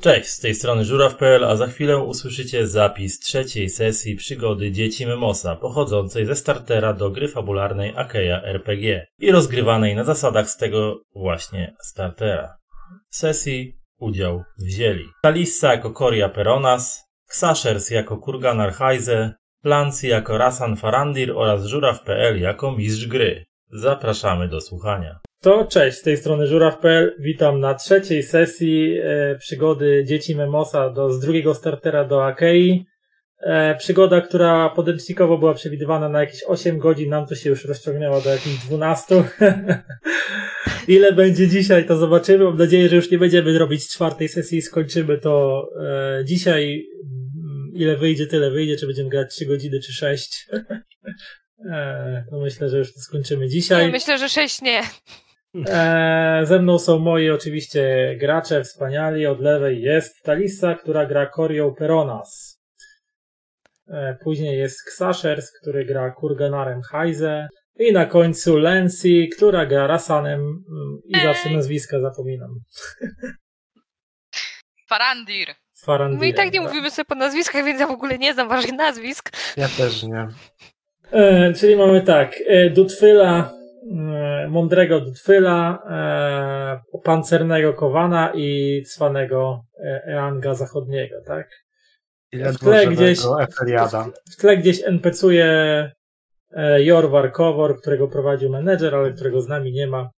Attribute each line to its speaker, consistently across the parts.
Speaker 1: Cześć, z tej strony żuraw.pl, a za chwilę usłyszycie zapis trzeciej sesji przygody dzieci Memosa, pochodzącej ze startera do gry fabularnej Akeja RPG i rozgrywanej na zasadach z tego właśnie startera. W sesji udział wzięli Talissa jako Coria Peronas, Xashers jako Kurgan Archaize, Lancy jako Rasan Farandir oraz żuraw.pl jako mistrz gry. Zapraszamy do słuchania. To cześć, z tej strony żuraw.pl. Witam na trzeciej sesji e, przygody dzieci Memosa do, z drugiego startera do Akei. E, przygoda, która podręcznikowo była przewidywana na jakieś 8 godzin, nam tu się już rozciągnęła do jakichś 12. Ile będzie dzisiaj, to zobaczymy. Mam nadzieję, że już nie będziemy robić czwartej sesji i skończymy to e, dzisiaj. Mm, Ile wyjdzie, tyle wyjdzie. Czy będziemy grać 3 godziny, czy 6. E, to myślę, że już to skończymy dzisiaj.
Speaker 2: Nie, myślę, że sześć nie.
Speaker 1: E, ze mną są moi oczywiście gracze wspaniali. Od lewej jest Talisa, która gra Corią Peronas. E, później jest Xashers, który gra Kurganarem Heise. I na końcu Lency, która gra Rasanem. Mm, I zawsze
Speaker 2: Ej.
Speaker 1: nazwiska zapominam.
Speaker 3: Farandir.
Speaker 1: Farandirem,
Speaker 2: My i tak nie
Speaker 1: tak.
Speaker 2: mówimy sobie po nazwiskach, więc ja w ogóle nie znam waszych nazwisk.
Speaker 4: Ja też nie.
Speaker 1: E, czyli mamy tak, e, Dutfyla, e, mądrego Dutfyla, e, pancernego Kowana i cwanego e, Eanga Zachodniego, tak?
Speaker 4: Ile
Speaker 1: W tle gdzieś-
Speaker 4: Eferiada.
Speaker 1: W tle gdzieś NPC-uje e, Jorwar Kowor, którego prowadził menedżer, ale którego z nami nie ma.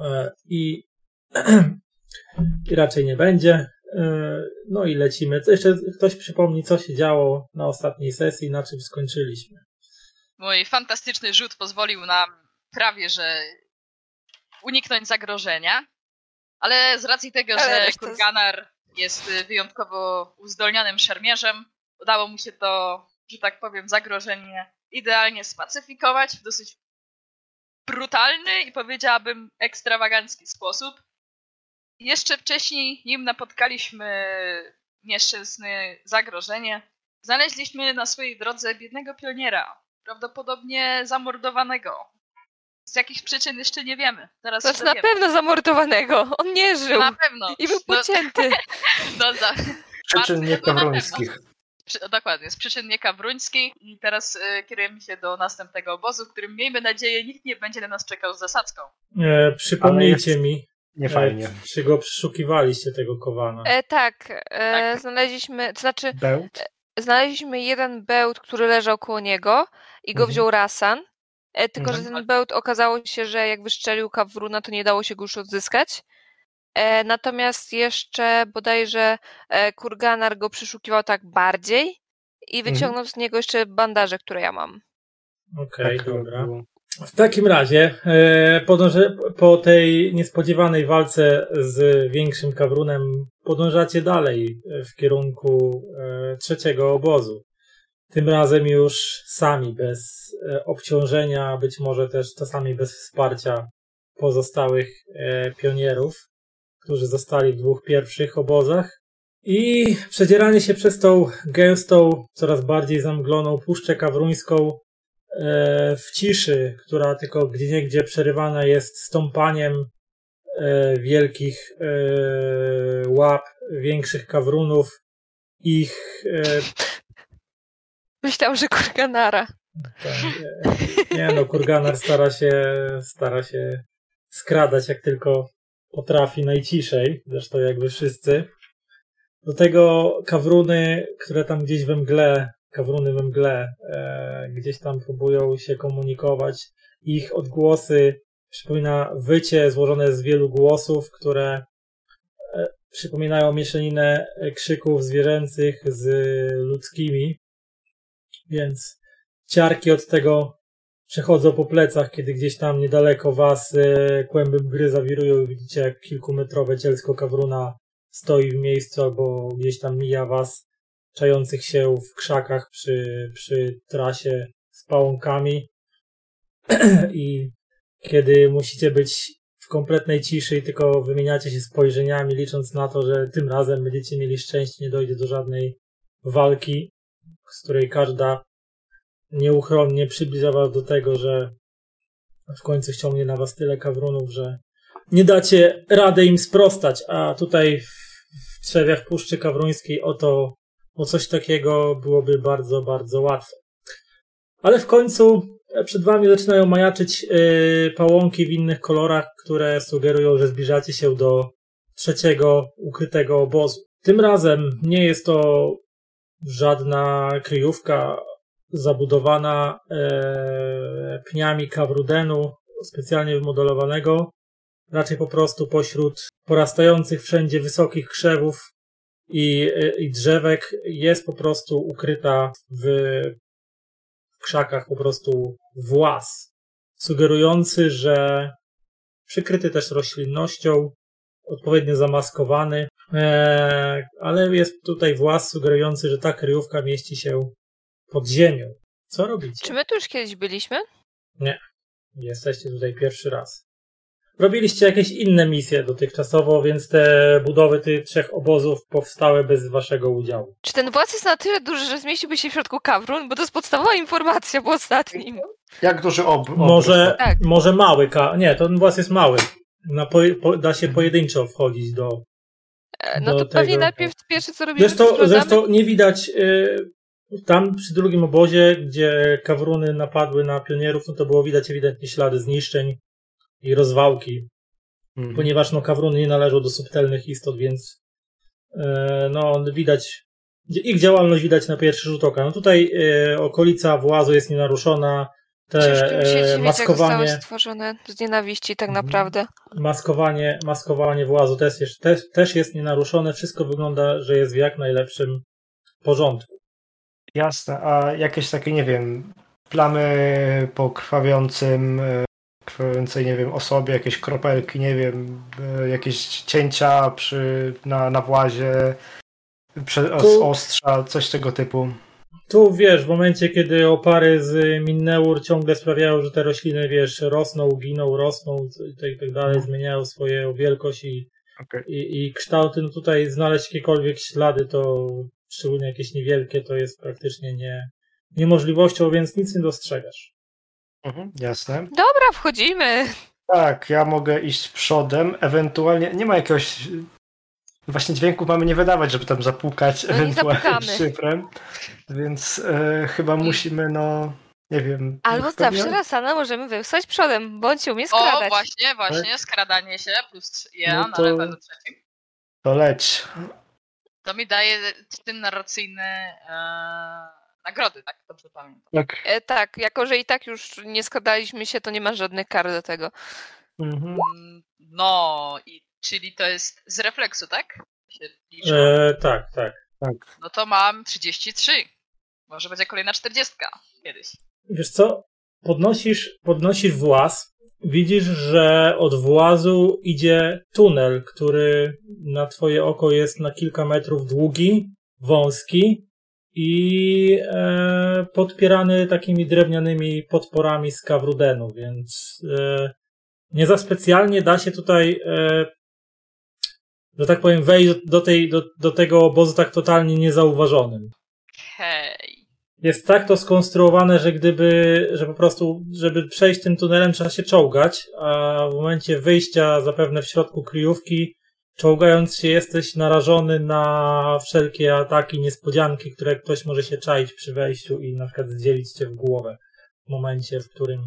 Speaker 1: E, I, i raczej nie będzie. E, No i lecimy. Co Jeszcze ktoś przypomni, co się działo na ostatniej sesji, na czym skończyliśmy.
Speaker 3: Mój fantastyczny rzut pozwolił nam prawie, że uniknąć zagrożenia, ale z racji tego,
Speaker 2: Ale
Speaker 3: że
Speaker 2: reszta z-
Speaker 3: Kurganar jest y, wyjątkowo uzdolnionym szermierzem, udało mu się to, że tak powiem, zagrożenie idealnie spacyfikować w dosyć brutalny i powiedziałabym ekstrawagancki sposób. Jeszcze wcześniej, nim napotkaliśmy nieszczęsne zagrożenie, znaleźliśmy na swojej drodze biednego pioniera, prawdopodobnie zamordowanego. Z jakich przyczyn jeszcze nie wiemy. Teraz
Speaker 2: Znaczy
Speaker 3: się
Speaker 2: na
Speaker 3: dowiemy.
Speaker 2: pewno zamordowanego. On nie żył.
Speaker 3: Na pewno.
Speaker 2: I był
Speaker 3: No,
Speaker 2: pocięty.
Speaker 3: no, za, Bardzo
Speaker 4: Przyczyn nie
Speaker 3: chyba na
Speaker 4: kawruńskich.
Speaker 3: przy, dokładnie, z przyczyn niekawruńskich. I teraz y, kierujemy się do następnego obozu, w którym miejmy nadzieję nikt nie będzie na nas czekał z zasadzką.
Speaker 1: E, przypomnijcie
Speaker 4: jest-
Speaker 1: mi,
Speaker 4: Nie
Speaker 1: e,
Speaker 4: fajnie.
Speaker 1: czy go przeszukiwaliście, tego Kowana.
Speaker 2: E, tak, e,
Speaker 3: Tak.
Speaker 2: znaleźliśmy, to znaczy
Speaker 4: Bełt?
Speaker 2: znaleźliśmy jeden bełt, który leżał koło niego i go
Speaker 4: Mhm.
Speaker 2: wziął Rasan. E, tylko, że
Speaker 3: Mhm.
Speaker 2: ten bełt okazało się, że jak wystrzelił Kawruna, to nie dało się go już odzyskać. E, natomiast jeszcze bodajże e, Kurganar go przeszukiwał tak bardziej i
Speaker 4: Mhm.
Speaker 2: wyciągnął z niego jeszcze bandaże, które ja mam.
Speaker 1: Okej,
Speaker 4: Tak,
Speaker 1: dobra.
Speaker 4: był.
Speaker 1: W takim razie, e, podążę, po tej niespodziewanej walce z większym kawrunem, podążacie dalej e, w kierunku e, trzeciego obozu. Tym razem już sami, bez e, obciążenia, być może też czasami bez wsparcia pozostałych e, pionierów, którzy zostali w dwóch pierwszych obozach. I przedzieranie się przez tą gęstą, coraz bardziej zamgloną puszczę kawruńską e, w ciszy, która tylko gdzieniegdzie przerywana jest stąpaniem e, wielkich e, łap, większych kawrunów, ich e,
Speaker 2: Myślałam, że Kurganara.
Speaker 1: tak, e, nie no, Kurganar stara się, stara się skradać jak tylko potrafi najciszej, zresztą jakby wszyscy. Do tego kawruny, które tam gdzieś we mgle, kawruny we mgle, e, gdzieś tam próbują się komunikować. Ich odgłosy przypomina wycie złożone z wielu głosów, które e, przypominają mieszaninę e, krzyków zwierzęcych z ludzkimi. Więc ciarki od tego przechodzą po plecach, kiedy gdzieś tam niedaleko was e, kłęby gry zawirują i widzicie jak kilkumetrowe cielsko kawruna stoi w miejscu albo gdzieś tam mija was czających się w krzakach przy, przy trasie z pałąkami i kiedy musicie być w kompletnej ciszy i tylko wymieniacie się spojrzeniami, licząc na to, że tym razem będziecie mieli szczęście, nie dojdzie do żadnej walki, z której każda nieuchronnie przybliża was do tego, że w końcu ściągnie na was tyle kawrunów, że nie dacie rady im sprostać, a tutaj w, w trzewiach Puszczy Kawrońskiej o to, o coś takiego byłoby bardzo, bardzo łatwo. Ale w końcu e, przed wami zaczynają majaczyć e, pałąki w innych kolorach, które sugerują, że zbliżacie się do trzeciego ukrytego obozu. Tym razem nie jest to żadna kryjówka zabudowana e, pniami kawrudenu specjalnie wymodelowanego, raczej po prostu pośród porastających wszędzie wysokich krzewów i, y, i drzewek jest po prostu ukryta w, w krzakach po prostu włas, sugerujący, że przykryty też roślinnością, odpowiednio zamaskowany, e, ale jest tutaj włas sugerujący, że ta kryjówka mieści się pod ziemią. Co robicie?
Speaker 2: Czy my tu już kiedyś byliśmy?
Speaker 1: Jesteście tutaj pierwszy raz. Robiliście jakieś inne misje dotychczasowo, więc te budowy tych trzech obozów powstały bez waszego udziału.
Speaker 2: Czy ten władz jest na tyle duży, że zmieściłby się w środku kawrun? Bo to jest podstawowa informacja po ostatnim.
Speaker 4: Jak duży ob... ob-
Speaker 1: Może,
Speaker 2: Tak.
Speaker 1: może mały ka... Nie, ten włas jest mały. Na po, po, da się pojedynczo wchodzić do...
Speaker 2: E, No
Speaker 1: Do
Speaker 2: to pewnie
Speaker 1: tego- tak.
Speaker 2: najpierw pierwsze co robimy, to
Speaker 1: Zresztą,
Speaker 2: sprawdzamy-
Speaker 1: zresztą nie widać... y, tam przy drugim obozie, gdzie kawruny napadły na pionierów, no to było widać ewidentnie ślady zniszczeń i rozwałki
Speaker 4: Mhm.
Speaker 1: ponieważ no, kawruny nie należą do subtelnych istot, więc e, no widać ich działalność widać na pierwszy rzut oka. No tutaj e, okolica włazu jest nienaruszona, te
Speaker 2: Ciężko mi się
Speaker 1: e,
Speaker 2: dziwić, jak zostały
Speaker 1: maskowanie,
Speaker 2: stworzone z nienawiści tak
Speaker 4: Mhm.
Speaker 2: naprawdę.
Speaker 1: maskowanie, maskowanie włazu też jest, też, też jest nienaruszone, wszystko wygląda, że jest w jak najlepszym porządku.
Speaker 4: Jasne, a jakieś takie, nie wiem, plamy po krwawiącym, e, krwawiącej, nie wiem, osobie, jakieś kropelki, nie wiem, e, jakieś cięcia przy, na, na włazie, prze, z
Speaker 1: Tu-
Speaker 4: ostrza, coś tego typu.
Speaker 1: Tu wiesz, w momencie kiedy opary z Minneur ciągle sprawiają, że te rośliny wiesz, rosną, giną, rosną i tak- i tak
Speaker 2: No.
Speaker 1: dalej, zmieniają swoją wielkość i i, i kształty, no tutaj znaleźć jakiekolwiek ślady, to szczególnie jakieś niewielkie, to jest praktycznie nie, niemożliwością, więc nic nie dostrzegasz.
Speaker 4: Mhm, jasne.
Speaker 2: Dobra, wchodzimy.
Speaker 4: Tak, ja mogę iść przodem, ewentualnie, nie ma jakiegoś, właśnie dźwięku mamy nie wydawać, żeby tam zapukać,
Speaker 2: No nie
Speaker 4: ewentualnie
Speaker 2: zapukamy.
Speaker 4: szyfrem, więc e, chyba musimy, no, nie wiem.
Speaker 2: Albo
Speaker 4: pewnie-
Speaker 2: zawsze Rasana możemy wysłać przodem, bądź umie
Speaker 3: O,
Speaker 2: skradać.
Speaker 3: właśnie,
Speaker 1: Tak.
Speaker 3: właśnie, skradanie się plus ja
Speaker 4: No
Speaker 3: na
Speaker 4: to-
Speaker 3: levelu trzecim.
Speaker 4: To leć.
Speaker 3: To mi daje w tym narracyjne e, nagrody, tak dobrze pamiętam.
Speaker 4: Tak.
Speaker 2: E, tak, jako że i tak już nie składaliśmy się, to nie ma żadnych kar do tego.
Speaker 4: Mhm.
Speaker 3: Mm, No, i czyli to jest z refleksu, tak? Się liczy.
Speaker 1: E, tak, tak.
Speaker 4: Tak.
Speaker 3: No to mam 33. Może będzie kolejna 40 kiedyś.
Speaker 1: Wiesz co? Podnosisz, podnosisz właz, widzisz, że od włazu idzie tunel, który na twoje oko jest na kilka metrów długi, wąski i e, podpierany takimi drewnianymi podporami z kawrudenu, więc e, nie za specjalnie da się tutaj, e, że tak powiem, wejść do, tej, do, do tego obozu tak totalnie niezauważonym
Speaker 3: Hej.
Speaker 1: jest tak to skonstruowane, że gdyby, że po prostu, żeby przejść tym tunelem trzeba się czołgać, a w momencie wyjścia zapewne w środku kryjówki, czołgając się jesteś narażony na wszelkie ataki, niespodzianki, które ktoś może się czaić przy wejściu i na przykład zdzielić cię w głowę w momencie, w którym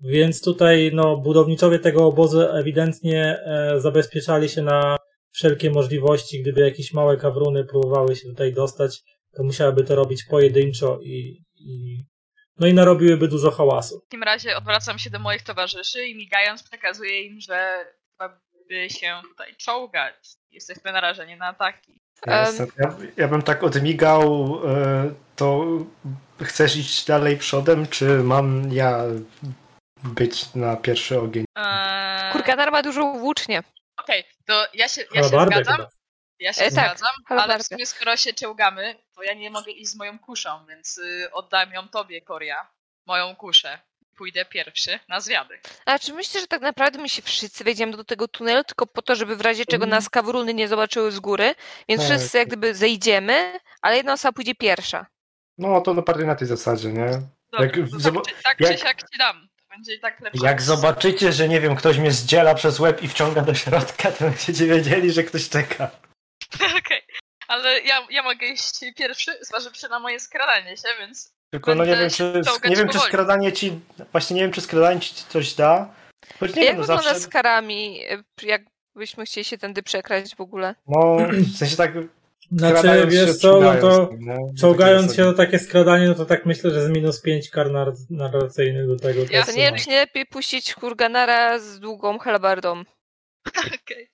Speaker 1: więc tutaj no, budowniczowie tego obozu ewidentnie e, zabezpieczali się na wszelkie możliwości, gdyby jakieś małe kawruny próbowały się tutaj dostać, to musiałyby to robić pojedynczo i, i no i narobiłyby dużo hałasu.
Speaker 3: W takim razie odwracam się do moich towarzyszy i migając przekazuję im, że trzeba by się tutaj czołgać. Jesteśmy narażeni na ataki.
Speaker 4: Jasne. Ja, ja bym tak odmigał, e, to chcesz iść dalej przodem, czy mam ja być na pierwszy ogień?
Speaker 3: Eee,
Speaker 2: Kurganar ma dużo włócznie.
Speaker 3: Okej, to ja się, ja się
Speaker 1: Halabardę
Speaker 3: zgadzam.
Speaker 1: chyba.
Speaker 3: Ja się
Speaker 2: E, tak,
Speaker 3: zgadzam, ale
Speaker 2: halabardę.
Speaker 3: w sumie skoro się czołgamy, to ja nie mogę iść z moją kuszą, więc y, oddam ją tobie, Koria. Moją kuszę. Pójdę pierwszy na zwiady.
Speaker 2: A czy myślisz, że tak naprawdę my się wszyscy wejdziemy do tego tunelu tylko po to, żeby w razie czego
Speaker 4: Mm.
Speaker 2: nas kawruny nie zobaczyły z góry? Więc
Speaker 4: Tak.
Speaker 2: wszyscy jak gdyby zejdziemy, ale jedna osoba pójdzie pierwsza.
Speaker 4: No to no bardziej na tej zasadzie, nie?
Speaker 3: Dobra,
Speaker 4: Jak
Speaker 3: to tak,
Speaker 4: zoba-
Speaker 3: czy- tak
Speaker 4: jak-
Speaker 3: czy siak ci dam. To będzie i tak lepsze.
Speaker 4: Jak zobaczycie, że nie wiem, ktoś mnie zdziela przez łeb i wciąga do środka, to będziecie wiedzieli, że ktoś czeka.
Speaker 3: Okej, ale ja, ja mogę iść pierwszy, zważywszy na moje skradanie się, więc
Speaker 4: Tylko no nie
Speaker 3: Będę
Speaker 4: wiem,
Speaker 3: się
Speaker 4: czy,
Speaker 3: czołgać
Speaker 4: nie wiem, czy
Speaker 3: powoli.
Speaker 4: skradanie ci. Właśnie nie wiem, czy skradanie ci coś da. Choć nie
Speaker 2: Jak
Speaker 4: wiem, no
Speaker 2: wygląda
Speaker 4: zawsze.
Speaker 2: z karami, e, jakbyśmy chcieli się tędy przekraść w ogóle?
Speaker 4: No, w sensie tak.
Speaker 1: Znaczy,
Speaker 4: skradając
Speaker 1: wiesz
Speaker 4: się,
Speaker 1: co, no
Speaker 4: czołgając
Speaker 1: to
Speaker 4: się, no,
Speaker 1: czołgając
Speaker 4: takie
Speaker 1: się
Speaker 4: zasady.
Speaker 1: o takie skradanie, no to tak myślę, że z minus 5 kar nar- narracyjnych do tego.
Speaker 3: Ja
Speaker 2: To
Speaker 1: też
Speaker 2: nie wiem,
Speaker 4: no.
Speaker 1: ma.
Speaker 2: czy nie lepiej puścić Hurganara z długą halabardą.
Speaker 3: okej.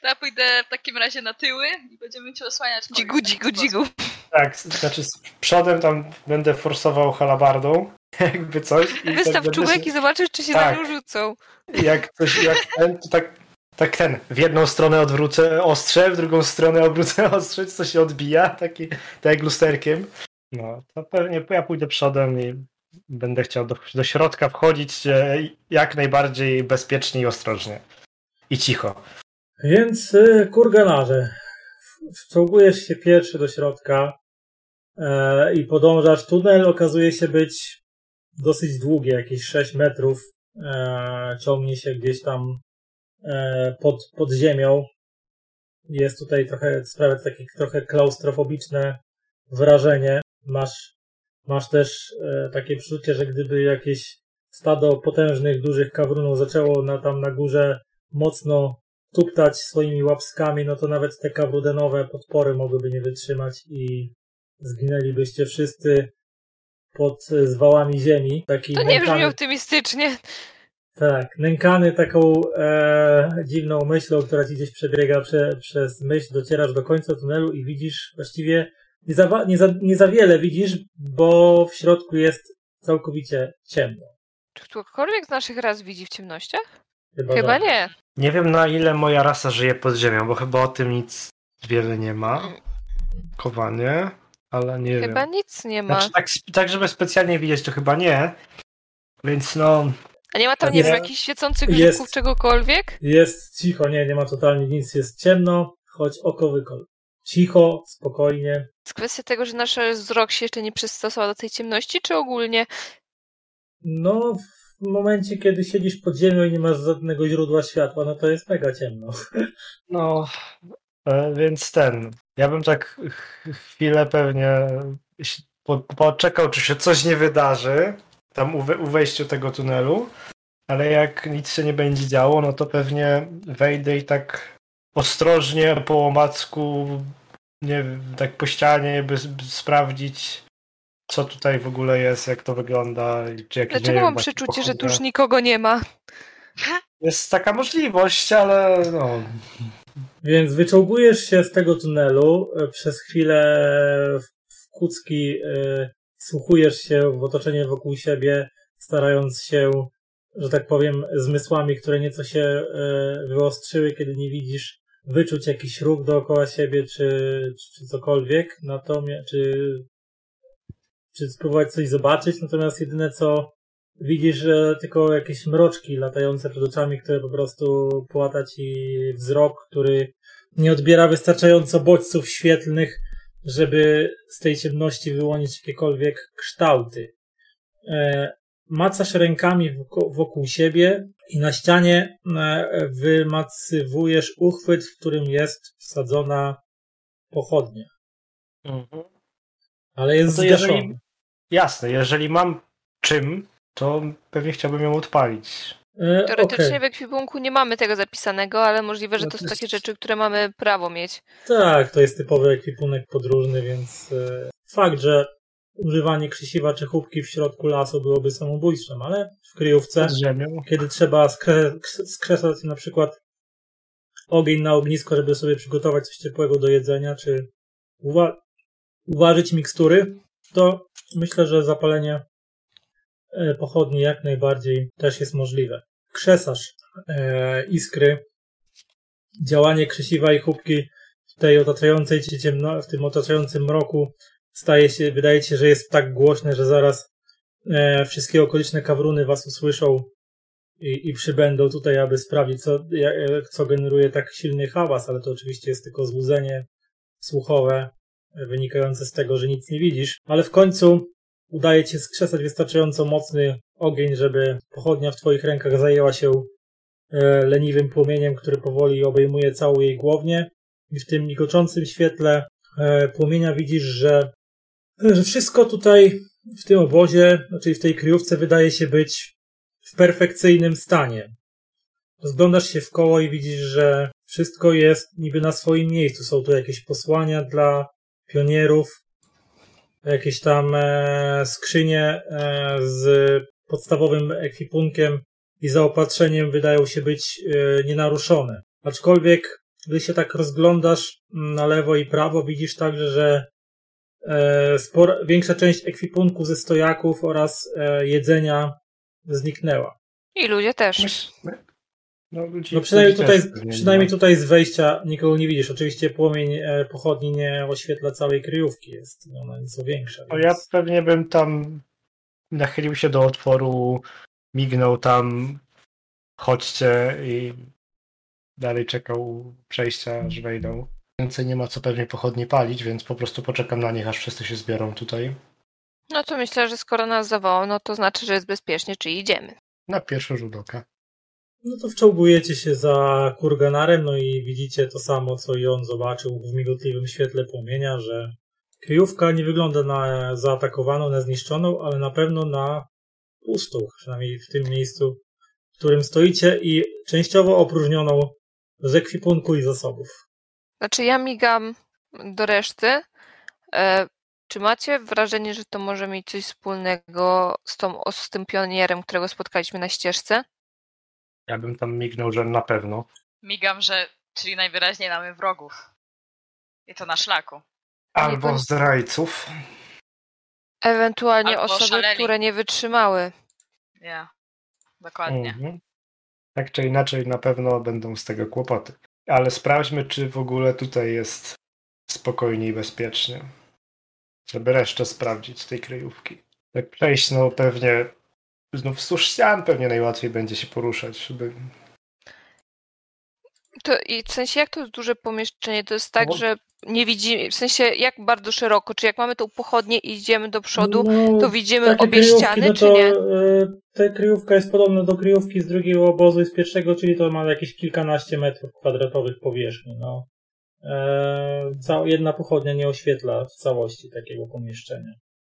Speaker 3: To ja pójdę w takim razie na tyły i będziemy cię osłaniać. moim
Speaker 2: Dzigu, dzigu,
Speaker 3: sposób.
Speaker 2: dzigu.
Speaker 4: Tak, znaczy z przodem tam będę forsował halabardą, jakby coś. i tak
Speaker 2: Wystaw
Speaker 4: będę
Speaker 2: czubek i zobaczysz, czy się na
Speaker 4: Tak.
Speaker 2: nią rzucą.
Speaker 4: Jak coś, jak ten, to tak, tak ten. W jedną stronę odwrócę ostrze, w drugą stronę obrócę ostrze, co się odbija, taki, tak jak lusterkiem. No, to pewnie ja pójdę przodem i będę chciał do, do środka wchodzić e, jak najbardziej bezpiecznie i ostrożnie. I cicho.
Speaker 1: Więc y, kurganarze, wciągujesz się pierwszy do środka e, i podążasz. Tunel okazuje się być dosyć długi, jakieś 6 metrów. E, ciągnie się gdzieś tam e, pod, pod ziemią. Jest tutaj trochę, sprawia to takie trochę klaustrofobiczne wrażenie. Masz, masz też e, takie przeczucie, że gdyby jakieś stado potężnych, dużych kawrunów zaczęło na, tam na górze mocno tuptać swoimi łapskami, no to nawet te kawrudenowe podpory mogłyby nie wytrzymać i zginęlibyście wszyscy pod e, zwałami ziemi. Taki
Speaker 2: To nie brzmi
Speaker 1: nękany-
Speaker 2: optymistycznie.
Speaker 1: tak, nękany taką e, dziwną myślą, która ci gdzieś przebiega prze, przez myśl, docierasz do końca tunelu i widzisz właściwie nie za, wa- nie, za, nie za wiele widzisz, bo w środku jest całkowicie ciemno.
Speaker 2: Czy ktokolwiek z naszych raz widzi w ciemnościach?
Speaker 1: Chyba,
Speaker 4: No
Speaker 1: tak.
Speaker 2: Chyba
Speaker 4: tak.
Speaker 1: że-
Speaker 2: nie.
Speaker 4: Nie wiem na ile moja rasa żyje pod ziemią, bo chyba o tym nic wiele nie ma. Kowanie, ale nie wiem.
Speaker 2: Chyba nic nie ma.
Speaker 4: Znaczy, tak, sp- tak, żeby specjalnie widzieć, to chyba nie. Więc no,
Speaker 2: A nie ma tam, nie
Speaker 1: Jest-
Speaker 2: wiem, jakichś świecących
Speaker 1: jest-
Speaker 2: grzybków czegokolwiek?
Speaker 1: Jest cicho, nie, nie ma totalnie nic, jest ciemno, choć oko wykol. Cicho, spokojnie.
Speaker 2: Jest kwestia tego, że nasz wzrok się jeszcze nie przystosował do tej ciemności, czy ogólnie?
Speaker 1: No, w momencie, kiedy siedzisz pod ziemią i nie masz żadnego źródła światła, no to jest mega ciemno.
Speaker 4: no, e, więc ten. Ja bym tak ch- chwilę pewnie si- po- poczekał, czy się coś nie wydarzy tam u, we- u wejściu tego tunelu, ale jak nic się nie będzie działo, no to pewnie wejdę i tak ostrożnie po łomacku, nie wiem, tak po ścianie, by, by sprawdzić, co tutaj w ogóle jest, jak to wygląda. i Czy jakieś, nie
Speaker 2: Dlaczego
Speaker 4: wiem,
Speaker 2: mam
Speaker 4: właśnie
Speaker 2: przeczucie, że tu
Speaker 4: pochodne.
Speaker 2: już nikogo nie ma?
Speaker 4: Jest taka możliwość, ale no.
Speaker 1: Więc wyczołgujesz się z tego tunelu, e, przez chwilę w- w kucki e, wsłuchujesz się w otoczenie wokół siebie, starając się, że tak powiem, zmysłami, które nieco się e, wyostrzyły, kiedy nie widzisz, wyczuć jakiś ruch dookoła siebie, czy, czy, czy cokolwiek, natomiast, czy, czy spróbować coś zobaczyć, natomiast jedyne co widzisz e, tylko jakieś mroczki latające przed oczami, które po prostu płata ci wzrok, który nie odbiera wystarczająco bodźców świetlnych, żeby z tej ciemności wyłonić jakiekolwiek kształty. E, macasz rękami woko- wokół siebie i na ścianie e, wymacywujesz uchwyt, w którym jest wsadzona pochodnia, ale jest
Speaker 4: No to
Speaker 1: zgaszona.
Speaker 4: jeżeli- Jasne, jeżeli mam czym, to pewnie chciałbym ją odpalić.
Speaker 1: E,
Speaker 2: Teoretycznie
Speaker 1: okej.
Speaker 2: w ekwipunku nie mamy tego zapisanego, ale możliwe, że
Speaker 4: No
Speaker 2: to
Speaker 4: to
Speaker 2: są
Speaker 4: jest-
Speaker 2: takie rzeczy, które mamy prawo mieć.
Speaker 1: Tak, to jest typowy ekwipunek podróżny, więc e, fakt, że używanie krzesiwa czy chubki w środku lasu byłoby samobójstwem, ale w kryjówce,
Speaker 4: Pod ziemią.
Speaker 1: kiedy trzeba skre- krs- skresać na przykład ogień na ognisko, żeby sobie przygotować coś ciepłego do jedzenia, czy uwa- uważyć mikstury, to myślę, że zapalenie e, pochodni jak najbardziej też jest możliwe. Krzesasz e, iskry, działanie krzesiwa i chubki w tej otaczającej cię ciemno, w tym otaczającym mroku staje się, wydaje ci się, że jest tak głośne, że zaraz e, wszystkie okoliczne kawruny was usłyszą i, i przybędą tutaj, aby sprawdzić, co, ja- e, co generuje tak silny hałas, ale to oczywiście jest tylko złudzenie słuchowe e, wynikające z tego, że nic nie widzisz. Ale w końcu udaje ci się skrzesać wystarczająco mocny ogień, żeby pochodnia w twoich rękach zajęła się e, leniwym płomieniem, który powoli obejmuje całą jej głownię i w tym migoczącym świetle e, płomienia widzisz, że, że wszystko tutaj w tym obozie, czyli w tej kryjówce wydaje się być w perfekcyjnym stanie. Rozglądasz się w koło i widzisz, że wszystko jest niby na swoim miejscu. Są tu jakieś posłania dla pionierów, jakieś tam e, skrzynie e, z podstawowym ekwipunkiem i zaopatrzeniem wydają się być e, nienaruszone. Aczkolwiek, gdy się tak rozglądasz mm, na lewo i prawo, widzisz także, że e, spora, większa część ekwipunku ze stojaków oraz e, jedzenia zniknęła.
Speaker 2: I ludzie też.
Speaker 4: No, ludzi,
Speaker 1: No przynajmniej,
Speaker 4: ludzi
Speaker 1: tutaj,
Speaker 4: też pewnie nie
Speaker 1: przynajmniej
Speaker 4: ma.
Speaker 1: tutaj z wejścia nikogo nie widzisz. Oczywiście płomień e, pochodni nie oświetla całej kryjówki, jest ona nieco większa.
Speaker 4: No ja
Speaker 1: więc-
Speaker 4: pewnie bym tam nachylił się do otworu, mignął tam, chodźcie i dalej czekał przejścia, aż wejdą. Więcej nie ma co pewnie pochodnie palić, więc po prostu poczekam na nich, aż wszyscy się zbiorą tutaj.
Speaker 2: No to myślę, że skoro nas zawołał, no to znaczy, że jest bezpiecznie, czyli idziemy.
Speaker 4: Na pierwszy rzut oka.
Speaker 1: No to wczołgujecie się za kurganarem, no i widzicie to samo, co i on zobaczył w migotliwym świetle płomienia, że kryjówka nie wygląda na zaatakowaną, na zniszczoną, ale na pewno na pustą, przynajmniej w tym miejscu, w którym stoicie i częściowo opróżnioną z ekwipunku i zasobów.
Speaker 2: Znaczy ja migam do reszty. E, czy macie wrażenie, że to może mieć coś wspólnego z, tą, os- z tym pionierem, którego spotkaliśmy na ścieżce?
Speaker 4: Ja bym tam mignął, że na pewno.
Speaker 3: Migam, że czyli najwyraźniej mamy wrogów. I to na szlaku.
Speaker 2: Albo
Speaker 4: Albo
Speaker 2: bądź-
Speaker 4: zdrajców.
Speaker 2: Ewentualnie
Speaker 3: Albo
Speaker 2: osoby,
Speaker 3: szaleli.
Speaker 2: które nie wytrzymały.
Speaker 3: Ja. Dokładnie.
Speaker 4: Mhm. Tak czy inaczej, na pewno będą z tego kłopoty. Ale sprawdźmy, czy w ogóle tutaj jest spokojnie i bezpiecznie. Żeby resztę sprawdzić z tej kryjówki. Jak przejść, no pewnie znów wzdłuż ścian pewnie najłatwiej będzie się poruszać, żeby...
Speaker 2: To, I w sensie jak to jest duże pomieszczenie? To jest tak,
Speaker 4: No.
Speaker 2: że nie widzimy, w sensie jak bardzo szeroko? Czy jak mamy tą pochodnię i idziemy do przodu,
Speaker 1: No,
Speaker 2: to widzimy
Speaker 1: takie
Speaker 2: obie
Speaker 1: kryjówki,
Speaker 2: ściany,
Speaker 1: no
Speaker 2: czy nie?
Speaker 1: e, ta kryjówka jest podobna do kryjówki z drugiego obozu i z pierwszego, czyli to ma jakieś kilkanaście metrów kwadratowych powierzchni. No. E, ca- jedna pochodnia nie oświetla w całości takiego pomieszczenia.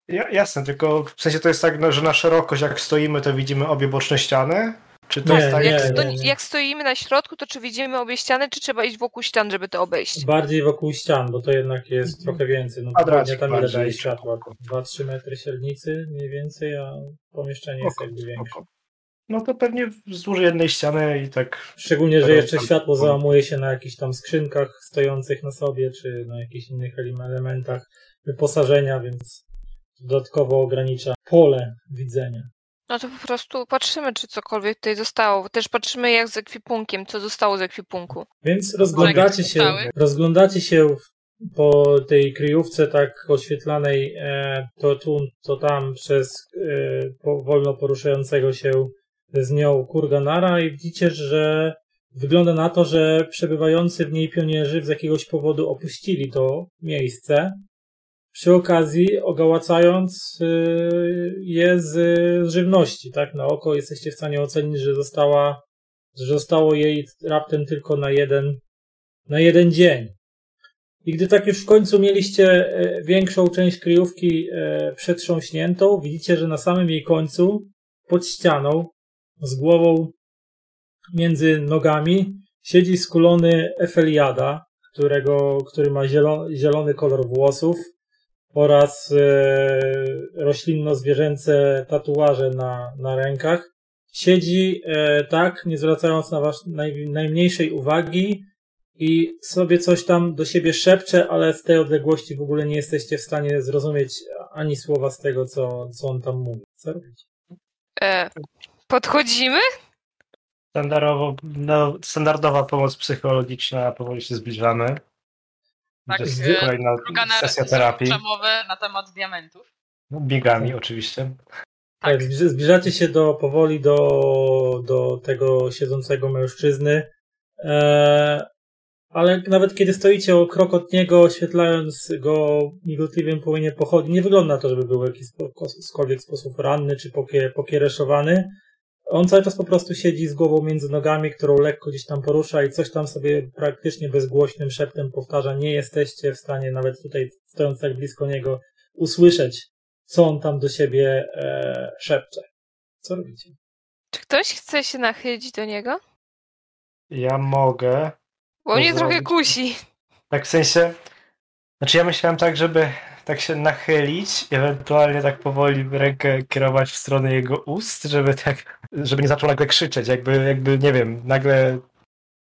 Speaker 4: Ja, jasne, tylko w sensie to jest tak, no, że na szerokość jak stoimy, to widzimy obie boczne ściany? Czy to
Speaker 1: Nie,
Speaker 4: jest tak,
Speaker 2: jak,
Speaker 1: nie,
Speaker 2: sto,
Speaker 1: nie.
Speaker 2: jak stoimy na środku, to czy widzimy obie ściany, czy trzeba iść wokół ścian, żeby to obejść?
Speaker 1: Bardziej wokół ścian, bo to jednak
Speaker 2: Mhm.
Speaker 1: jest trochę więcej. No,
Speaker 4: Kwadracik
Speaker 1: tam ile
Speaker 4: bardziej.
Speaker 1: daje światła? 2-3 metry średnicy mniej więcej, a pomieszczenie jest
Speaker 4: Oko,
Speaker 1: jakby większe.
Speaker 4: oko. No to pewnie wzdłuż jednej ściany i tak...
Speaker 1: Szczególnie, że
Speaker 4: Teraz
Speaker 1: jeszcze
Speaker 4: tam-
Speaker 1: światło załamuje się na jakichś tam skrzynkach stojących na sobie, czy na jakichś innych elim- elementach wyposażenia, więc dodatkowo ogranicza pole widzenia.
Speaker 2: No to po prostu patrzymy, czy cokolwiek tutaj zostało. Też patrzymy jak z ekwipunkiem, co zostało z ekwipunku.
Speaker 1: Więc rozglądacie się,
Speaker 3: Zostały?
Speaker 1: rozglądacie się w- po tej kryjówce tak oświetlanej e, to tu, to tam przez e, po, wolno poruszającego się z nią kurganara i widzicie, że wygląda na to, że przebywający w niej pionierzy z jakiegoś powodu opuścili to miejsce. Przy okazji ogałacając e, je z z żywności, tak? Na oko jesteście w stanie ocenić, że została że zostało jej raptem tylko na jeden, na jeden dzień. I gdy tak już w końcu mieliście e, większą część kryjówki e, przetrząśniętą, widzicie, że na samym jej końcu, pod ścianą, z głową między nogami, siedzi skulony Efeliada, którego, który ma zielony, zielony kolor włosów oraz e, roślinno-zwierzęce tatuaże na, na rękach siedzi e, tak, nie zwracając na was naj, najmniejszej uwagi i sobie coś tam do siebie szepcze, ale z tej odległości w ogóle nie jesteście w stanie zrozumieć ani słowa z tego, co, co on tam mówi. Co robić?
Speaker 2: E, podchodzimy?
Speaker 4: Standardowo, no, standardowa pomoc psychologiczna, powoli się zbliżamy.
Speaker 3: Tak,
Speaker 4: To jest
Speaker 1: e,
Speaker 4: kolejna
Speaker 3: Druga na
Speaker 4: sesja terapii.
Speaker 3: przemowy na temat diamentów.
Speaker 4: No, biegami oczywiście.
Speaker 1: Tak, zbliż- zbliżacie się do, powoli do, do tego siedzącego mężczyzny, e, ale nawet kiedy stoicie o krok od niego, oświetlając go migotliwym płomieniem pochodni, nie wygląda na to, żeby był w jakiś spo- kos- skolwiek sposób ranny czy pokie, pokiereszowany. On cały czas po prostu siedzi z głową między nogami, którą lekko gdzieś tam porusza i coś tam sobie praktycznie bezgłośnym szeptem powtarza. Nie jesteście w stanie nawet tutaj, stojąc tak blisko niego, usłyszeć, co on tam do siebie e, szepcze. Co robicie?
Speaker 2: Czy ktoś chce się nachylić do niego?
Speaker 4: Ja mogę.
Speaker 2: Bo
Speaker 1: No
Speaker 2: mnie
Speaker 4: Można
Speaker 2: trochę
Speaker 4: robić.
Speaker 2: kusi.
Speaker 4: Tak w sensie. Znaczy ja myślałem tak, żeby tak się nachylić, ewentualnie tak powoli rękę kierować w stronę jego ust, żeby tak, żeby nie zaczął nagle krzyczeć, jakby, jakby nie wiem, nagle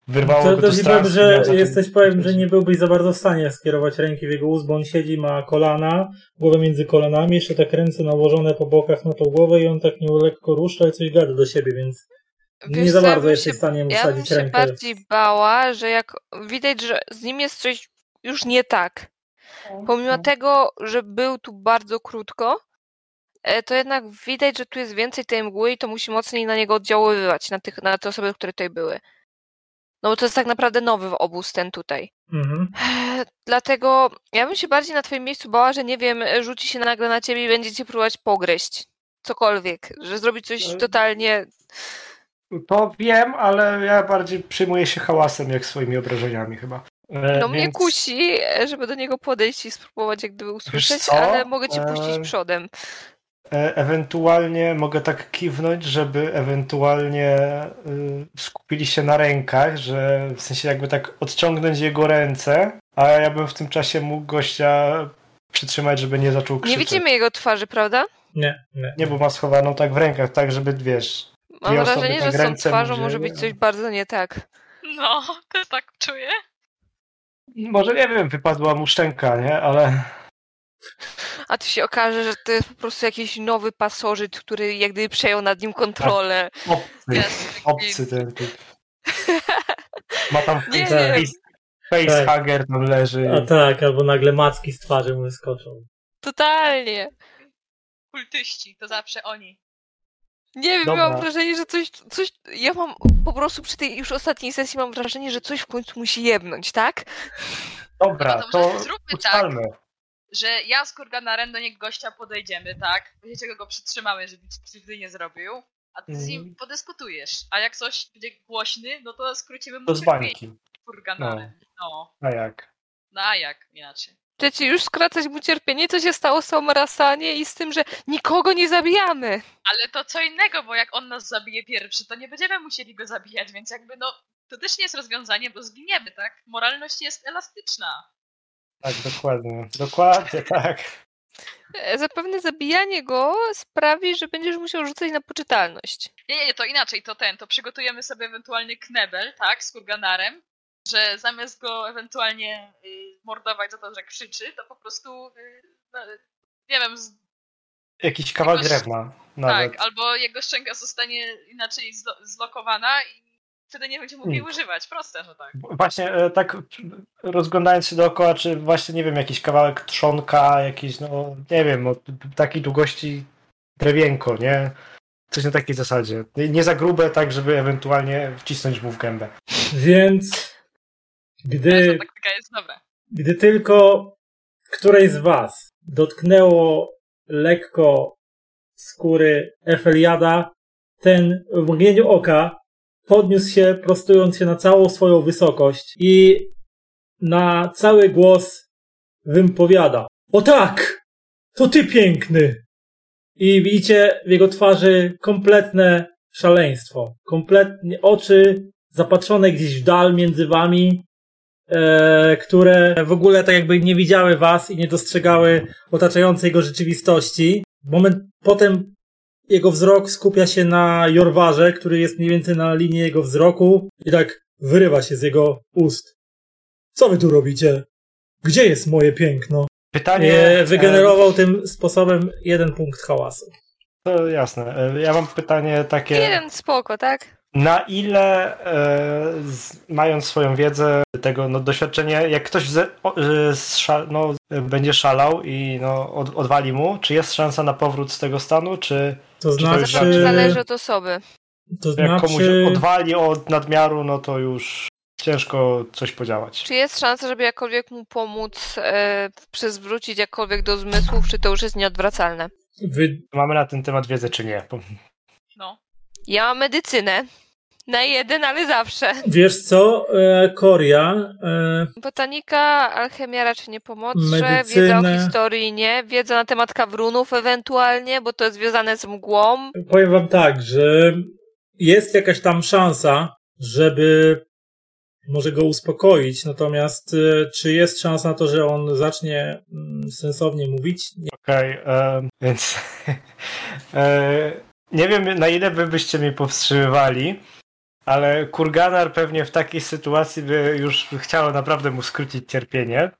Speaker 4: wyrwało
Speaker 1: To
Speaker 4: go to
Speaker 1: też
Speaker 4: z
Speaker 1: widać,
Speaker 4: transu, miał
Speaker 1: że
Speaker 4: zacząć
Speaker 1: jesteś, powiem, że
Speaker 4: krzyczeć.
Speaker 1: nie byłbyś za bardzo w stanie skierować ręki w jego ust, bo on siedzi, ma kolana, głowę między kolanami, jeszcze tak ręce nałożone po bokach na tą głowę i on tak nią lekko rusza i coś gada do siebie, więc nie
Speaker 2: Wiesz
Speaker 1: za
Speaker 2: co, ja
Speaker 1: bardzo
Speaker 2: bym
Speaker 1: jesteś
Speaker 2: się-
Speaker 1: w stanie mu
Speaker 2: Ja bym
Speaker 1: wsadzić
Speaker 2: się
Speaker 1: rękę.
Speaker 2: bardziej bała, że jak widać, że z nim jest coś już nie tak. Pomimo tego, że był tu bardzo krótko, e, to jednak widać, że tu jest więcej tej mgły i to musi mocniej na niego oddziaływać, na, tych, na te osoby, które tutaj były. No bo to jest tak naprawdę nowy obóz ten tutaj.
Speaker 1: Mhm.
Speaker 2: Dlatego ja bym się bardziej na twoim miejscu bała, że nie wiem, e, rzuci się nagle na ciebie i będzie cię próbować pogryźć. Cokolwiek, że zrobi coś
Speaker 4: Ale-
Speaker 2: totalnie
Speaker 4: To wiem, ale ja bardziej przyjmuję się hałasem jak swoimi obrażeniami chyba. E,
Speaker 2: No mnie
Speaker 4: więc-
Speaker 2: kusi, e, żeby do niego podejść i spróbować jak gdyby usłyszeć,
Speaker 4: co?
Speaker 2: ale mogę cię
Speaker 4: Eee.
Speaker 2: puścić przodem.
Speaker 4: E, Ewentualnie mogę tak kiwnąć, żeby ewentualnie y, skupili się na rękach, że w sensie jakby tak odciągnąć jego ręce, a ja bym w tym czasie mógł gościa przytrzymać, żeby nie zaczął
Speaker 2: Nie
Speaker 4: krzyczeć.
Speaker 2: widzimy jego twarzy, prawda?
Speaker 1: Nie, nie.
Speaker 4: Nie, bo ma schowaną tak w rękach, tak żeby, wiesz...
Speaker 2: Mam
Speaker 4: Dwie osoby
Speaker 2: wrażenie,
Speaker 4: tak
Speaker 2: że z tą
Speaker 4: ręce
Speaker 2: twarzą
Speaker 4: wzięły,
Speaker 2: może być
Speaker 4: a-
Speaker 2: coś bardzo nie tak.
Speaker 3: No, też tak czuję.
Speaker 4: Może, nie wiem, wypadła mu szczęka, nie? Ale...
Speaker 2: A tu się okaże, że to jest po prostu jakiś nowy pasożyt, który jak gdyby przejął nad nim kontrolę.
Speaker 4: Tak. Obcy,
Speaker 3: Jasny
Speaker 4: obcy ten typ. Ma tam
Speaker 2: Nie
Speaker 4: face-
Speaker 2: wiem.
Speaker 4: facehager tam leży.
Speaker 1: A tak, albo nagle macki z twarzy mu wyskoczą.
Speaker 2: Totalnie.
Speaker 3: Kultyści, to zawsze oni.
Speaker 2: Nie wiem,
Speaker 4: Dobra.
Speaker 2: mam wrażenie, że coś, coś... Ja mam po prostu przy tej już ostatniej sesji mam wrażenie, że coś w końcu musi jebnąć, tak?
Speaker 4: Dobra,
Speaker 3: No to
Speaker 4: to
Speaker 3: może zróbmy tak.
Speaker 4: ustalmy.
Speaker 3: Że ja z Kurganaren do niego gościa podejdziemy, tak? Wiecie, go przytrzymamy, żeby ci krzywdy nie zrobił. A ty z nim
Speaker 4: Mhm.
Speaker 3: podyskutujesz. A jak coś będzie głośny, no to skrócimy mu
Speaker 4: To z
Speaker 3: cierpienie
Speaker 4: bańki.
Speaker 3: Kurganaren. No.
Speaker 4: A jak?
Speaker 3: no, a jak inaczej?
Speaker 2: Chcecie już skracać mu cierpienie, co się stało z Somrasanie i z tym, że nikogo nie zabijamy.
Speaker 3: Ale to co innego, bo jak on nas zabije pierwszy, to nie będziemy musieli go zabijać, więc jakby no, to też nie jest rozwiązanie, bo zginiemy, tak? Moralność jest elastyczna.
Speaker 4: Tak, dokładnie. Dokładnie tak.
Speaker 2: E, Zapewne zabijanie go sprawi, że będziesz musiał rzucać na poczytalność.
Speaker 3: Nie, nie, nie, to inaczej, to ten, to przygotujemy sobie ewentualny knebel, tak, z kurganarem, że zamiast go ewentualnie y, mordować za to, że krzyczy, to po prostu, y, no, nie wiem, z,
Speaker 4: Jakiś kawał
Speaker 3: Jakoś-
Speaker 4: drewna nawet.
Speaker 3: tak, albo jego szczęka zostanie inaczej zlo, zlokowana i wtedy nie będzie mógł jej
Speaker 4: Mm.
Speaker 3: używać, proste, no tak.
Speaker 4: Właśnie e, tak rozglądając się dookoła, czy właśnie, nie wiem, jakiś kawałek trzonka, jakiś, no, nie wiem, o takiej długości drewienko, nie? Coś na takiej zasadzie. Nie- Nie za grube, tak, żeby ewentualnie wcisnąć mu w gębę.
Speaker 1: Więc
Speaker 3: Ale
Speaker 1: gdy
Speaker 3: ta taktyka jest dobra.
Speaker 1: Gdy tylko której z was dotknęło lekko skóry Efeliada, ten w mgnieniu oka podniósł się, prostując się na całą swoją wysokość i na cały głos wypowiada. O tak! To ty piękny! I widzicie w jego twarzy kompletne szaleństwo. Kompletnie oczy zapatrzone gdzieś w dal między wami, e, które w ogóle tak jakby nie widziały was i nie dostrzegały otaczającej go rzeczywistości. Moment potem jego wzrok skupia się na Jorwarze, który jest mniej więcej na linii jego wzroku i tak wyrywa się z jego ust. Co wy tu robicie? Gdzie jest moje piękno?
Speaker 4: Pytanie...
Speaker 1: E,
Speaker 4: e,
Speaker 1: wygenerował tym sposobem jeden punkt hałasu.
Speaker 4: To jasne. E, Ja mam pytanie takie...
Speaker 2: Jeden spoko, tak?
Speaker 4: Na ile, e, z, mając swoją wiedzę, tego no, doświadczenie, jak ktoś ze, o, e, sza, no, e, będzie szalał i no, od, odwali mu, czy jest szansa na powrót z tego stanu, czy
Speaker 1: To
Speaker 4: Czy to już
Speaker 1: znaczy,
Speaker 4: Czy-
Speaker 2: Zależy od osoby.
Speaker 1: to
Speaker 4: jak e, komuś
Speaker 1: znaczy,
Speaker 4: odwali od nadmiaru, no to już ciężko coś podziałać.
Speaker 2: Czy jest szansa, żeby jakkolwiek mu pomóc e, przywrócić jakkolwiek do zmysłów, czy to już jest nieodwracalne?
Speaker 1: wy,
Speaker 4: Mamy na ten temat wiedzę, czy nie? Bo-
Speaker 3: No.
Speaker 2: Ja mam medycynę. Na jeden, ale zawsze.
Speaker 1: Wiesz co, e, Koria, e,
Speaker 2: Botanika, alchemia raczej nie pomoże, wiedza
Speaker 1: Medycynę.
Speaker 2: o historii nie, wiedza na temat kawrunów ewentualnie, bo to jest związane z mgłą.
Speaker 1: powiem wam tak, że jest jakaś tam szansa, żeby może go uspokoić, natomiast e, czy jest szansa na to, że on zacznie mm, sensownie mówić? Nie.
Speaker 4: Okej, em, więc e, nie wiem na ile wy byście mnie powstrzymywali, ale Kurganar pewnie w takiej sytuacji by już chciał naprawdę mu skrócić cierpienie.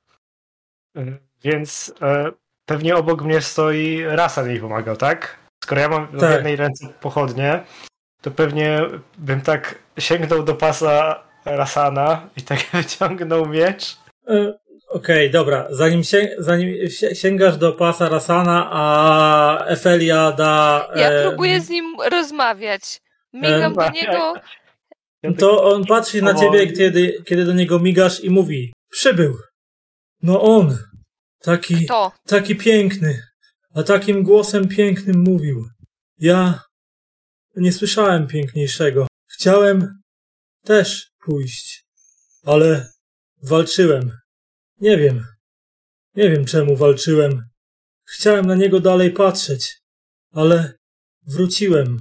Speaker 4: E, Więc e, pewnie obok mnie stoi rasa mi pomagał, tak? Skoro ja mam na
Speaker 1: Tak.
Speaker 4: jednej ręce pochodnie, to pewnie bym tak sięgnął do pasa Rasana i tak wyciągnął miecz.
Speaker 1: E, Okej, dobra, zanim, się, zanim się, sięgasz do pasa Rasana, a Efelia da...
Speaker 2: Ja
Speaker 1: e,
Speaker 2: próbuję z nim rozmawiać. Migam do
Speaker 4: Em,
Speaker 2: niego,
Speaker 4: Ja tak
Speaker 1: To on patrzy na
Speaker 4: Powoli.
Speaker 1: ciebie, kiedy, kiedy do niego migasz i mówi: Przybył! No on! Taki,
Speaker 2: to.
Speaker 1: taki piękny, a takim głosem pięknym mówił. Ja nie słyszałem piękniejszego. Chciałem też pójść, ale walczyłem. Nie wiem. Nie wiem czemu walczyłem. Chciałem na niego dalej patrzeć, ale wróciłem.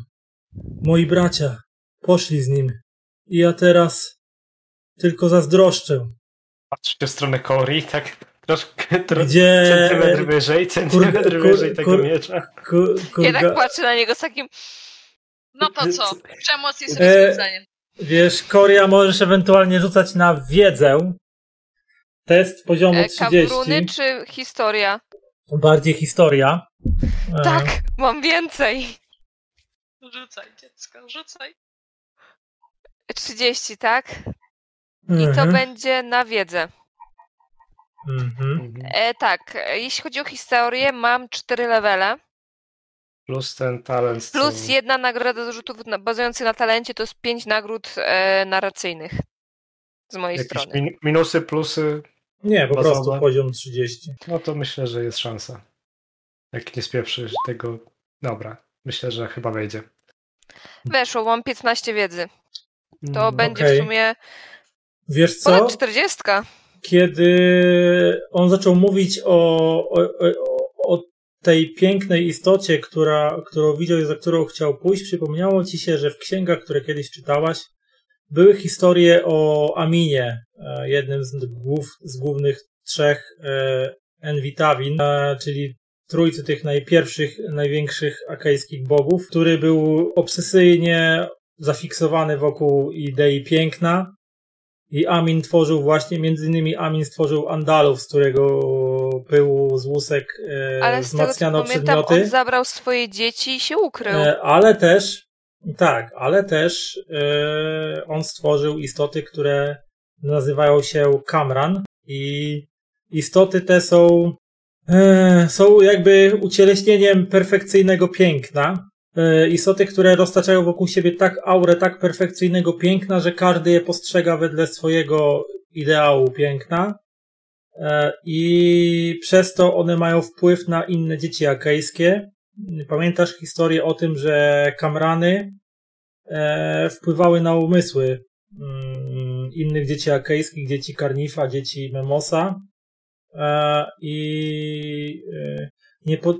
Speaker 1: Moi bracia poszli z nim i ja teraz tylko zazdroszczę.
Speaker 4: patrzcie w stronę Kori, tak troszkę, troszkę
Speaker 1: Gdzie
Speaker 4: centymetr wyżej, centymetr
Speaker 1: kur-
Speaker 4: wyżej tego
Speaker 1: kur-
Speaker 4: miecza.
Speaker 1: ku-
Speaker 2: Ja
Speaker 1: kurga-
Speaker 2: tak patrzę na niego z takim, e,
Speaker 3: No to co? Przemoc
Speaker 4: y,
Speaker 3: jest
Speaker 1: E,
Speaker 3: rozwiązaniem.
Speaker 1: Wiesz, Koria możesz ewentualnie rzucać na wiedzę. Test poziomu
Speaker 2: e,
Speaker 1: 30.
Speaker 2: kawruny czy historia?
Speaker 1: Bardziej historia. E,
Speaker 2: Tak, mam więcej.
Speaker 3: Rzucaj dziecko, rzucaj.
Speaker 2: 30, tak? I to
Speaker 1: mhm,
Speaker 2: będzie na wiedzę.
Speaker 1: mhm.
Speaker 2: E, tak, e, jeśli chodzi o historię, mam 4 levele.
Speaker 4: Plus ten talent. co-
Speaker 2: Plus jedna nagroda z rzutów na, bazujących na talencie to jest pięć nagród e, narracyjnych z mojej
Speaker 4: jakieś
Speaker 2: strony.
Speaker 4: min- minusy, plusy,
Speaker 1: Nie, po
Speaker 4: Bazowe.
Speaker 1: prostu poziom 30.
Speaker 4: no to myślę, że jest szansa. Jak nie spieprzysz tego, dobra, myślę, że chyba wejdzie.
Speaker 2: Weszło, mam 15 wiedzy. To
Speaker 4: Mm,
Speaker 2: będzie
Speaker 1: okej.
Speaker 2: w sumie
Speaker 1: Wiesz co?
Speaker 2: ponad 40.
Speaker 1: Kiedy on zaczął mówić o, o, o, o tej pięknej istocie, która, którą widział i za którą chciał pójść, przypomniało ci się, że w księgach, które kiedyś czytałaś, były historie o Aminie, e, jednym z, głów, z głównych trzech e, Enwitawin, e, czyli trójcy tych najpierwszych, największych akejskich bogów, który był obsesyjnie zafiksowany wokół idei piękna i Amin tworzył właśnie, między innymi Amin stworzył Andalów, z którego pyłu z łusek e,
Speaker 2: Ale z tego co
Speaker 1: wzmacniano
Speaker 2: pamiętam,
Speaker 1: przedmioty.
Speaker 2: on zabrał swoje dzieci i się ukrył.
Speaker 1: E, Ale też, tak, ale też e, on stworzył istoty, które nazywają się Kamran i istoty te są e, są jakby ucieleśnieniem perfekcyjnego piękna. E, Istoty, które roztaczają wokół siebie tak aurę tak perfekcyjnego piękna, że każdy je postrzega wedle swojego ideału piękna. E, I przez to one mają wpływ na inne dzieci akejskie. Pamiętasz historię o tym, że kamrany e, wpływały na umysły mm, innych dzieci akejskich, dzieci Karnifa, dzieci Memosa e, i, e, nie po,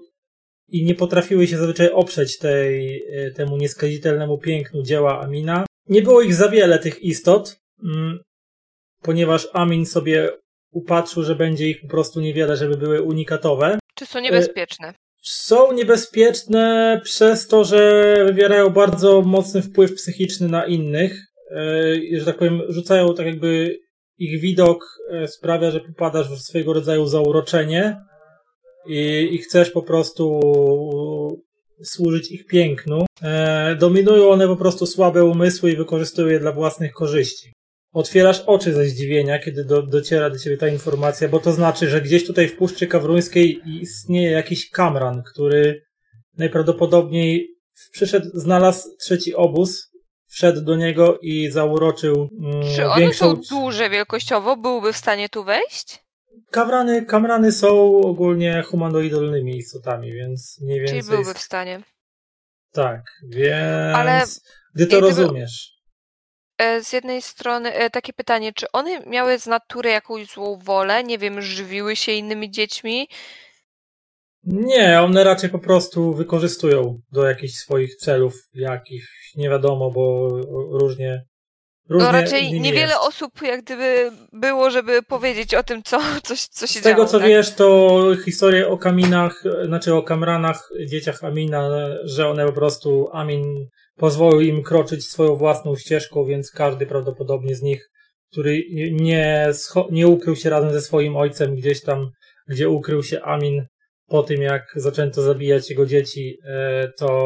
Speaker 1: i nie potrafiły się zazwyczaj oprzeć tej, e, temu nieskazitelnemu pięknu dzieła Amina. Nie było ich za wiele, tych istot, mm, ponieważ Amin sobie upatrzył, że będzie ich po prostu niewiele, żeby były unikatowe.
Speaker 2: Czy są niebezpieczne?
Speaker 1: Są niebezpieczne przez to, że wywierają bardzo mocny wpływ psychiczny na innych. E, i, Że tak powiem, rzucają tak jakby ich widok e, sprawia, że popadasz w swojego rodzaju zauroczenie i, i chcesz po prostu służyć ich pięknu. E, dominują one po prostu słabe umysły i wykorzystują je dla własnych korzyści. Otwierasz oczy ze zdziwienia, kiedy do, dociera do ciebie ta informacja, bo to znaczy, że gdzieś tutaj w Puszczy Kawruńskiej istnieje jakiś kamran, który najprawdopodobniej przyszedł, znalazł trzeci obóz, wszedł do niego i zauroczył mm,
Speaker 2: Czy one
Speaker 1: większą...
Speaker 2: są duże wielkościowo? Byłby w stanie tu wejść?
Speaker 1: Kamrany, kamrany są ogólnie humanoidalnymi istotami, więc mniej
Speaker 2: Czyli
Speaker 1: więcej
Speaker 2: byłby
Speaker 1: z-
Speaker 2: w stanie.
Speaker 1: Tak, więc.
Speaker 2: Ale
Speaker 1: Gdy to
Speaker 2: gdyby-
Speaker 1: rozumiesz.
Speaker 2: E, Z jednej strony e, takie pytanie, czy one miały z natury jakąś złą wolę? Nie wiem, żywiły się innymi dziećmi?
Speaker 1: Nie, one raczej po prostu wykorzystują do jakichś swoich celów, jakichś nie wiadomo, bo różnie. różnie
Speaker 2: No raczej
Speaker 1: z nimi
Speaker 2: niewiele
Speaker 1: jest.
Speaker 2: osób jak gdyby było, żeby powiedzieć o tym, co, co, co się
Speaker 1: Z tego
Speaker 2: działo.
Speaker 1: co
Speaker 2: tak?
Speaker 1: wiesz, to historie o Kaminach, e, znaczy o Kamranach, dzieciach Amina, że one po prostu Amin pozwolił im kroczyć swoją własną ścieżką, więc każdy prawdopodobnie z nich, który nie, scho- nie ukrył się razem ze swoim ojcem gdzieś tam, gdzie ukrył się Amin po tym, jak zaczęto zabijać jego dzieci, e, to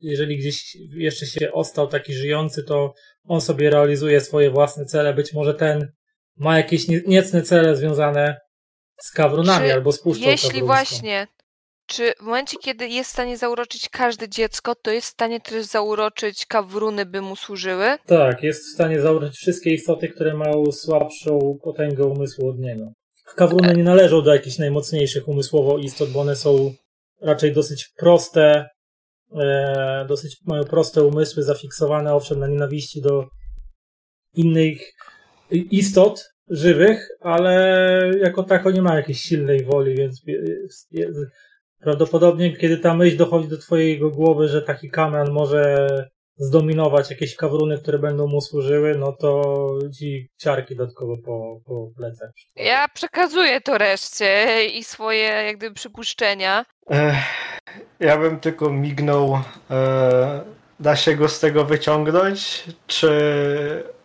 Speaker 1: jeżeli gdzieś jeszcze się ostał taki żyjący, to on sobie realizuje swoje własne cele. Być może ten ma jakieś nie- niecne cele związane z kawrunami
Speaker 2: Czy
Speaker 1: albo z puszczą
Speaker 2: Jeśli
Speaker 1: Kawruńską.
Speaker 2: właśnie, czy w momencie, kiedy jest w stanie zauroczyć każde dziecko, to jest w stanie też zauroczyć kawruny, by mu służyły?
Speaker 1: Tak, jest w stanie zabrać wszystkie istoty, które mają słabszą potęgę umysłu od niego. Kawruny nie należą do jakichś najmocniejszych umysłowo istot, bo one są raczej dosyć proste, e, dosyć mają proste umysły, zafiksowane owszem na nienawiści do innych istot żywych, ale jako tako nie ma jakiejś silnej woli, więc e, e, prawdopodobnie kiedy ta myśl dochodzi do twojego głowy, że taki kamran może zdominować jakieś kawruny, które będą mu służyły, no to ci ciarki dodatkowo po, po plecach.
Speaker 2: Ja przekazuję to reszcie i swoje jak gdyby przypuszczenia.
Speaker 4: Ech, ja bym tylko mignął. E, da się go z tego wyciągnąć, czy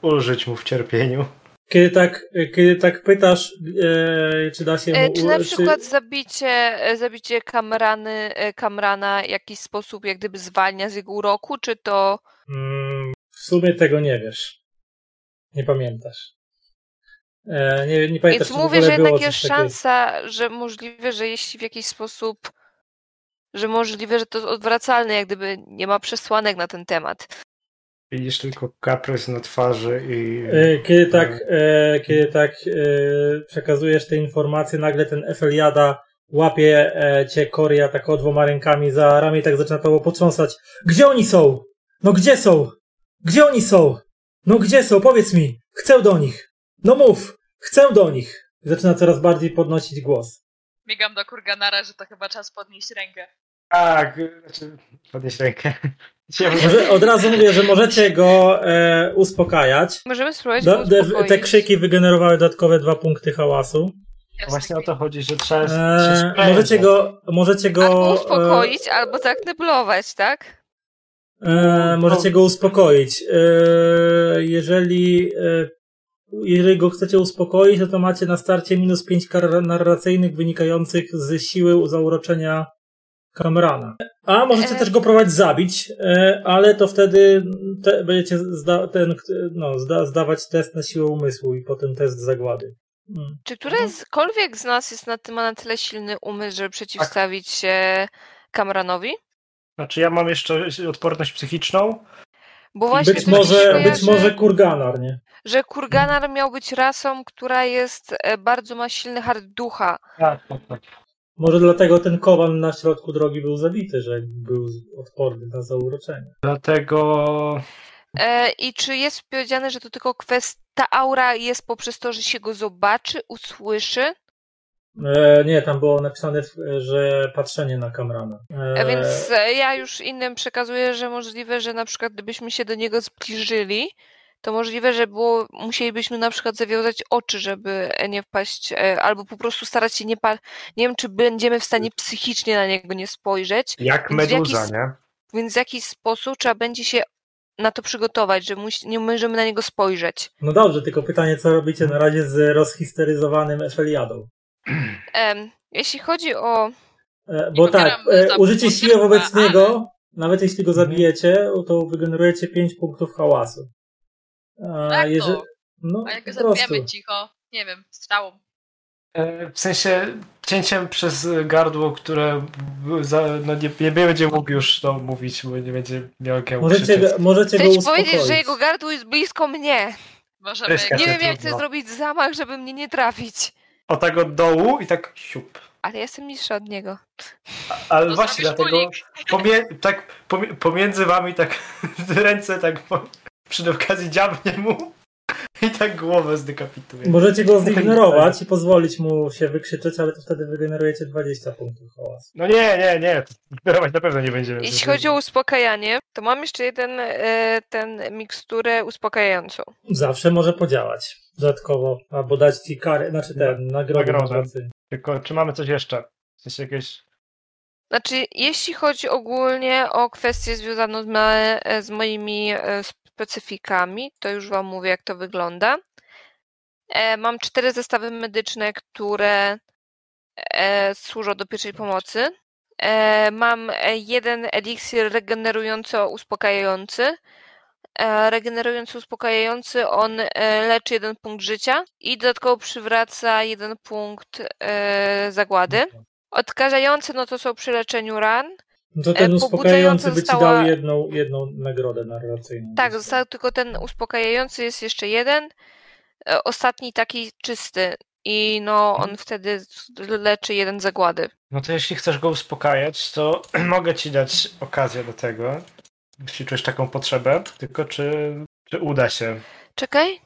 Speaker 4: ulżyć mu w cierpieniu?
Speaker 1: Kiedy tak, kiedy tak pytasz, e, czy da się mu...
Speaker 2: E, Czy na
Speaker 1: ul-
Speaker 2: przykład zabicie, e, zabicie Kamrany, e, Kamrana w jakiś sposób jak gdyby zwalnia z jego uroku, czy to...
Speaker 1: Mm, w sumie tego nie wiesz. Nie pamiętasz. E, nie, nie pamiętasz,
Speaker 2: Więc
Speaker 1: czy w
Speaker 2: mówię,
Speaker 1: ogóle
Speaker 2: że
Speaker 1: było
Speaker 2: jednak
Speaker 1: coś
Speaker 2: jest szansa, że możliwe, że jeśli w jakiś sposób... Że możliwe, że to jest odwracalne, jak gdyby nie ma przesłanek na ten temat.
Speaker 4: Widzisz tylko kaprys na twarzy i.
Speaker 1: takiego. E, Kiedy tak, e, kiedy tak e, przekazujesz te informacje, nagle ten Efeliada łapie e, cię Koria tak dwoma rękami za ramię i tak zaczyna to potrząsać. Gdzie oni są? No gdzie są? Gdzie oni są? No gdzie są? Powiedz mi. Chcę do nich. No mów. Chcę do nich. Zaczyna coraz bardziej podnosić głos.
Speaker 3: Biegam do Kurganara, że to chyba czas podnieść rękę.
Speaker 4: Tak, znaczy, podnieś rękę. Ciemno.
Speaker 1: Może, od razu mówię, że możecie go e, uspokajać.
Speaker 2: Możemy spróbować
Speaker 1: Do,
Speaker 2: go
Speaker 1: de,
Speaker 2: uspokoić.
Speaker 1: No, te krzyki wygenerowały dodatkowe dwa punkty hałasu.
Speaker 3: Jasne.
Speaker 4: Właśnie o to chodzi, że trzeba. się
Speaker 1: E,
Speaker 4: sprężać.
Speaker 1: możecie go, możecie go,
Speaker 2: Albo uspokoić, albo tak nyblować, tak?
Speaker 1: E, e, możecie go uspokoić. E, jeżeli, e, jeżeli go chcecie uspokoić, no to macie na starcie minus 5 kar narracyjnych wynikających z siły zauroczenia Kamrana. A możecie
Speaker 2: E.
Speaker 1: też go próbować zabić, e, ale to wtedy te, będziecie zda, ten, no, zda, zdawać test na siłę umysłu i potem test zagłady. Mm.
Speaker 2: Czy którakolwiek z nas jest na, ma na tyle silny umysł,
Speaker 1: Tak.
Speaker 2: żeby przeciwstawić się Kamranowi?
Speaker 4: Znaczy, ja mam jeszcze odporność psychiczną.
Speaker 2: Bo właśnie
Speaker 1: Być
Speaker 2: coś mi się
Speaker 1: może, być
Speaker 2: kojarzy,
Speaker 1: może Kurganar, nie?
Speaker 2: że Kurganar miał być rasą, która jest e, bardzo ma silny hard ducha.
Speaker 4: Tak, tak, tak.
Speaker 1: Może dlatego ten kowal na środku drogi był zabity, że był odporny na zauroczenie.
Speaker 4: Dlatego.
Speaker 2: E, I czy jest powiedziane, że to tylko kwestia, ta aura jest poprzez to, że się go zobaczy, usłyszy?
Speaker 1: E, nie, tam było napisane, e, że patrzenie na Kamrana.
Speaker 2: E, Więc e, ja już innym przekazuję, że możliwe, że na przykład gdybyśmy się do niego zbliżyli, to możliwe, że było, musielibyśmy na przykład zawiązać oczy, żeby e, nie wpaść, e, albo po prostu starać się nie pa- Nie wiem, czy będziemy w stanie psychicznie na niego nie spojrzeć,
Speaker 4: Jak
Speaker 2: Więc w jakiś
Speaker 4: meduza,
Speaker 2: sp-
Speaker 4: nie?
Speaker 2: więc w jakiś sposób trzeba będzie się na to przygotować, że musi, nie możemy na niego spojrzeć.
Speaker 1: No dobrze, tylko pytanie, co robicie na razie z rozhisteryzowanym Efeliadą?
Speaker 2: Em, jeśli chodzi o.
Speaker 1: E, bo
Speaker 3: I
Speaker 1: tak,
Speaker 3: popieram,
Speaker 1: e,
Speaker 3: za-
Speaker 1: użycie siły wobec
Speaker 3: ale-
Speaker 1: niego, nawet jeśli go
Speaker 4: Mhm.
Speaker 1: zabijecie, to wygenerujecie 5 punktów hałasu. A,
Speaker 3: Tak,
Speaker 1: jeże-
Speaker 3: no.
Speaker 1: no,
Speaker 3: A jak go
Speaker 1: po prostu.
Speaker 3: zabijamy cicho, nie wiem, strzałą.
Speaker 4: E, W sensie cięciem przez gardło, które b- za, no nie, nie będzie mógł już to mówić, bo nie będzie miał jakiego
Speaker 1: Możecie, go- możecie go
Speaker 2: Chcę ci
Speaker 1: uspokoić.
Speaker 2: powiedzieć, że jego gardło jest blisko mnie.
Speaker 3: Możemy...
Speaker 4: Pryska.
Speaker 2: Nie
Speaker 4: się
Speaker 2: wiem, jak chcę
Speaker 4: trudno.
Speaker 2: zrobić zamach, żeby mnie nie trafić.
Speaker 4: O tak od dołu i tak siup.
Speaker 2: ale ja jestem niższa od niego.
Speaker 4: Ale
Speaker 3: To
Speaker 4: właśnie
Speaker 2: znaczy
Speaker 3: zrobisz
Speaker 4: dlatego
Speaker 3: unik.
Speaker 4: pomie- tak pomie- pomiędzy wami tak ręce tak po- przy okazji dziabnie mu i tak głowę zdekapituje.
Speaker 1: Możecie go zignorować i pozwolić mu się wykrzyczeć, ale to wtedy wygenerujecie 20 punktów hałasu.
Speaker 4: No nie, nie, nie. Ignorować na pewno nie będziemy.
Speaker 2: Jeśli chodzi o uspokajanie, to mam jeszcze jeden, e, ten miksturę uspokajającą.
Speaker 1: Zawsze może podziałać. Dodatkowo, albo dać ci karę, znaczy ten, nagrodę.
Speaker 4: Nagrodę.
Speaker 1: nagrodę.
Speaker 4: Tylko czy mamy coś jeszcze? W sensie jakieś...
Speaker 2: Znaczy, jeśli chodzi ogólnie o kwestię związaną z, ma- z moimi e, specyfikami, to już Wam mówię, jak to wygląda. E, Mam cztery zestawy medyczne, które e, służą do pierwszej pomocy. E, Mam e, jeden eliksir regenerująco-uspokajający. E, Regenerujący, uspokajający, on e, leczy jeden punkt życia i dodatkowo przywraca jeden punkt e, zagłady. Odkażające no to są przy leczeniu ran.
Speaker 1: No To ten
Speaker 2: E,
Speaker 1: uspokajający by ci
Speaker 2: została-
Speaker 1: dał jedną, jedną nagrodę narracyjną.
Speaker 2: Tak, został tylko ten uspokajający, jest jeszcze jeden. E, Ostatni taki czysty. I no on wtedy z- leczy jeden zagłady.
Speaker 4: No to jeśli chcesz go uspokajać, to mogę ci dać okazję do tego. Jeśli czujesz taką potrzebę. Tylko czy, czy uda się?
Speaker 2: Czekaj.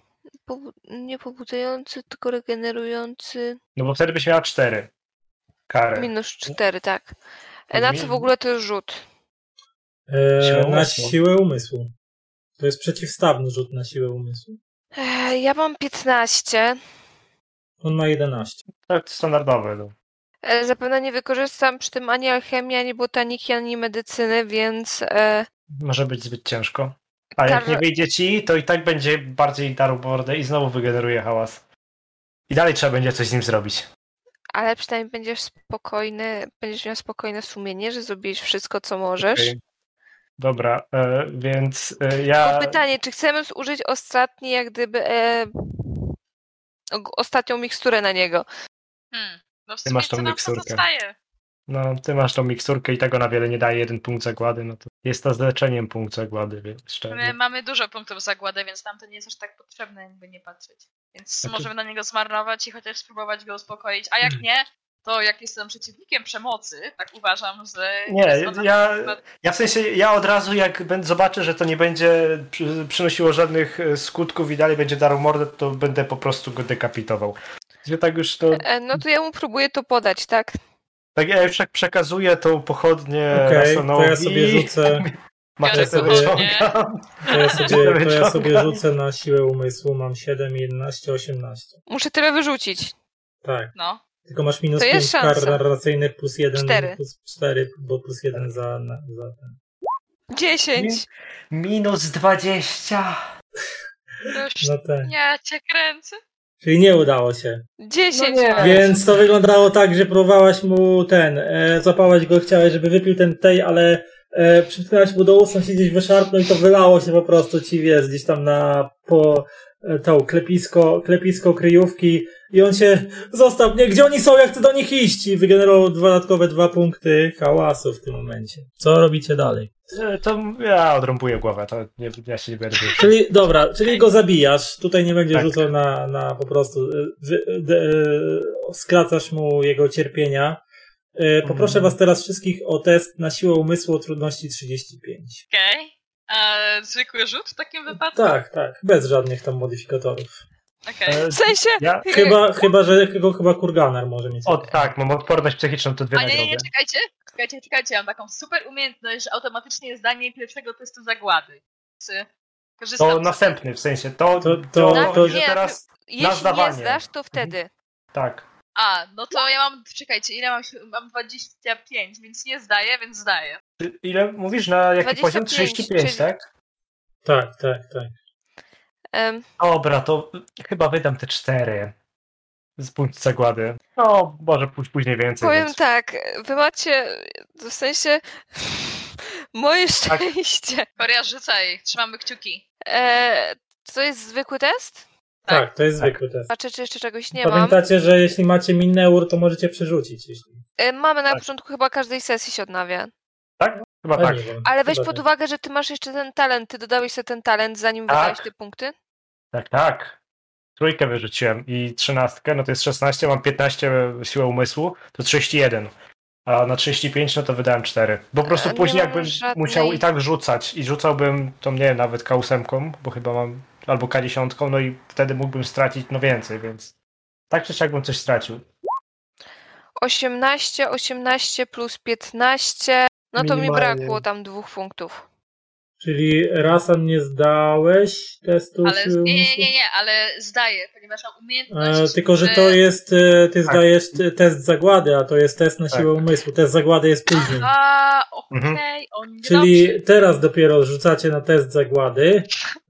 Speaker 2: Pobu- nie pobudzający, tylko regenerujący.
Speaker 4: No bo wtedy byś miała cztery kary.
Speaker 2: Minus cztery, tak. E, Na co w ogóle to jest rzut?
Speaker 1: E,
Speaker 4: Siłę
Speaker 1: na
Speaker 4: umysłu.
Speaker 1: siłę umysłu. To jest przeciwstawny rzut na siłę umysłu.
Speaker 2: E, Ja mam 15.
Speaker 1: On ma 11.
Speaker 4: Tak, standardowe. No.
Speaker 2: E, Zapewne nie wykorzystam przy tym ani alchemii, ani botaniki, ani medycyny, więc e,
Speaker 4: Może być zbyt ciężko. A jak
Speaker 2: Kar-
Speaker 4: nie wyjdzie ci, to i tak będzie bardziej darł bordę i znowu wygeneruje hałas. I dalej trzeba będzie coś z nim zrobić.
Speaker 2: Ale przynajmniej będziesz spokojny, będziesz miał spokojne sumienie, że zrobiłeś wszystko, co możesz.
Speaker 4: Okej. Dobra, e, więc e,
Speaker 2: Tylko
Speaker 4: ja.
Speaker 2: pytanie, czy chcemy zużyć ostatni, jak gdyby e, og- ostatnią miksturę na niego?
Speaker 3: Hmm. No w
Speaker 4: Ty
Speaker 3: sumie
Speaker 4: masz tą
Speaker 3: co nam
Speaker 4: miksturkę.
Speaker 3: pozostaje?
Speaker 4: No, ty masz tą miksturkę i tego na wiele nie daje jeden punkt zagłady. No to jest to z leczeniem punkt zagłady, więc
Speaker 3: My
Speaker 4: szczerze.
Speaker 3: mamy dużo punktów zagłady, więc nam to nie jest aż tak potrzebne, jakby nie patrzeć. Więc
Speaker 4: Znaczy-
Speaker 3: możemy na niego zmarnować i chociaż spróbować go uspokoić. A
Speaker 4: Hmm.
Speaker 3: jak nie, to jak jestem przeciwnikiem przemocy, tak uważam, że. jest
Speaker 4: Nie,
Speaker 3: ona-
Speaker 4: ja, ja w sensie, ja od razu jak będę zobaczę, że to nie będzie przy- przynosiło żadnych e, skutków i dalej będzie darł mordę, to będę po prostu go dekapitował. Ja tak już to
Speaker 2: E, no to ja mu próbuję to podać, tak?
Speaker 4: Tak, ja już tak przekazuję tą pochodnię
Speaker 1: Okej, to
Speaker 4: Rasonowi.
Speaker 1: ja sobie rzucę.
Speaker 4: Maczetę
Speaker 1: sobie-
Speaker 4: wyciągam.
Speaker 1: To ja
Speaker 4: Ja
Speaker 1: sobie, to ja sobie
Speaker 4: wyciągam.
Speaker 1: rzucę na siłę umysłu. Mam 7, 11, 18.
Speaker 2: Muszę tyle wyrzucić.
Speaker 1: Tak.
Speaker 3: No.
Speaker 1: Tylko masz minus
Speaker 2: To
Speaker 1: 5
Speaker 2: jest
Speaker 1: kar
Speaker 2: szansa.
Speaker 1: narracyjnych plus 1,
Speaker 2: Cztery.
Speaker 1: plus 4, bo plus 1 za, na- za ten.
Speaker 2: Dziesięć.
Speaker 4: Minus 20.
Speaker 3: To już...
Speaker 4: No.
Speaker 1: Za ten.
Speaker 3: Ja cię kręcę.
Speaker 1: Czyli nie udało się.
Speaker 2: Dziesięć.
Speaker 4: No nie.
Speaker 2: mam.
Speaker 1: Więc to wyglądało tak, że próbowałaś mu ten, e, złapałaś go, chciałeś, żeby wypił ten tej, ale e, przytknęłaś mu do ust, on się gdzieś wyszarpnął i to wylało się po prostu ci, wiesz, gdzieś tam na po e, tą klepisko, klepisko kryjówki i on się, zostaw mnie, gdzie oni są, ja chcę do nich iść i wygenerował dodatkowe dwa punkty hałasu w tym momencie. Co robicie dalej?
Speaker 4: E, To ja odrąbuję głowę, to nie, ja się nie będę.
Speaker 1: Czyli, dobra, czyli go zabijasz, tutaj nie będzie
Speaker 4: Tak.
Speaker 1: rzucał na, na po prostu, y, wy- d- y, skracasz mu jego cierpienia. Y, Poproszę
Speaker 4: Mhm.
Speaker 1: was teraz wszystkich o test na siłę umysłu o trudności 35.
Speaker 3: Okej. Okay. Zwykły rzut w takim wypadku?
Speaker 1: Tak, tak, bez żadnych tam modyfikatorów.
Speaker 3: Okej.
Speaker 4: E,
Speaker 2: W sensie,
Speaker 4: Ja,
Speaker 1: Chyba, chyba że go chyba kurganar może mieć.
Speaker 4: o tak, mam odporność psychiczną, to dwie
Speaker 3: A nie, nie, nie,
Speaker 4: nagrody.
Speaker 3: czekajcie. Czekajcie, czekajcie. Mam taką super umiejętność, że automatycznie zdanie pierwszego testu zagłady. Czy Korzystam
Speaker 4: To
Speaker 3: z-
Speaker 4: następny, w sensie, to,
Speaker 1: To-
Speaker 4: to,
Speaker 1: to-
Speaker 2: No,
Speaker 4: to, że
Speaker 2: nie,
Speaker 4: teraz,
Speaker 2: jeśli nie
Speaker 4: zdawanie. Mhm.
Speaker 2: zdasz, to wtedy.
Speaker 4: tak.
Speaker 3: A, no to ja mam, czekajcie, ile mam, sił- mam 25, więc nie zdaję, więc zdaję.
Speaker 4: Ty- Ile mówisz, na jaki poziom?
Speaker 2: 25,
Speaker 4: 35,
Speaker 2: czyli-
Speaker 4: tak?
Speaker 1: Tak, tak, tak.
Speaker 2: Em,
Speaker 4: Dobra, to chyba wydam te cztery. Z punkt zagłady. No, może pój- później więcej.
Speaker 2: powiem
Speaker 4: więc-
Speaker 2: tak, wy macie, w sensie, moje
Speaker 4: Tak.
Speaker 2: szczęście.
Speaker 3: Korea, rzucaj, trzymamy kciuki.
Speaker 2: E, to jest zwykły test?
Speaker 1: Tak,
Speaker 3: Tak.
Speaker 1: to jest
Speaker 4: Tak.
Speaker 1: zwykły test.
Speaker 2: Patrzę, czy jeszcze czegoś nie mam.
Speaker 1: Pamiętacie, że jeśli macie minneur, to możecie przerzucić. Jeśli...
Speaker 2: E, mamy na
Speaker 4: Tak.
Speaker 2: początku chyba każdej sesji się odnawia.
Speaker 4: Chyba
Speaker 1: A
Speaker 4: tak.
Speaker 1: nie wiem,
Speaker 2: Ale weź
Speaker 1: chyba
Speaker 2: pod
Speaker 1: nie.
Speaker 2: uwagę, że ty masz jeszcze ten talent. Ty dodałeś sobie ten talent, zanim
Speaker 4: Tak.
Speaker 2: wydałeś te punkty.
Speaker 4: Tak, tak. Trójkę wyrzuciłem i trzynastkę, no to jest 16, mam 15 siłę umysłu, to 31. A na 35 no to wydałem 4. Bo po prostu
Speaker 2: E, nie
Speaker 4: później
Speaker 2: mam
Speaker 4: jakbym
Speaker 2: żadnej-
Speaker 4: musiał i tak rzucać i rzucałbym to nie wiem, nawet K8, bo chyba mam albo K10, no i wtedy mógłbym stracić no więcej, więc tak czy siak bym coś stracił.
Speaker 2: 18, 18 plus 15. No to mi
Speaker 4: Minimalnie.
Speaker 2: brakło tam dwóch punktów.
Speaker 1: Czyli Rasan nie zdałeś testu
Speaker 3: Ale
Speaker 1: siły
Speaker 3: nie, nie,
Speaker 1: umysłu?
Speaker 3: nie, nie, ale zdaję, ponieważ mam
Speaker 1: E,
Speaker 3: umiejętność.
Speaker 1: tylko, że
Speaker 3: e,
Speaker 1: to jest, e, ty
Speaker 4: Tak.
Speaker 1: zdajesz t- test zagłady, a to jest test na
Speaker 4: Tak.
Speaker 1: siłę umysłu. Test zagłady jest później.
Speaker 3: A, okej,
Speaker 4: Mhm.
Speaker 3: on
Speaker 1: Czyli
Speaker 3: dobrze.
Speaker 1: teraz dopiero rzucacie na test zagłady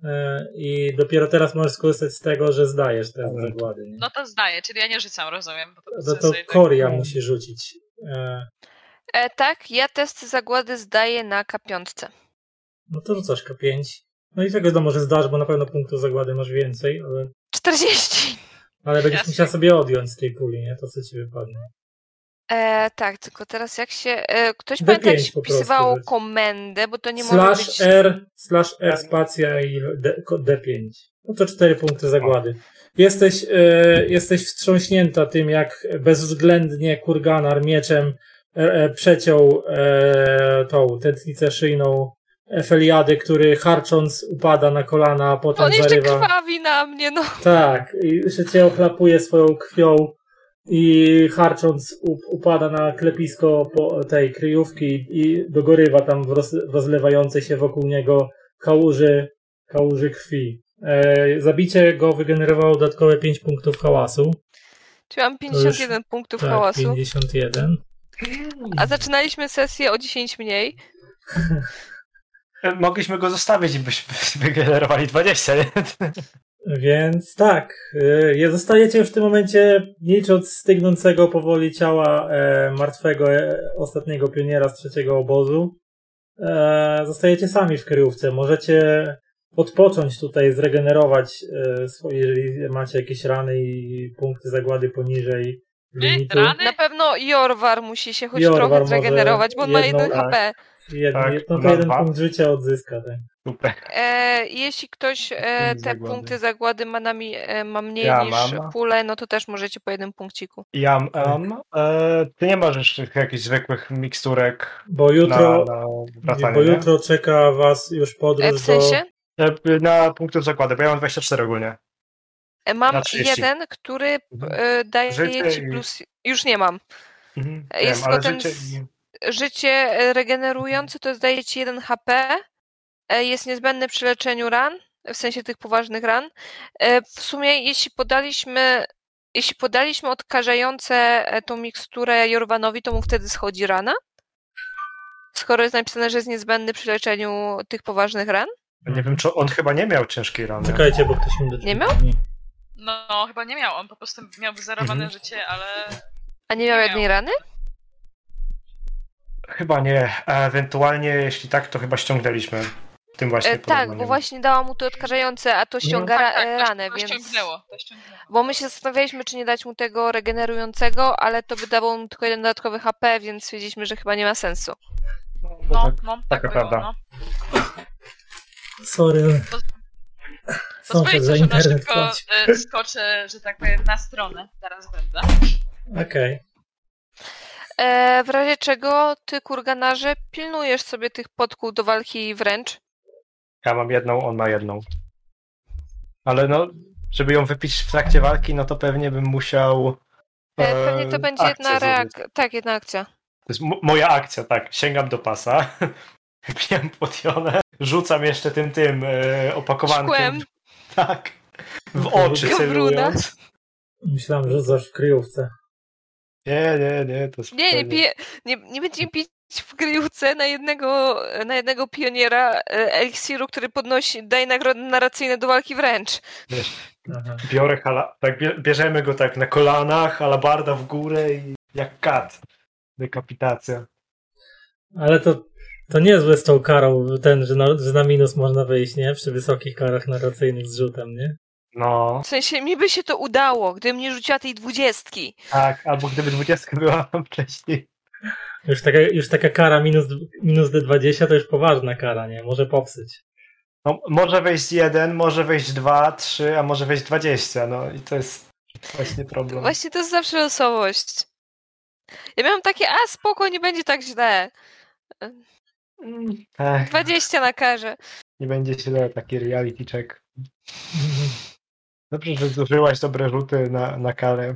Speaker 1: e, i dopiero teraz możesz skorzystać z tego, że zdajesz test
Speaker 4: Dobra.
Speaker 1: zagłady. Nie?
Speaker 3: No to zdaję, czyli ja nie rzucam, rozumiem. Bo to,
Speaker 1: No to
Speaker 3: sobie tak-
Speaker 1: Koria musi rzucić. E,
Speaker 2: E, tak, ja test zagłady zdaję na K5.
Speaker 1: No to rzucasz K5. No i tego no może zdasz, bo na pewno punktów zagłady masz więcej, ale,
Speaker 2: 40.
Speaker 1: ale będziesz
Speaker 3: Jasne.
Speaker 1: musiała sobie odjąć z tej puli, nie? To co ci wypadnie.
Speaker 2: E, tak, tylko teraz jak się. E, ktoś
Speaker 1: D5
Speaker 2: pamięta, jak się
Speaker 1: po prostu
Speaker 2: wpisywało
Speaker 1: rzuć.
Speaker 2: komendę, bo to nie może
Speaker 1: slash
Speaker 2: być.
Speaker 1: R, slash R spacja i D, ko- D5. No to cztery punkty zagłady. Jesteś, e, jesteś wstrząśnięta tym, jak bezwzględnie kurganar mieczem e, e, przeciął e, tą tętnicę szyjną Feliady, który harcząc upada na kolana, a potem
Speaker 2: On jeszcze
Speaker 1: tak zarywa.
Speaker 2: krwawi na mnie, no.
Speaker 1: Tak, i jeszcze cię ochlapuje swoją krwią i harcząc up, upada na klepisko po tej kryjówki i dogorywa tam w roz, rozlewającej się wokół niego kałuży, kałuży krwi. E, zabicie go wygenerowało dodatkowe 5 punktów hałasu.
Speaker 2: Czyli mam 51
Speaker 1: tak,
Speaker 2: punktów hałasu.
Speaker 1: 51.
Speaker 2: A zaczynaliśmy sesję o 10 mniej.
Speaker 4: E, Mogliśmy go zostawić i byśmy wygenerowali 20, nie?
Speaker 1: Więc tak, y, zostajecie w tym momencie, milcząc stygnącego powoli ciała e, martwego e, ostatniego pioniera z trzeciego obozu. E, zostajecie sami w kryjówce. Możecie odpocząć tutaj, zregenerować, e, swoje, jeżeli macie jakieś rany i punkty zagłady poniżej limitu.
Speaker 3: rany?
Speaker 2: Na pewno Jorwar musi się choć
Speaker 1: Jorwar
Speaker 2: trochę
Speaker 1: może
Speaker 2: zregenerować, bo on ma
Speaker 1: jedną-
Speaker 2: 1
Speaker 4: tak.
Speaker 2: HP.
Speaker 1: Jedno,
Speaker 4: Tak,
Speaker 1: jedno, to
Speaker 4: na
Speaker 1: jeden
Speaker 4: dwa.
Speaker 1: punkt życia odzyska. Tak.
Speaker 4: Super.
Speaker 2: E, jeśli ktoś e,
Speaker 4: Punkty
Speaker 2: te
Speaker 4: zagłady.
Speaker 2: punkty zagłady ma, na mi, e, ma mniej
Speaker 4: Ja
Speaker 2: niż
Speaker 4: mam.
Speaker 2: pulę, no to też możecie po jednym punkciku.
Speaker 4: Ja mam. E, ty nie masz jeszcze jakichś zwykłych miksturek
Speaker 1: Bo jutro,
Speaker 4: na, na
Speaker 1: nie,
Speaker 4: wracanie,
Speaker 1: bo
Speaker 4: nie?
Speaker 1: jutro czeka was już podróż
Speaker 2: E, w sensie
Speaker 4: E, Na punktów zakłady, bo ja mam 24 ogólnie.
Speaker 2: e, mam
Speaker 4: na 30.
Speaker 2: jeden, który
Speaker 4: Mhm.
Speaker 2: e, daje
Speaker 4: Życie
Speaker 2: ci
Speaker 4: i-
Speaker 2: plus... Już nie mam.
Speaker 4: Mhm.
Speaker 2: E, jest
Speaker 4: Wiem, ale
Speaker 2: tylko ten
Speaker 4: życie...
Speaker 2: z-
Speaker 4: i-
Speaker 2: Życie e, regenerujące to zdaje ci 1 HP. e, Jest niezbędny przy leczeniu ran, w sensie tych poważnych ran. E, W sumie jeśli podaliśmy... Jeśli podaliśmy odkażające e, tą miksturę Jorwanowi, to mu wtedy schodzi rana. Skoro jest napisane, że jest niezbędny przy leczeniu tych poważnych ran.
Speaker 4: Nie wiem, czy on chyba nie miał ciężkiej rany.
Speaker 1: Czekajcie, bo ktoś mi do
Speaker 2: Nie miał?
Speaker 3: No, chyba nie miał, on po prostu miał wyzerowane
Speaker 4: Mhm.
Speaker 3: życie, ale
Speaker 2: A nie miał
Speaker 3: Nie
Speaker 2: jednej rany?
Speaker 4: Chyba nie. Ewentualnie, jeśli tak, to chyba ściągnęliśmy tym właśnie
Speaker 2: E, tak, bo
Speaker 4: porównaniem.
Speaker 2: właśnie dała mu to odkażające, a to ściąga ra-
Speaker 3: tak, tak,
Speaker 2: e,
Speaker 3: to,
Speaker 2: ranę,
Speaker 3: to
Speaker 2: więc...
Speaker 3: ściągnęło, to ściągnęło.
Speaker 2: Bo my się zastanawialiśmy, czy nie dać mu tego regenerującego, ale to by dało mu tylko jeden dodatkowy HP, więc stwierdziliśmy, że chyba nie ma sensu.
Speaker 4: No, bo
Speaker 3: No,
Speaker 4: tak.
Speaker 3: no, tak
Speaker 4: taka
Speaker 3: było,
Speaker 4: prawda.
Speaker 3: no.
Speaker 1: Sorry.
Speaker 3: Poz-
Speaker 1: Sąsiad
Speaker 3: Pozwólcie,
Speaker 1: za
Speaker 3: że na
Speaker 1: internet
Speaker 3: szybko
Speaker 1: płaci.
Speaker 3: e, skoczę, że tak powiem, na stronę. Zaraz
Speaker 2: Tak.
Speaker 3: będę.
Speaker 1: Okej.
Speaker 2: E, w razie czego ty, kurganarze, pilnujesz sobie tych podkół do walki wręcz.
Speaker 4: Ja mam jedną, on ma jedną. Ale no, żeby ją wypić w trakcie walki, no to pewnie bym musiał.
Speaker 2: E, pewnie to
Speaker 4: e,
Speaker 2: będzie
Speaker 4: akcję
Speaker 2: jedna
Speaker 4: zrobić.
Speaker 2: reakcja. Tak, jedna akcja.
Speaker 4: To jest mo- moja akcja, tak. Sięgam do pasa, pijam potionę, rzucam jeszcze tym, tym e, opakowankiem.
Speaker 2: Szkłem.
Speaker 4: Tak. W oczy
Speaker 2: Gawruna.
Speaker 4: celując.
Speaker 1: Myślałem, że rzucasz w kryjówce.
Speaker 4: Nie, nie, nie, to
Speaker 2: Nie, nie,
Speaker 4: spokojnie.
Speaker 2: pije, nie, nie będziemy pić w kryjówce na jednego, na jednego pioniera e, eliksiru, który podnosi, daje nagrody narracyjne do walki wręcz.
Speaker 1: Aha.
Speaker 4: Biorę hala, tak, bie- bierzemy go tak na kolanach, alabarda w górę i jak kat. Dekapitacja.
Speaker 1: Ale to, to niezłe z tą karą, ten, że na, że na minus można wyjść, nie? Przy wysokich karach narracyjnych z rzutem, nie?
Speaker 4: No,
Speaker 2: W sensie, mi by się to udało, gdybym nie rzuciła tej dwudziestki.
Speaker 4: tak, albo gdyby dwudziestka była wcześniej.
Speaker 1: Już taka, już taka kara minus, minus D20 to już poważna kara, nie? Może popsyć.
Speaker 4: No, może wejść jeden, może wejść dwa, trzy, a może wejść dwadzieścia, no i to jest właśnie problem.
Speaker 2: Właśnie to jest zawsze losowość. Ja miałam takie, a spoko, nie będzie tak źle.
Speaker 4: Ech,
Speaker 2: 20 na karze.
Speaker 4: nie będzie się dało taki reality check. Dobrze, że zużyłaś dobre rzuty na, na karę.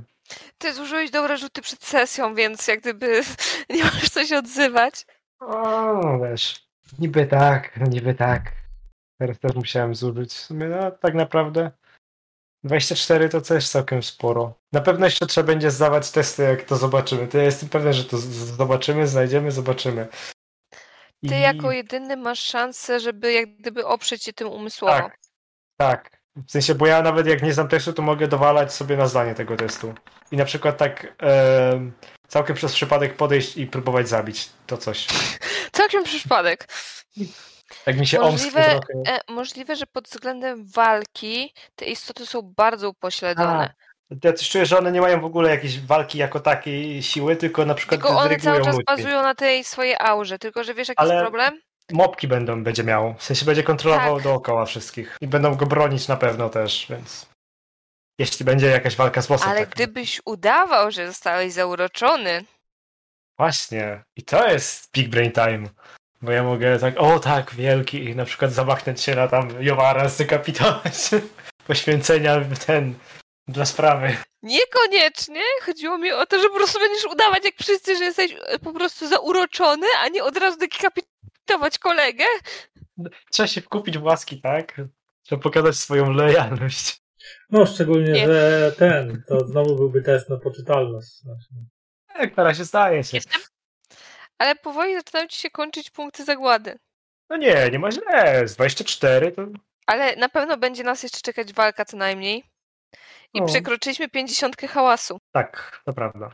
Speaker 2: Ty zużyłeś dobre rzuty przed sesją, więc jak gdyby nie masz co się odzywać.
Speaker 4: O, no wiesz, niby tak, no niby tak. Teraz też musiałem zużyć. W sumie, no tak naprawdę 24 to też całkiem sporo. Na pewno jeszcze trzeba będzie zdawać testy, jak to zobaczymy. To ja jestem pewien, że to z- z- zobaczymy, znajdziemy, zobaczymy.
Speaker 2: Ty
Speaker 4: I-
Speaker 2: jako jedyny masz szansę, żeby jak gdyby oprzeć się tym umysłowo.
Speaker 4: Tak, tak. W sensie, bo ja nawet jak nie znam tekstu, to mogę dowalać sobie na zdanie tego testu. I na przykład tak em, całkiem przez przypadek podejść i próbować zabić to coś.
Speaker 2: Całkiem przypadek.
Speaker 4: Tak mi się
Speaker 2: Możliwe-
Speaker 4: omsknie trochę.
Speaker 2: E, możliwe, że pod względem walki te istoty są bardzo upośledzone.
Speaker 4: Ja coś czuję, że one nie mają w ogóle jakiejś walki jako takiej siły, tylko na przykład
Speaker 2: Tylko one cały
Speaker 4: dyryglują
Speaker 2: czas
Speaker 4: ludźmi.
Speaker 2: bazują na tej swojej aurze. Tylko, że wiesz jaki
Speaker 4: Ale-
Speaker 2: jest problem?
Speaker 4: Mopki będą, będzie miał. W sensie będzie kontrolował
Speaker 2: Tak.
Speaker 4: dookoła wszystkich. I będą go bronić na pewno też, więc... Jeśli będzie jakaś walka z bossem.
Speaker 2: Ale
Speaker 4: tak.
Speaker 2: gdybyś udawał, że zostałeś zauroczony,
Speaker 4: Właśnie. I to jest big brain time. Bo ja mogę tak, o tak, wielki, i na przykład zamachnąć się na tam Jowara, zdekapitować. Poświęcenia w ten... Dla sprawy.
Speaker 2: Niekoniecznie. Chodziło mi o to, że po prostu będziesz udawać jak wszyscy, że jesteś e, po prostu zauroczony, a nie od razu dekapitować kolegę.
Speaker 4: Trzeba się wkupić w łaski, tak? Trzeba pokazać swoją lojalność.
Speaker 1: No, szczególnie,
Speaker 2: Nie.
Speaker 1: że ten, to znowu byłby test na poczytalność. Znaczy,
Speaker 4: Jak Tak, na razie zdaje się.
Speaker 3: Jestem
Speaker 2: Ale powoli zaczynają ci się kończyć punkty zagłady.
Speaker 4: No nie, nie ma źle. Z 24 to.
Speaker 2: Ale na pewno będzie nas jeszcze czekać walka co najmniej. I
Speaker 4: O.
Speaker 2: przekroczyliśmy pięćdziesiątkę hałasu.
Speaker 4: Tak, to prawda.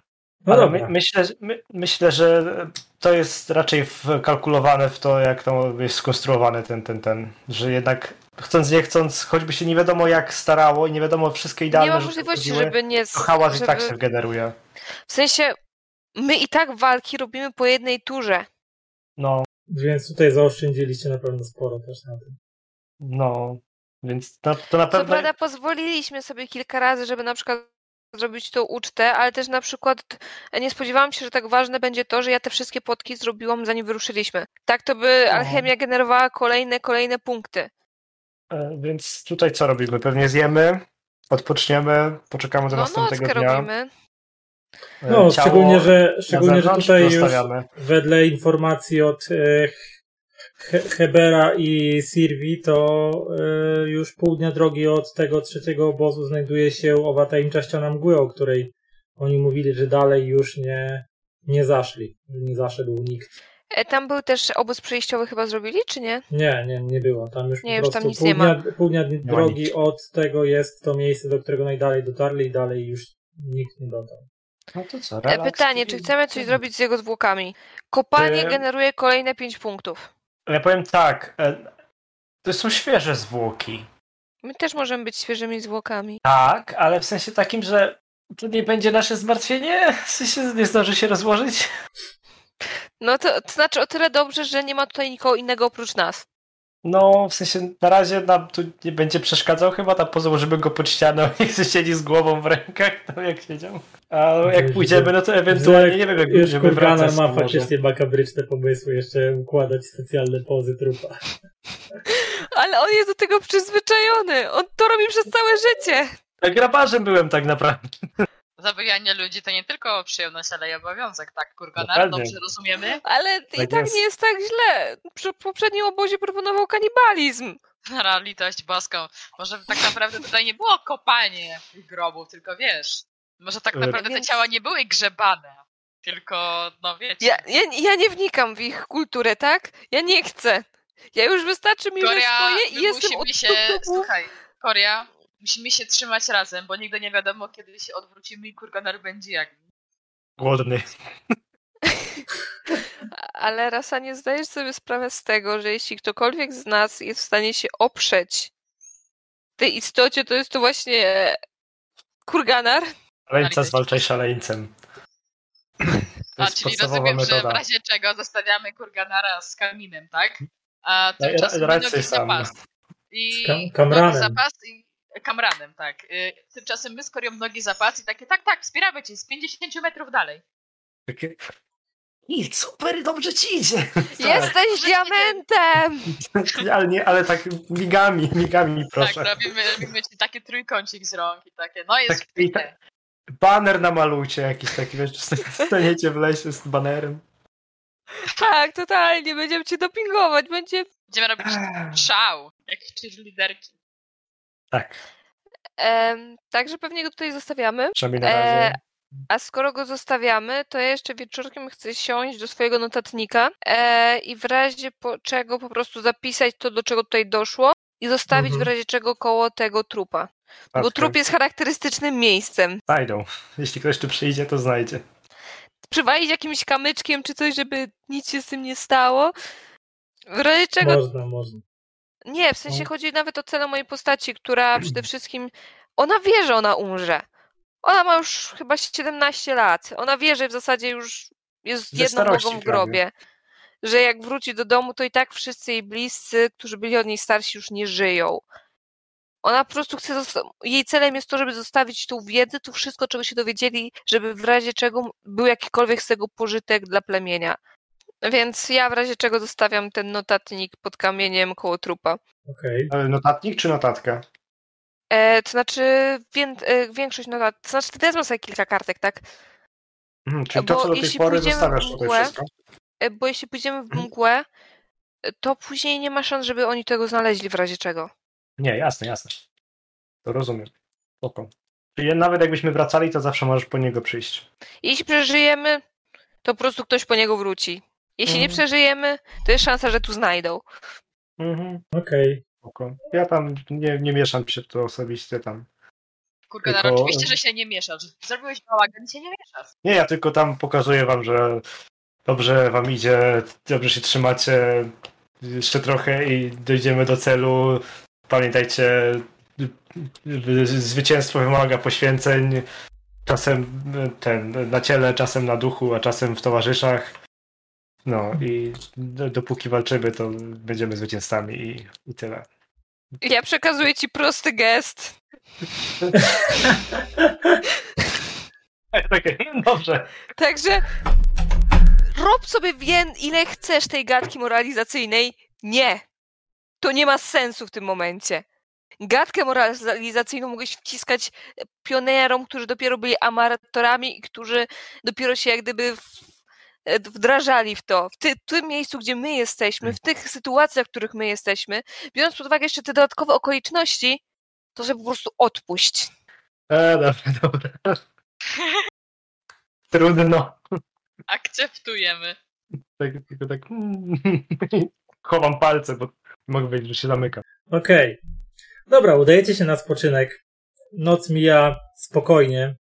Speaker 1: no
Speaker 4: Ale
Speaker 1: dobra,
Speaker 4: my, myślę, że- my, myślę, że to jest raczej wkalkulowane w to, jak to jest skonstruowany ten, ten, ten. Że jednak chcąc, nie chcąc, choćby się nie wiadomo jak starało i nie wiadomo wszystkie idealne
Speaker 2: Nie ma
Speaker 4: rzeczy
Speaker 2: możliwości,
Speaker 4: zrobiły,
Speaker 2: żeby nie... z-
Speaker 4: To hałas i tak
Speaker 2: żeby-
Speaker 4: się generuje.
Speaker 2: W sensie, my i tak walki robimy po jednej turze.
Speaker 4: No,
Speaker 1: więc tutaj zaoszczędziliście na pewno sporo też na tym.
Speaker 4: no. Więc na, to na
Speaker 2: Co
Speaker 4: pewno.
Speaker 2: prawda pozwoliliśmy sobie kilka razy, żeby na przykład zrobić tą ucztę, ale też na przykład t- nie spodziewałam się, że tak ważne będzie to, że ja te wszystkie potki zrobiłam zanim wyruszyliśmy. Tak to by
Speaker 4: No.
Speaker 2: alchemia generowała kolejne, kolejne punkty.
Speaker 4: e, Więc tutaj co robimy? Pewnie zjemy, odpoczniemy, poczekamy do
Speaker 2: No
Speaker 4: następnego
Speaker 2: nockę
Speaker 4: dnia.
Speaker 2: robimy.
Speaker 4: E,
Speaker 1: No,
Speaker 4: ciało
Speaker 1: szczególnie, że,
Speaker 4: na
Speaker 1: szczególnie, że
Speaker 4: zewnątrz
Speaker 1: tutaj już
Speaker 4: zostawiamy.
Speaker 1: wedle informacji od e, He- Hebera i Sirwi, to e, już pół dnia drogi od tego trzeciego obozu znajduje się owa tajemnicza ściana mgły, o której oni mówili, że dalej już nie, nie zaszli, że nie zaszedł nikt.
Speaker 2: E, Tam był też obóz przejściowy chyba zrobili, czy nie? E,
Speaker 1: Nie, nie, nie było. Tam już
Speaker 2: Nie,
Speaker 1: po
Speaker 2: już tam
Speaker 1: prostu
Speaker 2: nic
Speaker 1: pół,
Speaker 2: nie ma.
Speaker 1: dnia, pół dnia
Speaker 4: ma
Speaker 1: drogi
Speaker 4: nic.
Speaker 1: od tego jest to miejsce, do którego najdalej dotarli i dalej już nikt nie dotarł.
Speaker 4: No to co,
Speaker 2: E,
Speaker 4: relaks
Speaker 2: Pytanie,
Speaker 4: i-
Speaker 2: czy chcemy coś zrobić z jego zwłokami? Kopanie
Speaker 4: Em.
Speaker 2: generuje kolejne 5 punktów.
Speaker 4: Ja powiem tak, e, to są świeże zwłoki.
Speaker 2: My też możemy być świeżymi zwłokami.
Speaker 4: Tak, ale w sensie takim, że to nie będzie nasze zmartwienie, w sensie nie zdąży się rozłożyć.
Speaker 2: No to, to znaczy o tyle dobrze, że nie ma tutaj nikogo innego oprócz nas.
Speaker 4: No, w sensie na razie nam tu nie będzie przeszkadzał chyba, tam pozłożymy go pod ścianą, niech się siedzi z głową w rękach, tam jak siedział. A jak pójdziemy, no to ewentualnie, nie wiem, jak
Speaker 1: Już
Speaker 4: będziemy
Speaker 1: Kurganar
Speaker 4: wracać.
Speaker 1: ma
Speaker 4: może.
Speaker 1: faktycznie makabryczne pomysły, jeszcze układać specjalne pozy trupa.
Speaker 2: Ale on jest do tego przyzwyczajony. On to robi przez całe życie.
Speaker 4: Ja Grabarzem byłem tak naprawdę.
Speaker 3: Zabijanie ludzi to nie tylko przyjemność, ale i obowiązek, tak,
Speaker 4: No
Speaker 3: Kurganar?
Speaker 4: pewnie.
Speaker 3: Dobrze rozumiemy?
Speaker 2: Ale i
Speaker 4: Tak
Speaker 2: tak
Speaker 4: jest.
Speaker 2: nie jest tak źle. Przy poprzednim obozie proponował kanibalizm.
Speaker 3: Nara, litość boską. Może tak naprawdę tutaj nie było kopanie tych grobów, tylko wiesz, może tak
Speaker 4: E,
Speaker 3: naprawdę te
Speaker 2: Więc-
Speaker 3: ciała nie były grzebane, tylko, no wiecie,
Speaker 2: Ja, ja, ja nie wnikam w ich kulturę, tak? Ja nie chcę. Ja już wystarczy mi, że
Speaker 3: Korea,
Speaker 2: swoje i
Speaker 3: my
Speaker 2: jestem od
Speaker 3: musimy się,
Speaker 2: stóp do głów.
Speaker 3: słuchaj, Korea, musimy się trzymać razem, bo nigdy nie wiadomo, kiedy się odwrócimy i Kurganar będzie jak
Speaker 4: Głodny.
Speaker 2: Ale Rasa, nie zdajesz sobie sprawy z tego, że jeśli ktokolwiek z nas jest w stanie się oprzeć tej istocie, to jest to właśnie e, kurganar.
Speaker 4: Szaleńca zwalczaj szaleńcem. To
Speaker 3: A,
Speaker 4: jest
Speaker 3: czyli
Speaker 4: podstawowa
Speaker 3: rozumiem, że
Speaker 4: metoda.
Speaker 3: w razie czego zostawiamy Kurganara z kaminem, tak? A
Speaker 4: Ja- ja-
Speaker 3: tymczasem
Speaker 4: No raczej
Speaker 3: Minogi
Speaker 4: sam. no.
Speaker 3: zapas. I
Speaker 1: Z kam- kamranem.
Speaker 3: nogi zapas i kamranem, tak. Y, Tymczasem my skorią nogi zapas i takie, tak, tak, wspieramy cię z 50 metrów dalej.
Speaker 4: Takie... I super, dobrze ci idzie.
Speaker 2: Jesteś diamentem!
Speaker 4: ale, nie, ale tak migami, migami proszę.
Speaker 3: Tak, robimy, robimy ci taki trójkącik z rąk i takie, no jest
Speaker 4: Tak, i tak- Baner namalujcie jakiś taki, wiesz, staniecie w lesie z banerem.
Speaker 2: Tak, totalnie, będziemy cię dopingować, będzie...
Speaker 3: Będziemy robić szał, jak cheerleaderki.
Speaker 4: Tak,
Speaker 2: Em, także pewnie go tutaj zostawiamy.
Speaker 4: przynajmniej na
Speaker 2: E,
Speaker 4: razie.
Speaker 2: A skoro go zostawiamy, to ja jeszcze wieczorkiem chcę siąść do swojego notatnika e, i w razie po, czego po prostu zapisać to, do czego tutaj doszło i zostawić
Speaker 1: Mhm.
Speaker 2: w razie czego koło tego trupa.
Speaker 4: E,
Speaker 2: Bo trup jest charakterystycznym miejscem.
Speaker 4: Znajdą. Jeśli ktoś tu przyjdzie, to znajdzie.
Speaker 2: Przywalić jakimś kamyczkiem czy coś, żeby nic się z tym nie stało. W razie czego...
Speaker 1: Można, można.
Speaker 2: Nie, w sensie
Speaker 4: No.
Speaker 2: chodzi nawet o cenę mojej postaci, która przede wszystkim... Ona wie, że ona umrze. Ona ma już chyba 17 lat. Ona wie, że w zasadzie już jest
Speaker 4: Ze
Speaker 2: jedną
Speaker 4: starości
Speaker 2: nogą w
Speaker 4: prawie.
Speaker 2: grobie. Że jak wróci do domu, to i tak wszyscy jej bliscy, którzy byli od niej starsi, już nie żyją. Ona po prostu chce. zosta- Jej celem jest to, żeby zostawić tą wiedzę, tu wszystko, czego się dowiedzieli, żeby w razie czego był jakikolwiek z tego pożytek dla plemienia. Więc ja w razie czego zostawiam ten notatnik pod kamieniem koło trupa.
Speaker 1: Okej.
Speaker 4: E, Notatnik czy notatka?
Speaker 2: E, to znaczy, wię, e, większość notat. To znaczy, ty też masz sobie kilka kartek, tak?
Speaker 4: Mhm, czyli
Speaker 2: Bo
Speaker 4: to, co do tej
Speaker 2: jeśli
Speaker 4: pory
Speaker 2: pójdziemy
Speaker 4: zostawiasz
Speaker 2: w
Speaker 4: tutaj
Speaker 2: mgłę-
Speaker 4: wszystko.
Speaker 2: E, bo jeśli pójdziemy w
Speaker 4: Mhm.
Speaker 2: mgłę, e, to później nie ma szans, żeby oni tego znaleźli w razie czego.
Speaker 4: Nie, jasne, jasne. To rozumiem. Spoko. Czyli nawet jakbyśmy wracali, to zawsze możesz po niego przyjść.
Speaker 2: Jeśli przeżyjemy, to po prostu ktoś po niego wróci. Jeśli nie
Speaker 4: Mhm.
Speaker 2: przeżyjemy, to jest szansa, że tu znajdą.
Speaker 4: Mhm.
Speaker 1: Okej.
Speaker 4: Spoko. Ja tam nie, nie mieszam się w to osobiście tam.
Speaker 3: Kurka,
Speaker 4: Tylko-
Speaker 3: oczywiście, że się nie mieszasz. Zrobiłeś bałagan, się nie mieszasz.
Speaker 4: Nie, ja tylko tam pokazuję wam, że dobrze wam idzie, dobrze się trzymacie, jeszcze trochę i dojdziemy do celu. Pamiętajcie, y, y, zwycięstwo wymaga poświęceń, czasem y, ten, na ciele, czasem na duchu, a czasem w towarzyszach. No i d- dopóki walczymy, to będziemy zwycięzcami i, i tyle.
Speaker 2: Ja przekazuję ci prosty gest.
Speaker 4: Takie, dobrze.
Speaker 2: Także rob sobie wiem, ile chcesz tej gadki moralizacyjnej. Nie. To nie ma sensu w tym momencie. Gadkę moralizacyjną mogłeś wciskać pionierom, którzy dopiero byli amatorami i którzy dopiero się jak gdyby w, e, wdrażali w to. W, ty, w tym miejscu, gdzie my jesteśmy, w tych sytuacjach, w których my jesteśmy, biorąc pod uwagę jeszcze te dodatkowe okoliczności, to sobie po prostu odpuść.
Speaker 4: E, dobra, dobra. Trudno.
Speaker 3: Akceptujemy.
Speaker 4: Tak, tylko tak. Chowam palce, bo mogę powiedzieć, że się zamykam.
Speaker 1: Okej. Dobra, udajecie się na spoczynek. Noc mija spokojnie.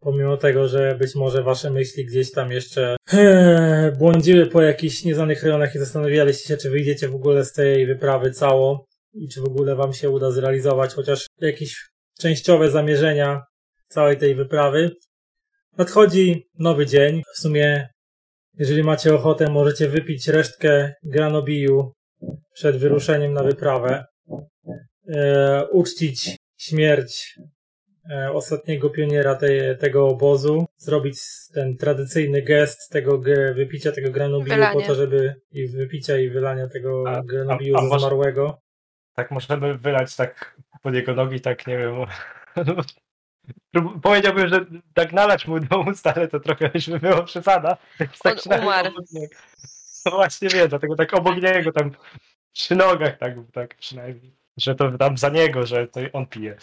Speaker 1: Pomimo tego, że być może wasze myśli gdzieś tam jeszcze eee, błądziły po jakichś nieznanych rejonach i zastanawialiście się, czy wyjdziecie w ogóle z tej wyprawy cało i czy w ogóle wam się uda zrealizować chociaż jakieś częściowe zamierzenia całej tej wyprawy. Nadchodzi nowy dzień. W sumie, jeżeli macie ochotę, możecie wypić resztkę granobiju przed wyruszeniem na wyprawę, e, uczcić śmierć e, ostatniego pioniera te, tego obozu, zrobić ten tradycyjny gest tego ge, wypicia tego granobiu po
Speaker 2: Wylanie.
Speaker 1: to, żeby i wypicia i wylania tego
Speaker 4: A- a-
Speaker 1: granobiu
Speaker 4: a
Speaker 1: ze
Speaker 4: może-
Speaker 1: zmarłego.
Speaker 4: Tak możemy wylać tak pod jego nogi, tak nie wiem. Prób- Powiedziałbym, że tak nalać mu do ust, ale to trochę byśmy było przesada. Więc tak
Speaker 2: On
Speaker 4: się nawet
Speaker 2: umarł.
Speaker 4: obok niego- No właśnie wiem, dlatego tak obok niego tam przy nogach tak, tak przynajmniej. Że to tam za niego, że to on pije.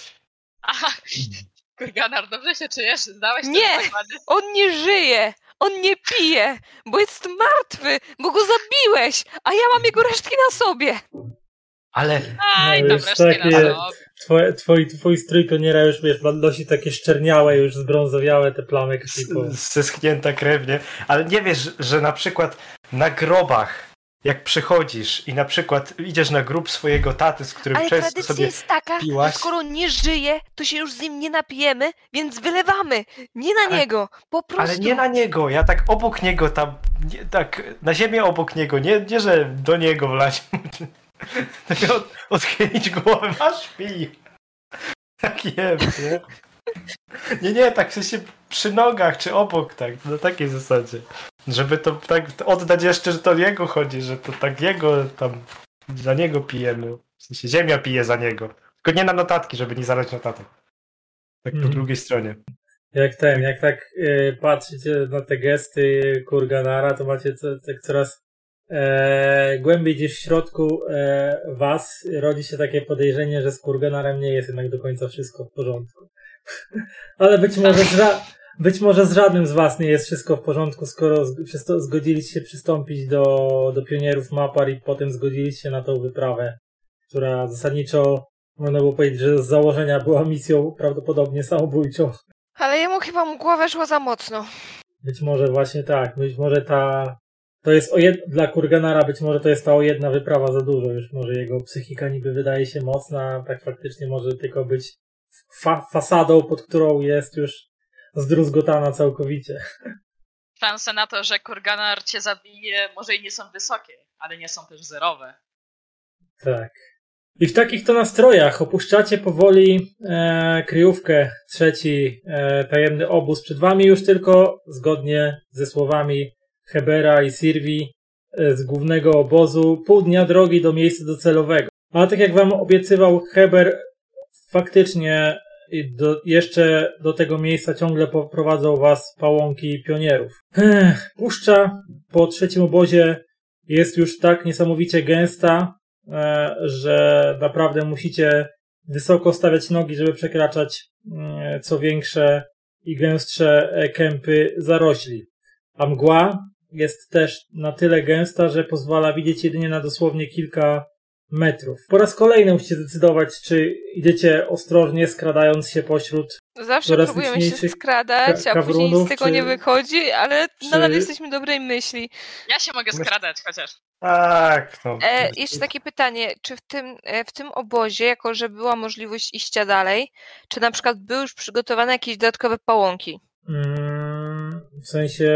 Speaker 3: Aha.
Speaker 4: Mm.
Speaker 3: Kurganar, dobrze się czujesz? Zdałeś ten
Speaker 2: Nie.
Speaker 3: zakłady?
Speaker 2: On nie żyje! On nie pije! Bo jest martwy! Bo go zabiłeś! A ja mam jego resztki na sobie!
Speaker 4: Ale
Speaker 3: Aj,
Speaker 1: No
Speaker 3: tam
Speaker 1: już
Speaker 3: resztki
Speaker 1: takie-
Speaker 3: na sobie.
Speaker 1: Twoje, twój, twój strój pioniera już wiesz, ma- nosi takie szczerniałe, już zbrązowiałe te plamy krwi po-
Speaker 4: S- Zeschnięta krew, nie? Ale nie wiesz, że na przykład na grobach, jak przychodzisz i na przykład idziesz na grób swojego taty, z którym
Speaker 2: Ale
Speaker 4: często
Speaker 2: tradycja
Speaker 4: sobie...
Speaker 2: jest taka,
Speaker 4: piłaś?
Speaker 2: że skoro nie żyje, to się już z nim nie napijemy, więc wylewamy! Nie na
Speaker 4: Ale-
Speaker 2: niego! Po prostu!
Speaker 4: Ale nie na niego, ja tak obok niego tam, nie, tak na ziemię obok niego, nie, nie że do niego wlać. Tak od, odchylić głowę, masz śpi. Tak jem, nie? Nie, nie, tak w sensie przy nogach czy obok, tak, na takiej zasadzie. Żeby to tak oddać jeszcze, że to jego chodzi, że to tak jego tam, za niego pijemy. W sensie ziemia pije za niego. Tylko nie na notatki, żeby nie zalać notatek. Tak po
Speaker 1: Mhm.
Speaker 4: drugiej stronie.
Speaker 1: Jak ten, jak tak y, patrzycie na te gesty Kurganara, to macie co, tak coraz e, głębiej gdzieś w środku e, was rodzi się takie podejrzenie, że z Kurganarem nie jest jednak do końca wszystko w porządku. Ale być może, z ża- być może z żadnym z was nie jest wszystko w porządku, skoro z- przysto- zgodziliście się przystąpić do, do pionierów Mapar i potem zgodziliście się na tą wyprawę, która zasadniczo można było powiedzieć, że z założenia była misją prawdopodobnie samobójczą.
Speaker 2: Ale jemu chyba mgła weszła za mocno.
Speaker 1: Być może właśnie tak, być może ta. To jest o jed... dla Kurganara być może to jest ta o jedna wyprawa za dużo, już może jego psychika niby wydaje się mocna, a tak faktycznie może tylko być fa- fasadą, pod którą jest już zdruzgotana całkowicie.
Speaker 3: Szanse na to, że Kurganar cię zabije, może i nie są wysokie, ale nie są też zerowe.
Speaker 1: Tak. I w takich to nastrojach opuszczacie powoli e, kryjówkę, trzeci e, tajemny obóz. Przed wami już tylko, zgodnie ze słowami Hebera i Sirwi e, z głównego obozu, pół dnia drogi do miejsca docelowego. Ale tak jak wam obiecywał Heber, faktycznie i do, jeszcze do tego miejsca ciągle poprowadzą was pałąki pionierów. Ech, puszcza po trzecim obozie jest już tak niesamowicie gęsta, e, że naprawdę musicie wysoko stawiać nogi, żeby przekraczać mm, co większe i gęstsze e, kępy zarośli. A mgła jest też na tyle gęsta, że pozwala widzieć jedynie na dosłownie kilka metrów. Po raz kolejny musicie zdecydować, czy idziecie ostrożnie, skradając się pośród
Speaker 2: Zawsze
Speaker 1: Coraz
Speaker 2: próbujemy się
Speaker 1: liczniejszych
Speaker 2: skradać,
Speaker 1: ka-
Speaker 2: a później nic
Speaker 1: kawrunów,
Speaker 2: z tego
Speaker 1: czy-
Speaker 2: nie wychodzi, ale
Speaker 1: czy-
Speaker 2: nadal jesteśmy dobrej myśli.
Speaker 3: Ja się mogę skradać chociaż.
Speaker 4: Tak, no.
Speaker 2: E, jeszcze takie pytanie, czy w tym, e, w tym obozie, jako że była możliwość iścia dalej, czy na przykład były już przygotowane jakieś dodatkowe pałąki?
Speaker 1: Mm, w sensie,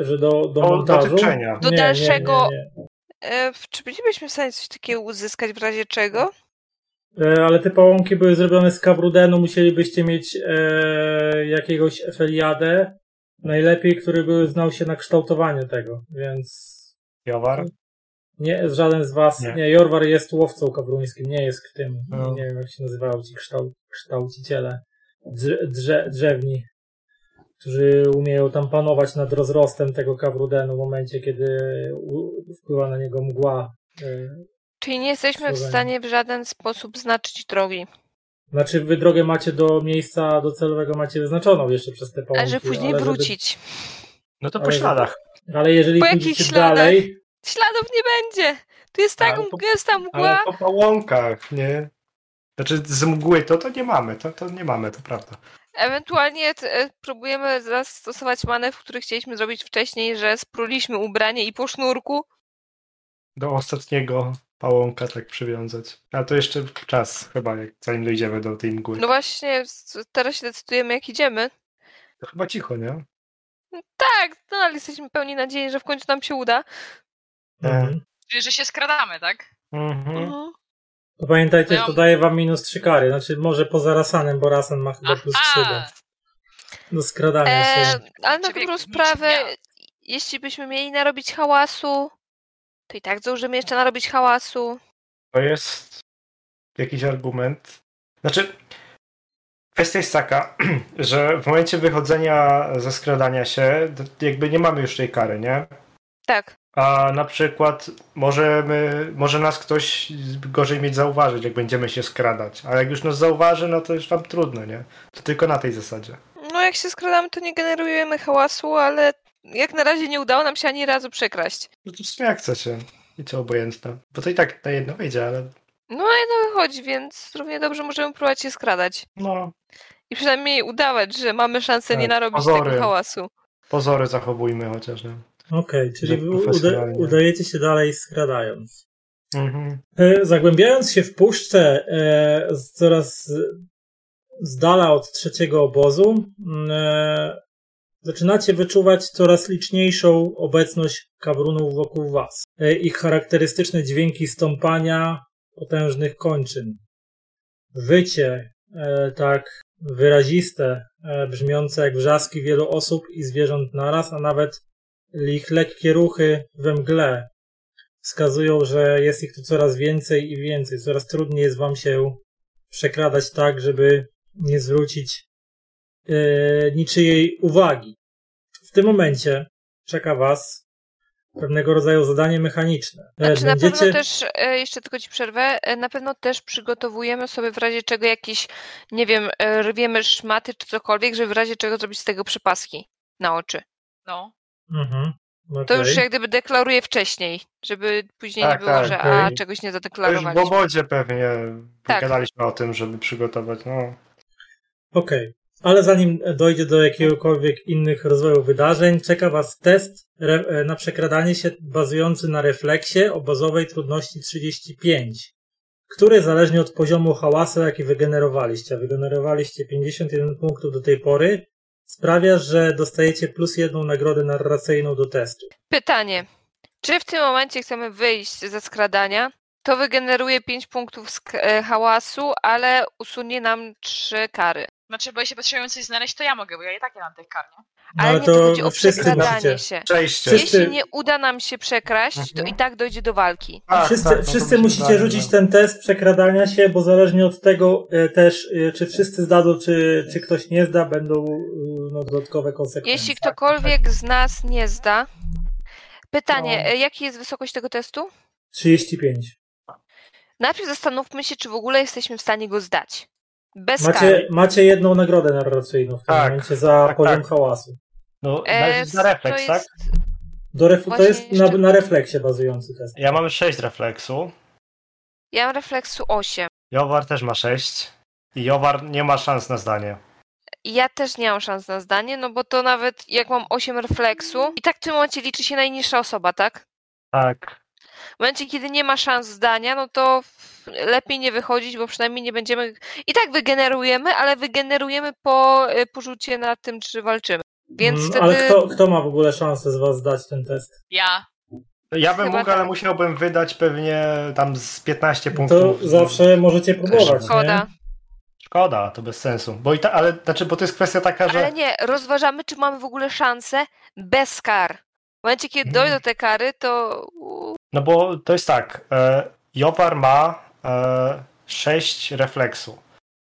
Speaker 1: że do, do
Speaker 4: Do- do
Speaker 1: montażu.
Speaker 4: tyczenia.
Speaker 2: Do dalszego-
Speaker 1: Nie, nie, nie.
Speaker 2: E, w- czy bylibyśmy w stanie coś takiego uzyskać w razie czego?
Speaker 1: Mm. E, Ale te pałąki były zrobione z kabrudenu, musielibyście mieć e, jakiegoś efeliadę, najlepiej, który był, znał się na kształtowaniu tego, więc
Speaker 4: Jowar.
Speaker 1: nie, żaden z was, nie,
Speaker 4: Nie.
Speaker 1: Jorwar jest łowcą kabruńskim, nie jest tym,
Speaker 4: No.
Speaker 1: nie wiem jak się nazywają ci kształ, kształciciele drze, drze, drzewni, którzy umieją tam panować nad rozrostem tego kawrudenu w momencie, kiedy u, wpływa na niego mgła. y,
Speaker 2: Czyli nie jesteśmy w
Speaker 1: Słuchaj.
Speaker 2: stanie w żaden sposób znaczyć drogi,
Speaker 1: Znaczy wy drogę macie do miejsca docelowego macie wyznaczoną jeszcze przez te pałąki.
Speaker 2: a że później
Speaker 1: żeby-
Speaker 2: wrócić.
Speaker 4: No to po
Speaker 1: Ale-
Speaker 4: śladach.
Speaker 1: ale jeżeli
Speaker 2: Po jakich
Speaker 1: pójdziecie
Speaker 2: śladach?
Speaker 1: dalej,
Speaker 2: Śladów nie będzie! Tu jest tak
Speaker 1: no
Speaker 4: Ale po-
Speaker 2: gęsta
Speaker 4: Ale
Speaker 2: mgła,
Speaker 4: po pałąkach, nie? Znaczy z mgły to, to nie mamy, to, to nie mamy, to prawda.
Speaker 2: ewentualnie t- e, próbujemy zastosować manewr, który chcieliśmy zrobić wcześniej, że spruliśmy ubranie i po sznurku.
Speaker 4: Do ostatniego pałąka tak przywiązać. A to jeszcze czas chyba, jak, zanim dojdziemy do tej mgły.
Speaker 2: No właśnie, s- teraz się decydujemy jak idziemy.
Speaker 4: To chyba cicho, nie?
Speaker 2: Tak, nadal jesteśmy pełni nadziei, że w końcu nam się uda.
Speaker 1: mhm.
Speaker 3: Czyli, że się skradamy, tak?
Speaker 4: Mhm.
Speaker 2: Mhm.
Speaker 1: to pamiętajcie, że to
Speaker 3: Ja-
Speaker 1: daje wam minus trzy kary. Znaczy może poza Rasanem, bo Rasan ma chyba plus trzy do,
Speaker 3: Aha!
Speaker 1: do skradania
Speaker 2: E,
Speaker 1: się.
Speaker 2: ale na
Speaker 3: Czyli
Speaker 2: dobrą
Speaker 3: nic
Speaker 2: sprawę,
Speaker 3: nie.
Speaker 2: jeśli byśmy mieli narobić hałasu, to i tak zdążymy jeszcze narobić hałasu.
Speaker 4: To jest jakiś argument. Znaczy, kwestia jest taka, że w momencie wychodzenia ze skradania się, to jakby nie mamy już tej kary, nie?
Speaker 2: Tak,
Speaker 4: A na przykład możemy, może nas ktoś gorzej mieć zauważyć, jak będziemy się skradać. A jak już nas zauważy, no to już tam trudno, nie? To tylko na tej zasadzie.
Speaker 2: no jak się skradamy, to nie generujemy hałasu, ale jak na razie nie udało nam się ani razu przekraść.
Speaker 4: No to w sumie jak chcecie. I co obojętne. Bo to i tak na jedno wyjdzie, ale
Speaker 2: No i no wychodzi, więc równie dobrze możemy próbować się skradać.
Speaker 4: no,
Speaker 2: I przynajmniej udawać, że mamy szansę nie
Speaker 4: Tak,
Speaker 2: narobić
Speaker 4: pozory.
Speaker 2: tego hałasu.
Speaker 4: pozory zachowujmy chociaż, nie?
Speaker 1: Okej, czyli
Speaker 4: Że
Speaker 1: wy uda-
Speaker 4: profesjonalnie.
Speaker 1: udajecie się dalej skradając.
Speaker 4: Mhm.
Speaker 1: E, Zagłębiając się w puszczę e, z coraz e, z dala od trzeciego obozu, m, e, zaczynacie wyczuwać coraz liczniejszą obecność kabrunów wokół was. E, ich charakterystyczne dźwięki stąpania potężnych kończyn. Wycie e, tak wyraziste, e, brzmiące jak wrzaski wielu osób i zwierząt naraz, a nawet ich lekkie ruchy we mgle wskazują, że jest ich tu coraz więcej i więcej. Coraz trudniej jest wam się przekradać tak, żeby nie zwrócić e, niczyjej uwagi. W tym momencie czeka was pewnego rodzaju zadanie mechaniczne. E,
Speaker 2: Znaczy na pewno też, e, jeszcze tylko ci przerwę, e, na pewno też przygotowujemy sobie w razie czego jakieś, nie wiem, e, rwiemy szmaty czy cokolwiek, żeby w razie czego zrobić z tego przypaski na oczy.
Speaker 3: No.
Speaker 1: Mhm,
Speaker 2: To
Speaker 1: okej.
Speaker 2: już jak gdyby deklaruję wcześniej, żeby później
Speaker 4: Tak,
Speaker 2: nie było,
Speaker 4: tak,
Speaker 2: że
Speaker 1: okej.
Speaker 2: a czegoś nie
Speaker 4: To już w
Speaker 2: zadeklarowaliśmy.
Speaker 4: obodzie pewnie
Speaker 2: Tak.
Speaker 4: gadaliśmy o tym, żeby przygotować. No.
Speaker 1: Okej. Ale zanim dojdzie do jakiegokolwiek innych rozwoju wydarzeń, czeka Was test re- e, na przekradanie się bazujący na refleksie o bazowej trudności 35, który zależnie od poziomu hałasu, jaki wygenerowaliście, a wygenerowaliście 51 punktów do tej pory, sprawia, że dostajecie plus jedną nagrodę narracyjną do testu.
Speaker 2: Pytanie. Czy w tym momencie chcemy wyjść ze skradania? To wygeneruje 5 punktów sk- e, hałasu, ale usunie nam 3 kary.
Speaker 3: Znaczy, bo jeśli potrzebują coś znaleźć, to ja mogę, bo ja i tak nie mam tych kar, nie?
Speaker 1: No,
Speaker 2: Ale
Speaker 1: ale
Speaker 2: nie,
Speaker 1: to
Speaker 2: to chodzi o
Speaker 1: wszyscy
Speaker 2: przekradanie
Speaker 1: macie.
Speaker 2: się.
Speaker 4: Przejście.
Speaker 1: Wszyscy-
Speaker 2: Jeśli nie uda nam się przekraść, to
Speaker 4: Mhm.
Speaker 2: i tak dojdzie do walki.
Speaker 4: Tak,
Speaker 1: wszyscy
Speaker 4: tak, no to
Speaker 1: wszyscy
Speaker 4: mi się
Speaker 1: musicie
Speaker 4: wydaje,
Speaker 1: rzucić
Speaker 4: że-
Speaker 1: ten test przekradania się, bo zależnie od tego e, też, e, czy wszyscy zdadzą, czy, czy ktoś nie zda, będą e, no, dodatkowe konsekwencje.
Speaker 4: Tak,
Speaker 2: Jeśli ktokolwiek z nas nie zda. Pytanie,
Speaker 4: No.
Speaker 2: e, jaki jest wysokość tego testu?
Speaker 1: 35.
Speaker 2: Najpierw zastanówmy się, czy w ogóle jesteśmy w stanie go zdać. Bez kar.
Speaker 1: Macie, macie jedną nagrodę narracyjną w tym
Speaker 4: Tak.
Speaker 1: momencie za
Speaker 4: Tak,
Speaker 1: poziom
Speaker 4: tak.
Speaker 1: hałasu.
Speaker 4: No,
Speaker 2: E,
Speaker 4: dajesz na refleks,
Speaker 2: to
Speaker 4: tak?
Speaker 2: jest-
Speaker 1: Do ref- to
Speaker 2: Właśnie
Speaker 1: jest na,
Speaker 2: jeszcze- Mm,
Speaker 1: na refleksie bazujący test.
Speaker 4: Ja mam 6 refleksu.
Speaker 2: Ja mam refleksu 8.
Speaker 4: Jowar też ma 6. I Jowar nie ma szans na zdanie.
Speaker 2: Ja też nie mam szans na zdanie, no bo to nawet jak mam 8 refleksu, i tak w tym momencie liczy się najniższa osoba, tak?
Speaker 4: Tak.
Speaker 2: W momencie, kiedy nie ma szans zdania, no to f- lepiej nie wychodzić, bo przynajmniej nie będziemy. I tak wygenerujemy, ale wygenerujemy po y, porzucie na tym, czy walczymy. Więc
Speaker 1: Mm,
Speaker 2: wtedy.
Speaker 1: Ale kto, kto ma w ogóle szansę z was zdać ten test?
Speaker 3: Ja.
Speaker 4: Ja bym
Speaker 2: Chyba
Speaker 4: mógł,
Speaker 2: tak.
Speaker 4: ale musiałbym wydać pewnie tam z 15
Speaker 1: To
Speaker 4: punktów.
Speaker 1: zawsze możecie próbować.
Speaker 2: Szkoda.
Speaker 1: Nie?
Speaker 4: Szkoda, to bez sensu. Bo i ta, ale znaczy, bo to jest kwestia taka, że.
Speaker 2: Ale nie, rozważamy, czy mamy w ogóle szansę bez kar. W momencie, kiedy
Speaker 4: Mhm.
Speaker 1: Mm.
Speaker 2: dojdą te kary, to. u,
Speaker 4: No bo to jest tak. E, Jowar ma e, 6 refleksu.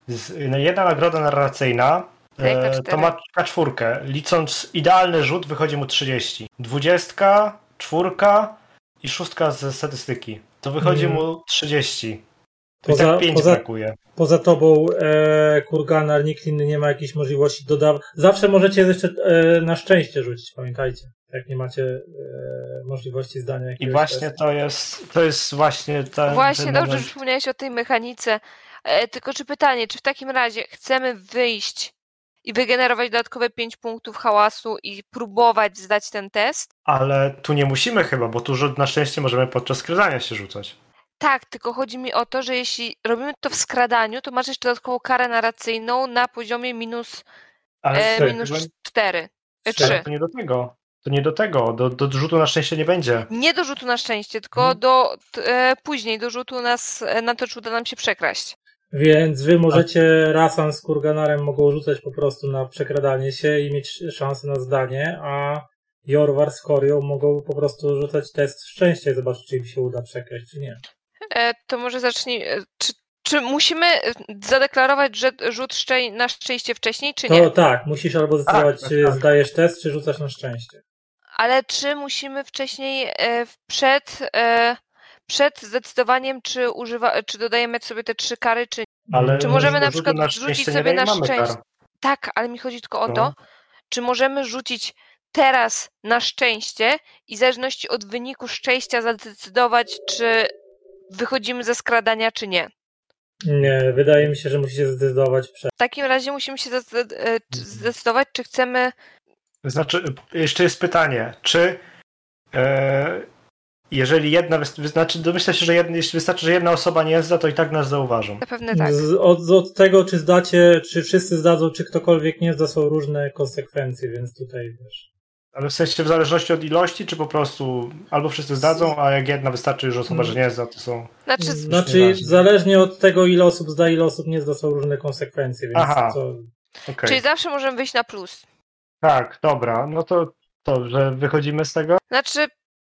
Speaker 4: Z, no, jedna nagroda narracyjna
Speaker 2: Tak, na
Speaker 4: e,
Speaker 2: cztery.
Speaker 4: to ma na czwórkę. Licząc idealny rzut, wychodzi mu 30. Dwudziestka, czwórka i szóstka ze statystyki. To wychodzi
Speaker 1: Mhm.
Speaker 4: mu 30. To
Speaker 1: Poza-
Speaker 4: i tak 5
Speaker 1: poza-
Speaker 4: brakuje.
Speaker 1: Poza tobą, e, Kurganar, nikt inny nie ma jakiejś możliwości dodaw. Zawsze możecie jeszcze e, na szczęście rzucić, pamiętajcie. Jak nie macie e, możliwości zdania
Speaker 4: I
Speaker 1: jakiegoś
Speaker 4: właśnie
Speaker 1: testu.
Speaker 4: to jest, to jest właśnie
Speaker 1: Tak,
Speaker 4: ten.
Speaker 2: Właśnie,
Speaker 4: ten
Speaker 2: dobrze, że
Speaker 4: moment.
Speaker 2: wspomniałeś o tej mechanice. E, tylko czy pytanie, czy w takim razie chcemy wyjść i wygenerować dodatkowe 5 punktów hałasu i próbować zdać ten test?
Speaker 4: Ale tu nie musimy chyba, bo tu rzut na szczęście możemy podczas skradania się rzucać.
Speaker 2: Tak, tylko chodzi mi o to, że jeśli robimy to w skradaniu, to masz jeszcze dodatkową karę narracyjną na poziomie minus,
Speaker 4: Ale
Speaker 2: e,
Speaker 4: to-
Speaker 2: minus E,
Speaker 4: to-
Speaker 2: 4.
Speaker 1: Trzy.
Speaker 4: ale
Speaker 2: 3.
Speaker 4: to nie do tego. To nie do tego. Do, do rzutu na szczęście nie będzie.
Speaker 2: Nie do rzutu na szczęście, tylko
Speaker 4: Mhm.
Speaker 2: do t- e, później do rzutu nas, e, na to, czy uda nam się przekraść.
Speaker 1: Więc wy możecie Rasan z Kurganarem mogą rzucać po prostu na przekradanie się i mieć szansę na zdanie, a Jorwar z Korią mogą po prostu rzucać test szczęścia i zobaczyć, czy im się uda przekraść, czy nie.
Speaker 2: E, to może zacznij. E, czy, czy musimy e, zadeklarować że rzut szczę- na szczęście wcześniej, czy
Speaker 1: To
Speaker 2: nie?
Speaker 1: tak, musisz albo zdecydować,
Speaker 4: tak,
Speaker 1: czy
Speaker 4: tak.
Speaker 1: zdajesz test, czy rzucasz na szczęście.
Speaker 2: Ale czy musimy wcześniej e, w- przed, e, przed zdecydowaniem, czy, używa, czy dodajemy sobie te trzy kary, czy
Speaker 4: Ale
Speaker 2: Czy możemy
Speaker 4: do
Speaker 2: na
Speaker 4: rzutu
Speaker 2: przykład
Speaker 4: na
Speaker 2: rzucić
Speaker 4: szczęście nie
Speaker 2: sobie na
Speaker 4: daje- mamy
Speaker 2: szczęście?
Speaker 4: kar.
Speaker 2: Tak, ale mi chodzi tylko o
Speaker 4: No.
Speaker 2: to, czy możemy rzucić teraz na szczęście i w zależności od wyniku szczęścia zadecydować, czy wychodzimy ze skradania, czy nie.
Speaker 1: Nie, wydaje mi się, że musicie zdecydować przed.
Speaker 2: W takim razie musimy się zdecy- e, czy-
Speaker 4: Mhm.
Speaker 2: zdecydować, czy chcemy.
Speaker 4: Znaczy, jeszcze jest pytanie, czy e, jeżeli jedna, wys- wy- znaczy domyśla się, że jedna, jeśli wystarczy, że jedna osoba nie zda, to i tak nas zauważą.
Speaker 2: Zapewne tak.
Speaker 4: No,
Speaker 1: Z, od, od tego, czy zdacie, czy wszyscy zdadzą, czy ktokolwiek nie zda, są różne konsekwencje, więc tutaj wiesz.
Speaker 4: Ale w sensie w zależności od ilości, czy po prostu albo wszyscy zdadzą, a jak jedna wystarczy już osoba, że nie zda, to są...
Speaker 2: Znaczy,
Speaker 1: Znaczy,
Speaker 4: Nieważne.
Speaker 1: zależnie od tego, ile osób zda, ile osób nie zda, są różne konsekwencje, więc
Speaker 4: Aha.
Speaker 1: co,
Speaker 4: Okej.
Speaker 2: Czyli zawsze możemy wyjść na plus.
Speaker 4: Tak, dobra, no to dobrze, wychodzimy z tego?
Speaker 2: Znaczy,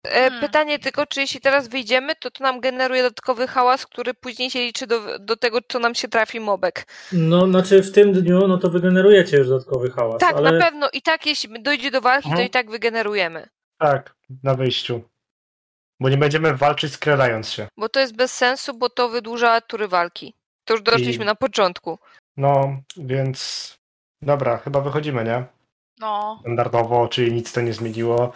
Speaker 2: e,
Speaker 3: Hmm.
Speaker 2: pytanie tylko, czy jeśli teraz wyjdziemy, to to nam generuje dodatkowy hałas, który później się liczy do, do tego, co nam się trafi mobek.
Speaker 4: Tak,
Speaker 1: No, znaczy w tym dniu, no to wygenerujecie już dodatkowy hałas,
Speaker 2: Tak,
Speaker 1: ale
Speaker 2: na pewno. I tak, jeśli dojdzie do walki, to
Speaker 4: Mhm.
Speaker 2: i tak wygenerujemy.
Speaker 4: Tak, na wyjściu. Bo nie będziemy walczyć skradając się.
Speaker 2: Bo to jest bez sensu, bo to wydłuża tury walki. To już doszliśmy
Speaker 4: I-
Speaker 2: na początku.
Speaker 4: No, więc... Dobra, chyba wychodzimy, nie?
Speaker 3: No.
Speaker 4: Standardowo, czyli nic to nie zmieniło.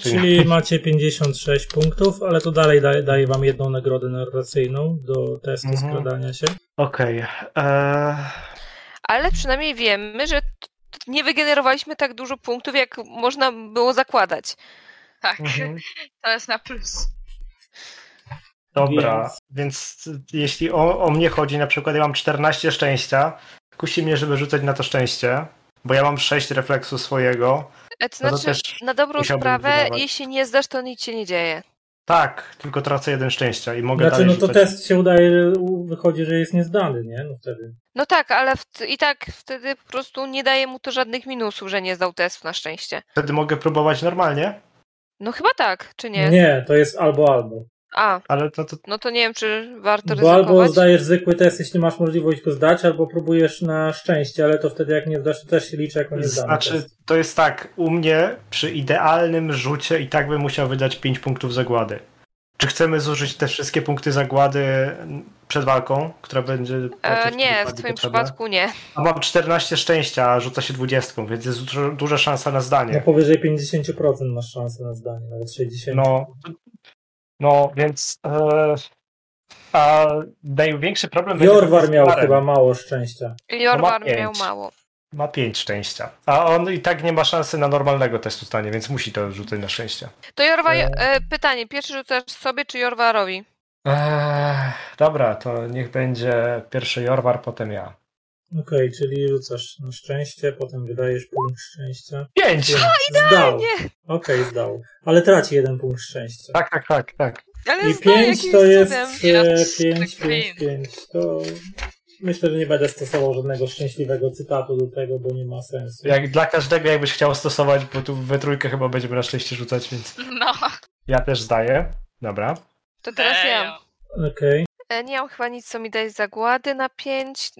Speaker 1: czyli macie 56 punktów, ale to dalej daje, daje wam jedną nagrodę narracyjną do testu
Speaker 4: Mhm.
Speaker 1: skradania się.
Speaker 4: Okej. eee,
Speaker 2: Ale przynajmniej wiemy, że t- t- nie wygenerowaliśmy tak dużo punktów, jak można było zakładać.
Speaker 3: Tak,
Speaker 4: mhm.
Speaker 3: to jest na plus.
Speaker 4: Dobra,
Speaker 1: Więc-
Speaker 4: więc jeśli o, o mnie chodzi, na przykład ja mam 14 szczęścia, kusi mnie, żeby rzucać na to szczęście, bo ja mam 6 refleksu swojego.
Speaker 2: E, To
Speaker 4: No to
Speaker 2: znaczy,
Speaker 4: też
Speaker 2: na dobrą
Speaker 4: musiałbym
Speaker 2: sprawę,
Speaker 4: wydawać.
Speaker 2: jeśli nie zdasz, to nic się nie dzieje.
Speaker 4: Tak, tylko tracę jeden szczęścia i mogę
Speaker 1: Znaczy,
Speaker 4: dalej
Speaker 1: no to
Speaker 4: rzucać.
Speaker 1: test się udaje, u- wychodzi, że jest niezdany, nie? No wtedy.
Speaker 2: No tak, ale w, i tak wtedy po prostu nie daje mu to żadnych minusów, że nie zdał testu na szczęście.
Speaker 4: Wtedy mogę próbować normalnie,
Speaker 2: No chyba tak, czy nie?
Speaker 1: Nie, to jest albo albo.
Speaker 2: A,
Speaker 4: ale to, to
Speaker 2: no to nie wiem, czy warto
Speaker 1: Bo albo
Speaker 2: ryzykować.
Speaker 1: zdajesz zwykły test, jeśli masz możliwość go zdać, albo próbujesz na szczęście, ale to wtedy jak nie zdasz, to też się liczy jako niezdany
Speaker 4: znaczy,
Speaker 1: test.
Speaker 4: to jest tak, u mnie przy idealnym rzucie i tak bym musiał wydać 5 punktów zagłady. Czy chcemy zużyć te wszystkie punkty zagłady przed walką, która będzie...
Speaker 2: E,
Speaker 4: najpierw
Speaker 2: nie, w
Speaker 4: Znaczy, bardziej
Speaker 2: twoim
Speaker 4: potrzebna?
Speaker 2: przypadku nie.
Speaker 4: A mam 14 szczęścia, a rzuca się 20, więc jest dużo, duża szansa na
Speaker 1: No
Speaker 4: zdanie.
Speaker 1: powyżej 50% masz szansę na zdanie, nawet 60.
Speaker 4: No, no więc. E, a największy problem No, będzie
Speaker 1: Jorwar
Speaker 4: taki z
Speaker 1: miał
Speaker 4: Karem.
Speaker 1: chyba mało szczęścia.
Speaker 2: Jorwar
Speaker 4: pięć.
Speaker 2: miał mało.
Speaker 4: Ma 5 szczęścia. A on i tak nie ma szansy na normalnego testu stanie, więc musi to rzucać na szczęście.
Speaker 2: To Jorwa,
Speaker 1: E.
Speaker 2: e, pytanie, pierwszy rzucasz sobie czy Jorwarowi?
Speaker 4: Eee, dobra, to niech będzie pierwszy Jorwar, potem ja.
Speaker 1: Okej, czyli rzucasz na szczęście, potem wydajesz punkt szczęścia.
Speaker 4: 5!
Speaker 1: Zdał.
Speaker 2: Nie,
Speaker 1: Okej, zdał. Ale traci jeden punkt szczęścia.
Speaker 4: Tak, tak, tak, tak.
Speaker 2: ale
Speaker 1: I
Speaker 2: zdaje
Speaker 1: pięć
Speaker 2: jakimś
Speaker 1: to jest
Speaker 2: cudem.
Speaker 1: 3,
Speaker 3: Ja
Speaker 1: 5,
Speaker 3: tak
Speaker 1: 5, 5. To myślę, że nie będę stosował żadnego szczęśliwego cytatu do tego, bo nie ma sensu.
Speaker 4: Jak dla każdego, jakbyś chciał stosować, bo tu we trójkę chyba będziemy na szczęście rzucać, więc
Speaker 3: No.
Speaker 4: ja też zdaję. Dobra.
Speaker 2: To teraz ja.
Speaker 1: Okej.
Speaker 2: E, Nie mam chyba nic, co mi daje zagłady na 5.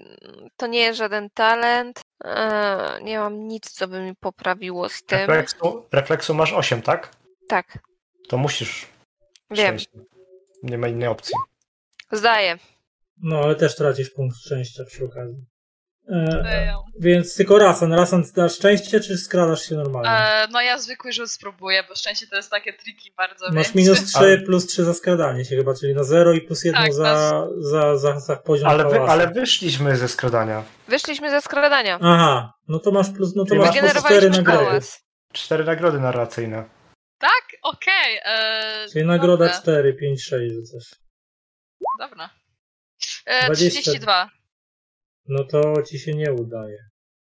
Speaker 2: To nie jest żaden talent. E, nie mam nic, co by mi poprawiło z tym.
Speaker 1: Tak?
Speaker 4: Refleksu, refleksu masz 8, tak?
Speaker 2: Tak,
Speaker 4: To musisz
Speaker 2: wiem,
Speaker 4: szczęście. Nie ma innej opcji.
Speaker 2: zdaję.
Speaker 1: No, ale też tracisz punkt szczęścia przy okazji. E,
Speaker 3: Ejo.
Speaker 1: więc tylko Rasan. Rasan, na szczęście czy skradasz się normalnie?
Speaker 3: E, no ja zwykły rzut spróbuję, bo szczęście to jest takie triki bardzo.
Speaker 1: Masz
Speaker 3: no więc-
Speaker 1: minus 3
Speaker 4: Ale-
Speaker 1: plus 3 za skradanie się chyba, czyli na 0 i plus 1
Speaker 3: Tak,
Speaker 1: za, za, za, za poziom
Speaker 4: Ale, wy,
Speaker 1: hałasu.
Speaker 4: ale wyszliśmy ze skradania.
Speaker 2: Wyszliśmy ze skradania.
Speaker 1: Aha, no to masz plus, no to
Speaker 4: Czyli
Speaker 1: masz plus 4
Speaker 2: Wygenerowaliśmy
Speaker 1: nagrody.
Speaker 2: hałas.
Speaker 4: Cztery nagrody narracyjne.
Speaker 3: Tak? Okej. e,
Speaker 1: Czyli nagroda
Speaker 3: dobra,
Speaker 1: 4, 5, 6 rzucasz.
Speaker 3: Dobra. E,
Speaker 1: 20.
Speaker 3: 32.
Speaker 1: No to ci się nie udaje.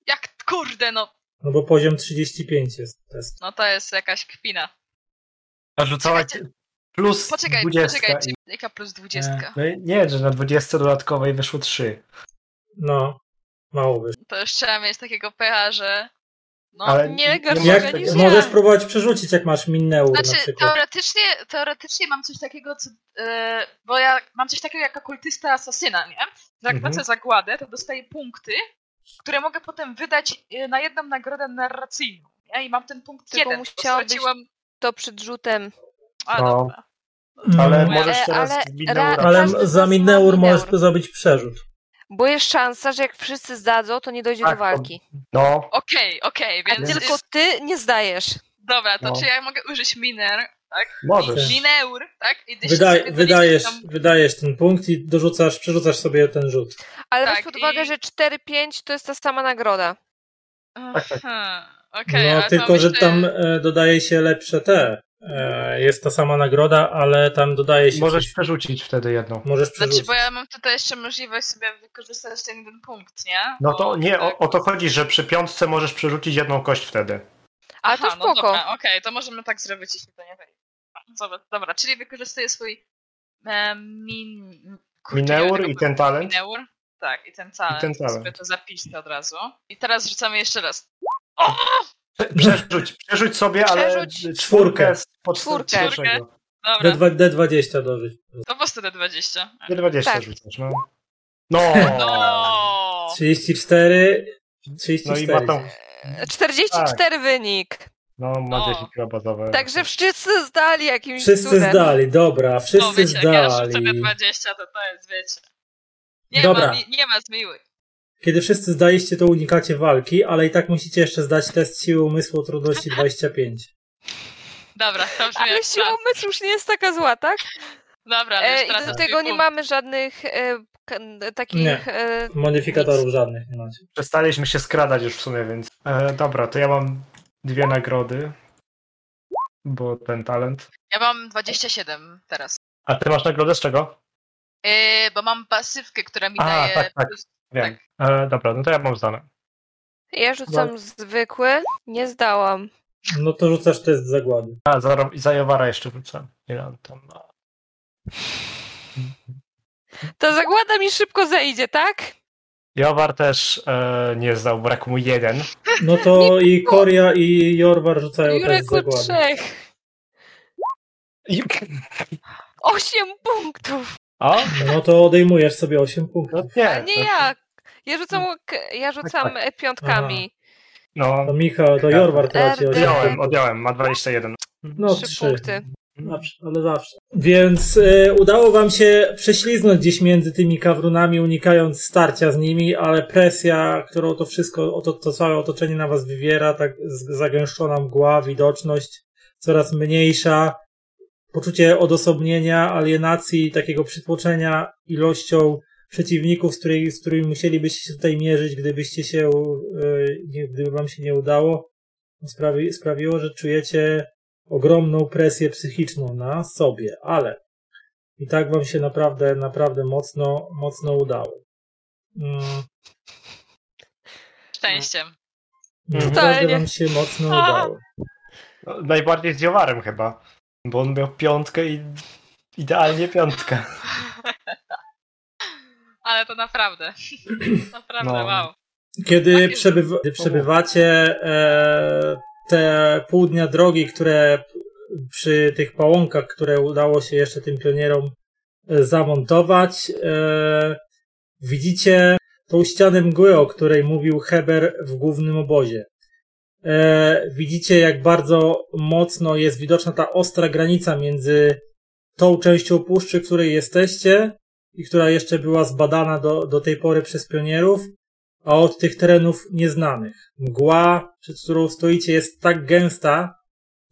Speaker 3: Jak kurde, no.
Speaker 1: No bo poziom 35 jest test.
Speaker 3: No to jest jakaś kpina.
Speaker 4: A rzucałaś plus
Speaker 3: Poczekaj,
Speaker 4: 20.
Speaker 3: poczekaj. czy- Jaka plus 20?
Speaker 4: No i nie, że na 20 dodatkowej wyszło 3.
Speaker 1: No, mało wysz.
Speaker 3: To już trzeba mieć takiego pecha, że... No.
Speaker 4: E. Ale
Speaker 2: nie, gorszego
Speaker 1: Jak,
Speaker 4: masz
Speaker 2: niż
Speaker 4: tego.
Speaker 2: ja.
Speaker 1: możesz próbować przerzucić, jak masz minneur na
Speaker 3: Znaczy,
Speaker 1: przykład.
Speaker 3: teoretycznie, teoretycznie mam coś takiego, co, e, bo ja mam coś takiego jak okultysta asasyna, nie? Że Jak
Speaker 4: Mhm.
Speaker 3: tracę zagładę, to dostaję punkty, które mogę potem wydać e, na jedną nagrodę narracyjną. Nie? I mam ten punkt
Speaker 2: Tylko
Speaker 3: jeden, bo
Speaker 2: musiałabyś-
Speaker 3: straciłam...
Speaker 2: To przed rzutem.
Speaker 3: A,
Speaker 4: No.
Speaker 3: dobra.
Speaker 4: Ale
Speaker 1: Mm,
Speaker 3: może-
Speaker 4: możesz
Speaker 2: Ale-
Speaker 4: teraz
Speaker 2: ale
Speaker 4: minną
Speaker 2: ra-
Speaker 4: radę.
Speaker 1: ale
Speaker 2: każdy z
Speaker 1: za
Speaker 2: nas ma
Speaker 1: minneur możesz
Speaker 2: mineur.
Speaker 1: zrobić przerzut.
Speaker 2: Bo jest szansa, że jak wszyscy zdadzą, to nie dojdzie
Speaker 4: Tak,
Speaker 2: do walki.
Speaker 4: No,
Speaker 3: Okej, okej,
Speaker 2: A
Speaker 3: więc...
Speaker 2: tylko ty nie zdajesz.
Speaker 3: Dobra, to
Speaker 4: No.
Speaker 3: czy ja mogę użyć miner, tak?
Speaker 4: możesz.
Speaker 3: Mineur, tak? I dyszę
Speaker 1: Wydaj,
Speaker 3: sobie
Speaker 1: wydajesz,
Speaker 3: doliczę tam-
Speaker 1: wydajesz ten punkt i dorzucasz, przerzucasz sobie ten rzut.
Speaker 2: Ale
Speaker 3: Tak,
Speaker 2: weź pod uwagę,
Speaker 3: i-
Speaker 2: że 4-5 to jest ta sama nagroda.
Speaker 4: Tak, tak.
Speaker 3: Aha, Okej,
Speaker 1: no,
Speaker 3: ale Znaczy,
Speaker 1: tylko,
Speaker 3: to
Speaker 1: że
Speaker 3: myślę-
Speaker 1: tam e, dodaje się lepsze te. E, jest ta sama nagroda, ale tam dodaje się.
Speaker 4: Możesz
Speaker 1: coś.
Speaker 4: przerzucić wtedy jedną.
Speaker 1: możesz
Speaker 3: Znaczy,
Speaker 1: przerzucić.
Speaker 3: bo ja mam tutaj jeszcze możliwość sobie wykorzystać ten jeden punkt, nie?
Speaker 4: No to nie,
Speaker 3: tak.
Speaker 4: o, o to chodzi, że przy piątce możesz przerzucić jedną kość wtedy.
Speaker 2: Ale to
Speaker 3: Aha, no
Speaker 2: spoko.
Speaker 3: dobra, okej, to możemy tak zrobić, jeśli to nie wejdzie. Dobra, dobra, czyli wykorzystuję swój e, min... kurczę, ja
Speaker 4: Mineur
Speaker 3: tego
Speaker 4: i ten talent.
Speaker 3: Mineur, tak, i ten talent.
Speaker 4: I ten talent.
Speaker 3: Sobie to zapiszę od razu. I teraz rzucamy jeszcze raz. O!
Speaker 4: Prze- Przerzuć, przerzuć sobie, ale
Speaker 2: Przerzuć.
Speaker 4: czwórkę z podstawy
Speaker 2: Czwórkę.
Speaker 4: pierwszego.
Speaker 3: Dobra,
Speaker 1: D2- D20 dorzuć.
Speaker 3: to po prostu D20.
Speaker 4: Nie 20
Speaker 2: Tak.
Speaker 4: rzucasz, no. No!
Speaker 3: No!
Speaker 1: 34.
Speaker 4: No
Speaker 1: 34.
Speaker 4: i ma tą.
Speaker 2: E, 44
Speaker 1: Tak.
Speaker 2: wynik.
Speaker 4: No, ma
Speaker 3: No.
Speaker 4: 10 robotowe.
Speaker 2: Także wszyscy zdali jakimś
Speaker 1: Wszyscy
Speaker 2: cudem.
Speaker 1: zdali, dobra,
Speaker 3: No
Speaker 1: wszyscy
Speaker 3: wiecie, jak ja rzucę
Speaker 1: zdali.
Speaker 3: D20, to to jest, wiecie. Nie
Speaker 1: Dobra.
Speaker 3: ma, mi- nie ma zmiłych.
Speaker 1: Kiedy wszyscy zdaliście, to unikacie walki, ale i tak musicie jeszcze zdać test siły umysłu o trudności 25.
Speaker 3: Dobra, to brzmi
Speaker 2: Ale
Speaker 3: jak
Speaker 2: siła
Speaker 3: plan.
Speaker 2: umysłu już nie jest taka zła, tak?
Speaker 3: Dobra, ale
Speaker 2: E,
Speaker 3: już
Speaker 2: I
Speaker 3: teraz
Speaker 2: do
Speaker 3: robię
Speaker 2: tego nie
Speaker 3: punkt.
Speaker 2: mamy żadnych e, k- takich...
Speaker 1: Nie.
Speaker 2: E,
Speaker 1: Modyfikatorów żadnych nie macie.
Speaker 4: Przestaliśmy się skradać już w sumie, więc. E, dobra, to ja mam dwie nagrody. Bo ten talent.
Speaker 3: Ja mam 27 teraz.
Speaker 4: A ty masz nagrodę z czego?
Speaker 3: Yy, bo mam pasywkę, która mi
Speaker 4: A,
Speaker 3: daje
Speaker 4: tak, tak.
Speaker 3: plus
Speaker 4: Wiem. E, dobra, no to ja mam zdane.
Speaker 2: ja rzucam zwykły. Nie zdałam.
Speaker 1: No to rzucasz test zagłady.
Speaker 4: A, za, Ro- za Jowara jeszcze wrócę. Ile on tam ma?
Speaker 2: Ta zagłada mi szybko zejdzie, tak?
Speaker 4: Jowar też e, nie zdał, brak mu jeden.
Speaker 1: No to i Koria i Jorwar rzucają test
Speaker 2: Jureku
Speaker 1: zagłady.
Speaker 2: trzech.
Speaker 4: I-
Speaker 2: Osiem punktów.
Speaker 4: O?
Speaker 1: No to odejmujesz sobie 8
Speaker 4: No
Speaker 1: punktów.
Speaker 2: A
Speaker 4: nie.
Speaker 2: nie
Speaker 1: Tak.
Speaker 2: ja. Ja rzucam, ok- ja rzucam e, piątkami.
Speaker 4: No,
Speaker 1: To Michał, to Jorwar traci 8.
Speaker 2: RD.
Speaker 4: odjąłem, odjąłem, ma 21.
Speaker 1: No
Speaker 2: Trzy
Speaker 1: 3.
Speaker 2: punkty.
Speaker 1: Zawsze, ale zawsze. Więc y, udało wam się prześliznąć gdzieś między tymi kawrunami, unikając starcia z nimi, ale presja, którą to wszystko, o to, to całe otoczenie na was wywiera, tak z- zagęszczona mgła, widoczność coraz mniejsza, poczucie odosobnienia, alienacji, i takiego przytłoczenia ilością przeciwników, z, której, z którymi musielibyście się tutaj mierzyć, gdybyście się, y, nie- gdyby wam się nie udało, sprawi, sprawiło, że czujecie ogromną presję psychiczną na sobie, ale i tak wam się naprawdę, naprawdę mocno, mocno udało. Mm,
Speaker 2: Mhm.
Speaker 3: szczęściem.
Speaker 4: Mhm.
Speaker 1: Naprawdę
Speaker 2: Totalnie.
Speaker 1: wam się mocno
Speaker 2: A.
Speaker 1: udało.
Speaker 4: No, najbardziej z Jowarem chyba, bo on miał piątkę i idealnie piątkę.
Speaker 3: Ale to naprawdę. Naprawdę,
Speaker 4: No.
Speaker 3: wow.
Speaker 1: Kiedy,
Speaker 3: Takie-
Speaker 1: przebywa, kiedy przebywacie e, te pół dnia drogi, które przy tych pałąkach, które udało się jeszcze tym pionierom e, zamontować, e, widzicie tą ścianę mgły, o której mówił Heber w głównym obozie. E, widzicie, jak bardzo mocno jest widoczna ta ostra granica między tą częścią puszczy, w której jesteście i która jeszcze była zbadana do, do tej pory przez pionierów, a od tych terenów nieznanych. Mgła, przed którą stoicie, jest tak gęsta,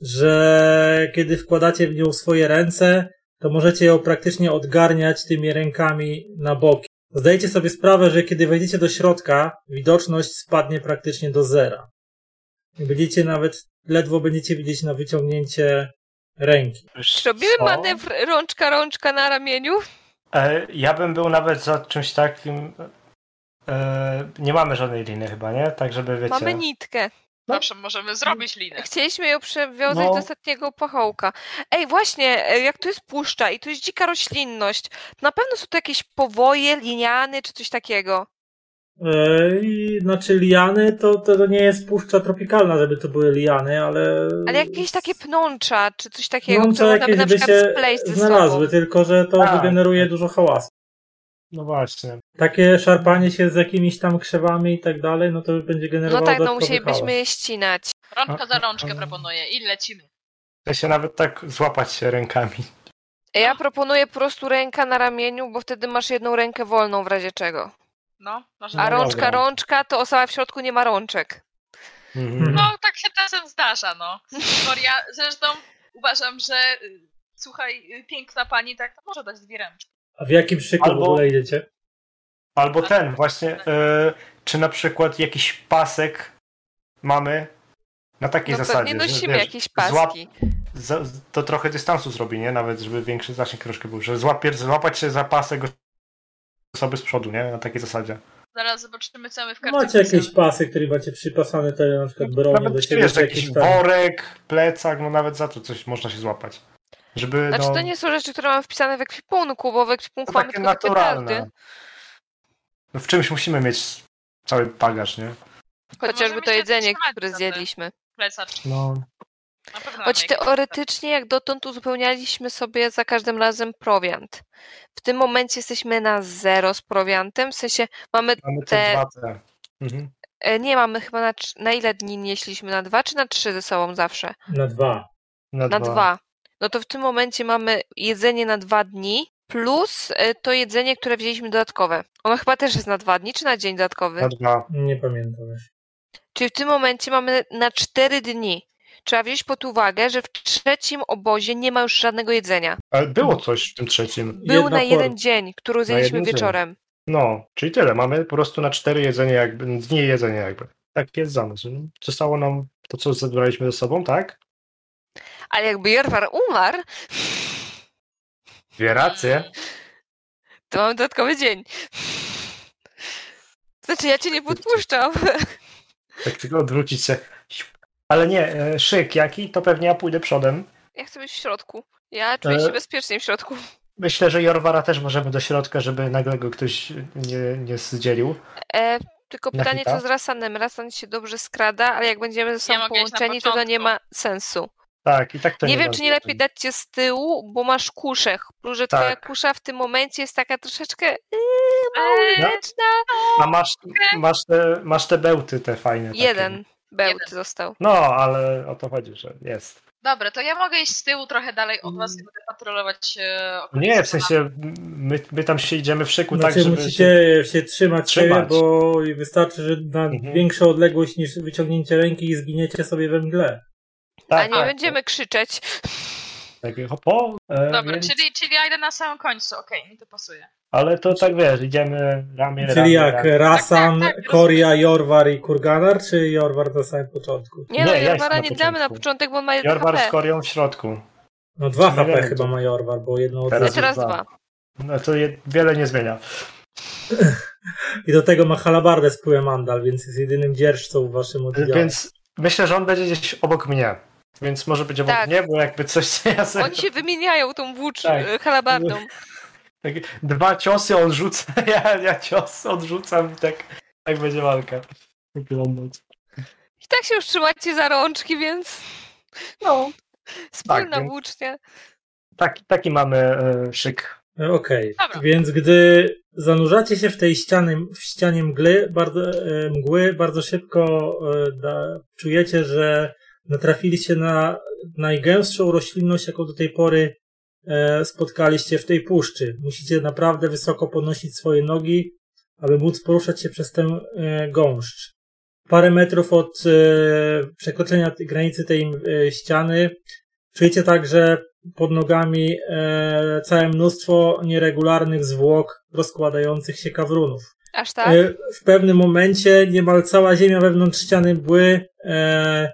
Speaker 1: że kiedy wkładacie w nią swoje ręce, to możecie ją praktycznie odgarniać tymi rękami na boki. Zdajecie sobie sprawę, że kiedy wejdziecie do środka, widoczność spadnie praktycznie do zera. Będziecie nawet, ledwo będziecie widzieć na wyciągnięcie ręki.
Speaker 2: Czy robimy
Speaker 4: Co?
Speaker 2: manewr rączka-rączka na ramieniu?
Speaker 4: E, ja bym był nawet za czymś takim... E, nie mamy żadnej liny chyba, nie? Tak, żeby wiecie...
Speaker 2: Mamy nitkę.
Speaker 3: Zawsze możemy zrobić linę.
Speaker 2: Chcieliśmy ją przewiązać
Speaker 4: No.
Speaker 2: do ostatniego pachołka. Ej, właśnie, e, jak tu jest puszcza i tu jest dzika roślinność, to na pewno są to jakieś powoje, liniany czy coś takiego.
Speaker 1: Yy, i- znaczy liany to, to, to nie jest puszcza tropikalna, żeby to były liany, ale...
Speaker 2: Ale jakieś takie pnącza czy coś takiego,
Speaker 1: No,
Speaker 2: które
Speaker 1: to
Speaker 2: można by
Speaker 1: jakieś
Speaker 2: na
Speaker 1: by
Speaker 2: przykład
Speaker 1: się
Speaker 2: spleść ze
Speaker 1: znalazły,
Speaker 2: sobą.
Speaker 1: tylko że to
Speaker 4: Tak.
Speaker 1: wygeneruje dużo hałasu.
Speaker 4: No właśnie.
Speaker 1: Takie szarpanie się z jakimiś tam krzewami i tak dalej, no to będzie generowało
Speaker 2: No tak, no
Speaker 1: dodatkowy
Speaker 2: musielibyśmy
Speaker 1: hałas.
Speaker 2: je ścinać.
Speaker 3: Rączka za rączkę
Speaker 4: A-
Speaker 3: proponuję i lecimy.
Speaker 4: Chcę się nawet tak złapać się rękami.
Speaker 2: Ja proponuję po prostu ręka na ramieniu, bo wtedy masz jedną rękę wolną w razie czego.
Speaker 3: No, można.
Speaker 2: A
Speaker 4: No
Speaker 2: rączka,
Speaker 4: dobra.
Speaker 2: rączka, to osoba w środku nie ma rączek.
Speaker 1: Mhm.
Speaker 3: No, tak się czasem zdarza, no. Moria, zresztą uważam, że y, słuchaj, y, piękna pani, tak, to może dać dwie ręczki.
Speaker 1: A w jakim szyku
Speaker 4: Albo-
Speaker 1: w ogóle idziecie?
Speaker 4: Albo ten właśnie, e, czy na przykład jakiś pasek mamy na takiej
Speaker 2: No
Speaker 4: zasadzie,
Speaker 2: pewnie
Speaker 4: że
Speaker 2: nosimy
Speaker 4: wiesz,
Speaker 2: jakieś
Speaker 4: złap-
Speaker 2: paski.
Speaker 4: za, to trochę dystansu zrobi, nie? Nawet, żeby większy zasięg troszkę był, że złapier, złapać się za pasek osoby z przodu, nie? Na takiej zasadzie.
Speaker 3: Zaraz zobaczymy, co my w kartce
Speaker 1: Macie jakieś
Speaker 3: wpisamy.
Speaker 1: pasy, które macie przypasane, to na
Speaker 2: No,
Speaker 1: przykład bronię do
Speaker 4: Nawet
Speaker 1: siebie.
Speaker 4: wiesz,
Speaker 1: czy
Speaker 4: jakiś
Speaker 1: tam-
Speaker 4: worek, plecak, no nawet za to coś można się złapać. Żeby,
Speaker 2: Znaczy
Speaker 4: no,
Speaker 2: to nie są rzeczy, które mam wpisane w ekwipunku, bo w ekwipunku
Speaker 4: to
Speaker 2: mamy
Speaker 4: takie
Speaker 2: tylko te petardy.
Speaker 4: naturalne. No w czymś musimy mieć cały bagaż, nie?
Speaker 2: Chociażby
Speaker 3: Możemy
Speaker 2: to
Speaker 3: się
Speaker 2: jedzenie,
Speaker 3: zatrzymać
Speaker 2: które
Speaker 3: na tym
Speaker 2: zjedliśmy.
Speaker 3: Plecacz.
Speaker 4: No,
Speaker 3: Na pewno
Speaker 2: Choć
Speaker 3: mamy
Speaker 2: teoretycznie jak dotąd uzupełnialiśmy sobie za każdym razem prowiant. W tym momencie jesteśmy na zero z prowiantem, w sensie mamy,
Speaker 4: mamy te,
Speaker 2: Te-
Speaker 4: dwa te. Mhm.
Speaker 2: e, nie mamy chyba na, trz- na ile dni nie jeśliśmy, na dwa czy na trzy ze sobą zawsze?
Speaker 1: Na dwa.
Speaker 2: Na dwa. No to w tym momencie mamy jedzenie na dwa dni plus e, to jedzenie, które wzięliśmy dodatkowe. Ono chyba też jest na dwa dni czy na dzień dodatkowy?
Speaker 4: Na dwa.
Speaker 1: Nie pamiętam już.
Speaker 2: Czyli w tym momencie mamy na 4 dni. Trzeba wziąć pod uwagę, że w trzecim obozie nie ma już żadnego jedzenia.
Speaker 4: Ale było coś w tym trzecim.
Speaker 2: Był
Speaker 1: Jedna
Speaker 2: na jeden
Speaker 1: por-
Speaker 2: dzień, który zjedliśmy
Speaker 4: jeden dzień.
Speaker 2: wieczorem.
Speaker 4: No, czyli tyle. Mamy po prostu na cztery jedzenie jakby, dni jedzenia jakby. Tak jest zamysł. No, Zostało nam to, co zebraliśmy ze sobą, tak?
Speaker 2: Ale jakby Jorwar umarł,
Speaker 4: Dwie racje.
Speaker 2: to mamy dodatkowy dzień. Znaczy, ja cię nie podpuszczam.
Speaker 4: Tak tylko odwrócić się. Ale nie, e, szyk jaki, to pewnie ja pójdę przodem.
Speaker 2: Ja chcę być w środku. Ja czuję
Speaker 4: E.
Speaker 2: się bezpiecznie w środku.
Speaker 4: Myślę, że Jorwara też możemy do środka, żeby nagle go ktoś nie, nie zdzielił.
Speaker 2: E, tylko
Speaker 4: Na
Speaker 2: pytanie,
Speaker 4: hita?
Speaker 2: co z Rasanem? Rasan się dobrze skrada, ale jak będziemy ze sobą
Speaker 3: mogę iść na
Speaker 2: połączeni, to to nie
Speaker 3: początku.
Speaker 2: ma sensu.
Speaker 4: Tak, i tak to
Speaker 2: nie
Speaker 4: nie
Speaker 2: wiem,
Speaker 4: da-
Speaker 2: czy nie lepiej dać cię z tyłu, bo masz kuszę. Plus, że twoja
Speaker 4: Tak.
Speaker 2: kusza w tym momencie jest taka troszeczkę yy, mało
Speaker 3: Eee,
Speaker 4: No.
Speaker 2: widoczna.
Speaker 4: A masz, masz, te, masz te bełty te fajne. takie.
Speaker 2: Jeden bełt został.
Speaker 4: No, ale o to chodzi, że jest.
Speaker 3: Dobra, to ja mogę iść z tyłu trochę dalej od was i będę patrolować e, okolice.
Speaker 4: Mm. Nie, w sensie my, my tam się idziemy w szyku
Speaker 1: Znaczy
Speaker 4: tak, żeby...
Speaker 1: musicie się trzymać, siebie,
Speaker 4: Trzymać.
Speaker 1: bo wystarczy, że na
Speaker 4: Mhm.
Speaker 1: większą odległość niż wyciągnięcie ręki i zginiecie sobie we mgle.
Speaker 2: A
Speaker 4: tak,
Speaker 2: nie
Speaker 4: tak,
Speaker 2: będziemy krzyczeć.
Speaker 4: Tak, hopo, e,
Speaker 3: Dobra,
Speaker 4: więc,
Speaker 3: czyli, czyli ja idę na samym końcu, okej, mi to pasuje.
Speaker 4: Ale to tak wiesz, idziemy ramię
Speaker 1: Czyli
Speaker 4: ramię,
Speaker 1: jak
Speaker 4: ramię.
Speaker 1: Rasan,
Speaker 3: tak, tak,
Speaker 1: Koria, Jorwar i Kurganar, czy Jorwar na samym początku?
Speaker 2: Nie no,
Speaker 4: Nie, ja jestem
Speaker 2: Jarmara
Speaker 4: na
Speaker 2: nie damy na
Speaker 4: początku.
Speaker 2: początek, bo on ma jeden
Speaker 4: Jorwar z
Speaker 2: HP.
Speaker 4: Korią w środku.
Speaker 1: No dwa
Speaker 4: Nie
Speaker 1: HP
Speaker 4: wiem,
Speaker 1: chyba
Speaker 4: to-
Speaker 1: ma Jorwar, bo jedno od...
Speaker 4: Teraz-
Speaker 2: Znaczy raz
Speaker 4: dwa.
Speaker 2: dwa.
Speaker 4: No to je, wiele nie zmienia.
Speaker 1: I do tego ma halabardę z pyłem Andal, więc jest jedynym dzierżcą w waszym oddziale.
Speaker 4: Więc myślę, że on będzie gdzieś obok mnie. Więc może być obok
Speaker 2: Tak.
Speaker 4: mnie, bo jakby coś co ja sobie...
Speaker 2: Oni się wymieniają tą włócz
Speaker 4: Tak.
Speaker 2: e, halabardą.
Speaker 4: Tak, dwa ciosy on rzuca, ja, ja cios odrzucam i tak, tak będzie walka. Tak Wyglądać.
Speaker 2: I tak się już trzymacie za rączki, więc
Speaker 4: No.
Speaker 2: wspólna
Speaker 4: więc-
Speaker 2: włócznia.
Speaker 4: Tak, taki mamy e, szyk.
Speaker 1: E, Okej,
Speaker 3: Dobra.
Speaker 1: więc gdy zanurzacie się w tej ścianie, w ścianie mgły, bardzo, e, mgły, bardzo szybko e, da, czujecie, że natrafiliście na najgęstszą roślinność, jaką do tej pory e, spotkaliście w tej puszczy. Musicie naprawdę wysoko podnosić swoje nogi, aby móc poruszać się przez tę e, gąszcz. Parę metrów od e, przekroczenia tej- granicy tej e, ściany czujecie tak, także pod nogami e, całe mnóstwo nieregularnych zwłok rozkładających się kawrunów.
Speaker 2: Aż tak?
Speaker 4: Y-
Speaker 1: E, w pewnym momencie niemal cała ziemia wewnątrz ściany były e,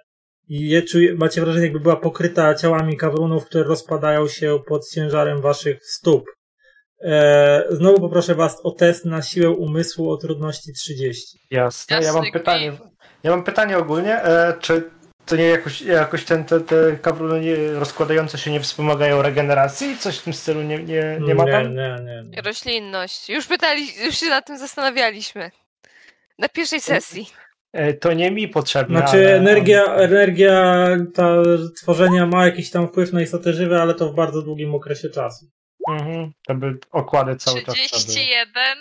Speaker 1: i je czuj, macie wrażenie, jakby była pokryta ciałami kawrunów, które rozpadają się pod ciężarem waszych stóp. E, znowu poproszę was o test na siłę umysłu o trudności 30.
Speaker 4: Jasne. Ja
Speaker 3: Jasny
Speaker 4: mam
Speaker 3: gwint.
Speaker 4: pytanie. Ja mam pytanie ogólnie, e, czy to nie jakoś, jakoś ten, te, te kawruny nie- rozkładające się nie wspomagają regeneracji? Coś w tym stylu nie, nie, nie ma
Speaker 1: nie,
Speaker 4: tam?
Speaker 1: nie, nie, nie.
Speaker 2: Roślinność. Już pytali, już się nad tym zastanawialiśmy. Na pierwszej sesji.
Speaker 4: E, to nie mi potrzebne.
Speaker 1: Znaczy
Speaker 4: ale-
Speaker 1: energia, energia ta tworzenia ma jakiś tam wpływ na istoty żywe, ale to w bardzo długim okresie czasu.
Speaker 4: Mhm, to by okłady cały czas trzeba było.
Speaker 3: 31.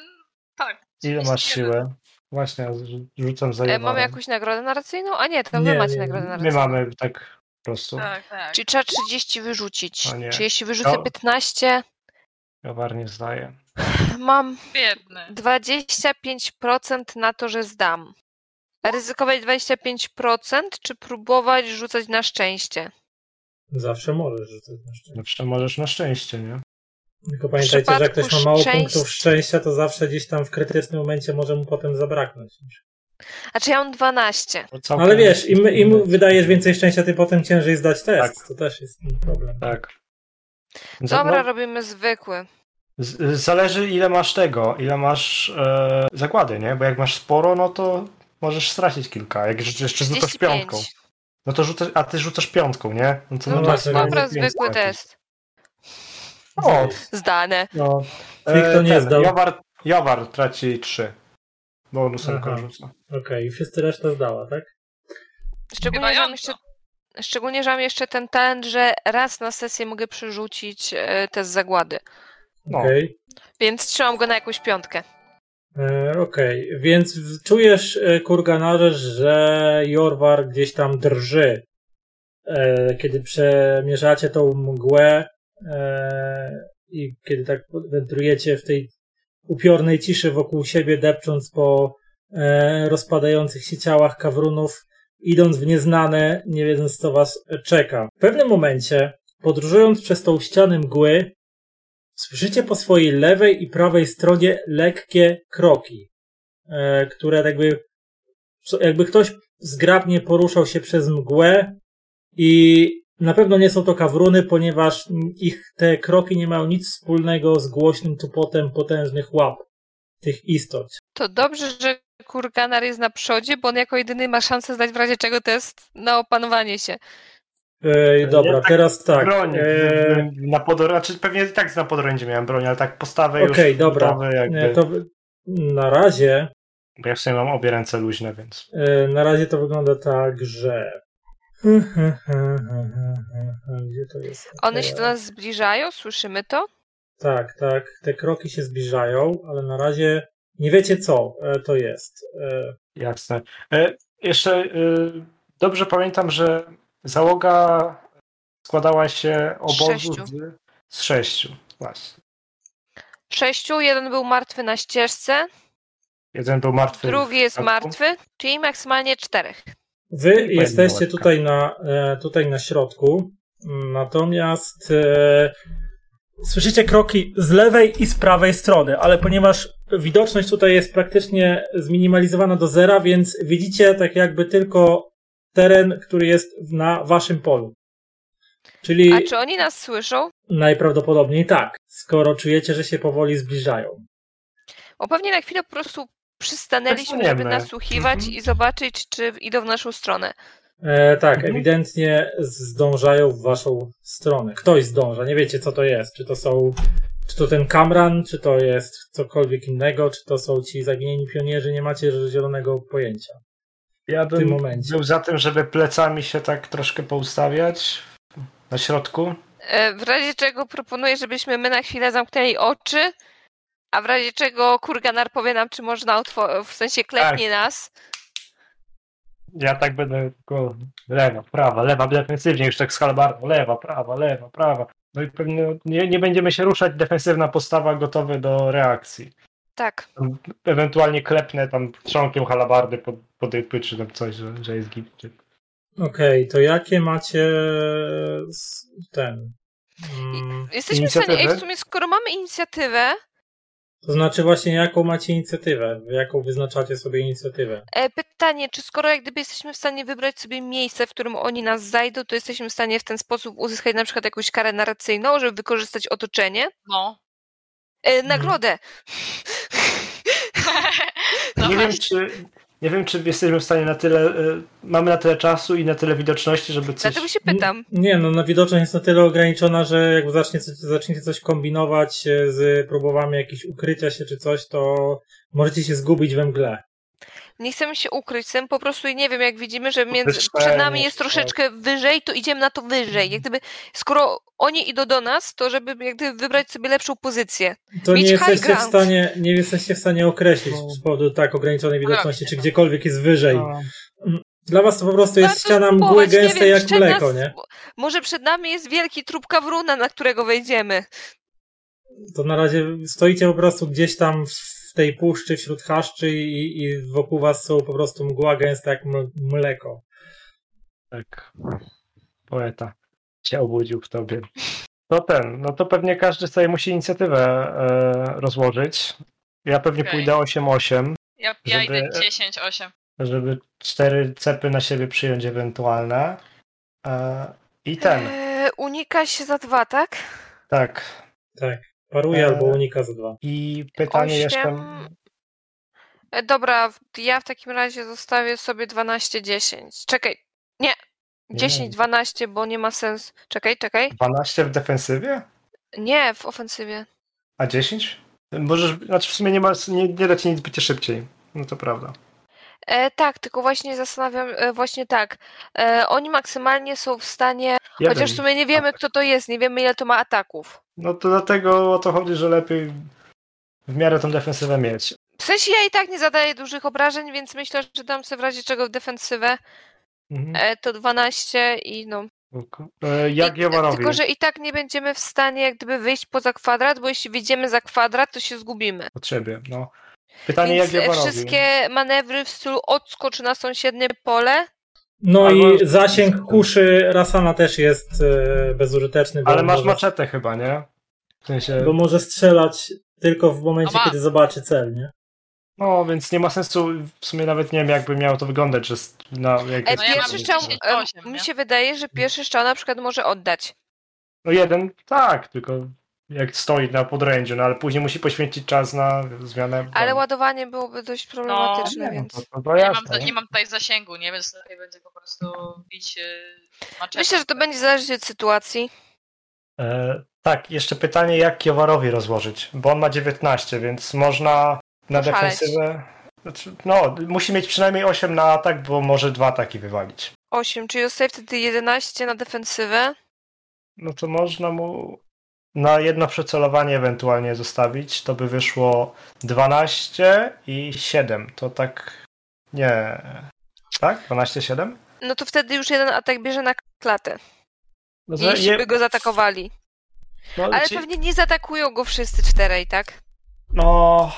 Speaker 3: Tak.
Speaker 4: Ile masz
Speaker 3: 31.
Speaker 4: siłę? Właśnie, rzu- rzucam za
Speaker 2: E,
Speaker 4: e,
Speaker 2: mamy jakąś nagrodę narracyjną? A nie, to wy
Speaker 1: Nie,
Speaker 2: macie
Speaker 1: nie,
Speaker 2: nagrodę
Speaker 4: My
Speaker 2: narracyjną.
Speaker 4: mamy tak po prostu.
Speaker 3: Tak, tak.
Speaker 2: Czyli trzeba 30 wyrzucić.
Speaker 4: O nie.
Speaker 2: Czy jeśli wyrzucę
Speaker 4: No.
Speaker 2: 15,
Speaker 4: Jowar nie zdaje.
Speaker 2: mam
Speaker 3: Biedny.
Speaker 2: 25% na to, że zdam. Ryzykować 25%, czy próbować rzucać na szczęście?
Speaker 1: Zawsze możesz rzucać na szczęście.
Speaker 4: Zawsze możesz na szczęście, nie?
Speaker 1: Tylko pamiętajcie, że jak ktoś ma mało
Speaker 2: szczęść-
Speaker 1: punktów szczęścia, to zawsze gdzieś tam w krytycznym momencie może mu potem zabraknąć.
Speaker 2: A czy ja mam 12?
Speaker 4: Bo całkiem-
Speaker 1: Ale wiesz, im, im wydajesz więcej szczęścia, tym potem ciężej zdać test.
Speaker 4: Tak.
Speaker 1: To też jest problem.
Speaker 4: Tak.
Speaker 2: Dobra,
Speaker 4: no,
Speaker 2: robimy zwykły.
Speaker 4: Z, zależy ile masz tego, ile masz e, zagłady, nie? Bo jak masz sporo, no to możesz stracić kilka. Jak jeszcze jeszcze rzucasz
Speaker 2: 35.
Speaker 4: piątką. No to rzucasz, a ty rzucasz piątką, nie? to
Speaker 2: No,
Speaker 1: No
Speaker 2: to
Speaker 1: tak,
Speaker 2: jest
Speaker 1: no,
Speaker 2: dobra,
Speaker 1: nie
Speaker 2: zwykły test.
Speaker 4: O,
Speaker 2: Zdane.
Speaker 4: no.
Speaker 1: Czyli kto nie
Speaker 4: ten,
Speaker 1: zdał?
Speaker 4: Jowar, Jowar traci 3. Bo on ósemką
Speaker 1: Aha.
Speaker 4: rzuca.
Speaker 1: Okej, i wszyscy reszta zdała, tak?
Speaker 2: Szczególnie, że mam jeszcze
Speaker 3: Wybająco.
Speaker 2: Szczególnie, że mam jeszcze ten talent, że raz na sesję mogę przerzucić e, test zagłady.
Speaker 4: No.
Speaker 1: Okej.
Speaker 2: Więc trzymam go na jakąś piątkę.
Speaker 1: E, Okej, więc w- czujesz, e, Kurganarze, że Jorwar gdzieś tam drży. E, Kiedy przemierzacie tą mgłę e, i kiedy tak wędrujecie w tej upiornej ciszy wokół siebie, depcząc po e, rozpadających się ciałach kawrunów, idąc w nieznane, nie wiedząc co was czeka. W pewnym momencie, podróżując przez tą ścianę mgły, Słyszycie po swojej lewej i prawej stronie lekkie kroki, e, które jakby, co- jakby ktoś zgrabnie poruszał się przez mgłę i na pewno nie są to kawruny, ponieważ mm, ich te kroki nie mają nic wspólnego z głośnym tupotem potężnych łap tych istot.
Speaker 2: To dobrze, że Kurganar jest na przodzie, bo on jako jedyny ma szansę zdać w razie czego test na opanowanie się.
Speaker 1: E, dobra,
Speaker 4: Ja tak
Speaker 1: teraz tak.
Speaker 4: Broń.
Speaker 1: e,
Speaker 4: Na podor- znaczy pewnie i tak na podorędzie miałem broń, ale tak postawę już.
Speaker 1: Okej, dobra.
Speaker 4: gotowy Jakby,
Speaker 1: e, to wy- na razie
Speaker 4: Bo ja w sumie mam obie ręce luźne, więc.
Speaker 1: E, Na razie to wygląda tak, że. Hm, Gdzie to jest?
Speaker 2: One
Speaker 1: E,
Speaker 2: się do
Speaker 4: Tak.
Speaker 2: nas zbliżają, słyszymy to?
Speaker 1: Tak, tak. Te kroki się zbliżają, ale na razie nie wiecie, co e, to jest. E,
Speaker 4: Jasne. E, jeszcze e, dobrze pamiętam, że załoga składała się
Speaker 2: sześciu.
Speaker 4: obozu z, z sześciu. Właśnie.
Speaker 2: Sześciu, jeden był martwy na ścieżce,
Speaker 4: Jeden był martwy.
Speaker 2: drugi jest
Speaker 4: Tak.
Speaker 2: martwy, czyli maksymalnie czterech.
Speaker 1: Wy jesteście
Speaker 4: łatka.
Speaker 1: tutaj na, e, tutaj na środku, m, natomiast e, słyszycie kroki z lewej i z prawej strony, ale ponieważ widoczność tutaj jest praktycznie zminimalizowana do zera, więc widzicie tak jakby tylko teren, który jest na waszym polu. Czyli
Speaker 2: A czy oni nas słyszą?
Speaker 1: najprawdopodobniej tak, skoro czujecie, że się powoli zbliżają.
Speaker 2: Bo pewnie na chwilę po prostu przystanęliśmy, żeby
Speaker 4: Przestaniemy.
Speaker 2: nasłuchiwać
Speaker 4: Mhm.
Speaker 2: i zobaczyć, czy idą w naszą stronę.
Speaker 1: E, tak,
Speaker 4: Mhm.
Speaker 1: ewidentnie zdążają w waszą stronę. Ktoś zdąża, nie wiecie co to jest. Czy to są, czy to ten kamran, czy to jest cokolwiek innego, czy to są ci zaginieni pionierzy, nie macie zielonego pojęcia
Speaker 4: Ja
Speaker 1: w tym
Speaker 4: bym
Speaker 1: momencie.
Speaker 4: był za tym, żeby plecami się tak troszkę poustawiać na środku.
Speaker 2: E, W razie czego proponuję, żebyśmy my na chwilę zamknęli oczy, a w razie czego Kurganar powie nam, czy można otwo- w sensie klepnie
Speaker 4: Tak.
Speaker 2: nas.
Speaker 4: Ja tak będę tylko lewa, prawa, lewa, defensywnie już tak z halabardą. Lewa, prawa, lewa, prawa. No i pewnie nie, nie będziemy się ruszać, defensywna postawa gotowy do reakcji.
Speaker 2: Tak.
Speaker 4: Ewentualnie klepnę tam trzonkiem halabardy pod, pod jej pyt, czy tam coś, że, że jest git. Czy...
Speaker 1: Okej, to jakie macie s- ten... Mm,
Speaker 2: Jesteśmy w stanie, ej,
Speaker 4: Inicjatywę?
Speaker 2: w sumie skoro mamy inicjatywę,
Speaker 1: to znaczy właśnie jaką macie inicjatywę, jaką wyznaczacie sobie inicjatywę.
Speaker 2: e, pytanie, czy skoro jak gdyby jesteśmy w stanie wybrać sobie miejsce, w którym oni nas zajdą, to jesteśmy w stanie w ten sposób uzyskać na przykład jakąś karę narracyjną, żeby wykorzystać otoczenie?
Speaker 3: No.
Speaker 2: E, nagrodę!
Speaker 3: no
Speaker 4: nie, wiem,
Speaker 3: właśnie.
Speaker 4: czy, nie wiem, czy jesteśmy w stanie na tyle, y, mamy na tyle czasu i na tyle widoczności, żeby coś...
Speaker 2: Dlatego się pytam.
Speaker 1: N- Nie, no na widoczność jest na tyle ograniczona, że jak zacznie, zaczniecie coś kombinować e, z próbowami jakieś ukrycia się czy coś, to możecie się zgubić we mgle.
Speaker 2: Nie chcemy się ukryć, chcemy po prostu i nie wiem, jak widzimy, że między,
Speaker 4: Podwyższenie
Speaker 2: przed nami jest
Speaker 4: się, tak.
Speaker 2: troszeczkę wyżej, to idziemy na to wyżej. Jak gdyby, skoro oni idą do nas, to żeby jak gdyby wybrać sobie lepszą pozycję.
Speaker 1: To nie
Speaker 2: Mieć high
Speaker 1: jesteście w
Speaker 2: ground.
Speaker 1: stanie, nie jesteście w stanie określić
Speaker 4: No.
Speaker 1: z powodu tak ograniczonej
Speaker 2: No,
Speaker 1: widoczności, czy gdziekolwiek jest wyżej.
Speaker 4: No.
Speaker 1: Dla was to po prostu jest
Speaker 2: Warto
Speaker 1: ściana mgły
Speaker 2: spróbować, nie
Speaker 1: gęstej
Speaker 2: wiem,
Speaker 1: jak
Speaker 2: przed
Speaker 1: mleko,
Speaker 2: nas-
Speaker 1: nie?
Speaker 2: Może przed nami jest wielki trup kawruna, na którego wejdziemy.
Speaker 1: To na razie stoicie po prostu gdzieś tam w tej puszczy, wśród chaszczy i, i wokół was są po prostu mgła gęsta jak m- mleko.
Speaker 4: Tak. Poeta się obudził w tobie. No ten, no to pewnie każdy sobie musi inicjatywę e, rozłożyć. Ja pewnie
Speaker 3: Okej.
Speaker 4: pójdę 8-8,
Speaker 3: Ja, ja
Speaker 4: Żeby-
Speaker 3: idę 10, 8.
Speaker 4: żeby cztery cepy na siebie przyjąć ewentualne. E, I ten,
Speaker 2: E, Eee, unika się za dwa, tak?
Speaker 4: tak.
Speaker 1: Tak. Paruje
Speaker 4: E,
Speaker 1: albo unika za dwa.
Speaker 4: I pytanie jeszcze.
Speaker 2: Osiem. E, Dobra, w- ja w takim razie zostawię sobie 12-10. Czekaj, nie.
Speaker 4: Nie.
Speaker 2: 10-12, bo nie ma sensu. Czekaj, czekaj.
Speaker 4: 12 w defensywie?
Speaker 2: Nie, w ofensywie.
Speaker 4: A 10? Możesz, znaczy w sumie nie, ma, nie, nie da ci nic bycie szybciej. No to prawda.
Speaker 2: E, tak, tylko właśnie zastanawiam, e, właśnie tak. E, oni maksymalnie są w stanie,
Speaker 4: Jeden.
Speaker 2: chociaż w sumie nie wiemy, kto to jest, nie wiemy, ile to ma ataków.
Speaker 4: No to dlatego o to chodzi, że lepiej w miarę tą defensywę mieć.
Speaker 2: W sensie ja i tak nie zadaję dużych obrażeń, więc myślę, że dam sobie w razie czego w defensywę.
Speaker 4: Mhm.
Speaker 2: E, to 12 i no.
Speaker 4: Spoko. E, Jak
Speaker 2: I-
Speaker 4: Joworowi?
Speaker 2: Tylko, że i tak nie będziemy w stanie jak gdyby wyjść poza kwadrat, bo jeśli wyjdziemy za kwadrat, to się zgubimy.
Speaker 4: Od ciebie, no. Pytanie
Speaker 2: Więc
Speaker 4: jak
Speaker 2: e,
Speaker 4: Joworowi?
Speaker 2: wszystkie manewry w stylu odskocz na sąsiednie pole. E,
Speaker 1: No
Speaker 4: Albo-
Speaker 1: i zasięg kuszy Rasana też jest e, bezużyteczny. Bo
Speaker 4: Ale
Speaker 1: on
Speaker 4: masz
Speaker 1: może,
Speaker 4: maczetę chyba, nie? W sensie,
Speaker 1: Bo może strzelać tylko w momencie,
Speaker 3: A ma.
Speaker 1: kiedy zobaczy cel, nie?
Speaker 4: no więc nie ma sensu, w sumie nawet nie wiem jakby miało to wyglądać, że s- na jak
Speaker 2: E,
Speaker 3: No ja mam
Speaker 2: pierwszy strzał, e,
Speaker 3: 38,
Speaker 2: mi
Speaker 3: nie?
Speaker 2: się wydaje, że pierwszy strzał na przykład może oddać.
Speaker 4: No jeden, tak, tylko jak stoi na podrędziu, no ale później musi poświęcić czas na zmianę.
Speaker 2: Ale
Speaker 4: no,
Speaker 2: ładowanie byłoby dość problematyczne,
Speaker 4: nie, no,
Speaker 2: więc...
Speaker 4: to, to, to
Speaker 3: Nie mam,
Speaker 4: jasne,
Speaker 3: tu-
Speaker 4: nie?
Speaker 3: nie mam tutaj zasięgu, nie? Więc lepiej będzie po prostu bić yy, maczetą.
Speaker 2: Myślę, że to będzie zależeć od sytuacji.
Speaker 4: E, tak, jeszcze pytanie, jak Kiowarowi rozłożyć, bo on ma 19, więc można na
Speaker 2: Poszaleć.
Speaker 4: defensywę... Znaczy, no, musi mieć przynajmniej 8 na atak, bo może dwa ataki wywalić.
Speaker 2: 8, czyli zostaje wtedy 11 na defensywę.
Speaker 4: No to można mu na jedno przecelowanie ewentualnie zostawić. To by wyszło 12 i 7. To tak. Nie. Tak? 12, 7?
Speaker 2: No to wtedy już jeden atak bierze na klatę.
Speaker 4: No to
Speaker 2: Jeśli
Speaker 4: je-
Speaker 2: by go zaatakowali.
Speaker 4: no,
Speaker 2: Ale
Speaker 4: ci-
Speaker 2: pewnie nie zaatakują go wszyscy czterej, tak?
Speaker 4: no.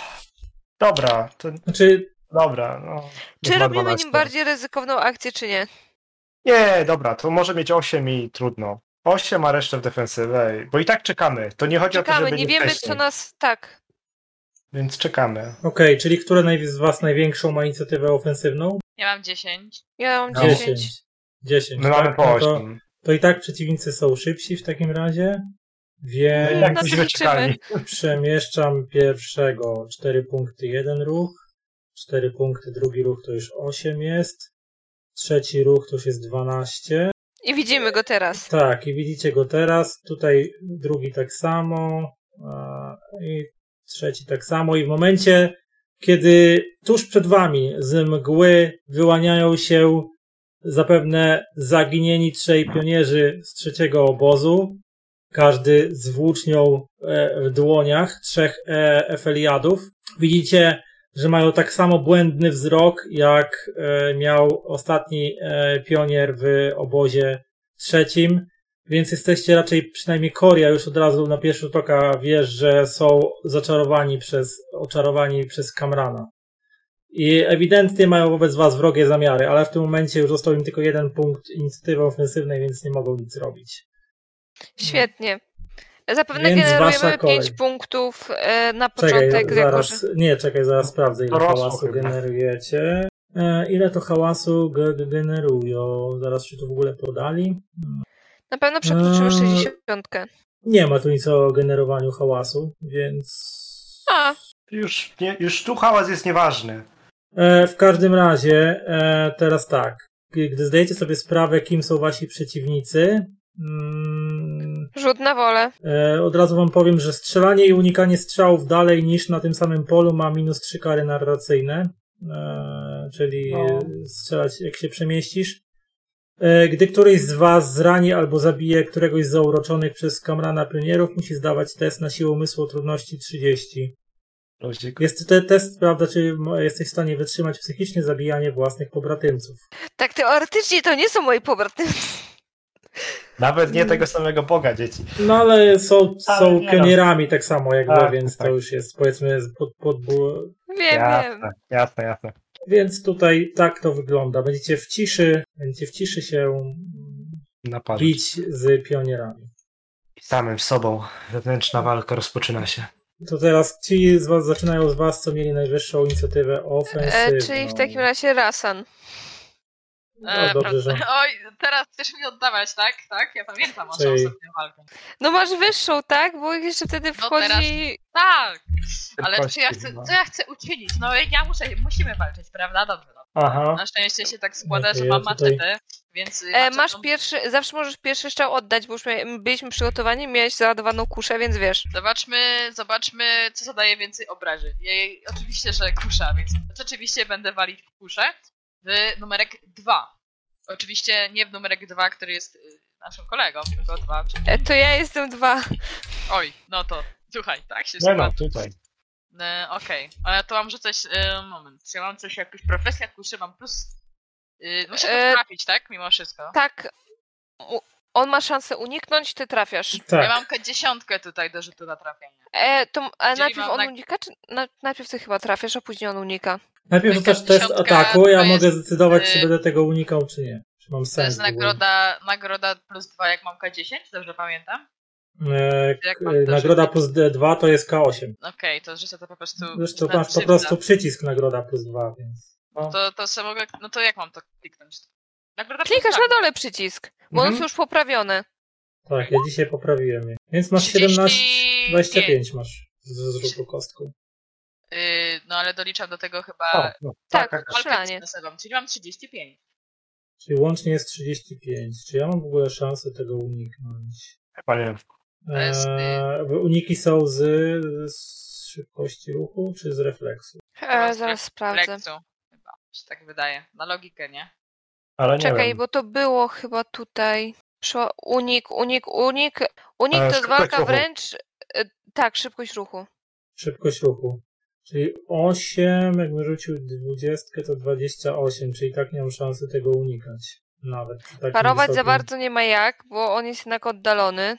Speaker 4: Dobra, to
Speaker 1: Znaczy,
Speaker 4: dobra. No,
Speaker 2: Czy
Speaker 4: niech ma
Speaker 2: robimy
Speaker 4: 12.
Speaker 2: nim bardziej ryzykowną akcję, czy nie?
Speaker 4: Nie, dobra, to może mieć 8 i trudno. 8, a resztę w defensywę, bo i tak czekamy. To nie chodzi o to,
Speaker 2: Czekamy,
Speaker 4: żeby
Speaker 2: nie wiemy,
Speaker 4: wcześniej,
Speaker 2: co nas... Tak.
Speaker 4: Więc czekamy.
Speaker 1: okej, czyli które naj- z was największą ma inicjatywę ofensywną?
Speaker 3: Ja mam 10.
Speaker 2: Ja mam
Speaker 4: No.
Speaker 2: 10.
Speaker 1: 10.
Speaker 4: My mamy
Speaker 1: tak?
Speaker 4: po
Speaker 1: No to,
Speaker 4: 8.
Speaker 1: to i tak przeciwnicy są szybsi w takim razie, więc...
Speaker 4: No, jak
Speaker 2: na to
Speaker 4: byśmy
Speaker 2: liczymy.
Speaker 4: czekali.
Speaker 1: Przemieszczam pierwszego 4 punkty, jeden ruch. 4 punkty, drugi ruch to już 8 jest. Trzeci ruch to już jest 12.
Speaker 2: I widzimy go teraz.
Speaker 1: Tak, i widzicie go teraz. Tutaj drugi tak samo. a, I trzeci tak samo. I w momencie, kiedy tuż przed wami z mgły wyłaniają się zapewne zaginieni trzej pionierzy z trzeciego obozu, każdy z włócznią e, w dłoniach, trzech e, efeliadów. Widzicie, że mają tak samo błędny wzrok, jak e, miał ostatni e, pionier w obozie trzecim, więc jesteście raczej, przynajmniej Koria już od razu na pierwszy rzut oka wiesz, że są zaczarowani przez, oczarowani przez Kamrana. I ewidentnie mają wobec was wrogie zamiary, ale w tym momencie już został im tylko jeden punkt inicjatywy ofensywnej, więc nie mogą nic robić.
Speaker 2: Świetnie. Zapewne
Speaker 1: Więc wasza
Speaker 2: generujemy
Speaker 1: kolej.
Speaker 2: 5 punktów e, na początek,
Speaker 1: Czekaj,
Speaker 2: jako że...
Speaker 1: zaraz, nie, czekaj, zaraz sprawdzę ile
Speaker 4: Dorosło
Speaker 1: hałasu
Speaker 4: chyba.
Speaker 1: generujecie. E, ile to hałasu g- g- generują? Zaraz czy to w ogóle podali?
Speaker 2: Na pewno przekroczymy
Speaker 1: Eee.
Speaker 2: 60.
Speaker 1: Nie ma tu nic o generowaniu hałasu, więc...
Speaker 2: A,
Speaker 4: Już, nie, już tu hałas jest nieważny.
Speaker 1: E, w każdym razie, e, teraz tak. G- Gdy zdajecie sobie sprawę, kim są wasi przeciwnicy, mm,
Speaker 2: rzut na wolę.
Speaker 1: e, od razu wam powiem, że strzelanie i unikanie strzałów dalej niż na tym samym polu ma minus 3 kary narracyjne. E, czyli
Speaker 4: No.
Speaker 1: strzelać, jak się przemieścisz. E, Gdy któryś z was zrani albo zabije któregoś z zauroczonych przez kamrana pionierów, musi zdawać test na siłę umysłu o trudności 30.
Speaker 4: Luzik.
Speaker 1: Jest to test, prawda, czy mo- jesteś w stanie wytrzymać psychicznie zabijanie własnych pobratymców.
Speaker 2: Tak teoretycznie to nie są moi pobratymcy.
Speaker 4: Nawet
Speaker 2: Mm.
Speaker 4: nie tego samego Boga, dzieci.
Speaker 1: No ale są,
Speaker 4: Ale
Speaker 1: są
Speaker 4: nie no.
Speaker 1: pionierami tak samo jakby,
Speaker 4: Tak,
Speaker 1: więc
Speaker 4: tak.
Speaker 1: to już jest powiedzmy z- pod, pod, bu-
Speaker 2: Wiem, wiem.
Speaker 4: jasne, jasne, jasne.
Speaker 1: Więc tutaj tak to wygląda. Będziecie w ciszy, będziecie w ciszy się
Speaker 4: Napadł.
Speaker 1: bić z pionierami.
Speaker 4: Samym sobą. Wewnętrzna walka rozpoczyna się.
Speaker 1: To teraz ci z was zaczynają z was, co mieli najwyższą inicjatywę
Speaker 2: E,
Speaker 1: ofensywną.
Speaker 2: czyli w takim razie Rasan.
Speaker 1: No, dobrze, że...
Speaker 3: E, Oj, teraz chcesz mi oddawać, tak? Tak? Ja pamiętam naszą
Speaker 1: Czyli-
Speaker 3: ostatnią walkę.
Speaker 2: No masz wyższą, tak? Bo jeszcze wtedy
Speaker 3: No
Speaker 2: wchodzi...
Speaker 3: Tak! Ale
Speaker 4: Kości
Speaker 3: czy ja chcę,
Speaker 4: chyba.
Speaker 3: co ja chcę uczynić? No ja muszę, musimy walczyć, prawda? Dobrze. No.
Speaker 4: Aha.
Speaker 3: Na szczęście się tak składa,
Speaker 1: Okej,
Speaker 3: że mam
Speaker 1: ja tutaj-
Speaker 3: maczetę, więc... y,
Speaker 2: E,
Speaker 3: maczetą-
Speaker 2: masz pierwszy, zawsze możesz pierwszy strzał oddać, bo już mia- byliśmy przygotowani, miałeś załadowaną kuszę, więc wiesz.
Speaker 3: Zobaczmy, zobaczmy, co zadaje więcej obrażeń. Jej, oczywiście, że kusza, więc rzeczywiście będę walić w kuszę w numerek 2. Oczywiście nie w numerek 2, który jest y, naszym kolegą, tylko 2.
Speaker 2: E, to ja jestem dwa.
Speaker 3: Oj, no to słuchaj, tak się
Speaker 4: Nie no,
Speaker 3: składa.
Speaker 4: tutaj.
Speaker 3: E, Okej, ale to mam rzucać, e, moment, czy ja mam coś, jakąś profesję kuszy, mam plus... E, muszę
Speaker 2: E,
Speaker 3: to trafić, tak? Mimo wszystko.
Speaker 2: Tak, u, on ma szansę uniknąć, ty trafiasz.
Speaker 3: Ja
Speaker 1: Tak,
Speaker 3: mam dziesiątkę tutaj do rzutu na trafienie.
Speaker 2: E, to, a
Speaker 3: Czyli
Speaker 2: najpierw
Speaker 3: mam
Speaker 2: on
Speaker 3: na-
Speaker 2: unika, czy na, najpierw ty chyba trafiasz, a później on unika.
Speaker 1: najpierw
Speaker 3: Taka
Speaker 1: rzucasz test
Speaker 3: dziesiątka
Speaker 1: ataku, ja
Speaker 3: to
Speaker 1: mogę
Speaker 3: jest,
Speaker 1: zdecydować,
Speaker 3: y,
Speaker 1: czy będę tego unikał, czy nie. Czy mam
Speaker 3: To jest
Speaker 1: sens. w ogóle.
Speaker 3: nagroda, nagroda plus 2, jak mam K10, dobrze pamiętam?
Speaker 1: E,
Speaker 3: Jak
Speaker 1: k-
Speaker 3: mam to
Speaker 1: nagroda
Speaker 3: rzucić?
Speaker 1: plus D2 to jest K8.
Speaker 3: Okej, to rzucę to po prostu.
Speaker 1: Zresztą
Speaker 3: na
Speaker 1: masz po
Speaker 3: szybko.
Speaker 1: prostu przycisk nagroda plus 2, więc.
Speaker 3: To, to se mogę. No to jak mam to kliknąć? Nagroda plus
Speaker 2: Klikasz
Speaker 3: dwa.
Speaker 2: na dole przycisk, bo on
Speaker 4: Mhm.
Speaker 2: jest już poprawiony.
Speaker 1: Tak, ja dzisiaj poprawiłem je. Więc masz 17, 25 masz z zrzutu kostką.
Speaker 3: Yy, no ale doliczam do tego
Speaker 4: O,
Speaker 3: chyba.
Speaker 4: no,
Speaker 2: Tak,
Speaker 4: tak, tak.
Speaker 3: walkę
Speaker 2: strzelanie.
Speaker 3: biznesową, czyli mam 35.
Speaker 1: Czyli łącznie jest 35. Czy ja mam w ogóle szansę tego uniknąć?
Speaker 4: Chyba nie.
Speaker 3: To jest, y-
Speaker 1: Eee, uniki są z, z szybkości ruchu czy z refleksu?
Speaker 2: E, zaraz sprawdzę.
Speaker 3: Lekcją. Chyba mi się tak wydaje. Na logikę, nie?
Speaker 4: Ale nie
Speaker 2: Czekaj,
Speaker 4: wiem.
Speaker 2: bo to było chyba tutaj. Szło unik, unik, unik. Unik
Speaker 4: E,
Speaker 2: to jest
Speaker 4: szybkość
Speaker 2: walka
Speaker 4: ruchu.
Speaker 2: wręcz. e, Tak, szybkość ruchu.
Speaker 1: Szybkość ruchu. Czyli 8, jakbym rzucił 20, to 28, czyli tak nie mam szansy tego unikać. Nawet. przy takim
Speaker 2: Parować za
Speaker 1: wysokim-
Speaker 2: bardzo nie ma jak, bo on jest jednak oddalony.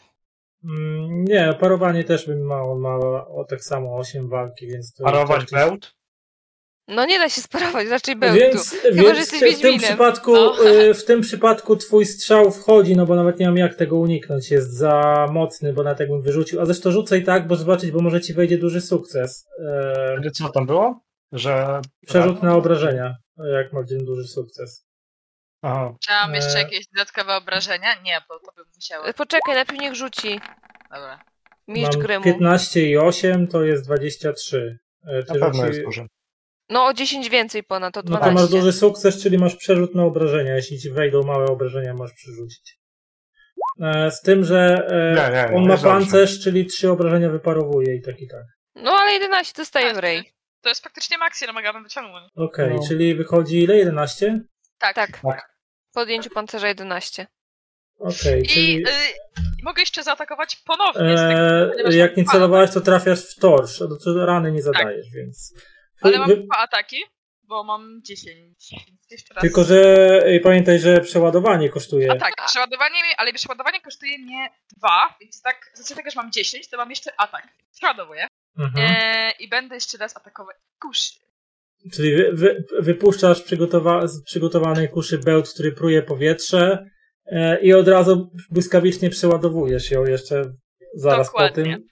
Speaker 1: Mm, Nie, parowanie też bym mało, mało, o tak samo 8 walki, więc to.
Speaker 4: Parować bełt?
Speaker 2: No nie da się sparować, raczej był tu.
Speaker 1: Więc,
Speaker 2: że
Speaker 1: więc
Speaker 2: jesteś
Speaker 1: w, tym
Speaker 2: Wiedźminem.
Speaker 1: przypadku,
Speaker 3: No.
Speaker 1: y, w tym przypadku twój strzał wchodzi, no bo nawet nie mam jak tego uniknąć, jest za mocny, bo na tego bym wyrzucił. A zresztą rzucę i tak, bo zobaczyć, bo może ci wejdzie duży sukces. E,
Speaker 4: Wtedy co tam było? Że...
Speaker 1: Przerzut na obrażenia, jak ma dzień duży sukces.
Speaker 4: Aha.
Speaker 3: Chciałam jeszcze
Speaker 1: E.
Speaker 3: jakieś dodatkowe obrażenia? Nie, bo to bym musiała.
Speaker 2: E, Poczekaj, najpierw niech rzuci
Speaker 3: Dobra.
Speaker 2: mistrz
Speaker 1: mam
Speaker 2: Grymu.
Speaker 1: 15 i 8 to jest 23. E,
Speaker 4: Na
Speaker 1: ty
Speaker 4: pewno
Speaker 1: rzuci-
Speaker 4: jest duży.
Speaker 2: No o 10 więcej ponad, to
Speaker 1: No to masz
Speaker 2: 12.
Speaker 1: duży sukces, czyli masz przerzut na obrażenia. Jeśli ci wejdą małe obrażenia, masz przerzucić. E, Z tym, że e,
Speaker 4: Nie, nie, nie,
Speaker 1: on ma
Speaker 4: jest dobrze.
Speaker 1: pancerz, czyli trzy obrażenia wyparowuje i tak i tak.
Speaker 2: No ale 11 dostaje w
Speaker 3: Tak,
Speaker 2: rej.
Speaker 3: To jest faktycznie maksy, no mogłabym wyciągnąć.
Speaker 1: Okej,
Speaker 4: No.
Speaker 1: czyli wychodzi ile? 11?
Speaker 3: Tak.
Speaker 2: Tak.
Speaker 4: Tak.
Speaker 2: Po odjęciu pancerza 11.
Speaker 1: Okej,
Speaker 3: I
Speaker 1: czyli
Speaker 3: y, mogę jeszcze zaatakować ponownie. z tego,
Speaker 1: e,
Speaker 3: ponieważ
Speaker 1: jak
Speaker 3: mam
Speaker 1: nie
Speaker 3: dwa-
Speaker 1: celowałeś, to trafiasz w torsz, a to to rany nie zadajesz, więc...
Speaker 3: Ale mam
Speaker 1: Wy-
Speaker 3: dwa ataki, bo mam 10. Więc jeszcze raz.
Speaker 1: Tylko, że e, pamiętaj, że przeładowanie kosztuje.
Speaker 3: A tak, przeładowanie, mi- ale przeładowanie kosztuje mnie 2, więc tak, z racji tego, że mam 10, to mam jeszcze atak. Przeładowuję.
Speaker 1: Mhm.
Speaker 3: E, I będę jeszcze raz atakować. Kusz.
Speaker 1: Czyli wy, wy, wypuszczasz przygotowa- z przygotowanej kuszy bełt, który pruje powietrze e, i od razu błyskawicznie przeładowujesz ją jeszcze zaraz
Speaker 3: Dokładnie.
Speaker 1: po tym.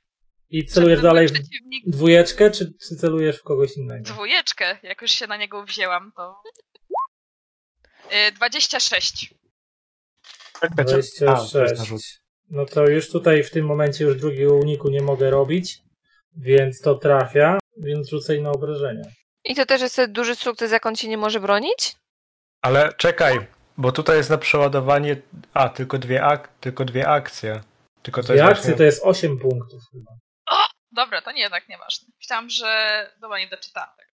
Speaker 1: I celujesz dalej w
Speaker 3: Przeciwnik
Speaker 1: dwójeczkę, czy, czy celujesz w kogoś innego?
Speaker 3: dwójeczkę, jak już się na niego wzięłam, to... E, 26.
Speaker 4: Czekaj, czekaj. A, to jest narzut.
Speaker 1: 26. No to już tutaj w tym momencie już drugiego uniku nie mogę robić, więc to trafia, więc rzucaj na obrażenia.
Speaker 2: I to też jest ten duży sukces, jak on się nie może bronić?
Speaker 4: Ale czekaj, bo tutaj jest na przeładowanie. A, tylko dwie, ak- tylko dwie akcje. Tylko to
Speaker 1: I
Speaker 4: jest
Speaker 1: akcji
Speaker 4: właśnie...
Speaker 1: to jest 8 punktów chyba.
Speaker 3: Dobra, to nie jednak nieważne. Myślałam, że... Dobra, nie doczytałam tego.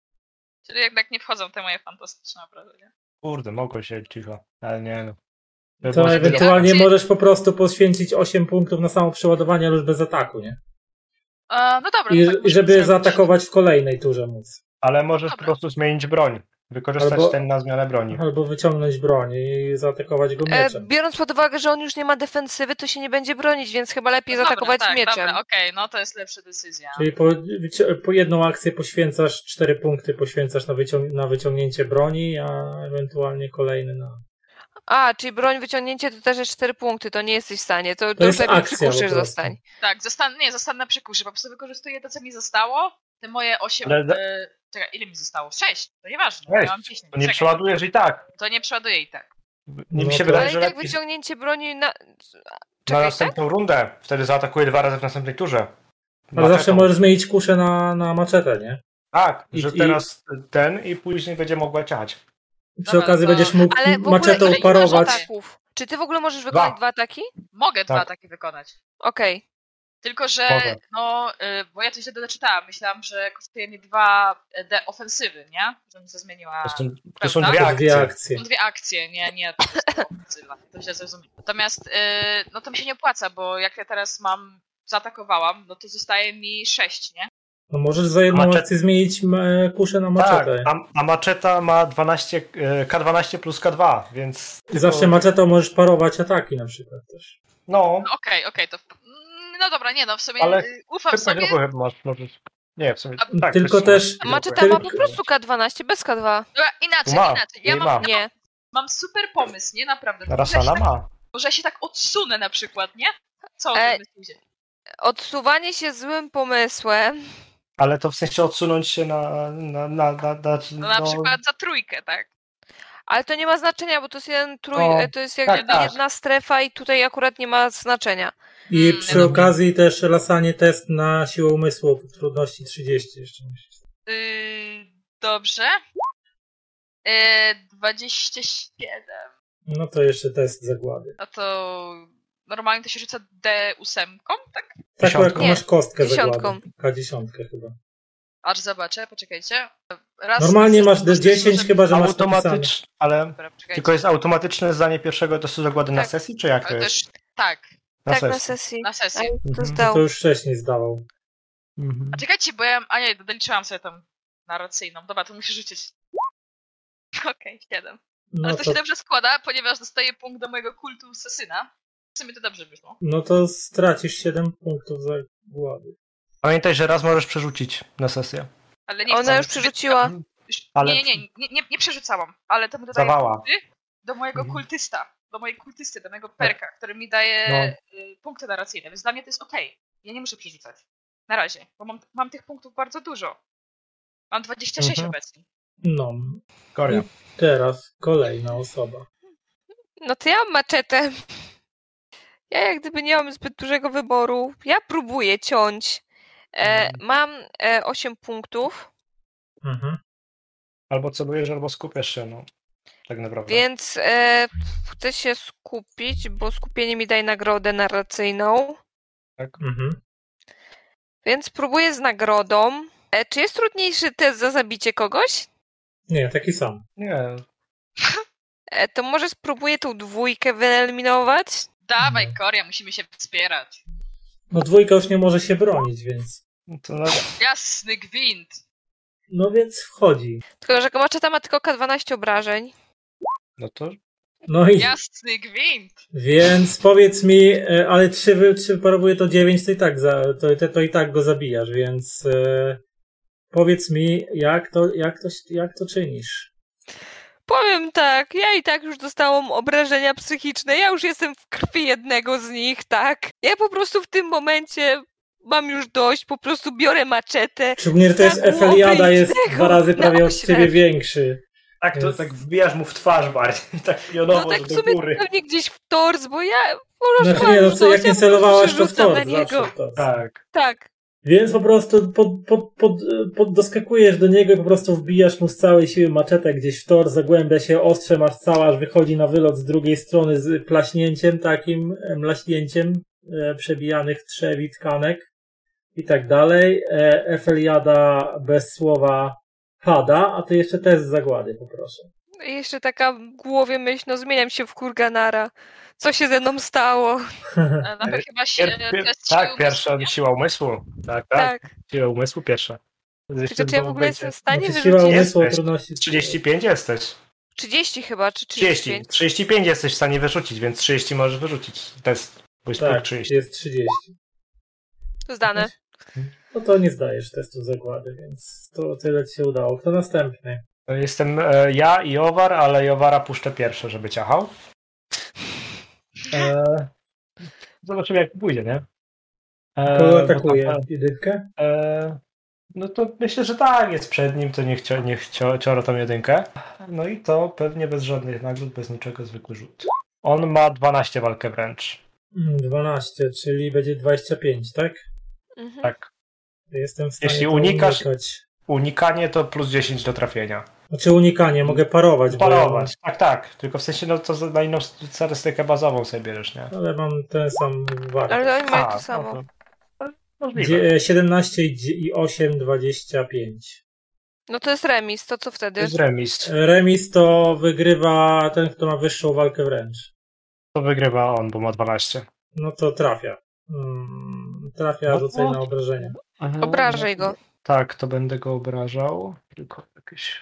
Speaker 3: Czyli jednak nie wchodzą te moje fantastyczne obrażenia.
Speaker 4: Kurde, mogło się cicho, ale nie no. To
Speaker 1: To
Speaker 4: było-
Speaker 1: ewentualnie
Speaker 3: akcji-
Speaker 1: możesz po prostu poświęcić 8 punktów na samo przeładowanie, ale już bez ataku, nie?
Speaker 3: E, no dobra.
Speaker 1: I,
Speaker 3: to tak
Speaker 1: i
Speaker 3: muszę
Speaker 1: żeby
Speaker 3: zrobić.
Speaker 1: zaatakować w kolejnej turze móc.
Speaker 4: Ale możesz
Speaker 3: Dobra.
Speaker 4: po prostu zmienić broń. Wykorzystać
Speaker 1: Albo-
Speaker 4: ten na zmianę broni.
Speaker 1: Albo wyciągnąć broń i zaatakować go
Speaker 2: E,
Speaker 1: mieczem.
Speaker 2: biorąc pod uwagę, że on już nie ma defensywy, to się nie będzie bronić, więc chyba lepiej
Speaker 3: Dobra,
Speaker 2: zaatakować
Speaker 3: tak,
Speaker 2: mieczem.
Speaker 3: Dobra, okej, no to jest lepsza decyzja.
Speaker 1: Czyli po, wyci- po jedną akcję poświęcasz 4 punkty poświęcasz na, wycią- na wyciągnięcie broni, a ewentualnie kolejny na.
Speaker 2: A, czyli broń wyciągnięcie to też jest 4 punkty, to nie jesteś w stanie, to, to, już
Speaker 1: jest
Speaker 2: lepiej
Speaker 1: akcja po
Speaker 2: przykuszysz
Speaker 1: prostu.
Speaker 2: zostań.
Speaker 3: Tak, zostan- nie, zostanę przy kuszy. Po prostu wykorzystuję to, co mi zostało. Te moje 8.
Speaker 4: Ale za-
Speaker 3: E, czekaj, ile mi zostało? 6. To nieważne.
Speaker 4: Weź,
Speaker 3: Ja mam 10.
Speaker 4: nie
Speaker 3: Czekaj,
Speaker 4: przeładujesz i tak.
Speaker 3: To nie przeładuję i tak.
Speaker 4: Nie mi się
Speaker 1: No to-
Speaker 4: wydaje,
Speaker 2: Ale i
Speaker 4: że
Speaker 2: tak
Speaker 4: lepiej
Speaker 2: wyciągnięcie broni na...
Speaker 4: na
Speaker 2: Czekaj, tak?
Speaker 4: następną rundę. Wtedy zaatakuje dwa razy w następnej turze.
Speaker 1: Ale zawsze
Speaker 4: Maczetą.
Speaker 1: możesz zmienić kuszę na, na maczetę, nie?
Speaker 4: Tak,
Speaker 1: I-
Speaker 4: że
Speaker 1: i-
Speaker 4: teraz ten i później będzie mogła ciać.
Speaker 1: Przy
Speaker 3: Dobra,
Speaker 1: okazji
Speaker 3: to-
Speaker 1: będziesz mógł
Speaker 2: Ale w ogóle
Speaker 1: maczetą
Speaker 2: ile
Speaker 3: masz
Speaker 1: parować.
Speaker 3: atak?
Speaker 2: ataków? Czy ty w ogóle możesz wykonać dwa,
Speaker 4: Dwa.
Speaker 2: ataki?
Speaker 3: Mogę dwa
Speaker 4: Tak.
Speaker 3: takie wykonać.
Speaker 2: Okej.
Speaker 3: Tylko, że
Speaker 4: Mogę.
Speaker 3: no, y, bo ja to źle doczytałam. Myślałam, że kosztuje mi dwa e, D ofensywy, nie? Żebym się zmieniła.
Speaker 4: To są, to
Speaker 3: prawda?
Speaker 4: są
Speaker 3: To
Speaker 4: dwie
Speaker 1: To
Speaker 4: akcje.
Speaker 1: Dwie akcje.
Speaker 3: Są dwie akcje, nie, nie. To, jest ofensywa. to źle zrozumiałam. Natomiast y, no to mi się nie opłaca, bo jak ja teraz mam, zaatakowałam, no to zostaje mi sześć, nie?
Speaker 1: No możesz za jedną
Speaker 4: Maczet-
Speaker 1: akcję zmienić e, kuszę na
Speaker 4: Tak,
Speaker 1: maczetę.
Speaker 4: a, a maczeta ma 12, e, K12 plus K2, więc...
Speaker 1: I zawsze maczetą możesz parować ataki na przykład też.
Speaker 4: No,
Speaker 3: No Okej, okej, to. mm, No dobra, nie no, w sumie
Speaker 4: Ale
Speaker 3: y, ufam
Speaker 4: tylko
Speaker 3: sobie.
Speaker 4: grupy chyba masz, możesz... Nie, w sumie...
Speaker 3: A-
Speaker 4: Tak,
Speaker 1: Tylko
Speaker 4: bez-
Speaker 1: też-
Speaker 2: A
Speaker 4: grupy.
Speaker 2: Maczeta ma po
Speaker 1: Tylko-
Speaker 2: prostu K12 bez K2.
Speaker 3: Dobra, inaczej,
Speaker 4: Ma,
Speaker 3: inaczej. Ja
Speaker 4: nie
Speaker 3: mam,
Speaker 4: ma.
Speaker 2: Nie.
Speaker 3: mam super pomysł, nie? Naprawdę. Może ja, się
Speaker 4: Rasana
Speaker 3: tak,
Speaker 4: ma.
Speaker 3: może ja się tak odsunę na przykład, nie? Co
Speaker 2: E,
Speaker 3: e... myślicie?
Speaker 2: Odsuwanie się złym pomysłem.
Speaker 4: Ale to w sensie odsunąć się na... na, na, na, na,
Speaker 3: No na
Speaker 4: no,
Speaker 3: przykład za trójkę, tak?
Speaker 2: Ale to nie ma znaczenia, bo to jest jeden trój,
Speaker 4: No,
Speaker 2: to jest jak
Speaker 4: tak,
Speaker 2: jedna,
Speaker 4: tak.
Speaker 2: jedna strefa i tutaj akurat nie ma znaczenia.
Speaker 1: I
Speaker 3: Mm,
Speaker 1: przy okazji też lasanie test na siłę umysłu trudności 30 jeszcze.
Speaker 3: Yy, dobrze. Yy, 27.
Speaker 1: No to jeszcze test zagłady.
Speaker 3: No to normalnie to się rzuca D8, tak?
Speaker 1: Taką jaką
Speaker 4: Dziesiątką.
Speaker 1: masz kostkę
Speaker 2: Dziesiątką.
Speaker 1: zagłady. K10 chyba.
Speaker 3: Aż zobaczę, poczekajcie. Raz,
Speaker 1: Normalnie masz D10
Speaker 3: możemy-
Speaker 1: chyba, że masz napisane.
Speaker 4: Automatyczne, ale...
Speaker 3: Dobra, poczekajcie.
Speaker 4: Tylko jest automatyczne zdanie pierwszego testu zagłady na
Speaker 2: Tak.
Speaker 4: sesji, czy jak to
Speaker 3: Ale
Speaker 4: jest?
Speaker 3: też, tak,
Speaker 2: tak, na sesji.
Speaker 3: na
Speaker 2: Ale
Speaker 3: sesję.
Speaker 2: to
Speaker 4: Mhm.
Speaker 1: To
Speaker 2: zdał.
Speaker 1: już wcześniej zdawał.
Speaker 4: Mhm.
Speaker 3: A czekajcie, bo ja. A nie, doliczyłam sobie tą narracyjną. Dobra, to muszę rzucić. Okej, siedem. 7.
Speaker 1: No
Speaker 3: Ale to,
Speaker 1: to,
Speaker 3: się dobrze składa, ponieważ dostaję punkt do mojego kultu sesyna. W sumie to dobrze wyszło.
Speaker 1: no to stracisz 7 punktów zagłady.
Speaker 4: Pamiętaj, że raz możesz przerzucić na sesję.
Speaker 3: Ale nie chcę.
Speaker 2: Ona już przerzuciła.
Speaker 3: Już-
Speaker 4: Ale-
Speaker 3: Nie, nie, nie, nie, nie, nie przerzucałam, ale to mi dodaje
Speaker 4: Zawała.
Speaker 3: punkty do mojego
Speaker 4: Mhm.
Speaker 3: kultysta, do mojej kultysty, do mojego
Speaker 2: Tak.
Speaker 3: perka, który mi daje
Speaker 2: No.
Speaker 3: y, punkty narracyjne, więc dla mnie to jest okej. Ja nie muszę przerzucać. Na razie, bo mam, mam tych punktów bardzo dużo. Mam 26
Speaker 4: Mhm.
Speaker 3: obecnie.
Speaker 1: No,
Speaker 4: Korea.
Speaker 1: teraz kolejna osoba.
Speaker 2: No to ja mam maczetę. Ja jak gdyby nie mam zbyt dużego wyboru. Ja próbuję ciąć. E, mam e, 8 punktów,
Speaker 1: Mhm.
Speaker 4: Albo celujesz, albo skupiasz się, no. Tak naprawdę.
Speaker 2: więc e, chcę się skupić, bo skupienie mi daje nagrodę narracyjną.
Speaker 1: Mhm.
Speaker 2: Więc próbuję z nagrodą. E, czy jest trudniejszy test za zabicie kogoś?
Speaker 1: Nie, taki sam.
Speaker 4: Nie.
Speaker 2: E, to może spróbuję tą dwójkę wyeliminować?
Speaker 3: Dawaj,
Speaker 1: Mhm.
Speaker 3: Koria, musimy się wspierać.
Speaker 1: No dwójka już nie może się bronić, więc.
Speaker 4: no To na...
Speaker 3: Jasny gwint.
Speaker 1: No więc wchodzi.
Speaker 2: Tylko, że maczeta ma tylko K12 obrażeń.
Speaker 4: No to
Speaker 1: No i.
Speaker 3: Jasny gwint.
Speaker 1: Więc powiedz mi, e, ale 3, wy- 3 parowuje to 9, to i tak, za, to, to, to i tak go zabijasz, więc. E, powiedz mi, jak to, jak, to, jak to czynisz?
Speaker 2: Powiem tak, ja i tak już dostałam obrażenia psychiczne, ja już jestem w krwi jednego z nich, tak? Ja po prostu w tym momencie mam już dość, po prostu biorę maczetę.
Speaker 1: Czy mnie to jest
Speaker 2: Za głowę
Speaker 1: Efeliada, jest
Speaker 2: idnego
Speaker 1: dwa razy prawie
Speaker 2: na
Speaker 1: od
Speaker 2: oślep.
Speaker 1: ciebie większy.
Speaker 4: Tak, to
Speaker 1: Jest.
Speaker 4: tak wbijasz mu w twarz bardziej, tak pionowo,
Speaker 2: No tak w
Speaker 4: że do
Speaker 2: sumie
Speaker 4: góry.
Speaker 2: pewnie gdzieś w tors, bo ja po
Speaker 1: No
Speaker 2: prostu
Speaker 1: nie,
Speaker 2: mam
Speaker 1: no
Speaker 2: już
Speaker 1: co,
Speaker 2: dość,
Speaker 1: jak
Speaker 2: ja
Speaker 1: nie
Speaker 2: po prostu
Speaker 1: celowałaś, to w
Speaker 2: przerzucam na
Speaker 1: tort,
Speaker 2: niego.
Speaker 1: zawsze w tort.
Speaker 4: Tak.
Speaker 2: Tak,
Speaker 1: Więc po prostu pod, pod, pod, pod, doskakujesz do niego i po prostu wbijasz mu z całej siły maczetę gdzieś w tor, zagłębia się, ostrze masz cała, aż wychodzi na wylot z drugiej strony z plaśnięciem takim, e, mlaśnięciem e, przebijanych trzewi, tkanek i tak dalej. E, Efeliada bez słowa pada, a ty jeszcze test zagłady poproszę.
Speaker 2: I jeszcze taka w głowie myśl, no zmieniam się w kurganara. Co się ze mną stało?
Speaker 3: E, No to
Speaker 4: E,
Speaker 3: chyba się
Speaker 4: Pier, pier,
Speaker 3: test siły
Speaker 4: tak, pierwsza
Speaker 3: umysłu,
Speaker 4: siła umysłu. Tak, tak,
Speaker 2: Tak.
Speaker 4: siła umysłu pierwsza.
Speaker 2: Czy, czy ja w ogóle jestem w stanie
Speaker 1: Znaczy, siła
Speaker 2: wyrzucić?
Speaker 1: umysłu o
Speaker 4: Jesteś.
Speaker 1: trudności
Speaker 4: 35 jesteś.
Speaker 2: 30 chyba, czy
Speaker 4: 30.
Speaker 2: 35?
Speaker 4: 35 jesteś w stanie wyrzucić, więc 30 możesz wyrzucić test. Bo jest próg
Speaker 1: Tak,
Speaker 4: 30.
Speaker 1: jest 30.
Speaker 2: To zdane.
Speaker 1: No to nie zdajesz testu zagłady, więc to tyle ci się udało. Kto następny?
Speaker 4: To Jestem e, ja i Owar, ale Jowara puszczę pierwszy, żeby ciachał. E, zobaczymy jak pójdzie, nie? E,
Speaker 1: Kogo
Speaker 4: bo tam,
Speaker 1: atakuje? Jedynkę?
Speaker 4: E, No to myślę, że tak, jest przed nim, to niech, cio, niech cio, cioro tą jedynkę. No i to pewnie bez żadnych nagród, bez niczego, zwykły rzut. On ma 12 walkę wręcz.
Speaker 1: Mm, 12, czyli będzie 25, tak?
Speaker 2: Mhm.
Speaker 4: Tak.
Speaker 1: Jestem w stanie
Speaker 4: Jeśli
Speaker 1: to
Speaker 4: unikasz-
Speaker 1: unikać.
Speaker 4: Unikanie to plus 10 do trafienia.
Speaker 1: Znaczy unikanie, mogę parować. bo ja-
Speaker 4: Parować, tak, tak. Tylko w sensie, no to za- na inną statystykę bazową sobie bierzesz, nie?
Speaker 1: Ale mam ten sam wartość.
Speaker 2: Ale oni mają
Speaker 4: A,
Speaker 2: to samo.
Speaker 4: no
Speaker 2: No,
Speaker 4: to- Możliwe.
Speaker 1: Dzie- e, 17 i dzie- i 8, 25.
Speaker 2: No to jest remis, to co
Speaker 4: To
Speaker 2: wtedy?
Speaker 4: jest remis.
Speaker 1: E, Remis to wygrywa ten, kto ma wyższą walkę wręcz.
Speaker 4: To wygrywa on, bo ma 12.
Speaker 1: No to trafia. Mm, Trafia,
Speaker 4: No
Speaker 1: rzucaj
Speaker 4: to-
Speaker 1: na obrażenia.
Speaker 4: no,
Speaker 2: Obrażaj go.
Speaker 4: Tak, to będę go obrażał. Tylko jakieś.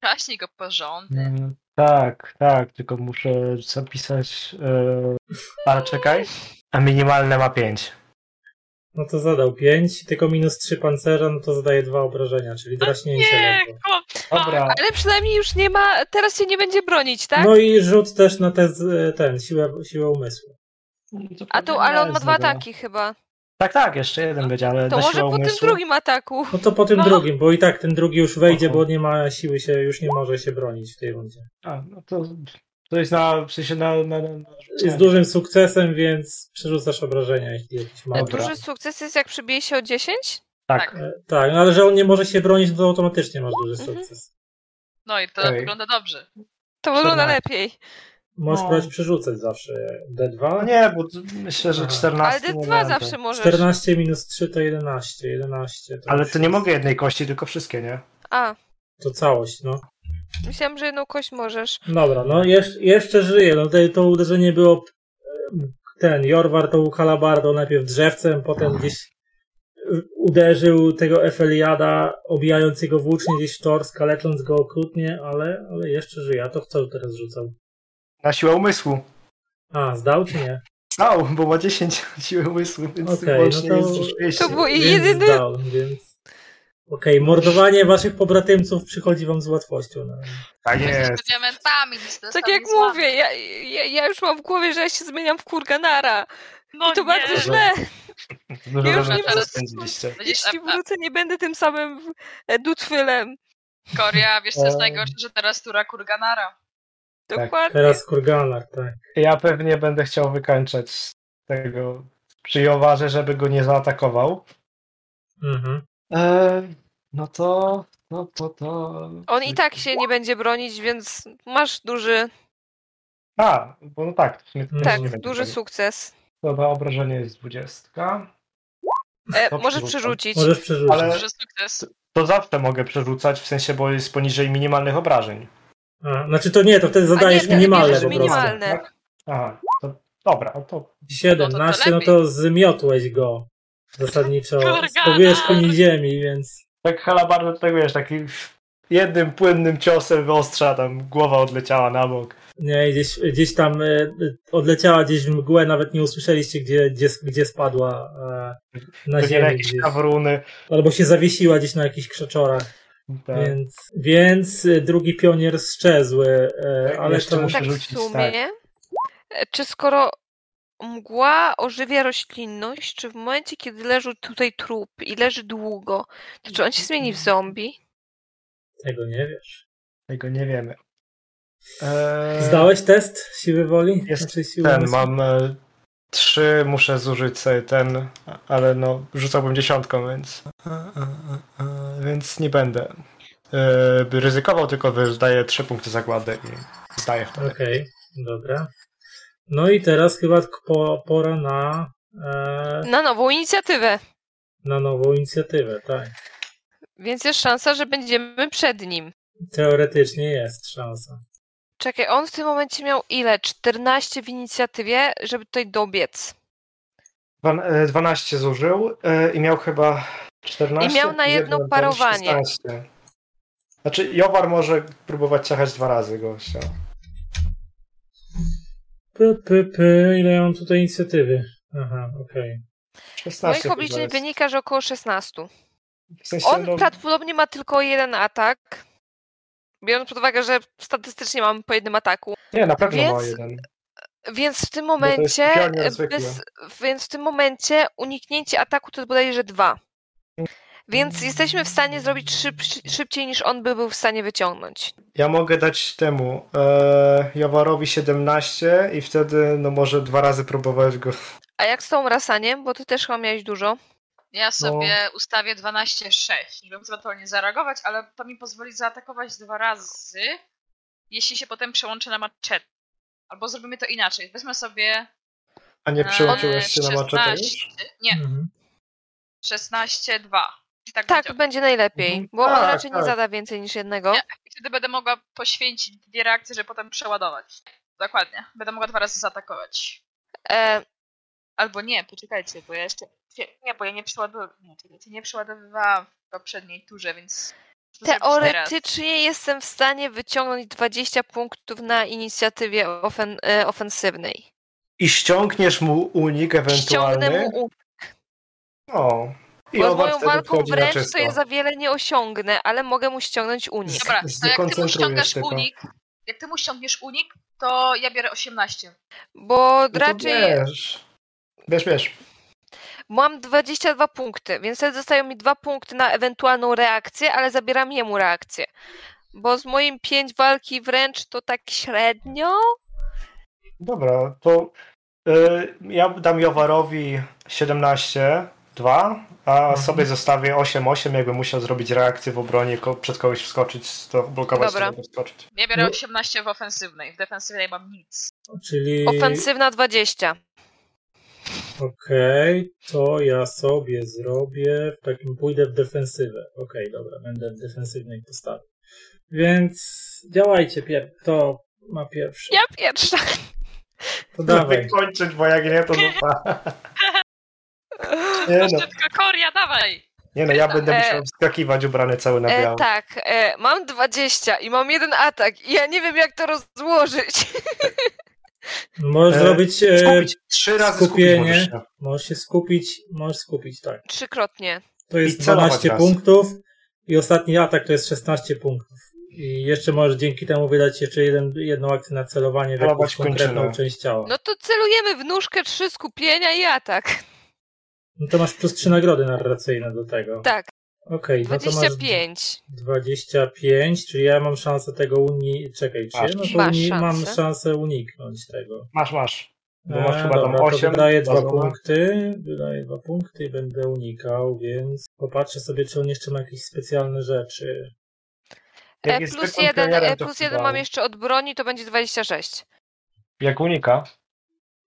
Speaker 3: Kaśnij go porządny.
Speaker 4: Mm, Tak, tak, tylko muszę zapisać. Yy... A czekaj. A minimalne ma 5.
Speaker 1: No to zadał 5, tylko minus 3 pancerza, no to zadaje 2 obrażenia,
Speaker 2: No
Speaker 1: czyli draśnięcie
Speaker 3: Nie,
Speaker 1: lekko.
Speaker 3: ko-
Speaker 4: Dobra.
Speaker 2: Ale przynajmniej już nie ma, teraz się nie będzie bronić, tak?
Speaker 1: No i rzut też na te, z- e, ten, siłę, siłę umysłu.
Speaker 2: A tu, ale on ma dwa
Speaker 4: Dobra.
Speaker 2: ataki chyba.
Speaker 4: Tak, tak, jeszcze jeden będzie, ale
Speaker 2: To
Speaker 4: na
Speaker 2: może
Speaker 4: siłę
Speaker 2: po tym
Speaker 4: umysłu.
Speaker 2: drugim ataku.
Speaker 1: No to po tym
Speaker 3: No.
Speaker 1: drugim, bo i tak ten drugi już wejdzie,
Speaker 4: Aha.
Speaker 1: bo nie ma siły się, już nie może się bronić w tej rundzie.
Speaker 4: A, no to, to jest na. W sensie na. na, na, na
Speaker 1: Z dużym sukcesem, więc przerzucasz obrażenia, jeśli jakiś ma.
Speaker 2: E,
Speaker 4: Dobra.
Speaker 2: Duży sukces jest jak przybije się o 10?
Speaker 4: Tak.
Speaker 3: tak.
Speaker 1: E, Tak, no ale że on nie może się bronić, to automatycznie masz duży
Speaker 2: Mhm.
Speaker 1: sukces.
Speaker 3: No i to
Speaker 4: Ej.
Speaker 3: wygląda dobrze.
Speaker 2: To wygląda
Speaker 4: 14.
Speaker 2: lepiej.
Speaker 1: Możesz
Speaker 4: No.
Speaker 1: próbować przerzucać zawsze D2.
Speaker 4: No nie, bo myślę, że
Speaker 1: Aha.
Speaker 4: 14.
Speaker 2: Ale
Speaker 4: nie
Speaker 2: D2
Speaker 4: będę.
Speaker 2: zawsze możesz.
Speaker 1: 14 minus 3 to 11, 11 to
Speaker 4: Ale
Speaker 1: już
Speaker 4: to nie
Speaker 1: jest-
Speaker 4: mogę jednej kości, tylko wszystkie, nie?
Speaker 2: A,
Speaker 1: To całość, no.
Speaker 2: myślałam, że jedną kość możesz.
Speaker 1: Dobra, no jesz- jeszcze żyje. No te, to uderzenie było em, ten Jorwar tą halabardą najpierw drzewcem, potem gdzieś y, uderzył tego Efeliada, obijając jego włócznie gdzieś w tors, kalecząc go okrutnie, ale, ale jeszcze żyje. A to w co teraz rzucał?
Speaker 4: Na siłę umysłu.
Speaker 1: A, zdał czy nie?
Speaker 4: Stał, bo ma 10 siły umysłu, więc
Speaker 1: Okej,
Speaker 4: łącznie
Speaker 1: no to-
Speaker 4: jest już 200.
Speaker 2: To był i
Speaker 1: Więc
Speaker 2: jedyny.
Speaker 1: zdał, więc... Okej, mordowanie waszych pobratymców przychodzi wam z łatwością. No.
Speaker 4: Tak
Speaker 3: Jesteśmy
Speaker 4: jest.
Speaker 3: diamentami. nic
Speaker 2: Tak
Speaker 3: dostał,
Speaker 2: jak
Speaker 3: nic mamy.
Speaker 2: mówię, ja, ja, ja już mam w głowie, że ja się zmieniam w kurganara.
Speaker 3: No
Speaker 2: I to
Speaker 3: nie.
Speaker 2: bardzo
Speaker 4: Dobrze.
Speaker 2: źle.
Speaker 4: Dużo
Speaker 2: Ja już
Speaker 4: dobrze
Speaker 2: nie
Speaker 4: to
Speaker 3: mam-
Speaker 4: spędziliście.
Speaker 3: Będziesz
Speaker 2: Jeśli
Speaker 3: a,
Speaker 2: wrócę, nie będę tym samym e, dutwylem.
Speaker 3: a, Korea, wiesz co jest
Speaker 4: Em.
Speaker 3: najgorsze, że teraz tura Kurganara.
Speaker 2: Dokładnie.
Speaker 1: Teraz Kurganar, tak.
Speaker 4: Ja pewnie będę chciał wykańczać z tego przyjowarze, żeby go nie zaatakował.
Speaker 1: Mhm.
Speaker 4: Eee, no to, no to, to...
Speaker 2: On i tak się nie będzie bronić, więc masz duży,
Speaker 4: A, bo no tak. w sumie to
Speaker 1: Tak,
Speaker 4: też
Speaker 2: tak,
Speaker 4: nie będzie
Speaker 2: duży
Speaker 4: tego.
Speaker 2: sukces.
Speaker 4: Dobra, obrażenie jest 20.
Speaker 2: E,
Speaker 4: To
Speaker 2: możesz
Speaker 4: przerzucam.
Speaker 2: przerzucić.
Speaker 1: Możesz przerzucić.
Speaker 4: Ale-
Speaker 3: Duży sukces.
Speaker 4: To zawsze mogę przerzucać, w sensie, bo jest poniżej minimalnych obrażeń.
Speaker 1: A, znaczy to nie, to wtedy
Speaker 2: A nie,
Speaker 1: zadajesz
Speaker 2: wtedy
Speaker 1: minimalne
Speaker 2: bierzesz
Speaker 1: po prostu.
Speaker 2: minimalne.
Speaker 4: Tak? Aha, to, dobra, to
Speaker 1: 17, no
Speaker 3: lepiej.
Speaker 1: to zmiotłeś go zasadniczo z
Speaker 3: Kurgana.
Speaker 1: powierzchni ziemi, więc
Speaker 4: Tak halabardo tutaj wiesz, taki jednym płynnym ciosem wyostrza, tam głowa odleciała na bok.
Speaker 1: nie, gdzieś, gdzieś tam e, e, odleciała gdzieś w mgłę, nawet nie usłyszeliście, gdzie, gdzie, gdzie spadła e, na
Speaker 4: Pewnie na
Speaker 1: ziemię.
Speaker 4: jakieś
Speaker 1: Gdzieś.
Speaker 4: kawruny.
Speaker 1: Albo się zawiesiła gdzieś na jakichś krzaczorach.
Speaker 4: Tak.
Speaker 1: Więc, więc e, drugi pionier strzezł, e,
Speaker 4: Tak,
Speaker 1: ale
Speaker 4: jeszcze
Speaker 1: to
Speaker 4: muszę-
Speaker 2: Tak w
Speaker 4: przerzucić,
Speaker 2: sumie. E, Czy skoro mgła ożywia roślinność, czy w momencie, kiedy leży tutaj trup i leży długo, to czy on się zmieni w zombie?
Speaker 1: tego nie wiesz.
Speaker 4: Tego nie wiemy. Eee,
Speaker 1: Zdałeś test siły woli? Znaczy
Speaker 4: Jest
Speaker 1: siły
Speaker 4: Ten,
Speaker 1: umysłu?
Speaker 4: mam e, trzy, muszę zużyć sobie ten, ale no, rzucałbym dziesiątką, więc... e, e, e, e, Więc nie będę. E, by ryzykował, tylko wydaję trzy punkty zagłady i zdaję wtedy.
Speaker 1: Okej, dobra. No i teraz chyba k- po, pora na, e,
Speaker 2: Na nową inicjatywę.
Speaker 1: na nową inicjatywę, tak.
Speaker 2: Więc jest szansa, że będziemy przed nim.
Speaker 1: Teoretycznie jest szansa.
Speaker 2: Czekaj, on w tym momencie miał ile? 14 w inicjatywie, żeby tutaj dobiec.
Speaker 4: Dwan- e, 12 zużył e, i miał chyba 14.
Speaker 2: I miał na jedno parowanie.
Speaker 4: 16. Znaczy, Jowar może próbować ciachać dwa razy gościa.
Speaker 1: Py, py, py, ile ja mam tutaj inicjatywy? Aha, okej.
Speaker 4: 16
Speaker 2: Z moich
Speaker 4: chyba
Speaker 2: obliczeń
Speaker 4: jest.
Speaker 2: wynika, że około 16.
Speaker 4: W sensie, no,
Speaker 2: On prawdopodobnie ma tylko jeden atak. Biorąc pod uwagę, że statystycznie mamy po jednym ataku.
Speaker 4: Nie, na pewno ma
Speaker 2: więc-
Speaker 4: jeden.
Speaker 2: Więc w tym
Speaker 4: to jest
Speaker 2: momencie.
Speaker 4: pionier zwykły.
Speaker 2: Bez, więc w tym momencie uniknięcie ataku to jest bodajże dwa.
Speaker 4: Mm.
Speaker 2: Więc jesteśmy w stanie zrobić szyb, szybciej niż on by był w stanie wyciągnąć.
Speaker 4: Ja mogę dać temu e, Jawarowi 17 i wtedy no może dwa razy próbować go.
Speaker 2: A jak z tą rasaniem? Bo ty też chyba miałeś dużo. Tak,
Speaker 4: no.
Speaker 3: Ja sobie ustawię 12-6. Nie wiem, co to nie zareagować, ale to mi pozwoli zaatakować dwa razy, jeśli się potem przełączę na maczet. Albo zrobimy to inaczej. Weźmy sobie.
Speaker 4: A nie
Speaker 3: e,
Speaker 4: przełączyłeś się na maczetę
Speaker 3: 16
Speaker 4: już?
Speaker 3: Nie,
Speaker 1: Mhm.
Speaker 3: 16-2. I tak,
Speaker 2: Tak,
Speaker 3: będzie.
Speaker 2: będzie najlepiej,
Speaker 4: Mhm.
Speaker 2: bo on
Speaker 4: Tak,
Speaker 2: raczej nie
Speaker 4: tak.
Speaker 2: zada więcej niż jednego.
Speaker 3: Nie. I wtedy będę mogła poświęcić dwie reakcje, żeby potem przeładować. Dokładnie. Będę mogła dwa razy zaatakować.
Speaker 2: E,
Speaker 3: Albo nie, poczekajcie, bo ja jeszcze. Nie, Nie, bo ja nie przeładowywałam. Nie, czekajcie, nie przeładowywałam w poprzedniej turze, więc. muszę zrobić tak teraz.
Speaker 2: teoretycznie jestem w stanie wyciągnąć 20 punktów na inicjatywie ofen, e, ofensywnej.
Speaker 4: I ściągniesz mu unik
Speaker 2: Ściągnę
Speaker 4: ewentualny.
Speaker 2: mu u...
Speaker 4: O. I
Speaker 2: Bo z
Speaker 4: Owad
Speaker 2: moją
Speaker 4: wtedy
Speaker 2: walką
Speaker 4: wchodzi na
Speaker 2: wręcz
Speaker 4: czysto.
Speaker 2: to ja za wiele nie osiągnę, ale mogę mu ściągnąć unik.
Speaker 3: Dobra, to jak ty mu
Speaker 4: Zdekoncentrujesz
Speaker 3: ściągasz
Speaker 4: tak tylko.
Speaker 3: unik, jak ty mu ściągniesz unik, to ja biorę 18.
Speaker 2: Bo
Speaker 4: No to
Speaker 2: raczej
Speaker 4: Bierz, bierz. bierz.
Speaker 2: mam 22 punkty, więc wtedy zostają mi 2 punkty na ewentualną reakcję, ale zabieram jemu reakcję. Bo z moim 5 walki wręcz to tak średnio.
Speaker 4: Dobra, to y, ja dam Jowarowi 17, 2, a
Speaker 1: Mhm.
Speaker 4: sobie zostawię 8, 8, jakby musiał zrobić reakcję w obronie, ko- przed kogoś wskoczyć, to blokować,
Speaker 2: Dobra.
Speaker 4: to wskoczyć.
Speaker 3: Ja biorę
Speaker 1: No.
Speaker 3: 18 w ofensywnej, w defensywnej mam nic.
Speaker 1: Czyli.
Speaker 2: Ofensywna 20.
Speaker 1: Okej, to ja sobie zrobię. W takim pójdę w defensywę. Okej, dobra, będę w defensywnej postawie. Więc działajcie, pier- kto ma pierwszy.
Speaker 2: Ja pierwsza.
Speaker 1: To dawaj.
Speaker 4: Wykończyć, bo jak nie, to dupa. Nie no,
Speaker 3: Troszeczkę Koria, dawaj!
Speaker 4: nie no, ja będę
Speaker 2: E,
Speaker 4: musiał wskakiwać ubrany cały na biało.
Speaker 2: E, tak, e, mam 20 i mam jeden atak i ja nie wiem jak to rozłożyć.
Speaker 1: Możesz
Speaker 4: E,
Speaker 1: zrobić. E,
Speaker 4: Skupić, trzy razy skupić
Speaker 1: skupienie.
Speaker 4: możesz się.
Speaker 1: Możesz się skupić. Możesz skupić, tak.
Speaker 2: Trzykrotnie.
Speaker 1: To jest
Speaker 4: celować
Speaker 1: 12
Speaker 4: raz.
Speaker 1: punktów. I ostatni atak to jest 16 punktów. I jeszcze możesz dzięki temu wydać jeszcze jeden, jedną akcję na celowanie w
Speaker 4: Celować
Speaker 1: jakąś konkretną
Speaker 4: kończyną.
Speaker 1: część ciała.
Speaker 2: No to celujemy w nóżkę, trzy skupienia i atak.
Speaker 1: No to masz plus 3 nagrody narracyjne do tego.
Speaker 2: Tak,
Speaker 1: Okej, no to No masz
Speaker 2: 25.
Speaker 1: 25, czyli ja mam szansę tego uni... Czekaj, czy ja
Speaker 4: Masz.
Speaker 1: no to
Speaker 2: Masz
Speaker 1: uni...
Speaker 2: szansę.
Speaker 1: mam szansę uniknąć tego? E,
Speaker 4: Masz, masz. Bo No masz chyba tam
Speaker 1: dobra, to
Speaker 4: 8.
Speaker 1: wydaję dwa punkty, wydaję dwa punkty i będę unikał, więc popatrzę sobie, czy on jeszcze ma jakieś specjalne rzeczy.
Speaker 2: E, plus jeden, e, plus jeden mam jeszcze od broni, to będzie 26.
Speaker 4: Jak unika?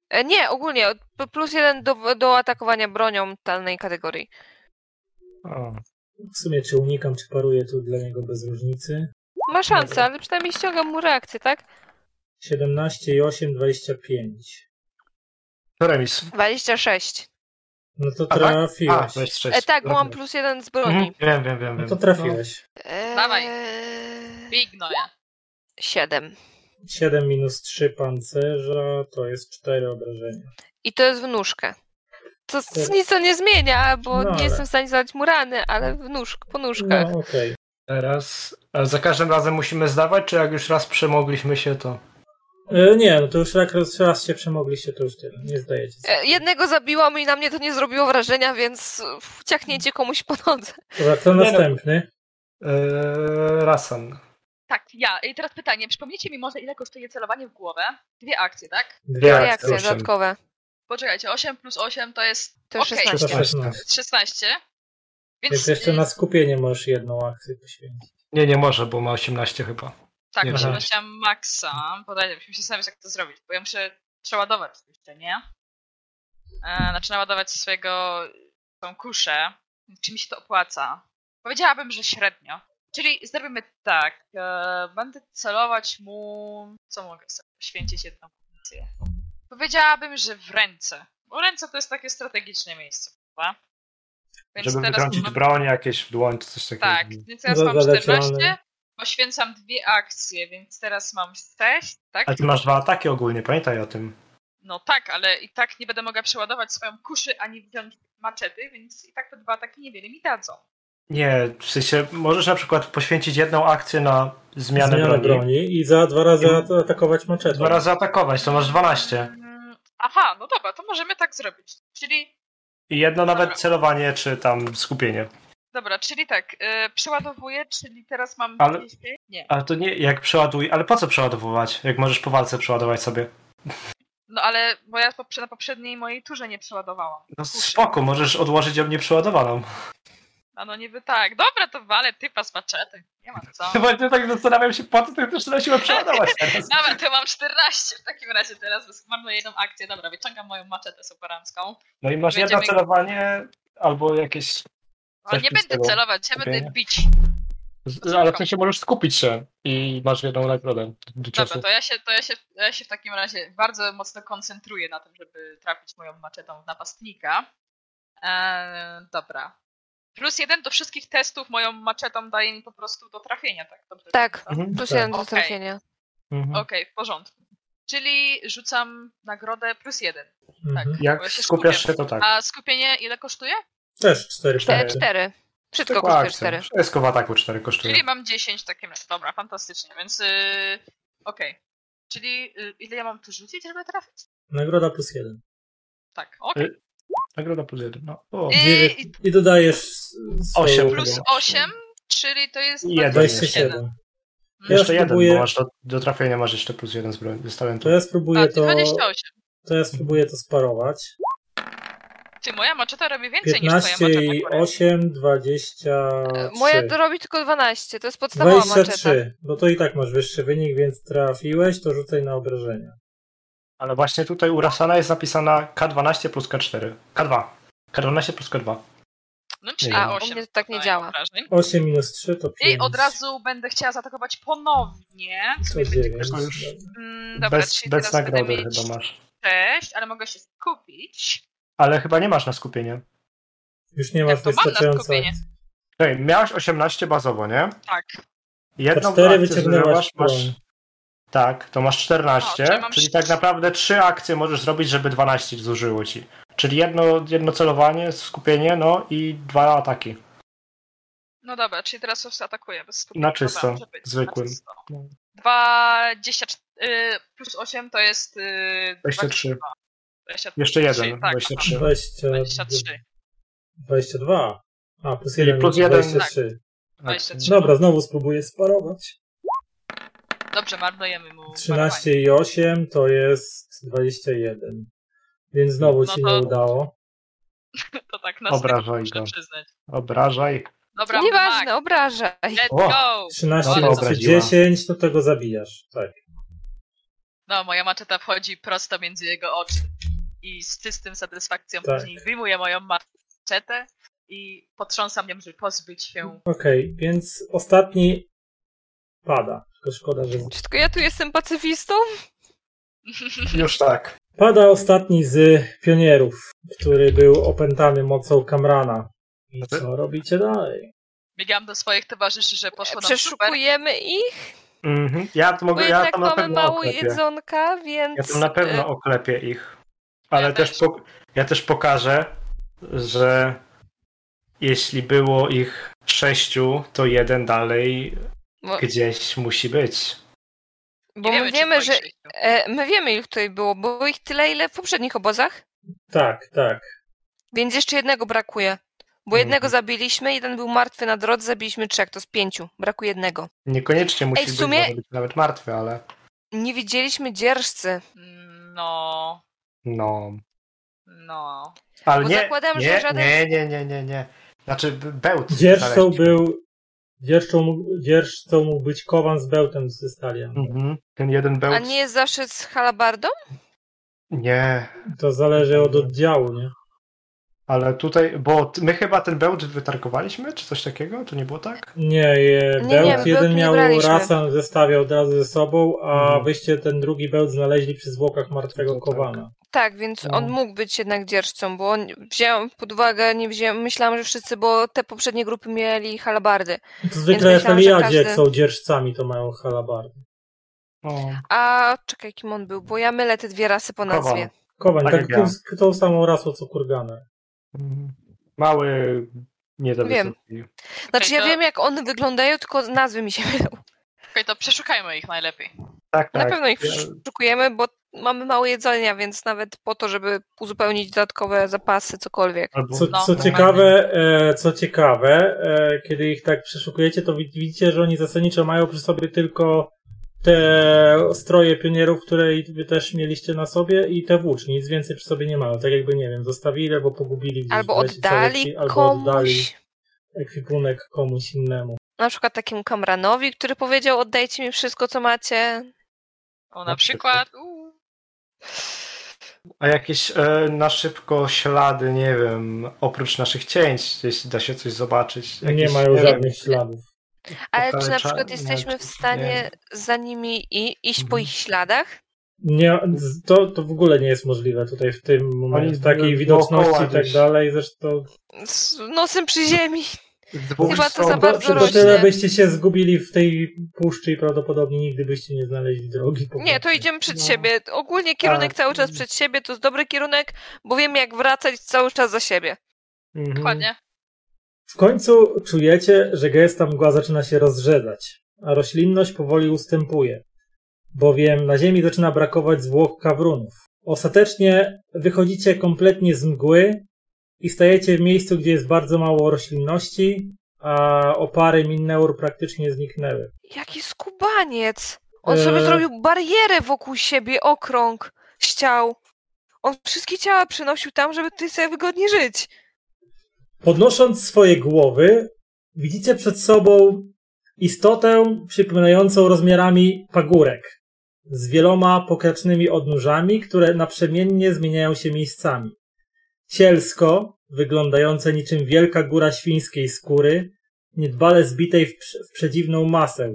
Speaker 2: E, nie, ogólnie, od, plus jeden do, do atakowania bronią danej kategorii.
Speaker 4: O.
Speaker 1: W sumie, czy unikam, czy paruję, to dla niego bez różnicy.
Speaker 2: Ma szansę,
Speaker 1: Dobra.
Speaker 2: ale przynajmniej ściągam mu reakcję, tak?
Speaker 1: 17 i 8, 25.
Speaker 4: To remis.
Speaker 2: 26.
Speaker 1: No to
Speaker 4: A, tak? A,
Speaker 1: trafiłeś.
Speaker 4: to jest sześć.
Speaker 2: E, tak, bo mam
Speaker 4: Dobra.
Speaker 2: plus jeden z
Speaker 4: Mhm,
Speaker 2: broni.
Speaker 4: Wiem, wiem, wiem.
Speaker 1: No
Speaker 4: wiem.
Speaker 1: to trafiłeś.
Speaker 2: E,
Speaker 3: Dawaj. Bignoję.
Speaker 2: 7.
Speaker 1: 7 minus 3 pancerza, to jest 4 obrażenia.
Speaker 2: I to jest w nóżkę. To z- nic to nie zmienia, bo
Speaker 1: Tak. No ale-
Speaker 2: nie jestem w stanie zadać mu rany, ale w nóż, po nóżkach.
Speaker 1: No okej.
Speaker 4: Teraz. A za każdym razem musimy zdawać, czy jak już raz przemogliśmy się, to.
Speaker 1: E, Nie, no to już jak raz, raz się przemogliście, to już tyle. Nie zdajecie sobie.
Speaker 2: E, Jednego zabiłam i na mnie to nie zrobiło wrażenia, więc e, ciachnięcie komuś po nodze.
Speaker 1: Dobra, kto
Speaker 4: no.
Speaker 1: następny?
Speaker 4: Yy, Rasan.
Speaker 3: Tak, ja. I teraz pytanie, przypomnijcie mi może ile kosztuje celowanie w głowę? Dwie akcje, tak?
Speaker 1: Dwie
Speaker 4: Tak,
Speaker 2: Reakcje
Speaker 4: owszem.
Speaker 2: dodatkowe.
Speaker 3: Poczekajcie, 8 plus 8 to jest
Speaker 2: To
Speaker 3: Okej.
Speaker 2: 16.
Speaker 1: To 16.
Speaker 3: 16. Więc
Speaker 1: Więc jeszcze
Speaker 3: y,
Speaker 1: na skupienie możesz jedną akcję poświęcić.
Speaker 4: Nie, nie może, bo ma 18 chyba.
Speaker 3: tak,
Speaker 4: nie,
Speaker 3: osiągnąłem maksa. Podajcie, musimy się zastanowić jak to zrobić, bo ja muszę przeładować jeszcze, nie? E, znaczy naładować swojego tą kuszę. Czy mi się to opłaca? Powiedziałabym, że średnio. Czyli zrobimy tak. E, będę celować mu. Co mogę sobie poświęcić jedną funkcję? Powiedziałabym, że w ręce. Bo ręce to jest takie strategiczne miejsce, prawda?
Speaker 4: Żeby
Speaker 3: teraz
Speaker 4: wytrącić
Speaker 3: mam-
Speaker 4: broń jakieś w dłoń, czy coś takiego.
Speaker 3: Tak, więc teraz
Speaker 1: Za-
Speaker 3: mam
Speaker 1: zaleciane.
Speaker 3: 14, poświęcam dwie akcje, więc teraz mam 6, tak?
Speaker 4: A ty masz dwa ataki ogólnie, pamiętaj o tym.
Speaker 3: No tak, ale i tak nie będę mogła przeładować swoją kuszy ani wziąć maczety, więc i tak te dwa ataki niewiele mi dadzą.
Speaker 4: Nie, w sensie możesz na przykład poświęcić jedną akcję na zmianę,
Speaker 1: Zmiana broni.
Speaker 4: broni.
Speaker 1: i za dwa razy
Speaker 4: I-
Speaker 1: at- atakować maczetą.
Speaker 4: Dwa razy atakować, to masz 12.
Speaker 3: Mm, Aha, no dobra, to możemy tak zrobić. Czyli
Speaker 4: I jedno
Speaker 3: Dobra.
Speaker 4: nawet celowanie, czy tam skupienie.
Speaker 3: Dobra, czyli tak, y, przeładowuję, czyli teraz mam
Speaker 4: Ale-
Speaker 3: 200? Nie.
Speaker 4: Ale to nie, jak przeładuj, ale po co przeładowywać? Jak możesz po walce przeładować sobie.
Speaker 3: No ale, bo ja poprze- na poprzedniej mojej turze nie przeładowałam.
Speaker 4: No spoko, możesz odłożyć ją nieprzeładowaną.
Speaker 3: A no niby tak. Dobra, to walę typa z maczety. Nie mam co.
Speaker 4: Właśnie tak zastanawiam się, po co ty też nosiła przeładować teraz.
Speaker 3: Dobra, to mam 14 w takim razie teraz, bo marnuję jedną akcję. Dobra, wyciągam moją maczetę superancką.
Speaker 4: No i masz jedno
Speaker 3: Będziemy-
Speaker 4: celowanie albo jakieś...
Speaker 3: O,
Speaker 4: Coś
Speaker 3: nie
Speaker 4: tu z
Speaker 3: będę
Speaker 4: tego
Speaker 3: celować, ja
Speaker 4: lepiej,
Speaker 3: będę
Speaker 4: nie?
Speaker 3: bić.
Speaker 5: Ale w sensie możesz skupić się i masz jedną nagrodę do ciosu.
Speaker 3: Dobra, to ja się, to ja się, ja się w takim razie bardzo mocno koncentruję na tym, żeby trafić moją maczetą w napastnika. Eee, dobra. Plus jeden do wszystkich testów moją maczetą daje mi po prostu do trafienia, tak? Dobrze
Speaker 2: Tak.
Speaker 3: pamiętam?
Speaker 2: Plus jeden do
Speaker 3: Okej.
Speaker 2: trafienia. E,
Speaker 4: Mhm.
Speaker 3: Okej, w porządku. Czyli rzucam nagrodę plus jeden. Tak.
Speaker 1: Mhm.
Speaker 3: bo
Speaker 4: Jak
Speaker 3: ja się
Speaker 4: skupiasz
Speaker 3: skupiam.
Speaker 4: się, to tak.
Speaker 3: A skupienie ile kosztuje?
Speaker 1: Też cztery
Speaker 2: E,
Speaker 4: Cztery.
Speaker 1: punkty.
Speaker 2: Cztery. Wszystko
Speaker 4: Tylko
Speaker 2: kosztuje
Speaker 4: akcja.
Speaker 2: cztery.
Speaker 4: Tak, Wszystko w ataku 4 kosztuje.
Speaker 3: Czyli mam 10 w takim razie. Dobra, fantastycznie, więc yy, okej. Czyli y, ile ja mam tu rzucić, żeby trafić?
Speaker 1: Nagroda plus jeden.
Speaker 3: Tak, okej.
Speaker 4: Nagroda plus 1. No. Y, O.
Speaker 3: I-
Speaker 1: Dziewięć- I dodajesz s- swoją-
Speaker 4: Osiem.
Speaker 3: Plus
Speaker 4: Dobra.
Speaker 3: 8, czyli to jest
Speaker 4: Jeden.
Speaker 1: 27.
Speaker 3: Mhm.
Speaker 1: Ja
Speaker 4: Jeszcze jeden,
Speaker 1: spróbuję,
Speaker 4: bo masz do, do trafienia masz jeszcze plus jeden z, broń, z talentu.
Speaker 1: to ja
Speaker 3: A,
Speaker 1: spróbuję
Speaker 3: to
Speaker 1: to,
Speaker 3: 28.
Speaker 1: to ja spróbuję to sparować.
Speaker 3: Ty, moja maczeta robi więcej niż
Speaker 1: 15
Speaker 3: twoja maczeta. E,
Speaker 1: i
Speaker 3: akurat.
Speaker 1: 8, 23.
Speaker 2: Moja robi tylko 12, to jest podstawowa maczeta.
Speaker 1: 23, bo to i tak masz wyższy wynik, więc trafiłeś, to rzucaj na obrażenia.
Speaker 4: Ale właśnie tutaj u Rasana jest napisana K12 plus K4. K2. K12 plus K2.
Speaker 3: No, czyli
Speaker 4: Nie
Speaker 2: A,
Speaker 3: osiem
Speaker 2: u mnie to tak nie
Speaker 3: dostaję
Speaker 2: działa.
Speaker 3: obrażeń.
Speaker 1: 8 minus 3 to 5.
Speaker 3: I od razu będę chciała zaatakować ponownie. Co
Speaker 1: to
Speaker 3: mi będzie
Speaker 1: 9.
Speaker 4: tylko już-
Speaker 3: Mm, dobra,
Speaker 4: bez
Speaker 3: czyli
Speaker 4: bez
Speaker 3: teraz
Speaker 4: nagrody
Speaker 3: będę mieć
Speaker 4: chyba masz.
Speaker 3: 6, ale mogę się skupić.
Speaker 4: Ale chyba nie masz na skupienie.
Speaker 1: Już nie masz
Speaker 3: to mam na
Speaker 1: wystarczająco.
Speaker 3: skupienie.
Speaker 4: Czekaj, miałeś 18 bazowo, nie?
Speaker 3: Tak.
Speaker 1: Po
Speaker 4: Jedną
Speaker 1: cztery
Speaker 4: akcję
Speaker 1: wyciągnęłaś
Speaker 4: zużywasz,
Speaker 1: broń.
Speaker 4: masz. Tak, to masz 14,
Speaker 3: O, czyli mam
Speaker 4: czyli
Speaker 3: sześć.
Speaker 4: tak naprawdę 3 akcje możesz zrobić, żeby 12 zużyło ci. Czyli jedno, jedno celowanie, skupienie, no i dwa ataki.
Speaker 3: No dobra, czyli teraz już atakuję. Bez skupienia.
Speaker 4: Na czysto,
Speaker 3: Dobra, może być,
Speaker 4: zwykłym. No.
Speaker 3: na czysto. 24 y, plus 8 to jest. y,
Speaker 4: 23.
Speaker 3: 23,
Speaker 4: Jeszcze jeden,
Speaker 3: tak,
Speaker 4: 23.
Speaker 1: 20,
Speaker 3: 23.
Speaker 1: 22. A, plus
Speaker 4: Czyli
Speaker 1: 1,
Speaker 4: plus
Speaker 1: plus
Speaker 4: jeden-
Speaker 1: 23.
Speaker 3: 23.
Speaker 1: Dobra, znowu spróbuję sparować.
Speaker 3: Dobrze, marnujemy mu.
Speaker 1: 13 i 8 to jest 21. Więc znowu ci
Speaker 3: No to-
Speaker 1: nie udało.
Speaker 3: Akcję. To tak na
Speaker 4: Obrażaj
Speaker 3: styku, muszę
Speaker 4: go.
Speaker 3: przyznać.
Speaker 4: Obrażaj.
Speaker 3: Dobra, E,
Speaker 2: Nieważne,
Speaker 3: Mag,
Speaker 2: obrażaj.
Speaker 3: let's
Speaker 4: O.
Speaker 3: go!
Speaker 1: 13
Speaker 3: Ładnie
Speaker 1: minus
Speaker 4: obraziła.
Speaker 1: 10, no tego zabijasz. Tak.
Speaker 3: No, moja maczeta wchodzi prosto między jego oczy. I z czystym satysfakcją
Speaker 1: Tak.
Speaker 3: później wyjmuję moją maczetę i potrząsam nią, żeby pozbyć się.
Speaker 1: Okej, więc ostatni pada. Tylko szkoda, że
Speaker 2: Czy tylko ja tu jestem pacyfistą?
Speaker 3: No,
Speaker 4: Już tak.
Speaker 1: Pada ostatni z pionierów, który był opętany mocą Kamrana. I co robicie dalej?
Speaker 3: Biegam do swoich towarzyszy, że poszło nam super.
Speaker 2: Przeszukujemy ich,
Speaker 4: Mhm. Ja to
Speaker 2: bo
Speaker 4: mogę, ja
Speaker 2: jednak
Speaker 4: tam na
Speaker 2: mamy
Speaker 4: pewno
Speaker 2: mało
Speaker 4: oklepię.
Speaker 2: jedzonka, więc... e,
Speaker 4: Ja tam na pewno oklepię ich. Ale
Speaker 3: Ja
Speaker 4: też,
Speaker 3: też.
Speaker 4: Po, ja też pokażę, że jeśli było ich sześciu, to jeden dalej
Speaker 2: Bo,
Speaker 4: gdzieś musi być.
Speaker 2: bo
Speaker 3: Nie
Speaker 2: my
Speaker 3: czy
Speaker 2: wiemy,
Speaker 3: boi
Speaker 2: że...
Speaker 3: się ich.
Speaker 2: E, my wiemy, ile tutaj było. Było ich tyle, ile w poprzednich obozach,
Speaker 1: Tak, tak.
Speaker 2: więc jeszcze jednego brakuje. Bo
Speaker 4: Mhm.
Speaker 2: jednego zabiliśmy, jeden był martwy na drodze, zabiliśmy trzech, to z pięciu. Brakuje jednego.
Speaker 4: Niekoniecznie musi
Speaker 2: Ej, w sumie-
Speaker 4: być, może być nawet martwy, ale
Speaker 2: Nie widzieliśmy dzierżcy.
Speaker 3: No,
Speaker 4: no.
Speaker 3: no.
Speaker 4: Ale
Speaker 2: Bo
Speaker 4: nie,
Speaker 2: zakładam,
Speaker 4: nie,
Speaker 2: że żaden-
Speaker 4: nie, nie, nie, nie, nie. Znaczy b- bełt.
Speaker 1: Dzierżcą
Speaker 4: znaleźliśmy.
Speaker 1: był. Dzierżcą, mógł- dzierżcą mógł być Kowan z Bełtem z Zystalia.
Speaker 4: Mhm. Ten jeden bełt.
Speaker 2: A nie jest zawsze z halabardą?
Speaker 4: nie.
Speaker 1: To zależy od oddziału, nie?
Speaker 4: Ale tutaj, bo t- my chyba ten bełt wytargowaliśmy, czy coś takiego? To nie było tak?
Speaker 1: Nie, je,
Speaker 2: Nie, nie,
Speaker 1: Bełt
Speaker 2: Bełtu
Speaker 1: jeden
Speaker 2: nie
Speaker 1: miał
Speaker 2: braliśmy.
Speaker 1: rasę w zestawie od razu ze sobą, a
Speaker 4: Mhm.
Speaker 1: wyście ten drugi Bełt znaleźli przy zwłokach martwego
Speaker 4: To tak.
Speaker 1: Kowana.
Speaker 2: Tak, więc
Speaker 4: No.
Speaker 2: on mógł być jednak dzierżcą, bo on wziąłem pod uwagę, nie wziąłem, myślałam, że wszyscy, bo te poprzednie grupy mieli halabardy.
Speaker 1: To zwykle
Speaker 2: myślałam,
Speaker 1: jeżeli
Speaker 2: że
Speaker 1: jadzie
Speaker 2: każdy-
Speaker 1: są dzierżcami, to mają halabardy.
Speaker 4: O.
Speaker 2: A czekaj, kim on był, bo ja mylę te dwie rasy po
Speaker 4: Kowan.
Speaker 2: nazwie.
Speaker 1: Kowan,
Speaker 4: Tak
Speaker 1: tak,
Speaker 4: jak
Speaker 1: tą, tą samą rasą co Kurganer.
Speaker 4: Mhm. Mały nie do
Speaker 2: Wiem.
Speaker 4: wysoki.
Speaker 2: Znaczy ja
Speaker 3: to-
Speaker 2: wiem jak one wyglądają, tylko nazwy mi się mylą.
Speaker 3: Okej, to przeszukajmy ich najlepiej.
Speaker 4: Tak,
Speaker 2: Na
Speaker 4: tak.
Speaker 2: pewno ich
Speaker 4: Ja-
Speaker 2: szukujemy, bo mamy mało jedzenia, więc nawet po to, żeby uzupełnić dodatkowe zapasy, cokolwiek.
Speaker 4: Albo...
Speaker 1: Co,
Speaker 3: No,
Speaker 1: co
Speaker 3: tak.
Speaker 1: ciekawe, e, co ciekawe, e, kiedy ich tak przeszukujecie, to wid- widzicie, że oni zasadniczo mają przy sobie tylko te stroje pionierów, które i wy też mieliście na sobie i te włócznie, nic więcej przy sobie nie mają. Tak jakby, nie wiem, zostawili albo pogubili gdzieś
Speaker 2: Albo
Speaker 1: w lesie, co
Speaker 2: oddali
Speaker 1: lekki- albo oddali
Speaker 2: komuś.
Speaker 1: ekwipunek komuś innemu.
Speaker 2: Na przykład takiemu kamranowi, który powiedział, oddajcie mi wszystko, co macie.
Speaker 3: O,
Speaker 4: Na
Speaker 3: na
Speaker 4: przykład.
Speaker 3: przykład. uuu.
Speaker 4: A jakieś e, na szybko ślady, nie wiem, oprócz naszych cięć, jeśli da się coś zobaczyć. Jakieś,
Speaker 1: nie mają
Speaker 4: wiem,
Speaker 1: żadnych śladów.
Speaker 2: Ale czy na
Speaker 4: okalecza-
Speaker 2: przykład
Speaker 4: nie,
Speaker 2: jesteśmy w
Speaker 4: czy-
Speaker 2: stanie za nimi i iść po
Speaker 4: znaczy, Mhm.
Speaker 2: ich śladach?
Speaker 1: Nie, z- to, to w ogóle nie jest możliwe tutaj w tym
Speaker 4: Oni
Speaker 1: momencie, w
Speaker 4: dookoła
Speaker 1: takiej widoczności i tak
Speaker 4: gdzieś.
Speaker 1: dalej, zresztą
Speaker 2: Z nosem
Speaker 4: No,
Speaker 2: przy ziemi.
Speaker 4: nie. Z dwóch
Speaker 2: Chyba to
Speaker 4: stron.
Speaker 2: za
Speaker 1: to,
Speaker 2: bardzo
Speaker 1: to, to tyle
Speaker 2: rośnie.
Speaker 1: byście się zgubili w tej puszczy i prawdopodobnie nigdy byście nie znaleźli drogi. po
Speaker 2: Nie, to
Speaker 1: prostu.
Speaker 2: idziemy przed
Speaker 4: No.
Speaker 2: siebie. Ogólnie kierunek
Speaker 4: Tak.
Speaker 2: cały czas przed siebie to jest dobry kierunek, bo wiemy jak wracać cały czas za siebie.
Speaker 4: Mhm.
Speaker 3: Dokładnie.
Speaker 1: W końcu czujecie, że gęsta mgła zaczyna się rozrzedzać, a roślinność powoli ustępuje, bowiem na ziemi zaczyna brakować zwłok kawrunów. Ostatecznie wychodzicie kompletnie z mgły i stajecie w miejscu, gdzie jest bardzo mało roślinności, a opary minneur praktycznie zniknęły.
Speaker 2: Jaki skubaniec! On sobie
Speaker 4: E.
Speaker 1: Eee.
Speaker 2: zrobił barierę wokół siebie, okrąg z ciał. On wszystkie ciała przynosił tam, żeby ty sobie wygodnie żyć.
Speaker 1: Podnosząc swoje głowy, widzicie przed sobą istotę przypominającą rozmiarami pagórek, z wieloma pokracznymi odnóżami, które naprzemiennie zmieniają się miejscami. Cielsko, wyglądające niczym wielka góra świńskiej skóry, niedbale zbitej w, prze- w przedziwną masę.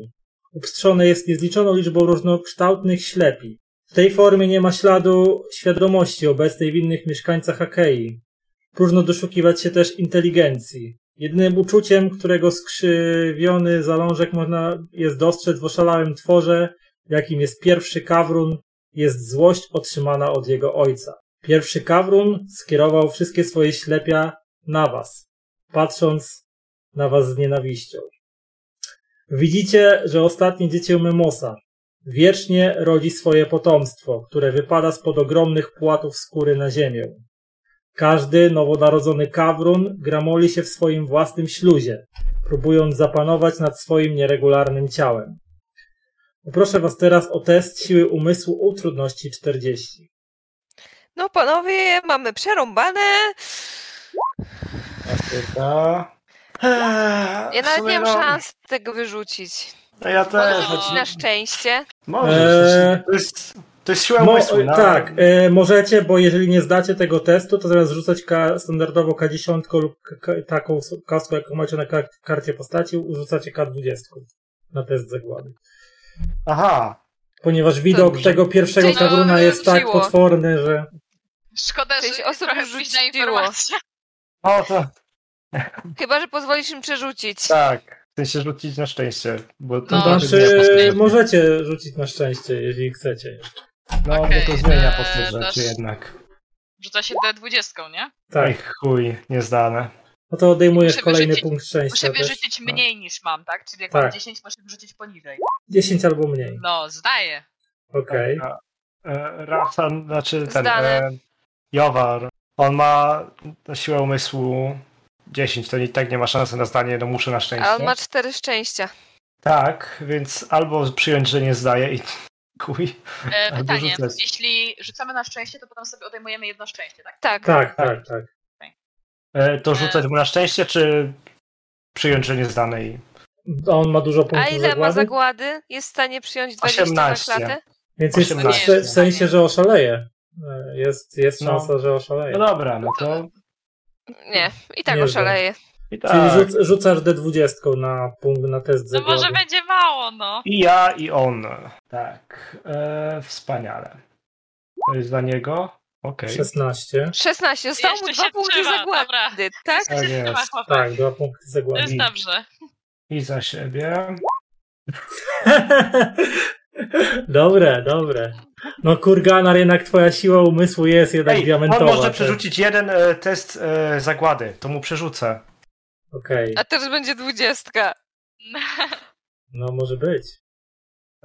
Speaker 1: Upstrzone jest niezliczoną liczbą różnokształtnych ślepi. W tej formie nie ma śladu świadomości obecnej w innych mieszkańcach Akei, Próżno doszukiwać się też inteligencji. Jedynym uczuciem, którego skrzywiony zalążek można jest dostrzec w oszalałym tworze, jakim jest pierwszy kawrun, jest złość otrzymana od jego ojca. Pierwszy kawrun skierował wszystkie swoje ślepia na was, patrząc na was z nienawiścią. Widzicie, że ostatnie dziecię Memosa wiecznie rodzi swoje potomstwo, które wypada spod ogromnych płatów skóry na ziemię. Każdy nowonarodzony kawrun gramoli się w swoim własnym śluzie, próbując zapanować nad swoim nieregularnym ciałem. Poproszę was teraz o test siły umysłu u trudności 40.
Speaker 2: No panowie, mamy przerąbane.
Speaker 4: Prawda? Eee,
Speaker 2: Ja
Speaker 4: w
Speaker 2: nawet
Speaker 4: sumie
Speaker 2: nie mam
Speaker 4: no,
Speaker 2: szans tego wyrzucić.
Speaker 4: no Ja też.
Speaker 3: No.
Speaker 4: choć-
Speaker 2: Na szczęście.
Speaker 4: Możesz.
Speaker 1: Eee.
Speaker 4: To, jest, to jest siła
Speaker 1: Mo-
Speaker 4: umysłu. no.
Speaker 1: tak, e, możecie, bo jeżeli nie zdacie tego testu, to zamiast rzucać ka- standardowo K10 lub k- k- taką s- kostką, jaką macie na kar- karcie postaci, rzucacie K20 na test zagłady.
Speaker 4: Aha.
Speaker 1: Ponieważ widok
Speaker 2: dobrze.
Speaker 1: tego pierwszego
Speaker 2: Czyli-
Speaker 1: kawruna
Speaker 3: No,
Speaker 1: jest tak
Speaker 2: rzuciło.
Speaker 1: potworny, że...
Speaker 3: Szkoda,
Speaker 2: Część
Speaker 3: że
Speaker 2: osób
Speaker 3: trochę
Speaker 2: już
Speaker 3: późna
Speaker 2: rzuciło.
Speaker 3: informacja.
Speaker 4: O, to,
Speaker 2: Chyba, że pozwolisz im przerzucić.
Speaker 4: tak. Chcę się rzucić na szczęście. Bo to
Speaker 1: To
Speaker 3: No,
Speaker 1: znaczy,
Speaker 3: rzucić na szczęście.
Speaker 1: możecie rzucić na szczęście, jeżeli chcecie. Tak,
Speaker 4: No,
Speaker 3: Okej,
Speaker 4: bo to zmienia
Speaker 3: eee,
Speaker 4: postać rzeczy
Speaker 3: nasz-
Speaker 4: jednak.
Speaker 3: Rzuca się D20, nie?
Speaker 4: Ej,
Speaker 1: Tak.
Speaker 4: chuj, niezdane.
Speaker 1: No to odejmujesz
Speaker 3: Muszę
Speaker 1: kolejny
Speaker 3: wyrzucić-
Speaker 1: punkt szczęścia.
Speaker 3: Muszę
Speaker 1: Też.
Speaker 3: wyrzucić mniej niż mam, tak? Czyli jak
Speaker 1: Tak.
Speaker 3: mam 10, muszę wyrzucić poniżej.
Speaker 1: 10 Tak. albo mniej.
Speaker 3: No, zdaję.
Speaker 1: Okej.
Speaker 4: A, e, Rafan, znaczy ten.
Speaker 2: Zdane.
Speaker 4: E, Jowar. On ma siłę umysłu 10, to i tak nie ma szansy na zdanie, no muszę na szczęście.
Speaker 2: A on ma cztery szczęścia.
Speaker 4: Tak, więc albo przyjąć, że nie zdaje i chuj.
Speaker 3: E,
Speaker 4: Albo
Speaker 3: pytanie,
Speaker 4: rzucać.
Speaker 3: jeśli rzucamy na szczęście, to potem sobie odejmujemy jedno szczęście, tak?
Speaker 2: Tak.
Speaker 1: Tak, tak, tak.
Speaker 4: E, to rzucać mu na szczęście, czy przyjąć, że nie zdane i.
Speaker 1: A on ma dużo punktów
Speaker 2: A ile ma
Speaker 1: zagłady,
Speaker 2: zagłady? Jest w stanie przyjąć 20
Speaker 4: 18.
Speaker 2: na klatę?
Speaker 1: więc jest w,
Speaker 4: 18.
Speaker 1: se- w sensie, że oszaleje. E, Jest, jest
Speaker 4: No.
Speaker 1: szansa, że
Speaker 4: No
Speaker 1: oszaleje.
Speaker 4: dobra, no to.
Speaker 2: Nie, i tak
Speaker 1: Nie
Speaker 2: oszaleje.
Speaker 4: I
Speaker 1: Czyli
Speaker 4: tak.
Speaker 1: rzuc, rzucasz D20 na punkt na test
Speaker 3: No
Speaker 1: zagłady.
Speaker 3: może będzie mało, no.
Speaker 4: I ja, i on. Tak. E, wspaniale. To jest dla niego. Okej.
Speaker 1: 16.
Speaker 2: 16, zostało mu
Speaker 3: Jeszcze
Speaker 2: dwa
Speaker 3: się
Speaker 2: punkty
Speaker 3: trzyma, dobra.
Speaker 2: zagłady, tak?
Speaker 4: Tak jest.
Speaker 3: Chyba chłopak.
Speaker 1: Tak, dwa punkty
Speaker 3: No To
Speaker 1: zagłady.
Speaker 3: jest dobrze.
Speaker 4: I za siebie.
Speaker 1: dobre, dobre. No kurganar, jednak twoja siła umysłu jest jednak
Speaker 4: Ej, on
Speaker 1: diamentowa.
Speaker 4: może
Speaker 1: tak.
Speaker 4: przerzucić jeden e, test e, zagłady, to mu przerzucę.
Speaker 1: Okej,
Speaker 2: A teraz będzie dwudziestka.
Speaker 1: no może być.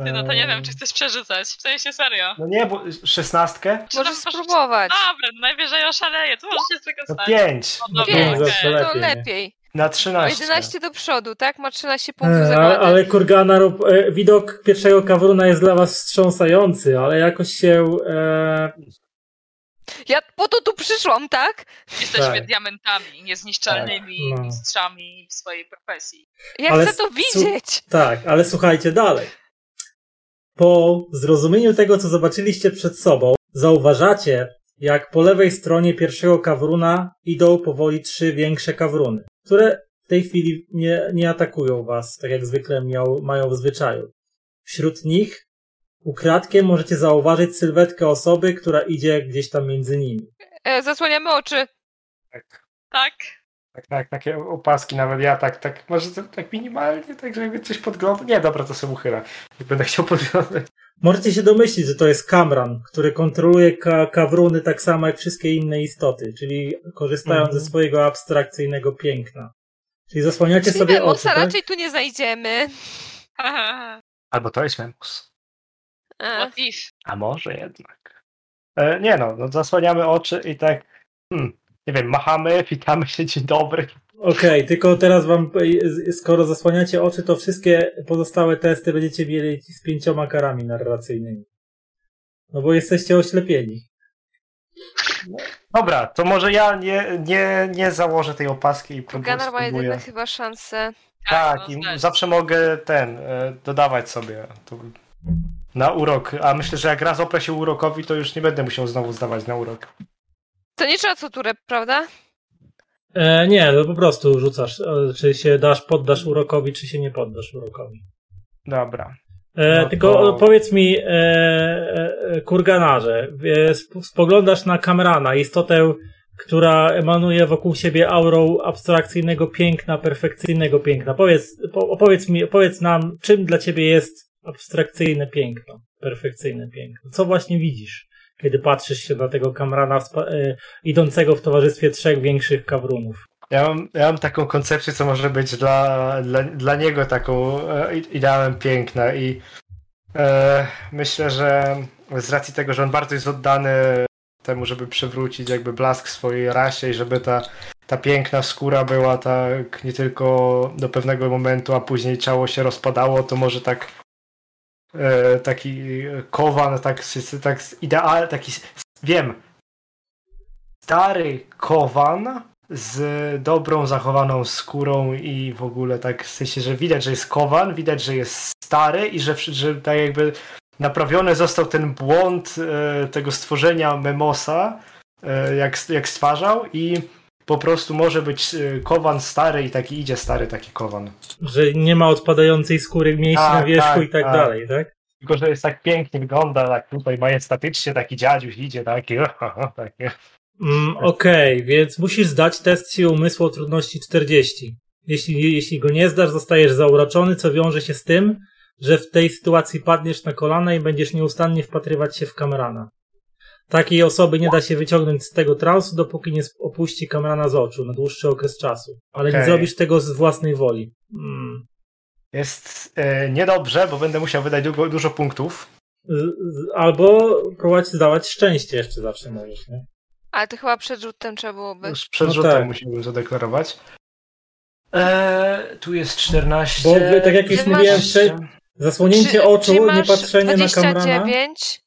Speaker 3: Ty, no to nie wiem, czy chcesz przerzucać. W sensie serio.
Speaker 4: No nie, bo szesnastkę? No
Speaker 3: Czy
Speaker 2: Możesz
Speaker 3: tam możesz-
Speaker 2: spróbować.
Speaker 3: Dobra, no najwyżej oszaleję, to może się z tego
Speaker 4: No
Speaker 3: stać.
Speaker 4: pięć.
Speaker 3: No
Speaker 4: No
Speaker 3: dobra,
Speaker 2: Pięć,
Speaker 3: okej.
Speaker 1: zawsze
Speaker 2: To
Speaker 1: lepiej, nie?
Speaker 2: lepiej.
Speaker 3: No
Speaker 4: Na
Speaker 2: O
Speaker 4: trzynaście.
Speaker 2: 11 do przodu, tak? Ma 13 punktów
Speaker 1: E, ale,
Speaker 2: zakładam.
Speaker 1: ale kurgana, rob, e, widok pierwszego kawruna jest dla was wstrząsający, ale jakoś się. E,
Speaker 2: Ja po to tu przyszłam, tak?
Speaker 3: Jesteśmy
Speaker 1: Tak.
Speaker 3: diamentami, niezniszczalnymi
Speaker 1: Tak, no.
Speaker 3: mistrzami w swojej profesji.
Speaker 2: Ja
Speaker 1: Ale
Speaker 2: chcę to
Speaker 1: s-
Speaker 2: widzieć.
Speaker 1: tak, ale słuchajcie dalej. Po zrozumieniu tego, co zobaczyliście przed sobą, zauważacie, jak po lewej stronie pierwszego kawruna idą powoli trzy większe kawruny, które w tej chwili nie, nie atakują was, tak jak zwykle miał, mają w zwyczaju. Wśród nich ukradkiem możecie zauważyć sylwetkę osoby, która idzie gdzieś tam między nimi.
Speaker 2: E, zasłaniamy oczy.
Speaker 4: Tak,
Speaker 3: Tak?
Speaker 4: tak, tak, takie opaski nawet ja tak, tak, może to, tak minimalnie, tak żeby coś podglądać. Nie, dobra, to sobie uchylę. Jak będę chciał podglądać.
Speaker 1: Możecie się domyślić, że to jest Kamran, który kontroluje ka kawruny tak samo jak wszystkie inne istoty, czyli korzystając
Speaker 4: Mhm.
Speaker 1: ze swojego abstrakcyjnego piękna. Czyli zasłaniacie
Speaker 2: Czyli
Speaker 1: sobie oczy,
Speaker 2: Memosa
Speaker 1: tak?
Speaker 2: raczej tu nie znajdziemy.
Speaker 4: Albo to jest memus.
Speaker 2: E,
Speaker 3: What if?
Speaker 5: A może jednak.
Speaker 4: E, nie no, no, zasłaniamy oczy i tak, hmm, nie wiem, machamy, witamy się, dzień dobry.
Speaker 1: Okej, tylko teraz wam, skoro zasłaniacie oczy, to wszystkie pozostałe testy będziecie mieli z pięcioma karami narracyjnymi. No bo jesteście oślepieni.
Speaker 4: Dobra, to może ja nie, nie, nie założę tej opaski i próbuję.
Speaker 2: Ganar ma
Speaker 4: spróbuję.
Speaker 2: jedyne chyba szansę.
Speaker 4: Tak,
Speaker 3: no,
Speaker 4: i
Speaker 3: znasz.
Speaker 4: zawsze mogę ten e, dodawać sobie tu na urok. A myślę, że jak raz oprę się urokowi, to już nie będę musiał znowu zdawać na urok.
Speaker 2: To nie trzeba co turę, prawda?
Speaker 1: E, nie, no po prostu rzucasz, e, czy się dasz, poddasz urokowi, czy się nie poddasz urokowi.
Speaker 4: Dobra.
Speaker 1: E,
Speaker 4: No
Speaker 1: tylko
Speaker 4: to-
Speaker 1: e, powiedz mi, e, e, kurganarze, e, sp- spoglądasz na Kamrana, istotę, która emanuje wokół siebie aurą abstrakcyjnego piękna, perfekcyjnego piękna. Powiedz, po, opowiedz mi, powiedz nam, czym dla ciebie jest abstrakcyjne piękno, perfekcyjne piękno. Co właśnie widzisz, kiedy patrzysz się na tego Kamrana wspa- e, idącego w towarzystwie trzech większych kawrunów?
Speaker 4: Ja mam, ja mam taką koncepcję, co może być dla, dla, dla niego taką e, i- ideałem piękna i e, myślę, że z racji tego, że on bardzo jest oddany temu, żeby przywrócić jakby blask swojej rasie i żeby ta, ta piękna skóra była tak nie tylko do pewnego momentu, a później ciało się rozpadało, to może tak e, taki kowan, tak, z- tak z- ideal, taki s- wiem, stary kowan z dobrą, zachowaną skórą i w ogóle tak w sensie, że widać, że jest kowan, widać, że jest stary i że, że tak jakby naprawiony został ten błąd e, tego stworzenia Memosa, e, jak, jak stwarzał i po prostu może być e, kowan stary i taki idzie stary taki kowan.
Speaker 1: Że nie ma odpadającej skóry mięśni
Speaker 4: Tak,
Speaker 1: na wierzchu
Speaker 4: tak,
Speaker 1: i tak
Speaker 4: tak.
Speaker 1: dalej, tak?
Speaker 4: Tylko, że jest tak pięknie wygląda, tak tutaj majestatycznie, taki dziadziuś idzie, taki, taki.
Speaker 1: Mm, Okej, więc musisz zdać test siły umysłu o trudności 40. Jeśli, jeśli go nie zdasz, zostajesz zauroczony, co wiąże się z tym, że w tej sytuacji padniesz na kolana i będziesz nieustannie wpatrywać się w kamrana. Takiej osoby nie da się wyciągnąć z tego transu, dopóki nie sp- opuści kamrana z oczu na dłuższy okres czasu. Ale nie
Speaker 4: Okej.
Speaker 1: zrobisz tego z własnej woli. Mm.
Speaker 4: Jest e, niedobrze, bo będę musiał wydać dużo, dużo punktów.
Speaker 1: Z- z- Albo próbować zdawać szczęście jeszcze zawsze możesz, nie?
Speaker 2: Ale to chyba przed rzutem trzeba byłoby.
Speaker 4: Z przedrzutem
Speaker 1: No tak.
Speaker 4: musiałbym zadeklarować. Eee, tu jest 14.
Speaker 1: Bo wy- tak jak już
Speaker 2: Czy masz- mówiłem
Speaker 1: wcześniej- Zasłonięcie
Speaker 2: Czy-
Speaker 1: oczu,
Speaker 2: czy
Speaker 1: nie
Speaker 2: masz
Speaker 1: patrzenie na kamrana.
Speaker 2: 29?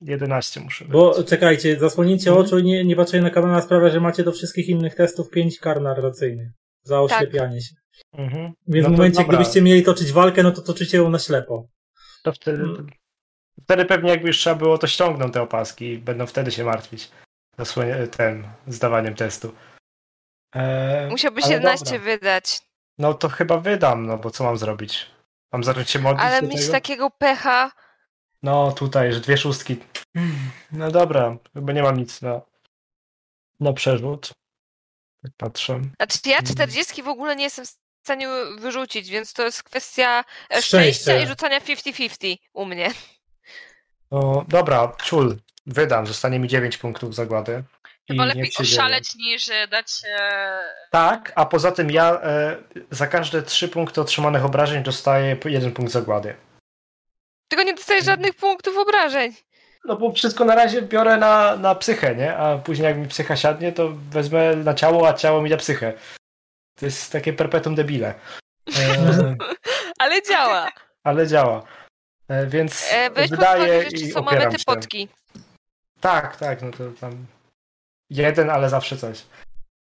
Speaker 4: 11 muszę być.
Speaker 1: Bo czekajcie, zasłonięcie oczu i nie, nie patrzenie na kamerę sprawia, że macie do wszystkich innych testów 5 kar narracyjnych za
Speaker 2: Tak.
Speaker 1: oślepianie się.
Speaker 4: Mhm.
Speaker 1: Więc
Speaker 4: No
Speaker 1: w
Speaker 4: to
Speaker 1: momencie,
Speaker 4: dobra.
Speaker 1: gdybyście mieli toczyć walkę, no to toczycie ją na ślepo.
Speaker 4: To wtedy,
Speaker 1: Mm.
Speaker 4: wtedy pewnie jakby już trzeba było, to ściągną te opaski i będą wtedy się martwić zasłania, tym zdawaniem testu. Eee,
Speaker 2: Musiałbyś
Speaker 4: ale
Speaker 2: 11
Speaker 4: dobra.
Speaker 2: wydać.
Speaker 4: No to chyba wydam, no bo co mam zrobić? Mam zacząć się modlić
Speaker 2: Ale
Speaker 4: do
Speaker 2: mieć
Speaker 4: tego?
Speaker 2: takiego pecha.
Speaker 4: No tutaj, że dwie szóstki. Mm, No dobra, chyba nie mam nic na, na przerzut. Tak Patrzę.
Speaker 2: Znaczy ja
Speaker 1: Mhm.
Speaker 4: Mm.
Speaker 2: 40 w ogóle nie jestem w stanie wyrzucić, więc to jest kwestia e,
Speaker 1: Szczęścia.
Speaker 2: szczęścia i rzucania 50-50 u mnie.
Speaker 4: No dobra, czul, wydam, zostanie mi 9 punktów zagłady. I
Speaker 3: Chyba
Speaker 4: niech
Speaker 3: lepiej
Speaker 4: się dzieje.
Speaker 3: oszaleć niż e, dać e,
Speaker 4: Tak, a poza tym ja e, za każde 3 punkty otrzymanych obrażeń dostaję po jeden punkt zagłady.
Speaker 2: Tylko nie dostajesz
Speaker 1: Mhm.
Speaker 2: żadnych punktów obrażeń.
Speaker 4: No bo wszystko na razie biorę na, na psychę, nie? A później jak mi psycha siadnie, to wezmę na ciało, a ciało mi da psychę. To jest takie perpetuum debile. E,
Speaker 2: Ale działa.
Speaker 4: ale działa. E, więc
Speaker 2: E, weź pod uwagę,
Speaker 4: wydaje
Speaker 2: że jeszcze
Speaker 4: i
Speaker 2: są mamy
Speaker 4: opieram
Speaker 2: te
Speaker 4: się.
Speaker 2: potki.
Speaker 4: Tak, tak, no to tam jeden, ale zawsze coś.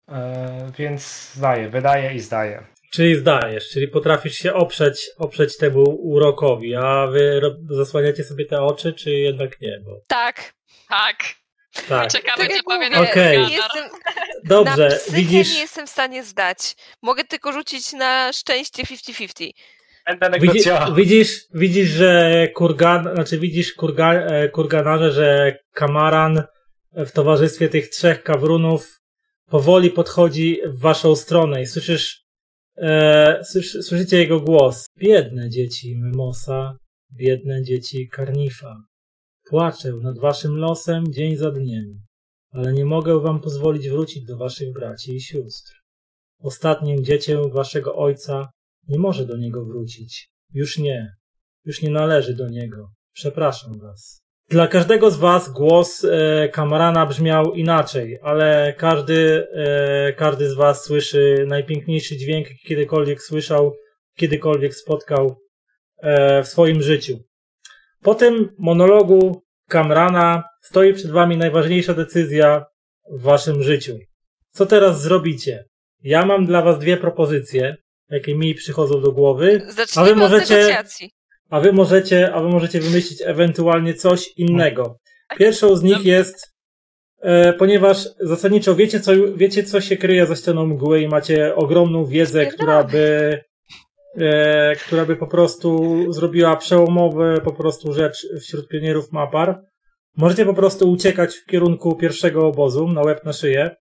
Speaker 4: E, więc zdaję, wydaje i zdaje.
Speaker 1: Czyli zdajesz, czyli potrafisz się oprzeć, oprzeć temu urokowi, a wy ro- zasłaniacie sobie te oczy, czy jednak nie? Bo
Speaker 2: Tak.
Speaker 3: Tak.
Speaker 1: tak.
Speaker 3: Czekamy,
Speaker 2: Tak
Speaker 3: co
Speaker 2: jak
Speaker 3: powie
Speaker 2: mówię,
Speaker 3: nam
Speaker 1: Okej.
Speaker 2: nie
Speaker 3: Ganar.
Speaker 2: jestem,
Speaker 1: Dobrze,
Speaker 2: na psychę
Speaker 1: widzisz.
Speaker 2: nie jestem w stanie zdać. Mogę tylko rzucić na szczęście 50-50.
Speaker 5: Będę
Speaker 4: Tak
Speaker 1: Widzi,
Speaker 5: negocjowała.
Speaker 1: widzisz, widzisz, że kurgan, znaczy widzisz kurga, e, kurganarze, że kamaran w towarzystwie tych trzech kawrunów powoli podchodzi w waszą stronę i słyszysz, e, słysz, słyszycie jego głos. Biedne dzieci Mymosa, biedne dzieci Karnifa. Płaczę nad waszym losem dzień za dniem, ale nie mogę wam pozwolić wrócić do waszych braci i sióstr. Ostatnim dziecię waszego ojca nie może do niego wrócić. Już nie. Już nie należy do niego. Przepraszam was. Dla każdego z was głos e, Kamrana brzmiał inaczej, ale każdy, e, każdy z was słyszy najpiękniejszy dźwięk, jaki kiedykolwiek słyszał, kiedykolwiek spotkał e, w swoim życiu. Po tym monologu Kamrana stoi przed wami najważniejsza decyzja w waszym życiu. Co teraz zrobicie? Ja mam dla was dwie propozycje, jakie mi przychodzą do głowy.
Speaker 2: Zacznijmy
Speaker 1: możecie-
Speaker 2: od negocjacji.
Speaker 1: A wy możecie, a wy możecie wymyślić ewentualnie coś innego. Pierwszą z nich jest, e, ponieważ zasadniczo wiecie co, wiecie, co się kryje za ścianą mgły i macie ogromną wiedzę, która by, e, która by po prostu zrobiła przełomowe po prostu rzecz wśród pionierów Mapar. Możecie po prostu uciekać w kierunku pierwszego obozu, na łeb na szyję.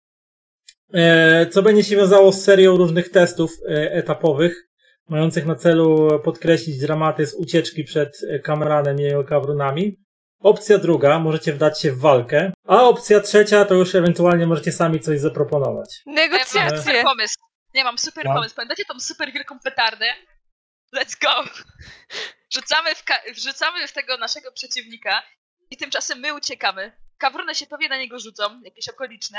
Speaker 1: E, co będzie się wiązało z serią różnych testów e, etapowych, mających na celu podkreślić dramatyzm ucieczki przed e, Kamranem i jego kawrunami. Opcja druga, możecie wdać się w walkę, a opcja trzecia to już ewentualnie możecie sami coś zaproponować.
Speaker 2: No
Speaker 3: Ja mam super
Speaker 2: Negocjacje.
Speaker 3: pomysł. Nie mam super
Speaker 4: No.
Speaker 3: pomysł. Pamiętacie tą super wielką petardę? Let's go! Wrzucamy w, ka- wrzucamy w tego naszego przeciwnika i tymczasem my uciekamy. Kawrony się pewnie na niego rzucą, jakieś okoliczne.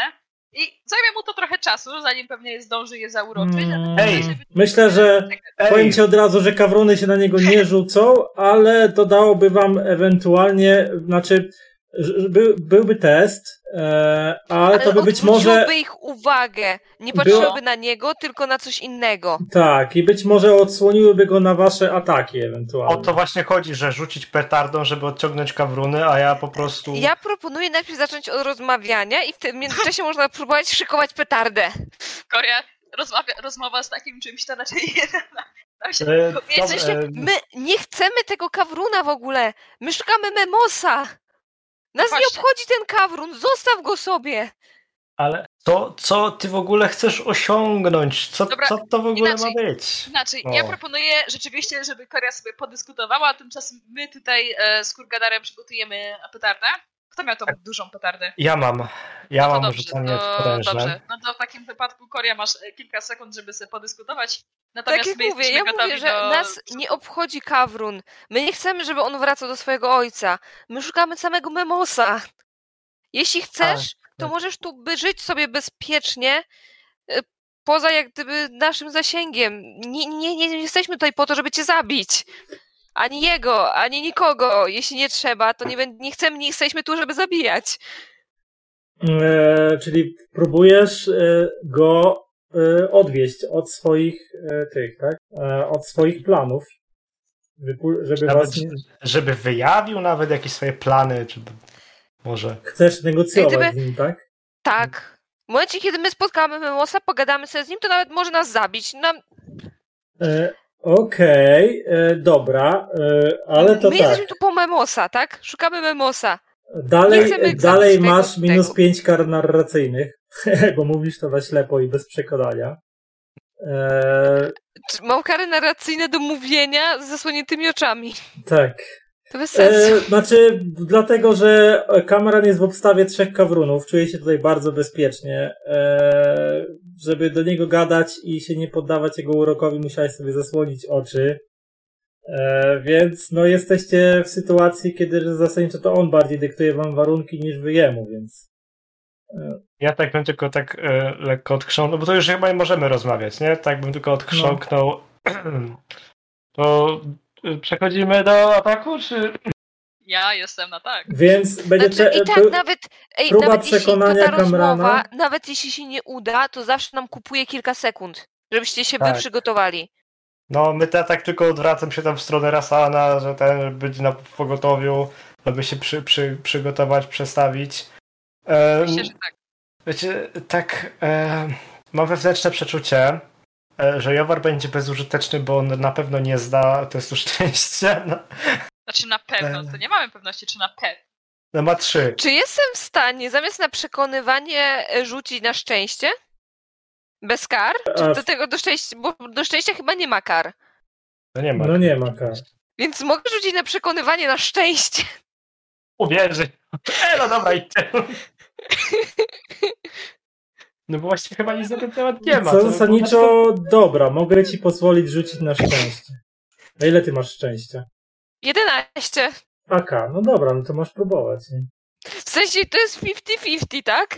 Speaker 3: I zajmie mu to trochę czasu, zanim pewnie zdąży je zauroczyć. tak,
Speaker 1: Mm,
Speaker 5: Hej,
Speaker 1: Myślę, że
Speaker 4: Ej,
Speaker 1: powiem ci od razu, że kawruny się na niego nie rzucą, ale dodałoby wam ewentualnie, znaczy ż- by, byłby test, e, ale, to by być może...
Speaker 2: odwróciłoby ich uwagę. Nie
Speaker 1: Było-
Speaker 2: patrzyłoby na niego, tylko na coś innego.
Speaker 1: Tak, i być może odsłoniłyby go na wasze ataki
Speaker 4: O
Speaker 1: ewentualnie.
Speaker 4: to właśnie chodzi, że rzucić petardą, żeby odciągnąć kawruny, a ja po prostu...
Speaker 2: Ja proponuję najpierw zacząć od rozmawiania i w tym międzyczasie można próbować szykować petardę.
Speaker 3: Korea, rozmawia, rozmowa z takim czymś to raczej nie da. Tam się-
Speaker 4: E,
Speaker 3: Bo
Speaker 4: dob-
Speaker 3: jesteś-
Speaker 4: e,
Speaker 2: My nie chcemy tego kawruna w ogóle. My szukamy Memosa. Nas nie
Speaker 3: Właśnie.
Speaker 2: obchodzi ten kawrun. Zostaw go sobie.
Speaker 4: Ale to, co ty w ogóle chcesz osiągnąć? Co,
Speaker 3: Dobra,
Speaker 4: co to w ogóle
Speaker 3: inaczej.
Speaker 4: ma być?
Speaker 3: Inaczej,
Speaker 4: O.
Speaker 3: znaczy, ja proponuję rzeczywiście, żeby Korea sobie podyskutowała, a tymczasem my tutaj e, z Kurgadarem przygotujemy petardę. Kto miał tą dużą petardę?
Speaker 4: Ja mam. Ja
Speaker 3: No
Speaker 4: mam
Speaker 3: dobrze,
Speaker 4: rzucanie
Speaker 3: to
Speaker 4: potężne.
Speaker 3: dobrze. No to w takim wypadku Korea masz e, kilka sekund, żeby sobie podyskutować. Natomiast
Speaker 2: tak jak
Speaker 3: my
Speaker 2: mówię,
Speaker 3: jesteśmy
Speaker 2: ja
Speaker 3: gotowi
Speaker 2: mówię, że
Speaker 3: do...
Speaker 2: nas nie obchodzi kawrun. My nie chcemy, żeby on wracał do swojego ojca. My szukamy samego Memosa. Jeśli chcesz, to
Speaker 4: tak.
Speaker 2: możesz tu by żyć sobie bezpiecznie, e, poza jak gdyby naszym zasięgiem. Nie, nie, nie, nie jesteśmy tutaj po to, żeby cię zabić. Ani jego, ani nikogo. Jeśli nie trzeba, to nie, bę- nie chcemy, nie jesteśmy tu, żeby zabijać.
Speaker 1: E, czyli próbujesz e, go e, odwieść od swoich e, tych, tak? E, od swoich planów. Wypu- żeby
Speaker 4: Nawet,
Speaker 1: was nie...
Speaker 4: żeby wyjawił nawet jakieś swoje plany, czy może.
Speaker 1: Chcesz negocjować
Speaker 2: Gdyby-
Speaker 1: z nim, tak?
Speaker 2: Tak. W momencie, kiedy my spotkamy Memosa, pogadamy sobie z nim, to nawet może nas zabić. Nam,
Speaker 1: E, Okej, e, dobra, e, ale to
Speaker 2: My
Speaker 1: tak.
Speaker 2: jesteśmy tu po Memosa, tak? Szukamy Memosa. nie
Speaker 1: Dalej,
Speaker 2: chcemy egzaminu
Speaker 1: dalej
Speaker 2: z tego-
Speaker 1: masz
Speaker 2: z
Speaker 1: minus
Speaker 2: tego.
Speaker 1: 5 kar narracyjnych, bo mówisz to na ślepo i bez przekonania. E,
Speaker 2: Czy Mam kary narracyjne do mówienia z zasłoniętymi oczami.
Speaker 1: tak.
Speaker 2: To bez sensu.
Speaker 1: E, znaczy, dlatego, że Cameron jest w obstawie trzech kawrunów, czuje się tutaj bardzo bezpiecznie. E, żeby do niego gadać i się nie poddawać jego urokowi, musiałeś sobie zasłonić oczy. E, więc no jesteście w sytuacji, kiedy zasadniczo to on bardziej dyktuje wam warunki niż wy jemu, więc
Speaker 4: Ja tak bym tylko tak e, lekko odchrząknął, bo to już chyba nie możemy rozmawiać, nie? Tak bym tylko odchrząknął. To y, przechodzimy do ataku, czy...
Speaker 3: Ja jestem na tak.
Speaker 1: więc będzie
Speaker 2: Znaczy,
Speaker 1: cze-
Speaker 2: I tak
Speaker 1: był-
Speaker 2: nawet, ej,
Speaker 1: próba
Speaker 2: nawet jeśli to
Speaker 1: przekonania
Speaker 2: ta
Speaker 1: Kamrana-
Speaker 2: rozmowa, nawet jeśli się nie uda, to zawsze nam kupuje kilka sekund, żebyście się
Speaker 4: Tak.
Speaker 2: wy przygotowali.
Speaker 4: No, my te, tak tylko odwracam się tam w stronę Rasana, że ten żeby być na pogotowiu, aby się przy, przy, przygotować, przestawić. Em,
Speaker 3: Myślę, że tak.
Speaker 4: Wiecie, tak, e, mam wewnętrzne przeczucie, e, że Jowar będzie bezużyteczny, bo on na pewno nie zda testu szczęścia. No,
Speaker 3: Znaczy na pewno, to nie mamy pewności, czy na pewno.
Speaker 4: no ma trzy.
Speaker 2: Czy jestem w stanie zamiast na przekonywanie e, rzucić na szczęście? Bez kar?
Speaker 1: A-
Speaker 2: Czy do tego do szczęścia, bo do szczęścia chyba nie ma kar.
Speaker 4: No nie ma.
Speaker 1: No nie ma kar.
Speaker 2: Więc mogę rzucić na przekonywanie na szczęście.
Speaker 5: Uwierzy.
Speaker 4: E, no dobra, idźcie. No bo właśnie chyba nic na ten temat nie ma.
Speaker 1: Co
Speaker 4: to-
Speaker 1: zasadniczo dobra, mogę ci pozwolić rzucić na szczęście. A ile ty masz szczęścia?
Speaker 2: 11.
Speaker 1: AK, no dobra, no to masz próbować. Nie?
Speaker 2: W sensie to jest 50-50, tak?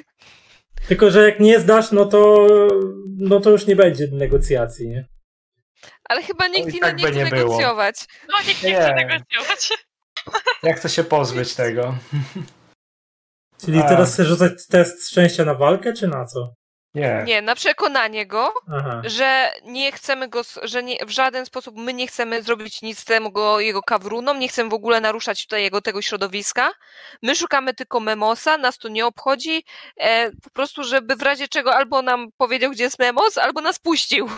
Speaker 1: Tylko, że jak nie zdasz, no to, no to już nie będzie negocjacji, nie?
Speaker 2: Ale chyba nikt
Speaker 4: i
Speaker 2: inny
Speaker 4: tak
Speaker 2: nie
Speaker 4: by
Speaker 2: chce
Speaker 4: nie było.
Speaker 2: negocjować.
Speaker 3: No nikt nie
Speaker 4: Nie.
Speaker 3: chce negocjować.
Speaker 4: Jak to się pozbyć tego?
Speaker 1: Czyli
Speaker 4: A.
Speaker 1: teraz chcesz rzucać test szczęścia na walkę, czy na co?
Speaker 4: Nie.
Speaker 2: Nie, na przekonanie go,
Speaker 1: Aha.
Speaker 2: że nie chcemy go, s- że nie, w żaden sposób my nie chcemy zrobić nic temu go, jego kawrunom, nie chcemy w ogóle naruszać tutaj jego tego środowiska. My szukamy tylko Memosa, nas to nie obchodzi, e, po prostu, żeby w razie czego albo nam powiedział, gdzie jest Memos, albo nas puścił.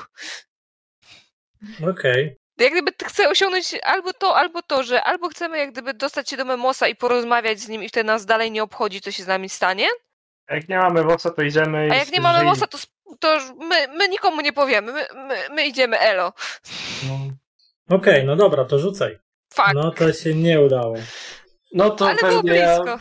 Speaker 1: Okej.
Speaker 2: Jak gdyby t- chcę osiągnąć albo to, albo to, że albo chcemy jak gdyby dostać się do Memosa i porozmawiać z nim i wtedy nas dalej nie obchodzi, co się z nami stanie,
Speaker 4: Jak nie mamy wosa, to idziemy i...
Speaker 2: a jak nie mamy
Speaker 4: jeżeli-
Speaker 2: Memosa, to, sp- to już my, my nikomu nie powiemy, my, my, my idziemy elo.
Speaker 4: No,
Speaker 1: Okej, no dobra, to rzucaj.
Speaker 2: Fuck.
Speaker 1: No to się nie udało.
Speaker 5: No to
Speaker 2: Ale było
Speaker 5: pewnie ja...
Speaker 2: blisko.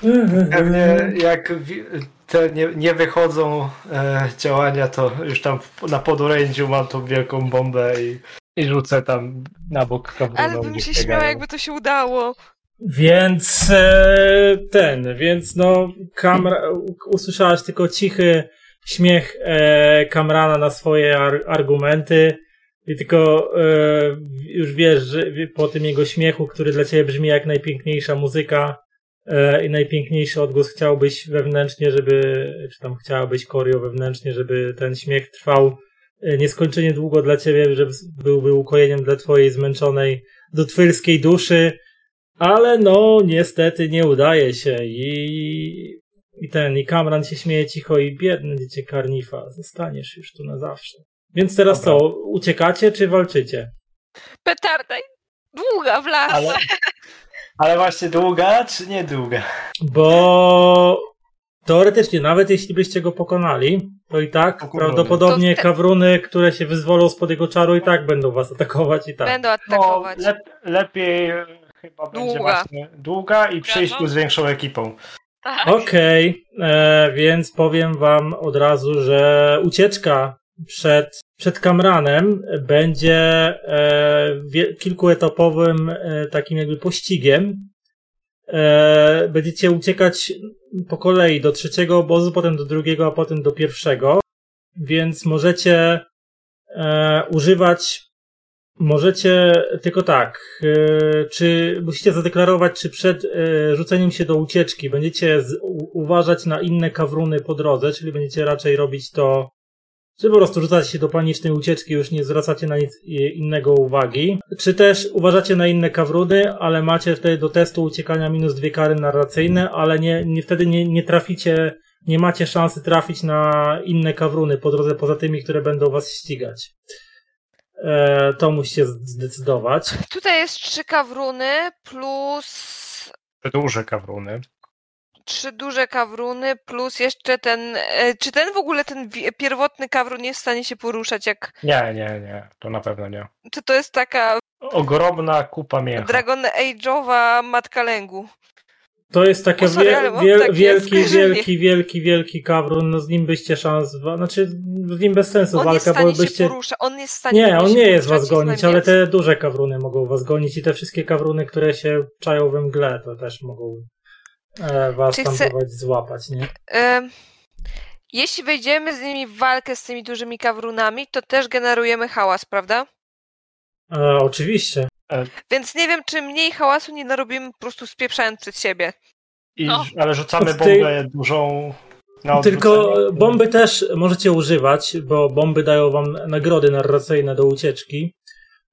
Speaker 4: Pewnie jak wi- te nie, nie wychodzą e, działania, to już tam w- na podorędziu mam tą wielką bombę i, i rzucę tam na bok kawruną.
Speaker 2: Ale bym się śmiała, jakby to się udało.
Speaker 1: Więc e, ten, więc no kamra, u- usłyszałaś tylko cichy śmiech e, Kamrana na swoje ar, argumenty i tylko e, już wiesz, że wie- po tym jego śmiechu, który dla ciebie brzmi jak najpiękniejsza muzyka e, i najpiękniejszy odgłos chciałbyś wewnętrznie, żeby, czy tam chciałabyś Korio wewnętrznie, żeby ten śmiech trwał e, nieskończenie długo dla ciebie, żeby byłby ukojeniem dla twojej zmęczonej dotwylskiej duszy, ale no, niestety nie udaje się i, i ten, i Kamran się śmieje cicho i biedny dziecię Karnifa, zostaniesz już tu na zawsze. Więc teraz
Speaker 4: Dobra.
Speaker 1: co, uciekacie czy walczycie?
Speaker 2: Petarda i długa w las.
Speaker 4: Ale, ale właśnie długa czy niedługa?
Speaker 1: Bo teoretycznie, nawet jeśli byście go pokonali, to i tak
Speaker 4: Pokonany.
Speaker 1: prawdopodobnie
Speaker 2: To te-
Speaker 1: kawruny, które się wyzwolą spod jego czaru, i tak będą was atakować i tak.
Speaker 2: Będą atakować.
Speaker 4: No, lep, lepiej e, chyba będzie
Speaker 2: Długa.
Speaker 4: właśnie długa i przyjść
Speaker 3: no.
Speaker 4: tu z większą ekipą.
Speaker 3: Tak.
Speaker 1: Okej, e, więc powiem wam od razu, że ucieczka przed, przed Kamranem będzie e, wie, kilkuetapowym e, takim jakby pościgiem. E, będziecie uciekać po kolei do trzeciego obozu, potem do drugiego, a potem do pierwszego. Więc możecie e, używać. Możecie tylko tak. E, czy musicie zadeklarować, czy przed e, rzuceniem się do ucieczki będziecie z, u, uważać na inne kawruny po drodze, czyli będziecie raczej robić to, czy po prostu rzucacie się do panicznej ucieczki, już nie zwracacie na nic i- innego uwagi. Czy też uważacie na inne kawruny, ale macie wtedy do testu uciekania minus dwie kary narracyjne, ale nie, nie wtedy nie, nie traficie, nie macie szansy trafić na inne kawruny po drodze poza tymi, które będą was ścigać. E, to musicie zdecydować.
Speaker 2: Tutaj jest trzy kawruny plus
Speaker 4: Te duże kawruny.
Speaker 2: trzy duże kawruny plus jeszcze ten... e, Czy ten w ogóle, ten wi- pierwotny kawrun jest w stanie się poruszać jak...
Speaker 4: Nie, nie, nie, to na pewno nie.
Speaker 2: Czy to jest taka
Speaker 4: Ogromna kupa mięcha.
Speaker 2: Dragon Age'owa matka lęgu?
Speaker 1: To jest taki
Speaker 2: O, sorry,
Speaker 1: wie,
Speaker 2: ale mam
Speaker 1: wiel,
Speaker 2: takie
Speaker 1: wielki,
Speaker 2: skojarzenie.
Speaker 1: wielki, wielki, wielki kawrun. No z nim byście szans. wa- Znaczy, z nim bez sensu
Speaker 2: On jest w
Speaker 1: walka, bo
Speaker 2: stanie się
Speaker 1: byście.
Speaker 2: porusza, on jest w stanie
Speaker 1: Nie, on
Speaker 2: się
Speaker 1: nie jest
Speaker 2: poruszać,
Speaker 1: was gonić,
Speaker 2: znam
Speaker 1: ale
Speaker 2: jest.
Speaker 1: te duże kawruny mogą was gonić i te wszystkie kawruny, które się czają we mgle, to też mogą e, was
Speaker 2: Czy
Speaker 1: tam
Speaker 2: chce-
Speaker 1: próbować złapać, nie?
Speaker 2: Em, Jeśli wejdziemy z nimi w walkę z tymi dużymi kawrunami, to też generujemy hałas, prawda?
Speaker 1: E, oczywiście.
Speaker 2: Więc nie wiem, czy mniej hałasu nie narobimy po prostu spieprzając przed siebie.
Speaker 4: I,
Speaker 3: No.
Speaker 4: Ale rzucamy
Speaker 1: Ty-
Speaker 4: bombę dużą na odwrócenie.
Speaker 1: Tylko e, bomby też możecie używać, bo bomby dają wam nagrody narracyjne do ucieczki.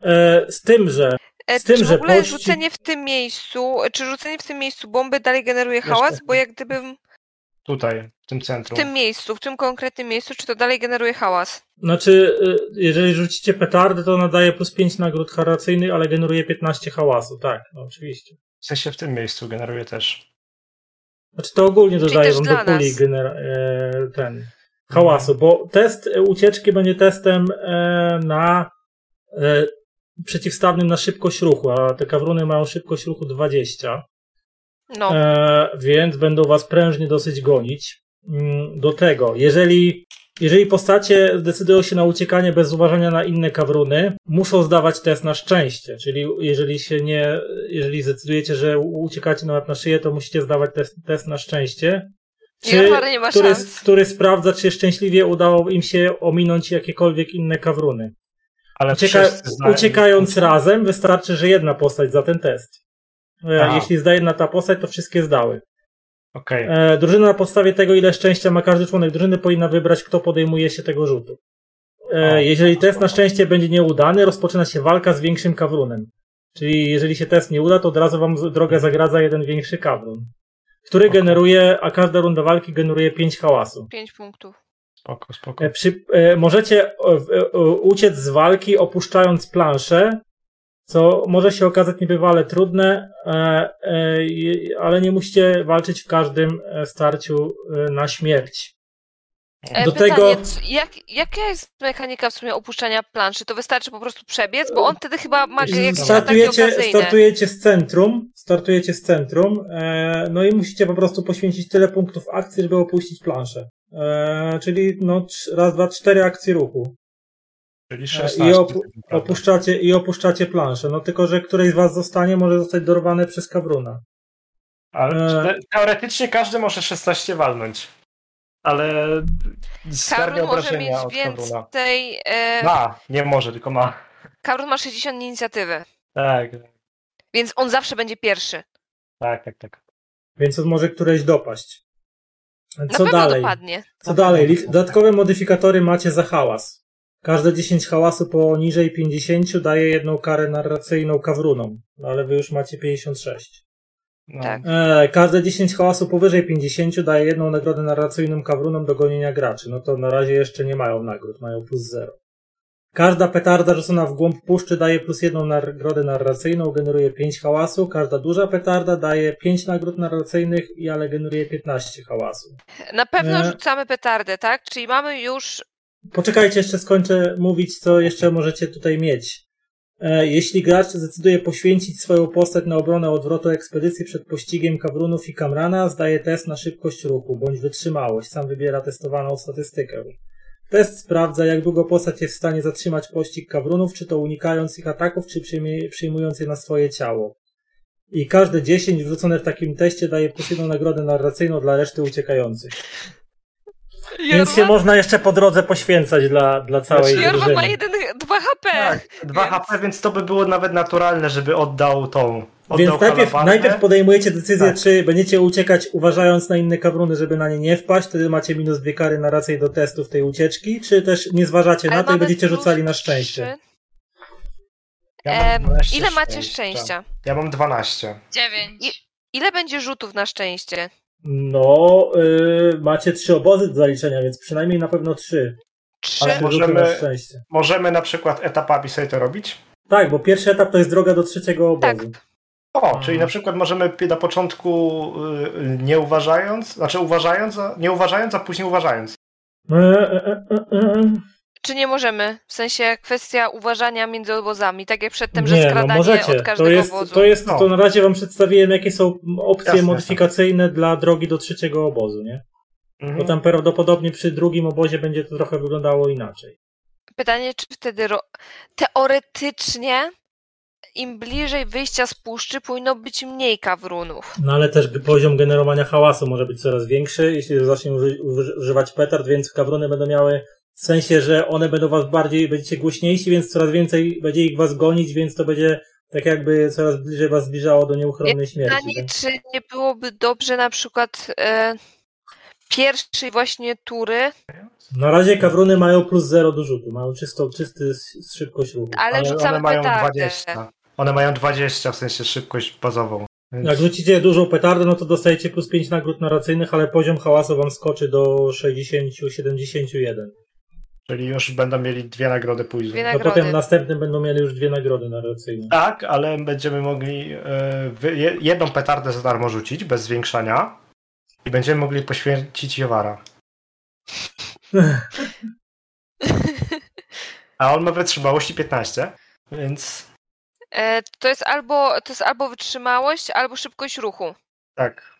Speaker 1: E, z tym, że
Speaker 2: E,
Speaker 1: Z tym,
Speaker 2: czy w
Speaker 1: że
Speaker 2: ogóle
Speaker 1: pościg-
Speaker 2: rzucenie w tym miejscu, czy rzucenie w tym miejscu bomby dalej generuje
Speaker 4: Jeszcze.
Speaker 2: hałas? Bo jak gdybym
Speaker 4: Tutaj, w tym
Speaker 2: w
Speaker 4: centrum.
Speaker 2: tym miejscu, w tym konkretnym miejscu, czy to dalej generuje hałas?
Speaker 1: Znaczy, y, jeżeli rzucicie petardy, to nadaje plus 5 nagród haracyjnych, ale generuje 15 hałasu, tak, no, oczywiście.
Speaker 4: W sensie w tym miejscu generuje też.
Speaker 1: Znaczy to ogólnie
Speaker 2: Czyli
Speaker 1: dodaje
Speaker 2: też
Speaker 1: wam do
Speaker 2: dla
Speaker 1: puli
Speaker 2: nas.
Speaker 1: genera- e, ten hałasu, bo test e, ucieczki będzie testem e, na e, przeciwstawnym na szybkość ruchu, a te kawruny mają szybkość ruchu 20.
Speaker 2: No.
Speaker 1: E, więc będą was prężnie dosyć gonić. Mm, Do tego, jeżeli, jeżeli postacie decydują się na uciekanie bez uważania na inne kawruny, muszą zdawać test na szczęście. Czyli jeżeli się nie, jeżeli zdecydujecie, że u- uciekacie na łeb na szyję, to musicie zdawać test, test na szczęście.
Speaker 2: Ja parę nie ma
Speaker 1: który,
Speaker 2: szans.
Speaker 1: który sprawdza, czy szczęśliwie udało im się ominąć jakiekolwiek inne kawruny.
Speaker 4: Ale
Speaker 1: Ucieka,
Speaker 4: Znaczy, wszyscy znają-
Speaker 1: uciekając razem, wystarczy, że jedna postać za ten test. E,
Speaker 4: Aha.
Speaker 1: Jeśli zda jedna ta postać, to wszystkie zdały.
Speaker 4: Okej.
Speaker 1: E, drużyna na podstawie tego, ile szczęścia ma każdy członek drużyny, powinna wybrać, kto podejmuje się tego rzutu.
Speaker 4: O.
Speaker 1: E, jeżeli test na szczęście będzie nieudany, rozpoczyna się walka z większym kawrunem. Czyli jeżeli się test nie uda, to od razu wam z- drogę zagradza jeden większy kawrun, który
Speaker 4: Spoko.
Speaker 1: generuje, a każda runda walki generuje 5 hałasu.
Speaker 2: Pięć punktów.
Speaker 4: Spoko, spoko.
Speaker 1: E, Przy, e, możecie e, w- e, uciec z walki opuszczając planszę, co może się okazać niebywale trudne, e, e, i- ale nie musicie walczyć w każdym e, starciu e, na śmierć.
Speaker 2: E,
Speaker 1: Do
Speaker 2: pytanie,
Speaker 1: tego-
Speaker 2: c- jak, jaka jest mechanika w sumie opuszczania planszy? To wystarczy po prostu przebiec? Bo on wtedy chyba ma jakieś ataki
Speaker 1: Startujecie,
Speaker 2: okazyjne.
Speaker 1: startujecie z centrum, startujecie z centrum, e, no i musicie po prostu poświęcić tyle punktów akcji, żeby opuścić planszę. E, czyli no, trz- raz, dwa, cztery akcje ruchu.
Speaker 4: Czyli
Speaker 1: e, i
Speaker 4: 16.
Speaker 1: opu- Opuszczacie i opuszczacie planszę. No tylko, że któryś z was zostanie, może zostać dorwane przez Kabruna.
Speaker 4: Ale
Speaker 1: e-
Speaker 4: te- teoretycznie każdy może 16 walnąć. Ale
Speaker 2: Karun
Speaker 4: stawia
Speaker 2: może
Speaker 4: obrażenia
Speaker 2: mieć
Speaker 4: od Karuna.
Speaker 2: więcej. E,
Speaker 4: Ma, nie może, tylko ma.
Speaker 2: Karun ma 60 inicjatywy,
Speaker 4: Tak,
Speaker 2: więc on zawsze będzie pierwszy.
Speaker 4: tak, tak. tak.
Speaker 1: Więc może któreś dopaść.
Speaker 2: Na
Speaker 1: Co
Speaker 2: pewno
Speaker 1: dalej?
Speaker 2: dopadnie.
Speaker 1: Co dalej? Lich- Dodatkowe modyfikatory macie za hałas. Każde 10 hałasu poniżej 50 daje jedną karę narracyjną kawrunom, No, ale wy już macie 56.
Speaker 4: No.
Speaker 2: Tak.
Speaker 1: E, każde 10 hałasu powyżej 50 daje jedną nagrodę narracyjną kawrunom do gonienia graczy. No to na razie jeszcze nie mają nagród, mają plus 0. Każda petarda rzucona w głąb puszczy daje plus jedną nagrodę narracyjną, generuje 5 hałasu. Każda duża petarda daje 5 nagród narracyjnych, i ale generuje 15 hałasu.
Speaker 2: Na pewno
Speaker 1: E.
Speaker 2: rzucamy petardę, tak? Czyli mamy już.
Speaker 1: Poczekajcie, jeszcze skończę mówić, co jeszcze możecie tutaj mieć. E, Jeśli gracz zdecyduje poświęcić swoją postać na obronę odwrotu ekspedycji przed pościgiem Kawrunów i Kamrana, zdaje test na szybkość ruchu bądź wytrzymałość. Sam wybiera testowaną statystykę. Test sprawdza, jak długo postać jest w stanie zatrzymać pościg Kawrunów, czy to unikając ich ataków, czy przyjmie- przyjmując je na swoje ciało. I każde 10 wrzucone w takim teście daje plus jedną nagrodę narracyjną dla reszty uciekających. Więc się można jeszcze po drodze poświęcać dla, dla całej
Speaker 4: Znaczy,
Speaker 2: Jorwa ma
Speaker 1: drużyny.
Speaker 2: jeden, dwa HP.
Speaker 4: tak 2
Speaker 2: Więc-
Speaker 4: HP, więc to by było nawet naturalne, żeby oddał tą. Oddał
Speaker 1: Więc najpierw,
Speaker 4: halabardę.
Speaker 1: najpierw podejmujecie decyzję,
Speaker 4: Tak.
Speaker 1: czy będziecie uciekać uważając na inne kawruny, żeby na nie nie wpaść, wtedy macie minus dwie kary na rację do testów tej ucieczki, czy też nie zważacie
Speaker 2: Ale
Speaker 1: na to i
Speaker 2: mamy
Speaker 1: będziecie
Speaker 2: plus
Speaker 1: rzucali na
Speaker 2: trzy.
Speaker 1: szczęście.
Speaker 4: Ja mam
Speaker 2: Em,
Speaker 4: 12
Speaker 2: ile macie szczęścia?
Speaker 4: Ja mam 12.
Speaker 2: I-
Speaker 3: Dziewięć.
Speaker 2: Ile będzie rzutów na szczęście?
Speaker 1: No, y, macie trzy obozy do zaliczenia, więc przynajmniej na pewno trzy.
Speaker 2: Trzy.
Speaker 4: Ale
Speaker 1: Trzy
Speaker 4: możemy-
Speaker 1: rzuty na szczęście.
Speaker 4: Możemy na przykład etapami sobie to robić?
Speaker 1: Tak, bo pierwszy etap to jest droga do trzeciego obozu.
Speaker 2: Tak.
Speaker 4: O,
Speaker 1: Mhm.
Speaker 4: czyli na przykład możemy pi- na początku y, y, nie uważając, znaczy uważając, a, nie uważając, a później uważając.
Speaker 1: E, e, e, e, e.
Speaker 2: Czy nie możemy? W sensie kwestia uważania między obozami, tak jak przedtem,
Speaker 1: nie,
Speaker 2: że
Speaker 1: no
Speaker 2: skradanie
Speaker 1: możecie.
Speaker 2: od każdego
Speaker 1: To jest,
Speaker 2: obozu.
Speaker 1: to jest,
Speaker 4: No.
Speaker 1: to na razie wam przedstawiłem, jakie są opcje
Speaker 4: Jasne,
Speaker 1: modyfikacyjne dla drogi do trzeciego obozu, nie? Bo
Speaker 4: Mhm.
Speaker 1: No tam prawdopodobnie przy drugim obozie będzie to trochę wyglądało inaczej.
Speaker 2: Pytanie, czy wtedy ro... teoretycznie im bliżej wyjścia z puszczy powinno być mniej kawrunów.
Speaker 1: No ale też poziom generowania hałasu może być coraz większy, jeśli zacznie uży- uży- używać petard, więc kawrony będą miały w sensie, że one będą was bardziej, będziecie głośniejsi, więc coraz więcej będzie ich was gonić, więc to będzie tak jakby coraz bliżej was zbliżało do nieuchronnej śmierci.
Speaker 2: Pytanie,
Speaker 1: tak?
Speaker 2: czy nie byłoby dobrze na przykład e, pierwszej właśnie tury,
Speaker 1: Na razie kawruny mają plus 0 do rzutu, mają czystą, czysty s- szybkość ruchu.
Speaker 2: ale,
Speaker 4: one
Speaker 2: rzucamy
Speaker 4: mają
Speaker 2: petardę.
Speaker 4: 20. One mają 20, w sensie szybkość bazową. Więc...
Speaker 1: Jak rzucicie dużą petardę, no to dostajecie plus 5 nagród narracyjnych, ale poziom hałasu wam skoczy do 60-71.
Speaker 4: Czyli już będą mieli dwie nagrody później.
Speaker 2: Dwie
Speaker 1: No
Speaker 2: nagrody.
Speaker 1: potem następnym będą mieli już dwie nagrody narracyjne.
Speaker 4: Tak, ale będziemy mogli e, wy- je- jedną petardę za darmo rzucić, bez zwiększania. I będziemy mogli poświęcić Jowara. A on ma wytrzymałości 15, więc
Speaker 2: E, to, jest albo, to jest albo wytrzymałość, albo szybkość ruchu.
Speaker 4: tak.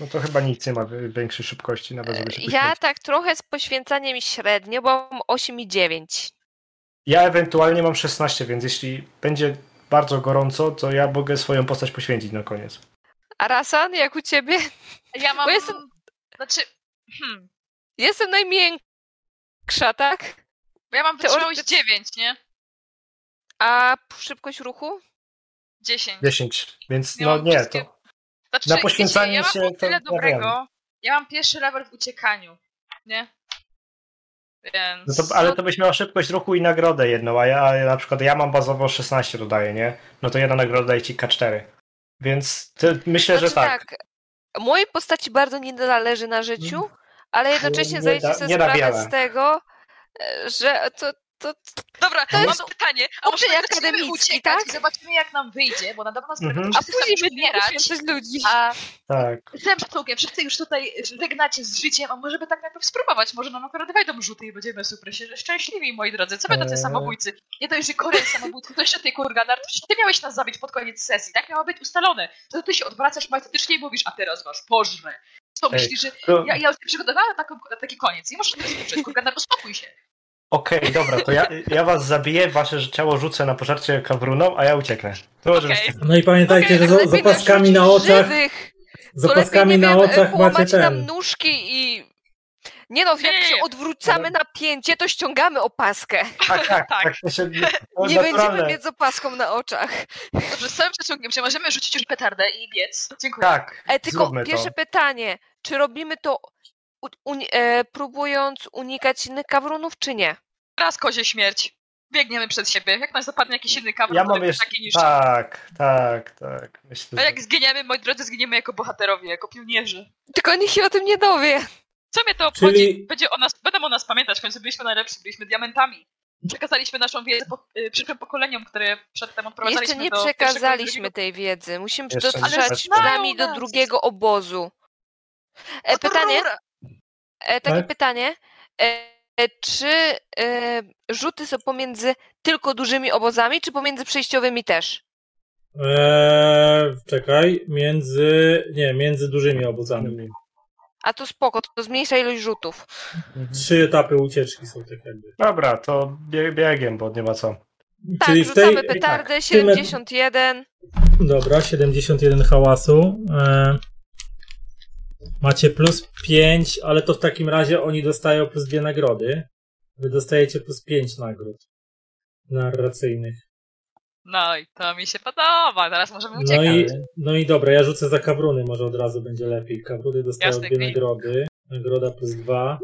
Speaker 4: No to chyba nic nie ma wy- większej szybkości, nawet żeby się
Speaker 2: Ja
Speaker 4: poświęcić.
Speaker 2: tak trochę z poświęcaniem średnio, bo mam 8 i 9.
Speaker 4: ja ewentualnie mam 16, więc jeśli będzie bardzo gorąco, to ja mogę swoją postać poświęcić na koniec.
Speaker 2: A Rasan, jak u ciebie?
Speaker 3: Ja mam...
Speaker 2: Bo jestem-
Speaker 3: Znaczy... Hmm,
Speaker 2: Jestem najmiększa, tak?
Speaker 3: bo ja mam wytrzymałość
Speaker 2: Teoretycznie-
Speaker 3: 9, nie?
Speaker 2: A szybkość ruchu?
Speaker 3: 10.
Speaker 4: 10, więc
Speaker 3: Ja
Speaker 4: no
Speaker 3: mam
Speaker 4: nie,
Speaker 3: wszystkie-
Speaker 4: to
Speaker 3: Znaczy,
Speaker 4: na
Speaker 3: wiecie,
Speaker 4: poświęcanie
Speaker 3: ja mam
Speaker 4: się
Speaker 3: było
Speaker 4: to
Speaker 3: tyle
Speaker 4: ja
Speaker 3: dobrego. Ja mam pierwszy level w uciekaniu, nie? Więc...
Speaker 4: No to, ale to byś miał szybkość ruchu i nagrodę jedną, a ja a ja na przykład ja mam bazowo 16 dodaję, nie? No to jedna nagroda daje ci K4. Więc ty, myślę, że
Speaker 2: Znaczy
Speaker 4: tak.
Speaker 2: Mojej postaci bardzo nie należy na życiu, ale jednocześnie
Speaker 4: nie
Speaker 2: zdajecie
Speaker 4: da-
Speaker 2: sobie
Speaker 4: nie da
Speaker 2: sprawę
Speaker 4: wiele.
Speaker 2: z tego, e, że to, to,
Speaker 3: Dobra,
Speaker 2: To
Speaker 3: mam
Speaker 2: jest
Speaker 3: pytanie. A może
Speaker 2: uczeń
Speaker 3: zaczniemy
Speaker 2: akademicki,
Speaker 3: uciekać
Speaker 2: tak?
Speaker 3: I zobaczymy jak nam wyjdzie, bo na pewno sprawia,
Speaker 4: Mhm.
Speaker 3: że
Speaker 2: a
Speaker 3: wszyscy
Speaker 2: później
Speaker 3: będą
Speaker 2: będziemy
Speaker 3: umierać,
Speaker 2: poświęcać ludzi.
Speaker 3: A
Speaker 4: Tak.
Speaker 3: zemsztukiem, wszyscy już tutaj żegnacie z życiem, a może by tak najpierw spróbować, może nam akurat wejdą rzuty i będziemy super się- szczęśliwi, moi drodzy. Co będą te
Speaker 4: Eee.
Speaker 3: samobójcy? Nie dość, że Korea jest samobójcą, to jeszcze ty, Kurganar, to ty miałeś nas zabić pod koniec sesji, tak miało być ustalone. To ty się odwracasz majestatycznie i mówisz, a teraz was pożrę. Co
Speaker 4: Ej,
Speaker 3: myślisz, że
Speaker 4: To-
Speaker 3: ja, ja już się przygotowałam na, taką, na taki koniec. Nie możesz teraz wyczuć, Kurganar, uspokój się.
Speaker 4: Okej, dobra, to ja, ja was zabiję, wasze ciało rzucę na pożarcie kawruną, a ja ucieknę. To może
Speaker 3: Okej.
Speaker 4: być-
Speaker 1: No i pamiętajcie,
Speaker 3: Okej,
Speaker 1: że
Speaker 3: ale
Speaker 1: z, z
Speaker 2: Lepiej
Speaker 1: opaskami
Speaker 2: nas
Speaker 1: na
Speaker 2: rzucić
Speaker 1: oczach,
Speaker 2: Żywych,
Speaker 1: z opaskami na oczach macie
Speaker 2: macie e, tam
Speaker 1: ten.
Speaker 2: nóżki i... Nie no, jak
Speaker 3: Nie, nie,
Speaker 2: się
Speaker 3: nie.
Speaker 2: odwrócamy napięcie, to ściągamy opaskę.
Speaker 4: Tak,
Speaker 3: Tak.
Speaker 4: tak, tak. To się, to
Speaker 2: Nie będziemy
Speaker 4: naturalne.
Speaker 2: mieć z opaską na oczach.
Speaker 3: Dobrze, z całym szacunkiem się możemy rzucić już petardę i biec. Dziękuję.
Speaker 4: Tak,
Speaker 2: E, tylko
Speaker 4: Zróbmy to.
Speaker 2: pierwsze pytanie, czy robimy to u, uni- e, próbując unikać innych kawrunów, czy nie?
Speaker 3: Raz kozie śmierć. Biegniemy przed siebie. Jak nas zapadnie jakiś inny kawałek,
Speaker 4: ja
Speaker 3: to
Speaker 4: mam
Speaker 3: będzie
Speaker 4: jeszcze...
Speaker 3: taki niż...
Speaker 4: Tak, tak, tak. Myślę,
Speaker 3: A
Speaker 4: że...
Speaker 3: jak zginiemy, moi drodzy, zginiemy jako bohaterowie, jako pionierzy.
Speaker 2: Tylko nikt się o tym nie dowie.
Speaker 3: Co mnie to obchodzi?
Speaker 1: Czyli-
Speaker 3: Będzie o nas, będą o nas pamiętać, w końcu byliśmy najlepsi, byliśmy diamentami. Przekazaliśmy naszą wiedzę po, y, przyszłym pokoleniom, które przedtem odprowadzaliśmy
Speaker 2: Jeszcze nie
Speaker 3: do pierwszego i
Speaker 2: przekazaliśmy
Speaker 3: drugiego-
Speaker 2: tej wiedzy. Musimy
Speaker 4: Jeszcze nie
Speaker 2: dotrzeć
Speaker 4: przekazaliśmy.
Speaker 2: przynajmniej do
Speaker 3: Znają nas.
Speaker 2: drugiego obozu. E,
Speaker 3: No to
Speaker 2: pytanie,
Speaker 3: rura.
Speaker 2: e, takie
Speaker 1: Tak?
Speaker 2: pytanie. E, e, czy e, rzuty są pomiędzy tylko dużymi obozami, czy pomiędzy przejściowymi też?
Speaker 1: Eee, czekaj, między. Nie, między dużymi obozami.
Speaker 2: A to spoko, to zmniejsza ilość rzutów.
Speaker 1: Trzy etapy ucieczki są tak jakby.
Speaker 4: Dobra, to bie- biegiem, bo nie ma co.
Speaker 2: Tak, rzucamy petardę,
Speaker 1: w tym et-
Speaker 2: 71.
Speaker 1: Dobra, 71 hałasu. E, macie plus 5, ale to w takim razie oni dostają plus dwie nagrody. Wy dostajecie plus 5 nagród narracyjnych.
Speaker 3: No i to mi się podoba, teraz możemy uciekać.
Speaker 1: No i, no i dobra, ja rzucę za kawruny, może od razu będzie lepiej. Kawruny dostają
Speaker 3: Jasne,
Speaker 1: dwie
Speaker 3: okej.
Speaker 1: nagrody. Nagroda plus 2.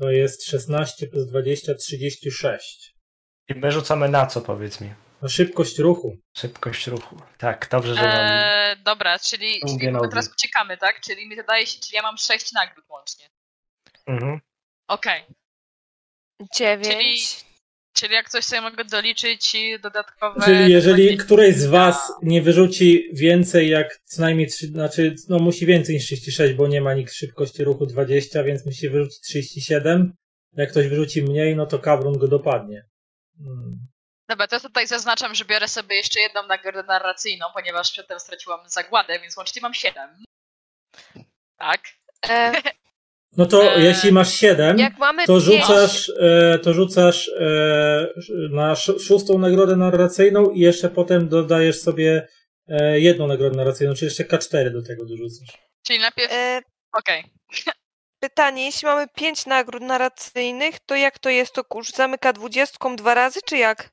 Speaker 1: To jest 16 plus 20, 36.
Speaker 4: I my rzucamy na co, powiedz mi?
Speaker 1: No szybkość ruchu.
Speaker 4: Szybkość ruchu. Tak, dobrze, że mam.
Speaker 3: Eee, dobra, czyli,
Speaker 4: Lubię
Speaker 3: czyli my
Speaker 4: nogi.
Speaker 3: teraz uciekamy, tak? Czyli mi wydaje się, czyli ja mam sześć nagród łącznie.
Speaker 4: Mhm.
Speaker 3: Okej.
Speaker 2: Dziewięć.
Speaker 3: Czyli jak coś sobie mogę doliczyć i dodatkowe.
Speaker 1: Czyli jeżeli
Speaker 3: dodatki-
Speaker 1: któreś z was nie wyrzuci więcej jak co najmniej 3, znaczy no musi więcej niż 36, bo nie ma nikt szybkości ruchu 20, więc musi wyrzucić 37, Jak ktoś wyrzuci mniej, no to Kabrun go dopadnie. Mm.
Speaker 3: Dobra, to tutaj zaznaczam, że biorę sobie jeszcze jedną nagrodę narracyjną, ponieważ przedtem straciłam zagładę, więc łącznie mam 7. Tak.
Speaker 2: E,
Speaker 1: No to
Speaker 3: Eee,
Speaker 1: jeśli masz 7,
Speaker 2: jak mamy
Speaker 1: to
Speaker 2: pięć,
Speaker 1: rzucasz, e, to rzucasz e, na sz- szóstą nagrodę narracyjną i jeszcze potem dodajesz sobie e, jedną nagrodę narracyjną, czyli jeszcze K4 do tego dorzucasz.
Speaker 3: Czyli najpierw.
Speaker 2: e,
Speaker 3: Okej.
Speaker 2: pytanie, jeśli mamy pięć nagród narracyjnych, to jak to jest? To kurz zamyka dwudziestką dwa razy, czy jak?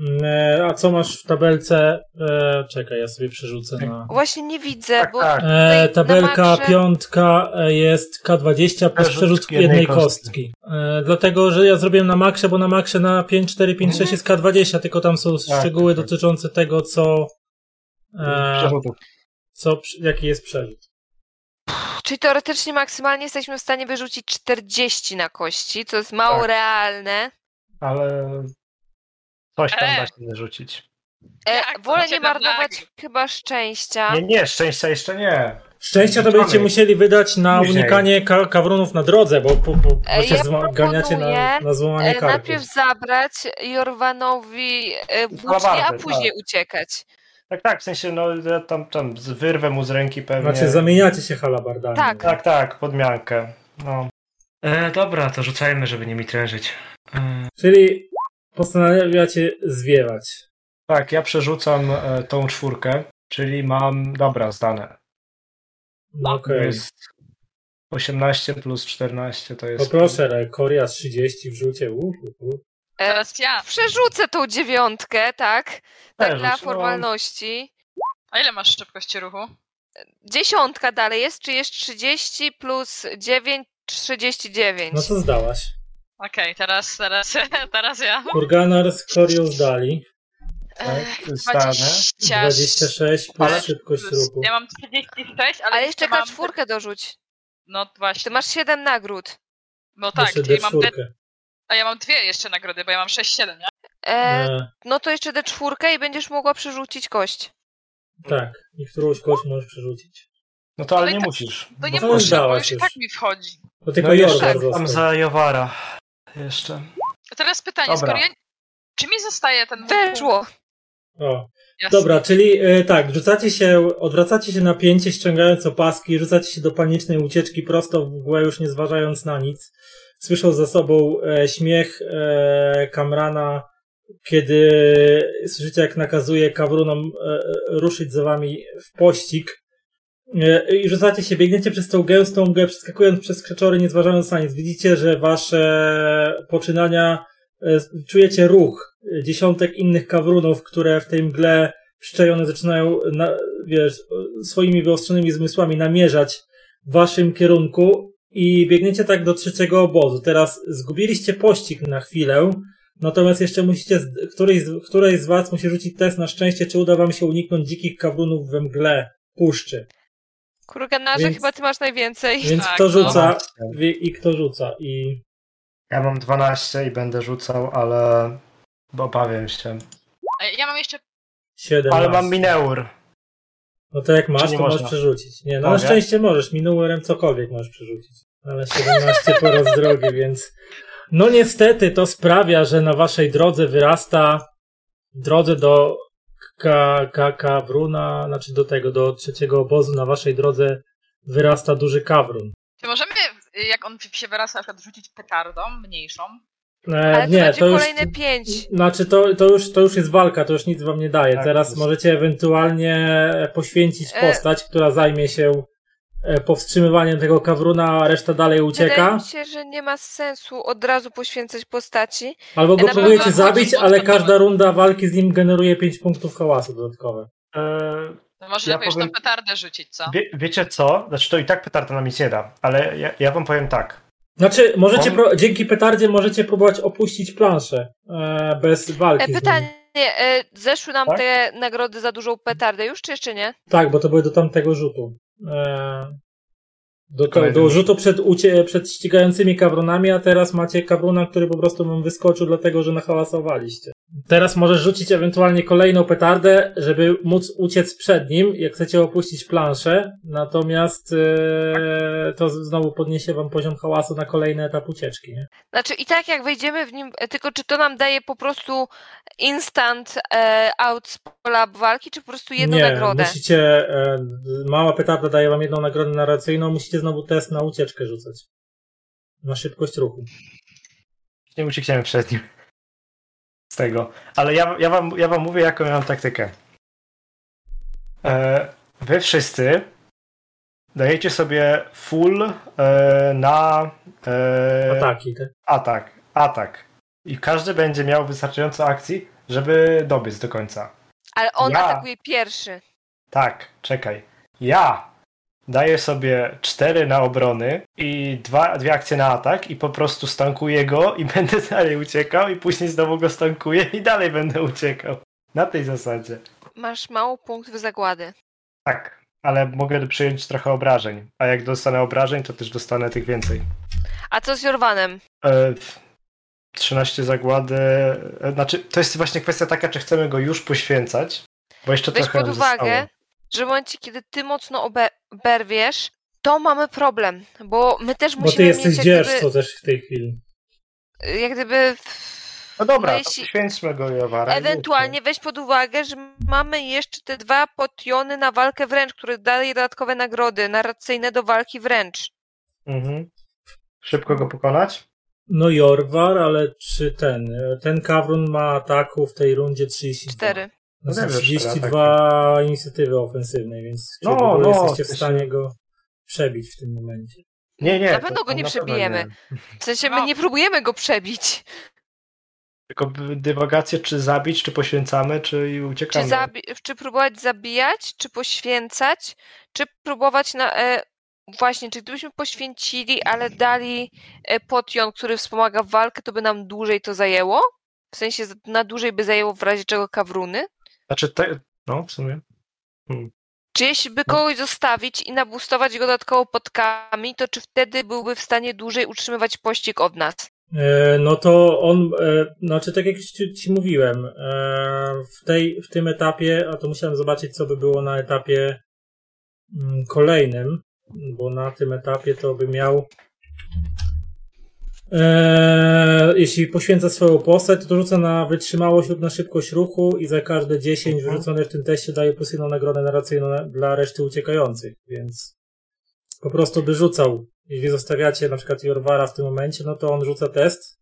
Speaker 1: Mm, E, a co masz w tabelce? E, czekaj, ja sobie przerzucę na...
Speaker 2: Właśnie nie widzę,
Speaker 4: Tak,
Speaker 2: bo
Speaker 4: tak.
Speaker 1: E,
Speaker 2: Tutaj na
Speaker 1: tabelka
Speaker 2: makrze-
Speaker 1: piątka e, jest K20 plus
Speaker 4: Przerzut
Speaker 1: przerzut
Speaker 4: jednej
Speaker 1: jednej
Speaker 4: kostki.
Speaker 1: kostki. E, dlatego, że ja zrobiłem na maksie, bo na maksie na 5, 4, 5, 6 jest K20, tylko tam są
Speaker 4: Tak,
Speaker 1: szczegóły
Speaker 4: tak. Mm,
Speaker 1: dotyczące tego, co... E,
Speaker 4: Przerzutów.
Speaker 1: co przy- jaki jest przerzut.
Speaker 2: Czyli teoretycznie maksymalnie jesteśmy w stanie wyrzucić 40 na kości, co jest mało
Speaker 4: Tak.
Speaker 2: realne.
Speaker 4: Ale coś tam
Speaker 3: E.
Speaker 4: da się wyrzucić.
Speaker 2: E,
Speaker 3: Jak to
Speaker 2: wolę nie
Speaker 3: siedem
Speaker 2: marnować
Speaker 3: nagród?
Speaker 2: chyba szczęścia.
Speaker 4: Nie, nie, szczęścia jeszcze nie.
Speaker 1: Szczęścia to będziecie
Speaker 4: Wrzucamy.
Speaker 1: musieli wydać na
Speaker 4: Później.
Speaker 1: unikanie ka- kawronów na drodze, bo, bo, bo,
Speaker 2: E,
Speaker 1: bo się
Speaker 2: ja
Speaker 1: zma- ganiacie na,
Speaker 2: proponuję,
Speaker 1: na złamanie
Speaker 2: E,
Speaker 1: karku.
Speaker 2: najpierw zabrać Jorwanowi e, włócznie, a
Speaker 4: Alabardę,
Speaker 2: później uciekać.
Speaker 4: Tak, tak, w sensie, no ja tam, tam z- wyrwę mu z ręki pewnie.
Speaker 1: Znaczy zamieniacie się halabardami.
Speaker 2: Tak.
Speaker 4: Tak, tak, podmiankę. No. E, dobra, to rzucajmy, żeby nie mi trężyć. E,
Speaker 1: Czyli postanawiacie zwiewać.
Speaker 4: tak, ja przerzucam e, tą czwórkę, czyli mam, dobra, zdane.
Speaker 1: No
Speaker 4: To
Speaker 1: Okej.
Speaker 4: Tak, jest 18 plus 14 to jest...
Speaker 1: Poproszę, ale Koria z 30 w rzucie. Uh, uh, uh.
Speaker 2: E,
Speaker 3: Teraz ja.
Speaker 2: przerzucę tą dziewiątkę, tak? Tak
Speaker 4: Też,
Speaker 2: dla
Speaker 4: no.
Speaker 2: formalności.
Speaker 3: A ile masz szybkości ruchu?
Speaker 2: Dziesiątka dalej jest, czy jest 30 plus 9, 39.
Speaker 1: No to zdałaś.
Speaker 3: Okej, teraz, teraz, teraz ja.
Speaker 1: Kurganar z Korią zdali.
Speaker 3: E,
Speaker 4: Tak, zdane.
Speaker 3: 26.
Speaker 1: 26 plus
Speaker 3: Ale-
Speaker 1: szybkość ruchu.
Speaker 3: Ja mam 36, ale,
Speaker 2: Ale jeszcze
Speaker 3: mam...
Speaker 2: K4 dorzuć.
Speaker 3: No
Speaker 2: Ty
Speaker 3: właśnie.
Speaker 2: masz 7 nagród.
Speaker 3: No tak,
Speaker 1: Jeszcze
Speaker 3: czyli mam
Speaker 1: D4.
Speaker 3: te... A ja mam dwie jeszcze nagrody, bo ja mam 6-7, nie?
Speaker 2: E,
Speaker 1: E,
Speaker 2: No to jeszcze D4 i będziesz mogła przerzucić kość.
Speaker 1: tak, i którąś kość możesz przerzucić.
Speaker 4: No to ale
Speaker 3: No i
Speaker 4: nie
Speaker 3: tak-
Speaker 4: musisz.
Speaker 3: To nie
Speaker 1: No,
Speaker 3: muszę, bo
Speaker 1: dałaś
Speaker 3: już, i
Speaker 1: już.
Speaker 3: tak mi wchodzi.
Speaker 1: To
Speaker 4: Tylko
Speaker 1: tylko
Speaker 4: no
Speaker 1: Jordan
Speaker 4: jeszcze
Speaker 1: tak,
Speaker 4: tam za Jowara. Jeszcze.
Speaker 3: A teraz pytanie,
Speaker 4: Dobra.
Speaker 3: skoro ja... Czy mi zostaje ten...
Speaker 2: Weszło.
Speaker 1: O,
Speaker 3: Jasne.
Speaker 1: dobra, czyli e, tak, rzucacie się, odwracacie się na pięcie, ściągając opaski, rzucacie się do panicznej ucieczki prosto w mgłę, już nie zważając na nic. Słyszą za sobą e, śmiech e, Kamrana, kiedy słyszycie, jak nakazuje Kawrunom e, ruszyć za wami w pościg. E, I rzucacie się, biegniecie przez tą gęstą mgłę, przeskakując przez krzeczory, nie zważając na nic. Widzicie, że wasze poczynania e, czujecie ruch e, dziesiątek innych kawrunów, które w tej mgle wszczejone zaczynają na, wiesz, e, swoimi wyostrzonymi zmysłami namierzać w waszym kierunku i biegniecie tak do trzeciego obozu. Teraz zgubiliście pościg na chwilę, natomiast jeszcze musicie, z- któryś, z- któreś z was musi rzucić test na szczęście, czy uda wam się uniknąć dzikich kawrunów we mgle puszczy.
Speaker 2: Kurganarze,
Speaker 1: Więc-
Speaker 2: chyba ty masz najwięcej.
Speaker 1: Więc
Speaker 3: Tak,
Speaker 1: kto
Speaker 3: no.
Speaker 1: rzuca wie, i kto rzuca i
Speaker 4: Ja mam 12 i będę rzucał, ale bo obawiam się.
Speaker 3: A Ja mam jeszcze...
Speaker 1: 7
Speaker 4: Ale mam mineur.
Speaker 1: No to jak masz,
Speaker 4: nie
Speaker 1: to możesz
Speaker 4: można? Tak,
Speaker 1: przerzucić. Nie, no na
Speaker 4: Mogę?
Speaker 1: szczęście możesz. Minułem cokolwiek możesz przerzucić. Ale 17 po raz drogi, więc... No niestety to sprawia, że na waszej drodze wyrasta drodze do KK Kawruna, znaczy do tego, do trzeciego obozu, na waszej drodze wyrasta duży kawrun.
Speaker 3: Czy możemy, y, jak on się wyrasta, na przykład rzucić petardą mniejszą?
Speaker 1: E,
Speaker 2: Ale to będzie
Speaker 1: już-
Speaker 2: kolejne pięć.
Speaker 1: Znaczy, to, to, już, to już jest walka, to już nic wam nie daje.
Speaker 4: Tak,
Speaker 1: Teraz
Speaker 4: jest.
Speaker 1: możecie ewentualnie poświęcić
Speaker 2: E.
Speaker 1: postać, która zajmie się e, powstrzymywaniem tego kawruna, a reszta dalej
Speaker 2: Wydaje
Speaker 1: ucieka.
Speaker 2: mi się, że nie ma sensu od razu poświęcać postaci.
Speaker 1: Albo go
Speaker 2: na
Speaker 1: próbujecie
Speaker 3: pewno
Speaker 1: zabić,
Speaker 3: chodzi-
Speaker 1: ale każda runda walki z nim generuje 5 punktów hałasu dodatkowe.
Speaker 4: E,
Speaker 3: No może
Speaker 4: Ja
Speaker 3: lepiej powiem...
Speaker 4: powiem-
Speaker 3: tą petardę rzucić, co?
Speaker 4: Wie, wiecie co? Znaczy to i tak petarda nam nic nie da, ale ja, ja wam powiem tak.
Speaker 1: Znaczy, możecie
Speaker 4: On-
Speaker 1: pro- dzięki petardzie możecie próbować opuścić planszę e, bez walki.
Speaker 2: E,
Speaker 1: z nim.
Speaker 2: pytanie, e, zeszły nam
Speaker 4: Tak?
Speaker 2: te nagrody za dużą petardę już, czy jeszcze nie?
Speaker 1: Tak, bo to były do tamtego rzutu. E, do, to,
Speaker 4: Kolejny
Speaker 1: do rzutu przed, ucie, przed ścigającymi kawronami, a teraz macie kawrona, który po prostu wam wyskoczył, dlatego że nahałasowaliście. Teraz możesz rzucić ewentualnie kolejną petardę, żeby móc uciec przed nim, jak chcecie opuścić planszę. Natomiast e, to znowu podniesie wam poziom hałasu na kolejny etap ucieczki. Nie?
Speaker 2: Znaczy i tak jak wejdziemy w nim, e, tylko czy to nam daje po prostu instant e, out z pola walki, czy po prostu jedną
Speaker 1: nie,
Speaker 2: nagrodę?
Speaker 1: Musicie, e, mała petarda daje wam jedną nagrodę narracyjną, musicie znowu test na ucieczkę rzucać. Na szybkość ruchu.
Speaker 4: Nie uciekniemy przed nim. Z tego. Ale ja, ja, wam, ja wam mówię, jaką ja mam taktykę. E, wy wszyscy dajecie sobie full e, na e,
Speaker 1: Ataki, te.
Speaker 4: atak. Atak. I każdy będzie miał wystarczająco akcji, żeby dobiec do końca.
Speaker 2: Ale on
Speaker 4: Ja.
Speaker 2: atakuje pierwszy.
Speaker 4: Tak, czekaj. Ja daję sobie 4 na obrony i dwa, dwie akcje na atak i po prostu stankuję go i będę dalej uciekał i później znowu go stankuję i dalej będę uciekał. Na tej zasadzie.
Speaker 2: Masz mało punktów zagłady.
Speaker 4: Tak, ale mogę przyjąć trochę obrażeń, a jak dostanę obrażeń, to też dostanę tych więcej.
Speaker 2: A co z Jorwanem?
Speaker 4: E, 13 zagłady, e, znaczy to jest właśnie kwestia taka, czy chcemy go już poświęcać, bo jeszcze
Speaker 2: Weź
Speaker 4: trochę
Speaker 2: pod
Speaker 4: nam
Speaker 2: uwagę,
Speaker 4: zostało.
Speaker 2: że w momencie, kiedy ty mocno obe- berwiesz, to mamy problem, bo my też
Speaker 1: Bo
Speaker 2: musimy
Speaker 1: ty jesteś
Speaker 2: mieć jak
Speaker 1: dzierżcą
Speaker 2: gdyby, e,
Speaker 1: też w tej chwili.
Speaker 2: jak gdyby
Speaker 4: No dobra,
Speaker 2: no
Speaker 4: no
Speaker 2: jeśli-
Speaker 4: poświęćmy go Jowara.
Speaker 2: Ewentualnie weź pod uwagę, że mamy jeszcze te dwa potiony na walkę wręcz, które daje dodatkowe nagrody narracyjne do walki wręcz.
Speaker 4: Mhm. Szybko go pokonać?
Speaker 1: No Jorwar, ale czy ten? e, Ten Kawrun ma ataku w tej rundzie 32.
Speaker 2: Cztery.
Speaker 1: To są
Speaker 4: No dobrze,
Speaker 1: 32 inicjatywy ofensywnej, więc czy
Speaker 4: No,
Speaker 1: w ogóle
Speaker 4: no,
Speaker 1: jesteście w
Speaker 4: to się-
Speaker 1: stanie go przebić w tym momencie.
Speaker 4: Nie, nie.
Speaker 2: Na pewno
Speaker 4: to-
Speaker 2: go
Speaker 4: to
Speaker 2: nie
Speaker 4: na pewno
Speaker 2: przebijemy.
Speaker 4: nie.
Speaker 2: W sensie my
Speaker 3: No.
Speaker 2: nie próbujemy go przebić.
Speaker 4: Tylko b- dywagację, czy zabić, czy poświęcamy, czy i
Speaker 2: Czy,
Speaker 4: uciekamy.
Speaker 2: zabi- czy próbować zabijać, czy poświęcać, czy próbować na. E- Właśnie, czy gdybyśmy poświęcili, ale dali e, potion, który wspomaga walkę, to by nam dłużej to zajęło? W sensie za- na dłużej by zajęło w razie czego kawruny?
Speaker 4: Znaczy, te... no w sumie.
Speaker 2: Czy jeśli
Speaker 4: No.
Speaker 2: by kogoś zostawić i nabustować go dodatkowo podkami, to czy wtedy byłby w stanie dłużej utrzymywać pościg od nas?
Speaker 1: E, No to on, e, znaczy tak jak już ci, ci mówiłem, e, w, tej, w tym etapie, a to musiałem zobaczyć, co by było na etapie mm, kolejnym, bo na tym etapie to by miał. E, jeśli poświęca swoją postać, to rzuca na wytrzymałość lub na szybkość ruchu i za każde 10
Speaker 4: Mhm.
Speaker 1: wyrzucone w tym teście daje plus jedną nagrodę narracyjną na- dla reszty uciekających, więc po prostu by rzucał. Jeśli zostawiacie na przykład Jorwara w tym momencie, no to on rzuca test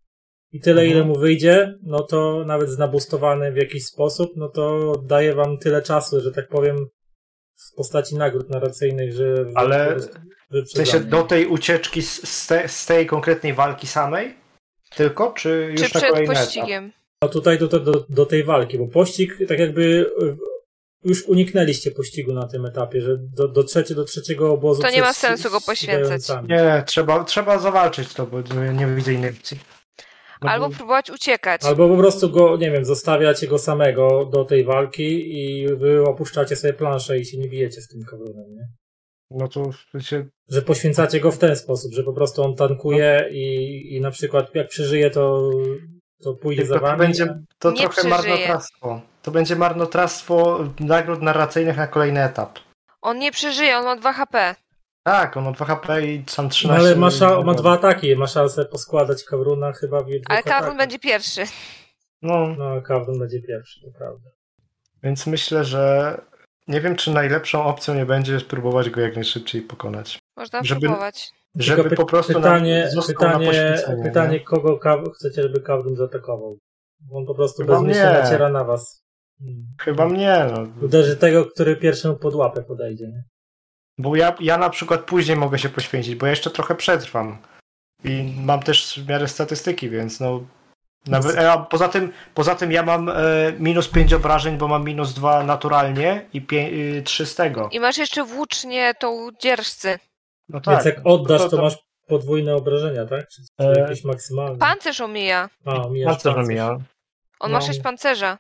Speaker 1: i tyle
Speaker 4: Mhm.
Speaker 1: ile mu wyjdzie, no to nawet znabustowany w jakiś sposób, no to daje wam tyle czasu, że tak powiem w postaci nagród narracyjnych, że wy- po
Speaker 4: Ale
Speaker 1: prostu
Speaker 4: w
Speaker 1: wyprzedzamy.
Speaker 4: sensie do tej ucieczki z, z, te, z tej konkretnej walki samej? Tylko, czy już
Speaker 2: Czy
Speaker 4: na
Speaker 2: przed
Speaker 4: kolejny etap?
Speaker 2: pościgiem?
Speaker 1: No tutaj do, do, do tej walki, bo pościg tak jakby y, już uniknęliście pościgu na tym etapie, że do, dotrzecie do trzeciego obozu.
Speaker 2: To nie ma
Speaker 1: przed-
Speaker 2: sensu go poświęcać.
Speaker 1: ścigającami.
Speaker 4: Nie, trzeba, trzeba zawalczyć to, bo nie, nie widzę innej opcji. No
Speaker 2: Albo
Speaker 4: bo- No.
Speaker 2: próbować uciekać.
Speaker 1: Albo po prostu go, nie wiem, zostawiacie go samego do tej walki i wy opuszczacie sobie planszę i się nie bijecie z tym kawrunem, nie?
Speaker 4: No to w sensie...
Speaker 1: Że poświęcacie go w ten sposób, że po prostu on tankuje i, i na przykład jak przeżyje, to, to pójdzie
Speaker 4: Tylko
Speaker 1: za
Speaker 4: to
Speaker 1: wami.
Speaker 4: będzie to
Speaker 2: Nie
Speaker 4: trochę
Speaker 2: przeżyje.
Speaker 4: marnotrawstwo. To będzie marnotrawstwo nagród narracyjnych na kolejny etap.
Speaker 2: On nie przeżyje, on ma 2 HP.
Speaker 4: Tak, on ma 2 HP i sam
Speaker 1: No
Speaker 4: 13.
Speaker 1: ale ma, szan- ma dwa ataki, ma szansę poskładać kawruna chyba w jednym
Speaker 2: Ale Kawrun
Speaker 1: ataku.
Speaker 2: będzie pierwszy.
Speaker 4: No,
Speaker 1: No, kawrun będzie pierwszy, to prawda.
Speaker 4: Więc myślę, że nie wiem, czy najlepszą opcją nie będzie spróbować go jak najszybciej pokonać.
Speaker 2: Można
Speaker 4: Żeby-
Speaker 2: próbować.
Speaker 1: Tylko
Speaker 4: Żeby
Speaker 1: py-
Speaker 4: po prostu nam
Speaker 1: pytanie,
Speaker 4: został na
Speaker 1: pytanie,
Speaker 4: poświęcenie,
Speaker 1: pytanie
Speaker 4: nie?
Speaker 1: kogo kaw- chcecie, żeby kawrun zaatakował. Bo On po prostu
Speaker 4: Chyba
Speaker 1: bezmyślnie
Speaker 4: mnie.
Speaker 1: naciera na was. Hmm.
Speaker 4: Chyba mnie, no.
Speaker 1: Uderzy tego, który pierwszym pod łapę podejdzie. Nie?
Speaker 4: Bo ja, ja na przykład później mogę się poświęcić, bo ja jeszcze trochę przetrwam. I mam też w miarę statystyki, więc no. Nawet, a poza, tym, poza tym ja mam e, minus 5 obrażeń, bo mam minus 2 naturalnie i 3 z tego.
Speaker 2: I masz jeszcze włócznie tą dzierżcy.
Speaker 4: No
Speaker 1: Więc
Speaker 4: tak.
Speaker 1: jak oddasz,
Speaker 4: No
Speaker 1: to,
Speaker 4: to-
Speaker 1: masz podwójne obrażenia, tak? Czy, czy
Speaker 4: E,
Speaker 1: jakieś maksymalne?
Speaker 2: Pancerz omija.
Speaker 1: A, omijasz
Speaker 4: Bardzo
Speaker 1: pancerz.
Speaker 4: mija.
Speaker 2: On ma
Speaker 4: No.
Speaker 2: 6 pancerza.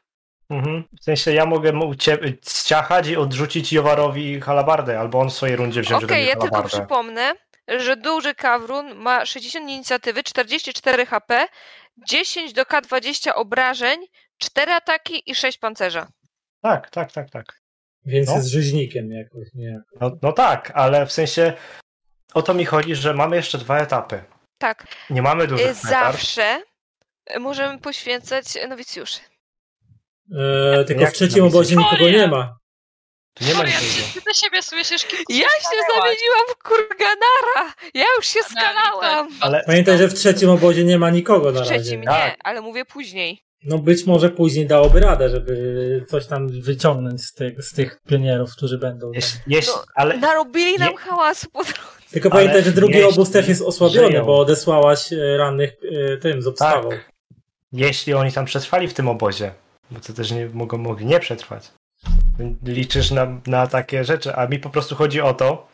Speaker 4: Mhm. W sensie ja mogę mu cie- ściachać i odrzucić Jowarowi halabardę, albo on w swojej rundzie wziąć
Speaker 2: Okej,
Speaker 4: ode mnie
Speaker 2: ja tylko
Speaker 4: halabardę.
Speaker 2: przypomnę, że duży Kawrun ma 60 inicjatywy, 44 HP, 10 do K20 obrażeń, Cztery ataki i sześć pancerza.
Speaker 4: Tak, tak, tak, tak.
Speaker 1: Więc
Speaker 4: No.
Speaker 1: jest rzeźnikiem jakoś, nie?
Speaker 4: No, no tak, ale w sensie o to mi chodzi, że mamy jeszcze dwa etapy.
Speaker 2: Tak.
Speaker 4: Nie mamy dużych
Speaker 2: Y,
Speaker 4: etarów.
Speaker 2: Zawsze możemy poświęcać nowicjuszy.
Speaker 1: E, tylko
Speaker 4: Jak
Speaker 1: w trzecim obozie
Speaker 3: napisać?
Speaker 1: nikogo nie ma.
Speaker 4: Tu nie ma
Speaker 3: Florian,
Speaker 4: nikogo.
Speaker 3: czy ty do siebie słyszysz kilku
Speaker 2: Ja się zamieniłam w kurganara! Ja już się skalałam!
Speaker 4: Ale
Speaker 1: Pamiętaj, że w trzecim obozie nie ma nikogo na
Speaker 2: W
Speaker 1: razie.
Speaker 2: trzecim nie,
Speaker 4: tak.
Speaker 2: ale mówię później.
Speaker 1: No być może później dałoby radę, żeby coś tam wyciągnąć z tych, z tych pionierów, którzy będą. tak.
Speaker 4: jeśli, jeśli,
Speaker 2: No,
Speaker 4: ale
Speaker 2: Narobili nam
Speaker 4: Nie-
Speaker 2: hałasu po drodze.
Speaker 1: Tylko
Speaker 4: Ale
Speaker 1: pamiętaj, że drugi
Speaker 4: jeśli
Speaker 1: obóz też jest osłabiony,
Speaker 4: żyją.
Speaker 1: bo odesłałaś e, rannych e, tym z obstawą.
Speaker 4: Tak. jeśli oni tam przetrwali w tym obozie, bo to też nie, mogą, mogli nie przetrwać. Liczysz na, na takie rzeczy, a mi po prostu chodzi o to,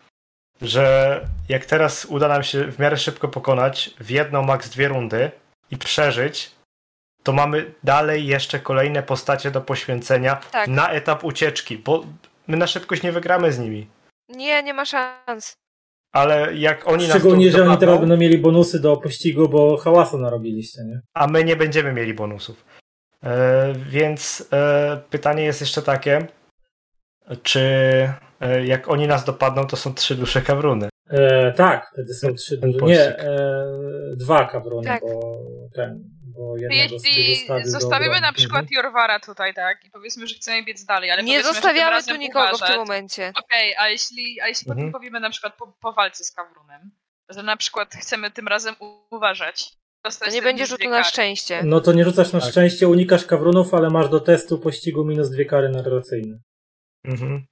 Speaker 4: że jak teraz uda nam się w miarę szybko pokonać w jedną, max dwie rundy i przeżyć, to mamy dalej jeszcze kolejne postacie do poświęcenia
Speaker 2: Tak.
Speaker 4: na etap ucieczki, bo my na szybkość nie wygramy z nimi.
Speaker 2: Nie, nie ma szans.
Speaker 4: Ale jak oni nas tu
Speaker 1: Szczególnie, że oni teraz
Speaker 4: dopadną,
Speaker 1: będą mieli bonusy do pościgu, bo hałasu narobiliście, nie?
Speaker 4: a my nie będziemy mieli bonusów. E, Więc e, pytanie jest jeszcze takie, czy e, jak oni nas dopadną, to są trzy dusze kawruny.
Speaker 1: E, tak, wtedy są trzy
Speaker 4: Ten
Speaker 1: duże.
Speaker 4: pościg.
Speaker 1: Nie, e, dwa kabrony,
Speaker 2: Tak.
Speaker 1: bo ten, bo jednego z
Speaker 3: Jeśli
Speaker 1: zostawił do
Speaker 3: zostawimy
Speaker 1: obrony.
Speaker 3: na przykład Jorwara tutaj, tak? I powiedzmy, że chcemy biec dalej, ale
Speaker 2: Nie
Speaker 3: powiedzmy, że tym
Speaker 2: zostawiamy
Speaker 3: razem
Speaker 2: tu nikogo w
Speaker 3: uważać.
Speaker 2: tym momencie.
Speaker 3: Okej, a jeśli, a jeśli potem
Speaker 4: Mhm.
Speaker 3: powiemy na przykład po, po walce z Kawrunem, że na przykład chcemy tym razem u- uważać.
Speaker 2: To
Speaker 3: Dostać
Speaker 2: nie
Speaker 3: te
Speaker 2: będzie
Speaker 3: minus
Speaker 2: rzutu
Speaker 3: dwie
Speaker 2: na
Speaker 3: kary.
Speaker 2: szczęście.
Speaker 1: No to nie rzucasz na
Speaker 4: Tak.
Speaker 1: szczęście, unikasz kawrunów, ale masz do testu pościgu minus dwie kary narracyjne.
Speaker 4: Mhm.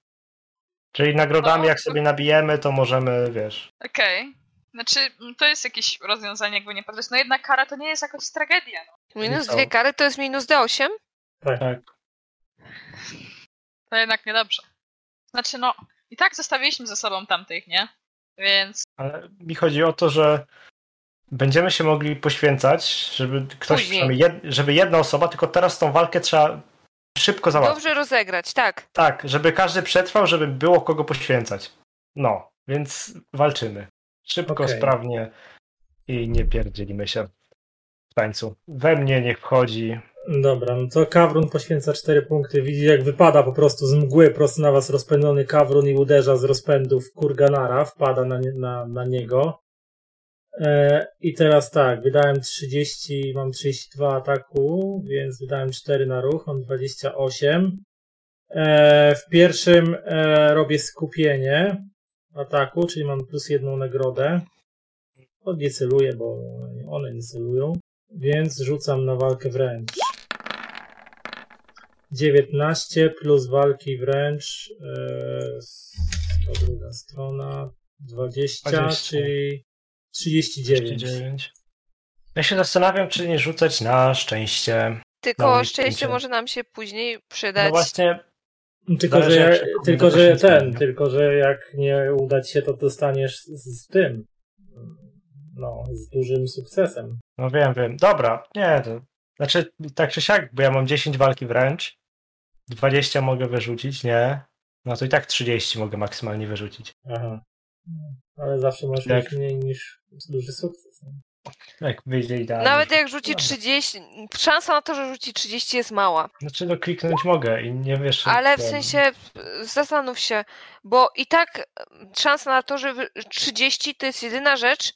Speaker 4: Czyli nagrodami,
Speaker 3: No,
Speaker 4: jak
Speaker 3: to-
Speaker 4: sobie nabijemy, to możemy, wiesz.
Speaker 3: Okej. Znaczy, m, to jest jakieś rozwiązanie, jakby nie patrzeć. No jedna kara to nie jest jakaś tragedia. No.
Speaker 2: Minus
Speaker 4: co?
Speaker 2: dwie kary to jest minus D8.
Speaker 4: Tak.
Speaker 3: To jednak niedobrze. Znaczy, no, i tak zostawiliśmy ze sobą tamtych, nie? Więc
Speaker 4: Ale mi chodzi o to, że będziemy się mogli poświęcać, żeby ktoś,
Speaker 2: Później.
Speaker 4: żeby, jed, żeby jedna osoba, tylko teraz tą walkę trzeba szybko załatwić.
Speaker 2: Dobrze rozegrać, tak.
Speaker 4: Tak, żeby każdy przetrwał, żeby było kogo poświęcać. No, więc walczymy. Szybko,
Speaker 1: Okej.
Speaker 4: sprawnie i nie pierdzielimy się w tańcu. We mnie niech wchodzi.
Speaker 1: Dobra, no to kawrun poświęca cztery punkty. Widzi, jak wypada po prostu z mgły prosto na was rozpędzony kawrun i uderza z rozpędu w kurganara, wpada na, nie- na, na niego. E, I teraz tak, wydałem 30, mam 32 ataku, więc wydałem 4 na ruch, mam 28. E, w pierwszym e, robię skupienie ataku, czyli mam plus jedną nagrodę. To nie celuję, bo one nie celują. Więc rzucam na walkę wręcz. 19 plus walki wręcz. e, To druga strona. 20,
Speaker 4: 20.
Speaker 1: czyli 39.
Speaker 4: 39. Ja się zastanawiam, czy nie rzucać na szczęście.
Speaker 2: Tylko
Speaker 4: Dobrze,
Speaker 2: szczęście
Speaker 4: dziękuję.
Speaker 2: może nam się później przydać.
Speaker 4: No właśnie,
Speaker 1: Tylko,
Speaker 4: Zależy,
Speaker 1: że,
Speaker 4: jak
Speaker 1: jak,
Speaker 4: się komuś
Speaker 1: tylko, że
Speaker 4: doświadczenie.
Speaker 1: ten, tylko, że jak nie uda ci się, to dostaniesz z, z tym. No, z dużym sukcesem.
Speaker 4: no wiem, wiem. Dobra, nie, to znaczy tak czy siak, bo ja mam 10 walki wręcz. 20 mogę wyrzucić, nie. No to i tak 30 mogę maksymalnie wyrzucić.
Speaker 1: Aha. Ale zawsze masz
Speaker 4: Tak.
Speaker 1: mieć mniej niż duży sukces.
Speaker 4: Jak wyjdzie idealnie.
Speaker 2: Nawet jak rzuci
Speaker 4: Dobra.
Speaker 2: 30, szansa na to, że rzuci 30 jest mała.
Speaker 4: Znaczy, no kliknąć mogę i nie wiesz.
Speaker 2: Ale w
Speaker 4: ten-
Speaker 2: sensie y, zastanów się, bo i tak y, szansa na to, że wy- 30 to jest jedyna rzecz,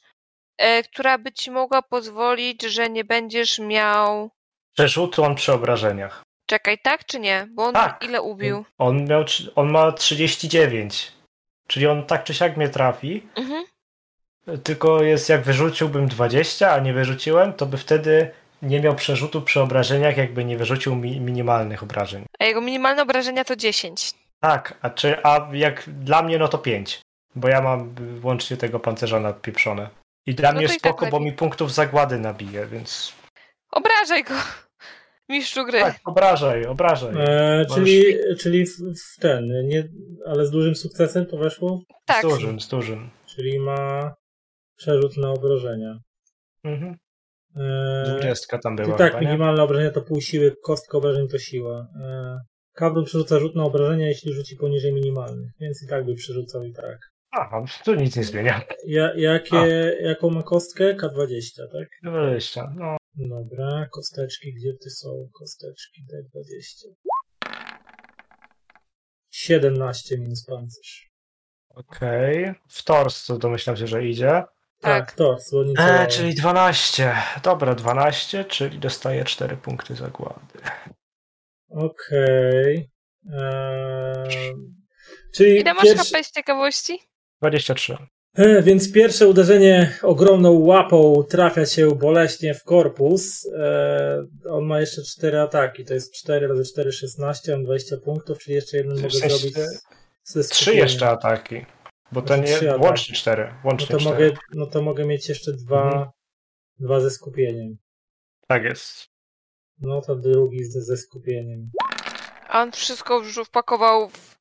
Speaker 2: e, która by ci mogła pozwolić, że nie będziesz miał.
Speaker 4: Przerzutu on przy obrażeniach.
Speaker 2: Czekaj, tak czy nie? Bo on
Speaker 4: Tak.
Speaker 2: ile ubił?
Speaker 4: On, miał, trzy- on ma 39. Czyli on tak czy siak mnie trafi.
Speaker 2: Mhm.
Speaker 4: Tylko jest jak wyrzuciłbym 20, a nie wyrzuciłem, to by wtedy nie miał przerzutu przy obrażeniach, jakby nie wyrzucił mi minimalnych obrażeń.
Speaker 2: A jego minimalne obrażenia to 10.
Speaker 4: Tak, a, czy, a jak dla mnie, no to 5. Bo ja mam y, łącznie tego pancerza nadpieprzone. I dla
Speaker 2: No
Speaker 4: mnie
Speaker 2: to i tak
Speaker 4: spoko, bo
Speaker 2: lepiej.
Speaker 4: mi punktów zagłady nabije, więc.
Speaker 2: Obrażaj go! Mistrzu gry.
Speaker 4: Tak, obrażaj, obrażaj.
Speaker 1: E,
Speaker 4: Możesz-
Speaker 1: czyli czyli w, w ten, nie, ale z dużym sukcesem to weszło?
Speaker 4: Z
Speaker 2: Tak.
Speaker 4: dużym, z dużym.
Speaker 1: Czyli ma przerzut na obrażenia.
Speaker 4: Mhm.
Speaker 1: E,
Speaker 4: 20 tam
Speaker 1: I
Speaker 4: była.
Speaker 1: tak,
Speaker 4: chyba, nie?
Speaker 1: minimalne obrażenia to pół siły, kostka obrażeń to siła. E, Kabrun przerzuca rzut na obrażenia, jeśli rzuci poniżej minimalnych, więc i tak by przerzucał i tak.
Speaker 4: Aha, no tu nic nie zmienia.
Speaker 1: Ja, jakie, jaką ma kostkę? K20, tak?
Speaker 4: 20, no
Speaker 1: Dobra, kosteczki, gdzie ty są? Kosteczki D20. 17 minus pancerz.
Speaker 4: Okej. W tors to domyślam się, że idzie.
Speaker 2: Tak.
Speaker 1: to, słonice.
Speaker 4: E, czyli 12. Dobra, 12, czyli dostaję 4 punkty zagłady.
Speaker 1: Okej. Em, Czyli
Speaker 2: Ile masz
Speaker 1: pierwszy-
Speaker 2: HP z ciekawości?
Speaker 4: 23.
Speaker 1: E, Więc pierwsze uderzenie ogromną łapą trafia się boleśnie w korpus. E, on ma jeszcze 4 ataki, to jest 4 razy 4, 16, mam 20 punktów, czyli jeszcze jeden mogę
Speaker 4: W sensie
Speaker 1: zrobić. ze
Speaker 4: 3 jeszcze ataki. Bo to nie.
Speaker 1: Trzy ataki.
Speaker 4: Łącznie 4.
Speaker 1: No
Speaker 4: Łącznie
Speaker 1: to,
Speaker 4: 4.
Speaker 1: mogę, no to mogę mieć jeszcze dwa,
Speaker 4: Mhm.
Speaker 1: dwa ze skupieniem.
Speaker 4: Tak jest.
Speaker 1: No to drugi ze, ze skupieniem.
Speaker 2: A on wszystko już wpakował w...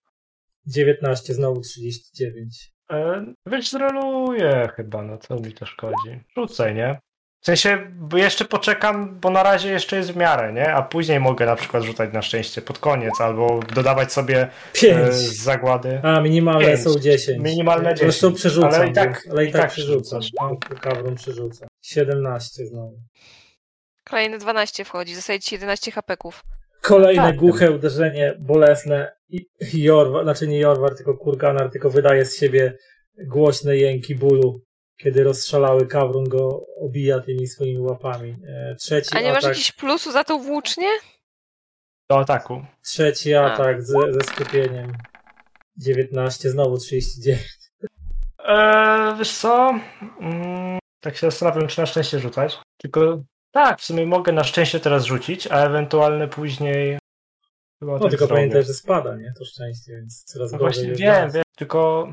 Speaker 1: 19, znowu 39.
Speaker 4: E, Wyzroluję chyba, no co mi to szkodzi. Rzucaj, nie? W sensie bo jeszcze poczekam, bo na razie jeszcze jest w miarę, nie? A później mogę na przykład rzucać na szczęście pod koniec, albo dodawać sobie e,
Speaker 1: 5!
Speaker 4: z zagłady.
Speaker 1: A, minimalne
Speaker 4: pięć.
Speaker 1: są 10.
Speaker 4: Minimalne 10.
Speaker 1: Zresztą przerzucam,
Speaker 4: Ale i tak,
Speaker 1: bo- ale i tak, przerzucam.
Speaker 4: rzucasz, no.
Speaker 1: Kawrą przerzucam. 17 znowu.
Speaker 2: Kolejne 12 wchodzi, zostaje ci 11 hapeków.
Speaker 1: Kolejne
Speaker 4: Tak.
Speaker 1: głuche uderzenie, bolesne. I i Jorwar, znaczy nie Jorwar, tylko Kurganar, tylko wydaje z siebie głośne jęki bólu, kiedy rozszalały Kawrun go obija tymi swoimi łapami. E, Trzeci
Speaker 2: A nie masz
Speaker 1: atak,
Speaker 2: jakiegoś plusu za tą włócznię?
Speaker 4: Do ataku.
Speaker 1: trzeci
Speaker 2: A.
Speaker 1: atak ze, ze skupieniem. 19, znowu 39.
Speaker 4: Eee, wiesz co? Mm, tak się zastanawiam, czy na szczęście rzucać. Tylko tak, w sumie mogę na szczęście teraz rzucić, a ewentualnie później. Chyba
Speaker 1: No
Speaker 4: tak
Speaker 1: tylko
Speaker 4: zrobię.
Speaker 1: pamiętaj, że spada, nie? To szczęście, więc coraz
Speaker 4: No
Speaker 1: gorzej.
Speaker 4: właśnie
Speaker 1: jest
Speaker 4: wiem,
Speaker 1: nas.
Speaker 4: wiem, tylko.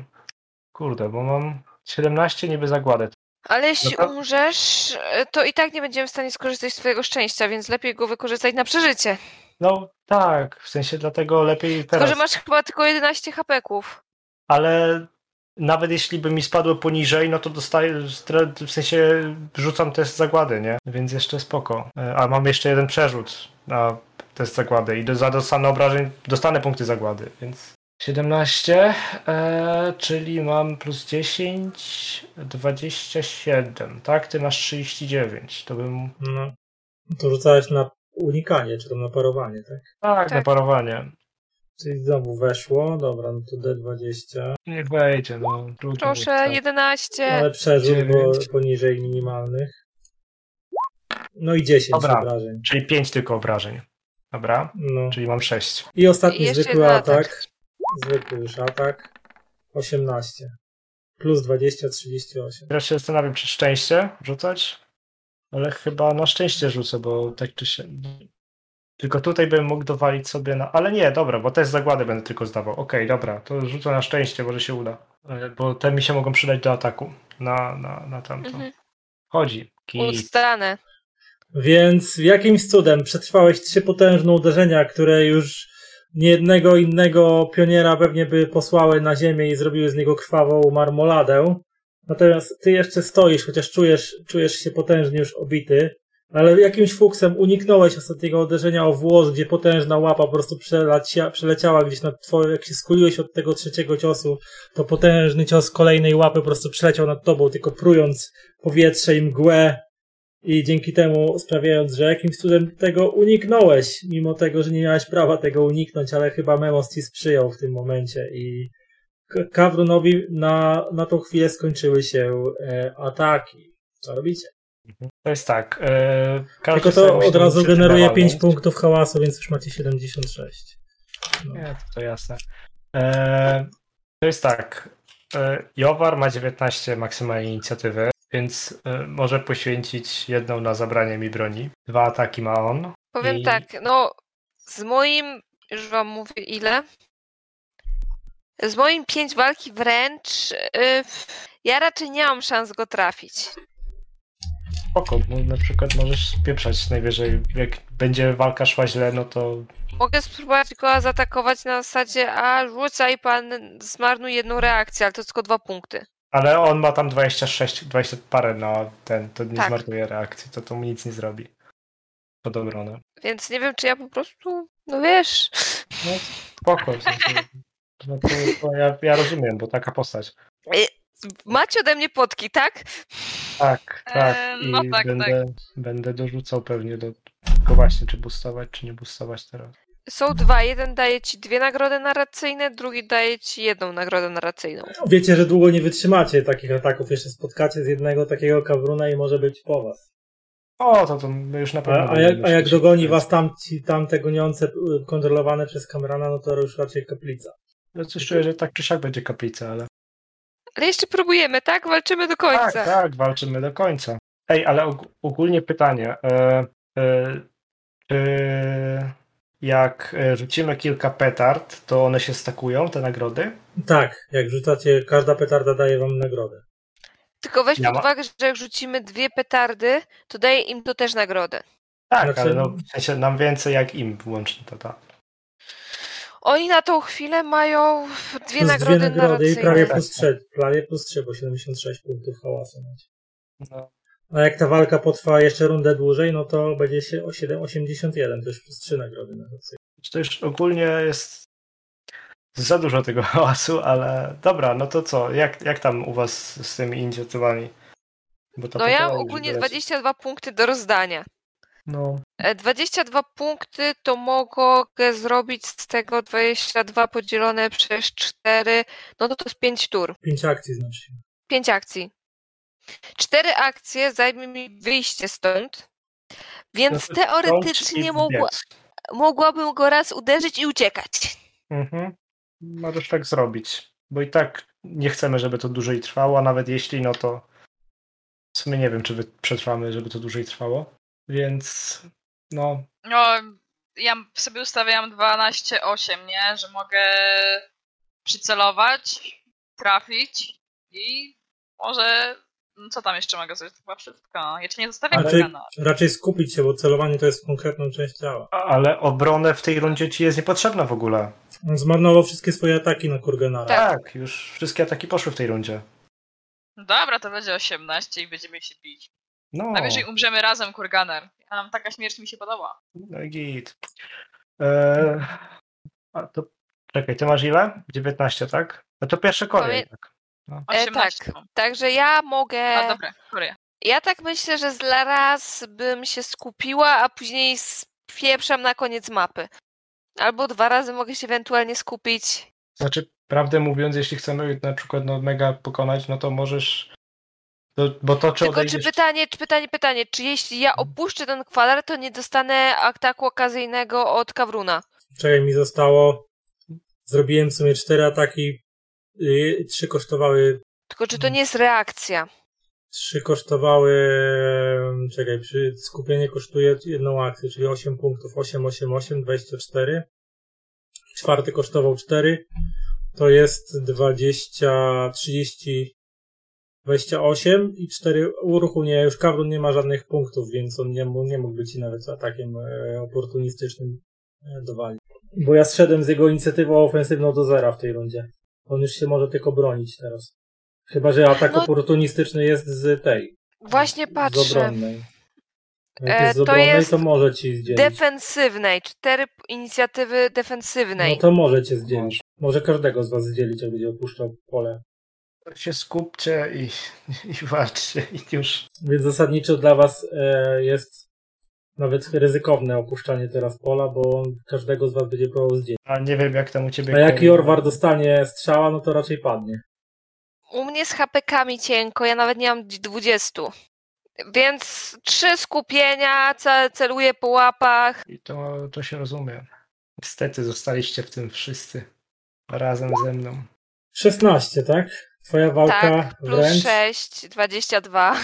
Speaker 4: Kurde, bo mam 17 niby zagładę.
Speaker 2: Ale jeśli
Speaker 4: to-
Speaker 2: umrzesz, e, to i tak nie będziemy w stanie skorzystać z twojego szczęścia, więc lepiej go wykorzystać na przeżycie.
Speaker 4: No tak, w sensie dlatego lepiej
Speaker 2: Tylko,
Speaker 4: teraz.
Speaker 2: że masz chyba tylko 11 hapeków.
Speaker 4: Ale nawet jeśli by mi spadło poniżej, no to dostaję. stra- W sensie rzucam test zagłady, nie? Więc jeszcze spoko. E, A mam jeszcze jeden przerzut na test zagłady i do, za dostanę obrażeń dostanę punkty zagłady, więc. 17, e, czyli mam plus 10, 27, tak? Ty masz 39, to bym
Speaker 1: No. To rzucałeś na unikanie, czy tam na parowanie, tak?
Speaker 4: Tak,
Speaker 2: Tak.
Speaker 4: na parowanie.
Speaker 1: Czyli znowu weszło, dobra, no to D20,
Speaker 4: Niech wejdzie, no. trudno
Speaker 2: Proszę,
Speaker 4: jest,
Speaker 2: 11.
Speaker 1: ale przerzut, bo
Speaker 4: Dziewięć.
Speaker 1: poniżej minimalnych. No i 10
Speaker 4: Dobra.
Speaker 1: obrażeń.
Speaker 4: tak. Czyli 5 tylko obrażeń. Dobra,
Speaker 1: No.
Speaker 4: czyli mam 6.
Speaker 1: I ostatni
Speaker 2: I jeszcze
Speaker 1: zwykły
Speaker 2: jeden
Speaker 1: atak.
Speaker 2: atak.
Speaker 1: Zwykły już atak. 18. Plus 20, 38.
Speaker 4: Teraz się zastanawiam, czy szczęście rzucać? Ale chyba na szczęście rzucę, bo tak czy się. Tylko tutaj bym mógł dowalić sobie na. Ale nie, dobra, bo test zagłady będę tylko zdawał. Okej, dobra, to rzucę na szczęście, może się uda. E, Bo te mi się mogą przydać do ataku. Na, na, na tamto.
Speaker 2: Mhm.
Speaker 4: Chodzi. Kij.
Speaker 2: Ustalane.
Speaker 1: Więc jakimś cudem przetrwałeś trzy potężne uderzenia, które już niejednego innego pioniera pewnie by posłały na ziemię i zrobiły z niego krwawą marmoladę. Natomiast ty jeszcze stoisz, chociaż czujesz, czujesz się potężnie już obity, ale jakimś fuksem uniknąłeś ostatniego uderzenia o włos, gdzie potężna łapa po prostu przelacia, przeleciała gdzieś nad twoją, jak się skuliłeś od tego trzeciego ciosu, to potężny cios kolejnej łapy po prostu przeleciał nad tobą, tylko prując powietrze i mgłę i dzięki temu sprawiając, że jakimś cudem tego uniknąłeś, mimo tego, że nie miałeś prawa tego uniknąć, ale chyba Memos ci sprzyjał w tym momencie i K- Kawrunowi na, na tą chwilę skończyły się e, ataki. Co robicie?
Speaker 4: To jest tak. e, każdy
Speaker 1: Tylko
Speaker 4: sobie
Speaker 1: to
Speaker 4: musi
Speaker 1: od razu
Speaker 4: liczyć
Speaker 1: generuje
Speaker 4: dowolność.
Speaker 1: 5 punktów hałasu, więc już macie 76.
Speaker 4: Nie, to, to jasne. E, to jest tak. E, Jowar ma 19 maksymalnej inicjatywy, więc e, może poświęcić jedną na zabranie mi broni. Dwa ataki ma on.
Speaker 2: Powiem
Speaker 4: I-
Speaker 2: tak, no z moim, już wam mówię ile, z moim pięć walki wręcz, y, ja raczej nie mam szans go trafić.
Speaker 4: Spoko, bo na przykład możesz pieprzać najwyżej. Jak będzie walka szła źle, no to
Speaker 2: Mogę spróbować go zaatakować na zasadzie, a rzucaj pan, zmarnuj jedną reakcję, ale to tylko dwa punkty.
Speaker 4: Ale on ma tam 26, 20 parę na ten, to nie
Speaker 2: Tak.
Speaker 4: zmarnuje reakcji, to to mu nic nie zrobi. no. Pod obronę.
Speaker 2: Więc nie wiem, czy ja po prostu, no wiesz,
Speaker 4: No spoko, w sensie, no to, to ja, ja rozumiem, bo taka postać.
Speaker 2: y, Macie ode mnie potki, tak?
Speaker 4: Tak, tak.
Speaker 3: Eee,
Speaker 4: I
Speaker 3: no tak,
Speaker 4: będę, będę dorzucał pewnie do. Tylko właśnie, czy boostować, czy nie boostować teraz.
Speaker 2: Są dwa. Jeden daje ci dwie nagrody narracyjne, drugi daje ci jedną nagrodę narracyjną.
Speaker 1: Wiecie, że długo nie wytrzymacie takich ataków. Jeszcze spotkacie z jednego takiego kawruna i może być po was.
Speaker 4: O, to, to my już na pewno.
Speaker 1: A, a,
Speaker 4: będziemy
Speaker 1: jak, a jak
Speaker 4: dosyć-
Speaker 1: dogoni was tamci, tamte goniące y, kontrolowane przez kamerana, no to już raczej kaplica.
Speaker 4: No coś czuję, że tak czy siak będzie kaplica, ale.
Speaker 2: Ale jeszcze próbujemy, tak? Walczymy do
Speaker 4: Tak,
Speaker 2: końca.
Speaker 4: tak, walczymy do końca. Ej, ale og- ogólnie pytanie. E, e, czy jak e, rzucimy kilka petard, to one się stakują, te nagrody?
Speaker 1: Tak, jak rzucacie, każda petarda daje wam nagrodę.
Speaker 2: Tylko weź
Speaker 4: Ja
Speaker 2: pod
Speaker 4: ma-
Speaker 2: uwagę, że jak rzucimy dwie petardy, to daje im to też nagrodę.
Speaker 4: Tak,
Speaker 1: Znaczy-
Speaker 4: ale no, w sensie nam więcej jak im włącznie to tak. da.
Speaker 2: Oni na tą chwilę mają dwie
Speaker 1: Plus
Speaker 2: nagrody,
Speaker 1: dwie nagrody i
Speaker 2: narracyjne.
Speaker 1: prawie
Speaker 4: Tak,
Speaker 1: plus
Speaker 4: tak.
Speaker 1: 3, prawie plus 3, bo 76 punktów hałasu macie.
Speaker 4: No.
Speaker 1: A jak ta walka potrwa jeszcze rundę dłużej, no to będzie się o 7,81, to już plus 3 nagrody na tacy.
Speaker 4: To już ogólnie jest za dużo tego hałasu, ale dobra, no to co? Jak, jak tam u was z tymi inicjatywami? Bo to
Speaker 2: No ja
Speaker 4: pytałem,
Speaker 2: ogólnie
Speaker 4: żeby-
Speaker 2: 22 punkty do rozdania.
Speaker 4: No,
Speaker 2: E, 22 punkty to mogę zrobić z tego 22 podzielone przez 4, no to to jest 5 tur,
Speaker 1: 5 akcji znaczy.
Speaker 2: 5 akcji. 4 akcje zajmie mi wyjście stąd, więc
Speaker 4: No to stąd
Speaker 2: teoretycznie
Speaker 4: i
Speaker 2: mogła,
Speaker 4: biec.
Speaker 2: mogłabym go raz uderzyć i uciekać.
Speaker 4: Mhm. Możesz tak zrobić, bo i tak nie chcemy, żeby to dłużej trwało, a nawet jeśli, no to w sumie nie wiem, czy wy- przetrwamy, żeby to dłużej trwało, więc no,
Speaker 3: No, ja sobie ustawiam 12-8, nie? Że mogę przycelować, trafić i może. No, co tam jeszcze mogę zrobić? To chyba wszystko. No. Jeszcze nie zostawiam
Speaker 1: Raczej,
Speaker 3: tego. No.
Speaker 1: raczej skupić się, bo celowanie to jest w konkretną część ciała.
Speaker 4: a- ale obronę w tej rundzie ci jest niepotrzebna w ogóle.
Speaker 1: On zmarnował wszystkie swoje ataki na Kurgenara.
Speaker 2: Tak.
Speaker 4: Tak, już wszystkie ataki poszły w tej rundzie.
Speaker 3: Dobra, to będzie 18 i będziemy się bić.
Speaker 4: No,
Speaker 3: Najwyżej umrzemy razem, kurganer. A nam taka śmierć mi się podoba.
Speaker 4: no i git. Eee, a to, czekaj, ty masz ile? 19, tak? No to pierwsze kolej.
Speaker 2: Kolej-
Speaker 4: Tak.
Speaker 2: E,
Speaker 3: 18.
Speaker 2: tak. E, Także ja
Speaker 3: A
Speaker 2: mogę.
Speaker 3: No dobra, Korea.
Speaker 2: Ja tak myślę, że z raz bym się skupiła, a później spieprzam na koniec mapy. Albo dwa razy mogę się ewentualnie skupić
Speaker 4: Znaczy, prawdę mówiąc, jeśli chcemy na przykład no, mega pokonać, no to możesz. To, bo to, czy
Speaker 2: Tylko czy
Speaker 4: odejdziesz.
Speaker 2: pytanie, czy pytanie, pytanie, czy jeśli ja
Speaker 1: Mhm.
Speaker 2: opuszczę ten kwadrat, to nie dostanę ataku okazyjnego od Kawruna?
Speaker 1: Czekaj, mi zostało. Zrobiłem w sumie 4 ataki. y, Trzy kosztowały
Speaker 2: Tylko czy to
Speaker 1: Mhm.
Speaker 2: nie jest reakcja?
Speaker 1: Trzy kosztowały. em, Czekaj, przy skupienie kosztuje jedną akcję, czyli 8 punktów. 8, 8, 8, 24. Czwarty kosztował 4. To jest 20, 30, 28 i 4 uruchomie. Już Kawrun nie ma żadnych punktów, więc on nie, mógł- nie mógłby ci nawet atakiem e, oportunistycznym e, dowalić. Bo ja zszedłem z jego inicjatywą ofensywną do zera w tej rundzie. On już się może tylko bronić teraz. Chyba, że atak
Speaker 2: No-
Speaker 1: oportunistyczny jest z tej.
Speaker 2: Właśnie
Speaker 1: Z
Speaker 2: patrzę.
Speaker 1: obronnej.
Speaker 2: E,
Speaker 1: Jak jest z
Speaker 2: to
Speaker 1: obronnej, to,
Speaker 2: jest
Speaker 1: może ci zdzielić.
Speaker 2: Defensywnej, cztery p- inicjatywy
Speaker 1: No
Speaker 2: defensywnej.
Speaker 1: to może cię zdzielić. Może każdego z was zdzielić, jak będzie opuszczał pole.
Speaker 4: się skupcie i, i walczcie i już.
Speaker 1: Więc zasadniczo dla was e, jest nawet ryzykowne opuszczanie teraz pola, bo każdego z was będzie próbował zdzielić.
Speaker 4: A nie wiem jak tam u ciebie.
Speaker 1: A jak
Speaker 4: Kevin.
Speaker 1: Jorwar dostanie strzała, no to raczej padnie.
Speaker 2: U mnie z HPK-ami cienko, ja nawet nie mam dzi- 20. Więc trzy skupienia, ce- celuję po łapach.
Speaker 4: I to, to się rozumie. Niestety zostaliście w tym wszyscy. Razem ze mną.
Speaker 1: 16, tak? Twoja walka
Speaker 2: Tak, plus
Speaker 1: wręcz
Speaker 2: 6, 22.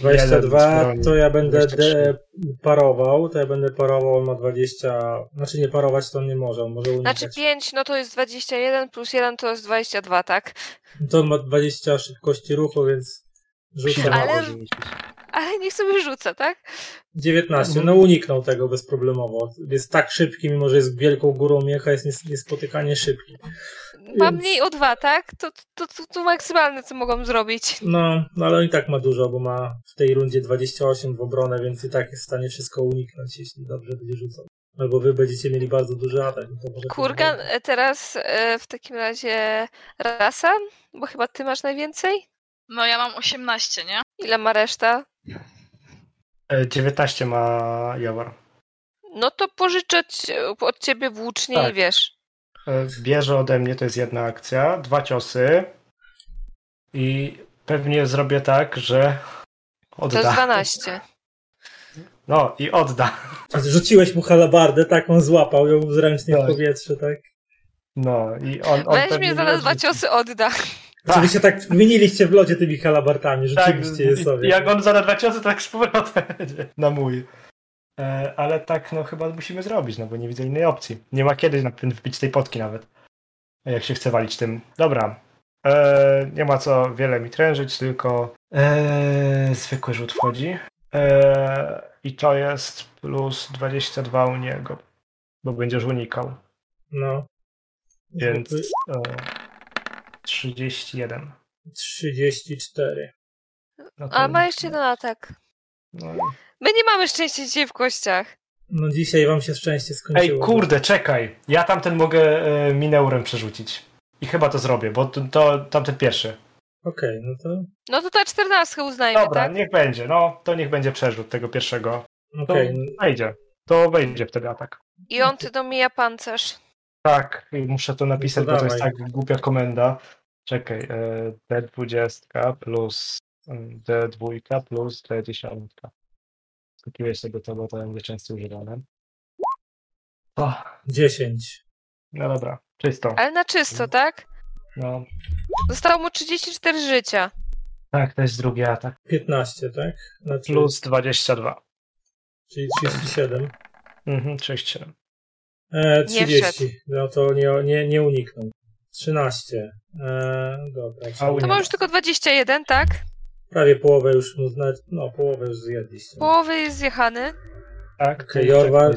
Speaker 1: 22,
Speaker 4: Jeden
Speaker 1: to ja będę
Speaker 4: 23.
Speaker 1: de- parował, to ja będę parował, on ma 20, znaczy nie parować to on nie może, on może unikać.
Speaker 2: Znaczy 5, no to jest 21, plus 1 to jest 22, tak?
Speaker 1: To on ma 20 szybkości ruchu, więc rzuca
Speaker 4: Siła
Speaker 2: Ale-
Speaker 4: może rzucić.
Speaker 2: Ale niech sobie rzuca, tak?
Speaker 1: 19.
Speaker 4: Mhm.
Speaker 1: No uniknął tego bezproblemowo. Jest tak szybki, mimo że jest wielką górą miecha, jest nies- niespotykanie szybki.
Speaker 2: Ma
Speaker 1: Więc-
Speaker 2: mniej o dwa, tak? To, to, to, to maksymalne, co mogą zrobić.
Speaker 1: No, no ale on i tak ma dużo, bo ma w tej rundzie 28 w obronę, więc i tak jest w stanie wszystko uniknąć, jeśli dobrze będzie rzucał. Albo wy będziecie mieli bardzo duży atak. no To może
Speaker 2: Kurgan, e, teraz e, w takim razie rasa, bo chyba ty masz najwięcej?
Speaker 3: No ja mam 18, nie?
Speaker 2: Ile ma reszta?
Speaker 4: E, 19 ma Jawor.
Speaker 2: No to pożyczę ci- od ciebie włócznie i
Speaker 4: Tak.
Speaker 2: wiesz.
Speaker 4: E, Bierze ode mnie, to jest jedna akcja, dwa ciosy i pewnie zrobię tak, że
Speaker 2: To jest
Speaker 4: odda.
Speaker 2: 12.
Speaker 4: No i odda.
Speaker 1: Rzuciłeś mu halabardę, tak on złapał ją zręcznie w
Speaker 4: Tak.
Speaker 1: powietrze, tak?
Speaker 4: No i on, on
Speaker 2: Weź
Speaker 4: pewnie
Speaker 2: mnie zaraz
Speaker 4: nie
Speaker 2: dwa
Speaker 4: odrzuci.
Speaker 2: ciosy odda.
Speaker 1: Czy wy się tak zmieniliście w lodzie tymi halabartami,
Speaker 4: Tak,
Speaker 1: rzeczywiście je sobie.
Speaker 4: jak on za dwa ciosy, to tak z powrotem będzie na mój. E, ale tak, no chyba musimy zrobić, no bo nie widzę innej opcji. Nie ma kiedy na tym wbić tej potki nawet. Jak się chce walić tym. Dobra. E, nie ma co wiele mi trężyć, tylko e, zwykły rzut wchodzi. E, I to jest plus 22 u niego, bo będziesz unikał.
Speaker 1: No.
Speaker 4: Więc e, 31.
Speaker 1: 34.
Speaker 4: No to-
Speaker 2: A ma jeszcze jeden atak.
Speaker 4: no.
Speaker 2: My nie mamy szczęścia dzisiaj w kościach.
Speaker 1: No dzisiaj wam się szczęście skończyło.
Speaker 4: Ej, kurde, czekaj. Ja tamten mogę e, mineurem przerzucić. I chyba to zrobię, bo to, to tamten pierwszy.
Speaker 1: Okej, no to...
Speaker 2: No to ta 14 uznajmy,
Speaker 4: Dobra,
Speaker 2: tak?
Speaker 4: niech będzie. No, to niech będzie przerzut tego pierwszego. To
Speaker 1: Okej,
Speaker 4: wejdzie. To wejdzie wtedy atak.
Speaker 2: I on ty domija pancerz.
Speaker 4: Tak, i muszę to
Speaker 1: No
Speaker 4: napisać,
Speaker 1: to
Speaker 4: bo to jest
Speaker 1: dawaj.
Speaker 4: tak głupia komenda. Czekaj, e, D20 plus mm, D2 plus D10. Kupiłeś sobie to, bo to będzie często używane. O,
Speaker 1: 10.
Speaker 4: no dobra, czysto.
Speaker 2: Ale na
Speaker 4: Mm.
Speaker 2: czysto, tak?
Speaker 4: No,
Speaker 2: Zostało mu 34 życia.
Speaker 4: tak, to jest drugi atak.
Speaker 1: 15, tak? Znaczy,
Speaker 4: Plus 22.
Speaker 1: Czyli 37.
Speaker 4: Mhm, 37.
Speaker 1: E,
Speaker 2: Nie
Speaker 1: 30. No to nie, nie, nie uniknął. 13. E, dobra. czyli
Speaker 2: To
Speaker 4: Nie
Speaker 2: ma
Speaker 4: ma.
Speaker 2: już tylko 21, tak?
Speaker 1: Prawie połowę już mu znać. No, połowę już zjedliście.
Speaker 2: Połowy jest zjechany.
Speaker 4: Tak.
Speaker 1: Okej, Jorwar.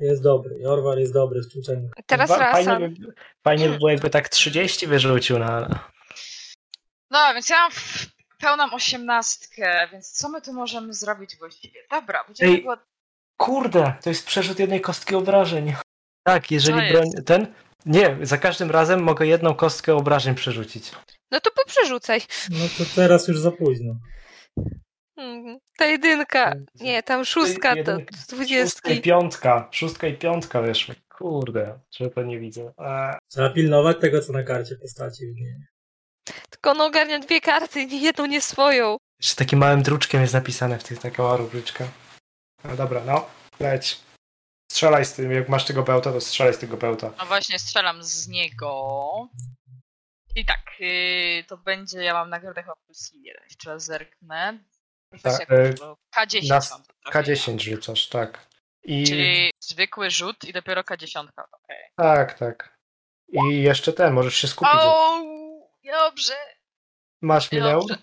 Speaker 1: Jest dobry. Jorwar jest dobry w tłuczeniu.
Speaker 2: Teraz
Speaker 4: Ba-
Speaker 2: rasa.
Speaker 4: Fajnie by, fajnie by było, jakby tak 30 wyrzucił na.
Speaker 3: No, więc ja mam w- pełną osiemnastkę, więc co my tu możemy zrobić właściwie? Dobra, będziemy
Speaker 4: Ej.
Speaker 3: było...
Speaker 4: Kurde, to jest przerzut jednej kostki obrażeń. Tak, jeżeli
Speaker 3: To jest.
Speaker 4: broń. Ten. Nie, za każdym razem mogę jedną kostkę obrażeń przerzucić.
Speaker 2: No to poprzerzucaj.
Speaker 1: No to teraz już za późno.
Speaker 2: Mm, Ta jedynka. Nie, tam szóstka, to
Speaker 4: jedynka. Szóstka i
Speaker 2: dwudziestki.
Speaker 4: piątka. Szóstka i piątka wyszły. Kurde, że to nie widzę. A,
Speaker 1: Trzeba pilnować tego, co na karcie postaci widnieje.
Speaker 2: Tylko on ogarnia dwie karty, nie jedną, nie swoją.
Speaker 4: jeszcze takim małym druczkiem jest napisane w tych taka mała rubryczka. No dobra, no. Leć. Strzelaj z tym. Jak masz tego pełta, to strzelaj z tego pełta.
Speaker 3: No właśnie, strzelam z niego. I tak, yy, to będzie, ja mam nagrodę chyba plus jeden. Jeszcze raz zerknę. Profesja
Speaker 4: Tak, e,
Speaker 3: kluczowa. K10
Speaker 4: nas-
Speaker 3: mam.
Speaker 4: K10 rzucasz, tak. I
Speaker 3: Tak? Czyli zwykły rzut i dopiero K10. Okej.
Speaker 4: tak, tak. I jeszcze ten, możesz się skupić.
Speaker 3: O, no, dobrze.
Speaker 4: Masz
Speaker 3: nie
Speaker 4: minę?
Speaker 3: dobrze.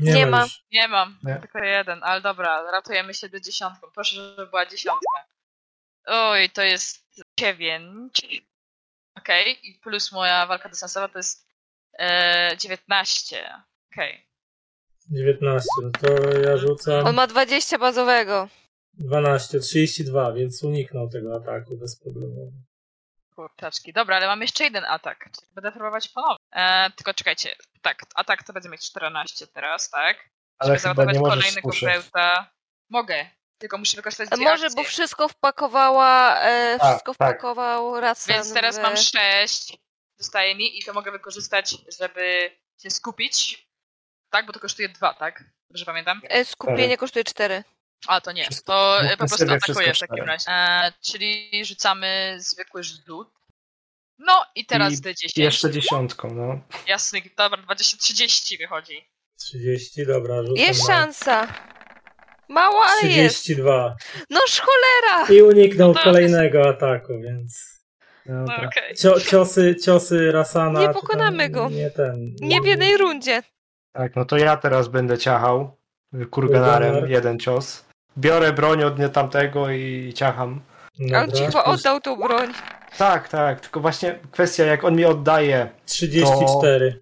Speaker 2: Nie ma.
Speaker 1: już.
Speaker 3: Nie mam,
Speaker 4: Nie.
Speaker 3: tylko jeden, ale dobra, ratujemy się do dziesiątką. Proszę, żeby była dziesiątka. Oj, to jest dziewięć. Okej, i plus moja walka dystansowa to jest e, 19. Okej.
Speaker 1: 19. No to ja
Speaker 4: No.
Speaker 2: On
Speaker 1: rzucam
Speaker 2: ma 20 bazowego.
Speaker 1: 12, 32, więc uniknął tego ataku bez problemu.
Speaker 3: Kurczaczki. Dobra, ale mam jeszcze jeden atak. czyli Będę próbować ponownie. E, tylko czekajcie. Tak, atak to będzie mieć 14 teraz, tak?
Speaker 4: Ale
Speaker 3: Żeby
Speaker 4: chyba
Speaker 3: załadować
Speaker 4: nie możesz
Speaker 3: kolejnego
Speaker 4: spuszczać.
Speaker 3: pełta. Mogę, tylko muszę wykorzystać dwie
Speaker 2: E, Może,
Speaker 3: akcje.
Speaker 2: bo wszystko wpakowała, e,
Speaker 4: Tak,
Speaker 2: wszystko
Speaker 4: tak.
Speaker 2: wpakował raz
Speaker 3: Więc teraz mam 6. Zostaje mi i to mogę wykorzystać, żeby się skupić. Tak, bo to kosztuje 2, tak? Dobrze pamiętam?
Speaker 2: e, Skupienie kosztuje 4.
Speaker 3: A, to nie.
Speaker 4: Wszystko-
Speaker 3: To
Speaker 4: mówmy
Speaker 3: e, po prostu
Speaker 4: sobie
Speaker 3: atakuję w
Speaker 4: wszystko
Speaker 3: takim
Speaker 4: cztery.
Speaker 3: razie. E, czyli rzucamy zwykły rzut. No i teraz
Speaker 4: I
Speaker 3: D10.
Speaker 4: Jeszcze dziesiątką, no.
Speaker 3: Jasny, dobra, 20-30 wychodzi.
Speaker 1: 30, dobra, rzucam.
Speaker 2: Jest
Speaker 1: na-
Speaker 2: szansa. Mało, ale jest.
Speaker 1: 32.
Speaker 2: No szkole!
Speaker 1: I uniknął
Speaker 3: No to-
Speaker 1: kolejnego ataku, więc.
Speaker 3: No
Speaker 4: Dobra.
Speaker 3: okej.
Speaker 1: Cio, ciosy, ciosy Rasana.
Speaker 2: Nie
Speaker 1: to tam
Speaker 2: pokonamy go.
Speaker 1: Nie ten.
Speaker 2: Nie w jednej rundzie.
Speaker 4: Tak, no to ja teraz będę ciachał kurganarem
Speaker 1: Kurganar.
Speaker 4: jeden cios. Biorę broń od nie tamtego i ciacham.
Speaker 2: A
Speaker 1: Dobra.
Speaker 2: on cicho oddał tą broń.
Speaker 4: Tak, tak, tylko właśnie kwestia, jak on mi oddaje
Speaker 1: 34.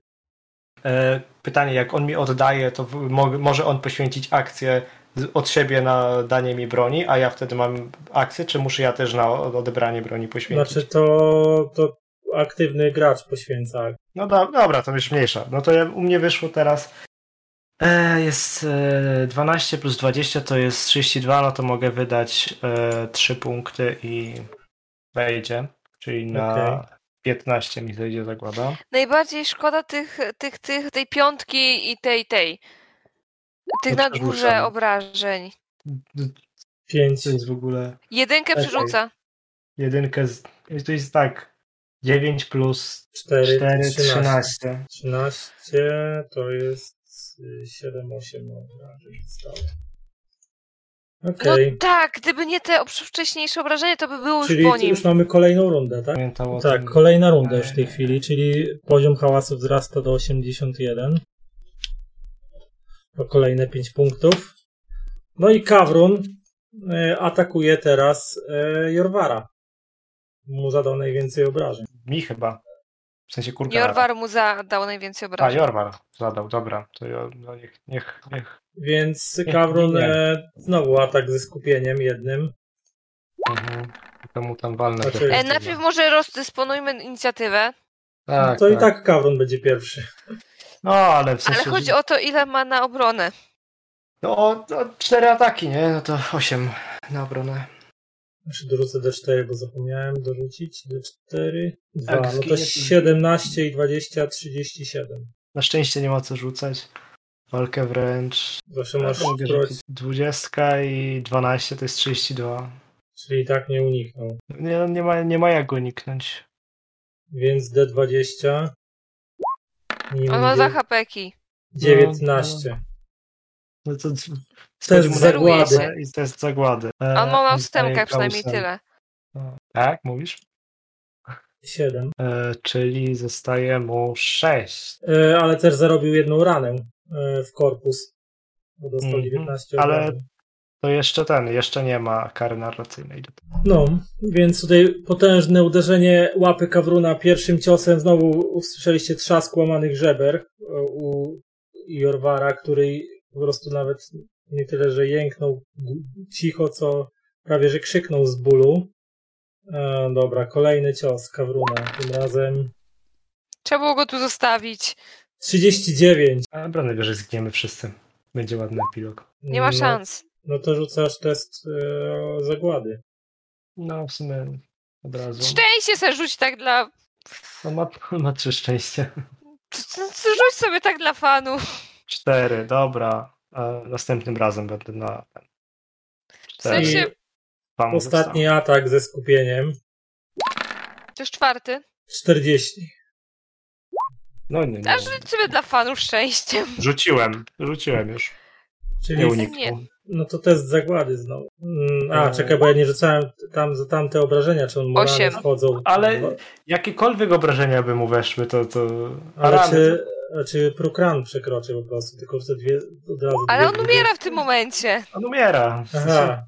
Speaker 4: E, pytanie, jak on mi oddaje, to w- mo- może on poświęcić akcję z- od siebie na danie mi broni, a ja wtedy mam akcję, czy muszę ja też na o- odebranie broni poświęcić?
Speaker 1: Znaczy to, to aktywny gracz poświęca.
Speaker 4: No do, dobra, to już mniejsza. No to ja, u mnie wyszło teraz E, jest e, 12 plus 20 to jest 32, no to mogę wydać e, 3 punkty i wejdzie. Czyli na
Speaker 1: Okej.
Speaker 4: 15 mi zejdzie zagłada.
Speaker 2: Najbardziej szkoda tych, tych, tych, tej piątki i tej, tej. Tych
Speaker 4: No
Speaker 2: na
Speaker 4: przerzucam.
Speaker 2: górze obrażeń.
Speaker 1: Pięć.
Speaker 4: To jest w ogóle
Speaker 2: Jedynkę
Speaker 4: Okej.
Speaker 2: przerzuca.
Speaker 4: jedynkę. Z, to jest tak. 9 plus
Speaker 1: 4,
Speaker 4: 4,
Speaker 1: 13.
Speaker 4: 13.
Speaker 1: 13 to jest y, 7, 8 obrażeń stałe.
Speaker 2: No
Speaker 1: Okej,
Speaker 2: tak, gdyby nie te obsz- wcześniejsze obrażenia, to by było
Speaker 1: czyli
Speaker 2: No, już po
Speaker 1: tu
Speaker 2: nim.
Speaker 1: już mamy kolejną rundę, tak?
Speaker 4: Pamiętało
Speaker 1: Tak, kolejna runda już w tej chwili, czyli poziom hałasu wzrasta do 81. O kolejne 5 punktów. No i Kawrun e, atakuje teraz e, Jorwara. Mu zadał najwięcej obrażeń.
Speaker 4: Mi chyba. W sensie kurka.
Speaker 2: Jorwar mu zadał najwięcej
Speaker 4: A,
Speaker 2: obrażeń.
Speaker 4: Jorwar zadał, dobra. To jo, no niech, niech, niech.
Speaker 1: Więc Kawrun
Speaker 4: Nie.
Speaker 1: e, znowu atak ze skupieniem jednym.
Speaker 4: Mhm. To mu tam walnę.
Speaker 1: Znaczy-
Speaker 4: trochę.
Speaker 2: E, najpierw może rozdysponujmy inicjatywę,
Speaker 4: tak,
Speaker 1: to i
Speaker 4: tak.
Speaker 1: tak Kawrun będzie pierwszy.
Speaker 4: No, ale w sensie...
Speaker 2: ale chodzi o to, ile ma na obronę.
Speaker 4: No, o, no, cztery ataki, nie? No to osiem no. na obronę.
Speaker 1: Znaczy dorzucę D4, bo zapomniałem dorzucić D4. 2.
Speaker 4: Tak,
Speaker 1: no to
Speaker 4: zginie-
Speaker 1: 17 i 20, 37.
Speaker 4: Na szczęście nie ma co rzucać. Walkę wręcz.
Speaker 1: Zawsze masz
Speaker 4: Ja mogę
Speaker 1: proś,
Speaker 4: rzucić 20 i 12 to jest 32.
Speaker 1: czyli i tak nie uniknął.
Speaker 4: Nie, nie, ma, nie ma jak uniknąć.
Speaker 1: Więc D20. Nim
Speaker 2: On ma
Speaker 1: dzie-
Speaker 2: dwa hapeki.
Speaker 1: 19.
Speaker 4: No to
Speaker 1: Test zagłady.
Speaker 2: się.
Speaker 4: I test zagłady. E,
Speaker 2: On ma na
Speaker 4: i
Speaker 2: ustępkach
Speaker 4: daje
Speaker 2: przynajmniej
Speaker 4: kausem.
Speaker 2: tyle.
Speaker 4: Tak, mówisz?
Speaker 1: 7.
Speaker 4: E, czyli zostaje mu 6.
Speaker 1: E, ale też zarobił jedną ranę e, w korpus. Bo dostał
Speaker 4: Mhm,
Speaker 1: 19
Speaker 4: ale-
Speaker 1: obrażeń.
Speaker 4: To jeszcze ten, jeszcze nie ma kary narracyjnej.
Speaker 1: No, więc tutaj potężne uderzenie łapy Kawruna pierwszym ciosem. Znowu usłyszeliście trzask łamanych żeber e, u Jorwara, który po prostu nawet nie tyle, że jęknął g- cicho, co prawie, że krzyknął z bólu. E, dobra, kolejny cios Kawruna. Tym razem
Speaker 2: Trzeba było go tu zostawić.
Speaker 1: 39.
Speaker 4: Ale brony że zgniemy wszyscy. Będzie ładny epilog.
Speaker 2: Nie ma
Speaker 1: No,
Speaker 2: szans.
Speaker 1: No to rzucasz test e, zagłady.
Speaker 4: No, w sumie od razu.
Speaker 2: Szczęście se rzuć tak dla...
Speaker 4: No, ma, ma trzy szczęście.
Speaker 2: Rzuć sobie tak dla fanu.
Speaker 4: Cztery, dobra. E, następnym razem będę na.
Speaker 2: W
Speaker 4: Cztery.
Speaker 2: sensie,
Speaker 4: Dwa mu
Speaker 1: Ostatni atak ze skupieniem.
Speaker 2: to już czwarty.
Speaker 1: 40.
Speaker 4: zostało. No nie, nie.
Speaker 2: A rzuć sobie dla fanów szczęściem.
Speaker 4: Rzuciłem, rzuciłem już.
Speaker 1: Czyli
Speaker 4: Nie
Speaker 2: Nie.
Speaker 4: uniknął.
Speaker 1: No to test zagłady znowu. Mm, A,
Speaker 4: Eee.
Speaker 1: czekaj, bo ja nie rzucałem tam za tamte obrażenia, czy on mu rany
Speaker 2: Osiem.
Speaker 1: wchodzą.
Speaker 4: Ale jakiekolwiek obrażenia by mu weszły, to. to...
Speaker 1: Ale
Speaker 4: rany-
Speaker 1: czy, czy prokran przekroczy po prostu, tylko że dwie od razu.
Speaker 2: Ale
Speaker 1: dwie
Speaker 2: on
Speaker 1: dwie-
Speaker 2: umiera w tym momencie.
Speaker 4: On umiera. W sensie-
Speaker 1: Aha.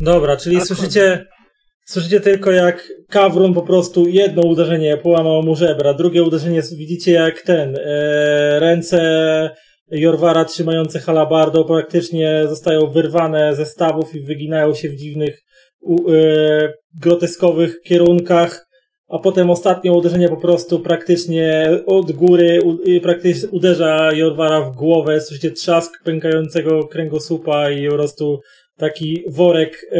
Speaker 1: Dobra, czyli
Speaker 4: Ale
Speaker 1: słyszycie, słyszycie tylko jak Kawrun po prostu jedno uderzenie połamał mu żebra, drugie uderzenie widzicie jak ten, e, ręce Jorwara trzymające halabardą praktycznie zostają wyrwane ze stawów i wyginają się w dziwnych, u, e, groteskowych kierunkach, a potem ostatnie uderzenie po prostu praktycznie od góry u, i praktycznie uderza Jorwara w głowę, słyszycie trzask pękającego kręgosłupa i po prostu taki worek e,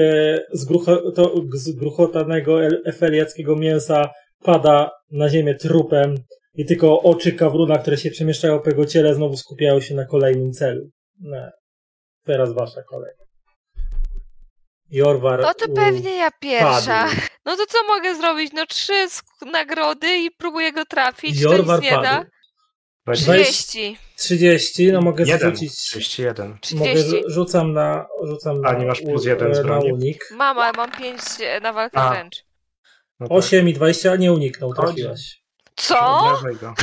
Speaker 1: zgrucho- to, zgruchotanego el- efeliackiego mięsa pada na ziemię trupem i tylko oczy kawruna, które się przemieszczają po jego ciele, znowu skupiają się na kolejnym celu. No. Teraz wasza kolej. Jorwar
Speaker 2: No
Speaker 4: Mm.
Speaker 2: to
Speaker 1: u,
Speaker 2: pewnie ja pierwsza.
Speaker 1: padł.
Speaker 2: No to co mogę zrobić? No trzy sk- nagrody i próbuję go trafić. To nic
Speaker 1: Jorwar
Speaker 2: nie da.
Speaker 1: padł.
Speaker 4: Weź-
Speaker 1: Weź-
Speaker 2: 30.
Speaker 1: 30, no mogę
Speaker 4: Jeden.
Speaker 1: zrzucić.
Speaker 4: 31.
Speaker 1: Mogę,
Speaker 2: 30.
Speaker 1: rzu- rzucam na. Rzucam
Speaker 4: A,
Speaker 1: na,
Speaker 4: nie masz plus
Speaker 1: u-
Speaker 4: jeden No z
Speaker 1: e, na
Speaker 4: broni?
Speaker 1: unik.
Speaker 2: Mam, ale mam 5 na walkę
Speaker 4: A.
Speaker 2: wręcz.
Speaker 4: No tak.
Speaker 1: 8 i 20, nie uniknął,
Speaker 4: Chodzi.
Speaker 1: trafiłaś.
Speaker 2: Co?
Speaker 4: Obrażaj go.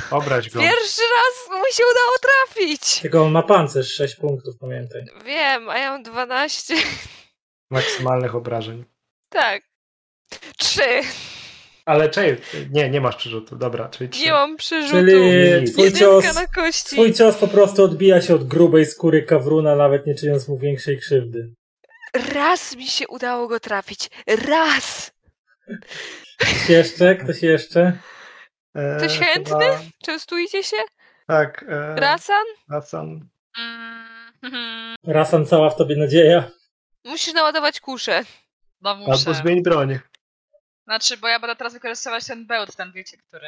Speaker 1: No.
Speaker 4: Obrać go.
Speaker 2: Pierwszy raz mu się udało trafić.
Speaker 1: Tylko on ma pancerz 6 punktów, pamiętaj.
Speaker 2: Wiem, a ja mam 12.
Speaker 4: Maksymalnych obrażeń.
Speaker 2: Tak. Trzy.
Speaker 4: Ale czekaj, nie, nie masz przerzutu. Dobra, czyli trzy.
Speaker 2: Nie mam przerzutu.
Speaker 1: Czyli twój cios,
Speaker 2: Jedynka na kości.
Speaker 1: twój cios po prostu odbija się od grubej skóry kawruna, nawet nie czyniąc mu większej krzywdy.
Speaker 2: Raz mi się udało go trafić. Raz!
Speaker 1: Ktoś jeszcze? Ktoś jeszcze?
Speaker 4: E,
Speaker 2: Ktoś chętny?
Speaker 4: chyba-
Speaker 2: Częstujcie się?
Speaker 4: Tak. E,
Speaker 2: Rasan?
Speaker 4: Rasan.
Speaker 3: Mm,
Speaker 1: Rasan cała w tobie nadzieja.
Speaker 2: Musisz naładować kuszę.
Speaker 3: No
Speaker 4: Albo
Speaker 3: muszę.
Speaker 4: zmień broń.
Speaker 3: Znaczy, bo ja będę teraz wykorzystywać ten bełt, ten wiecie, który.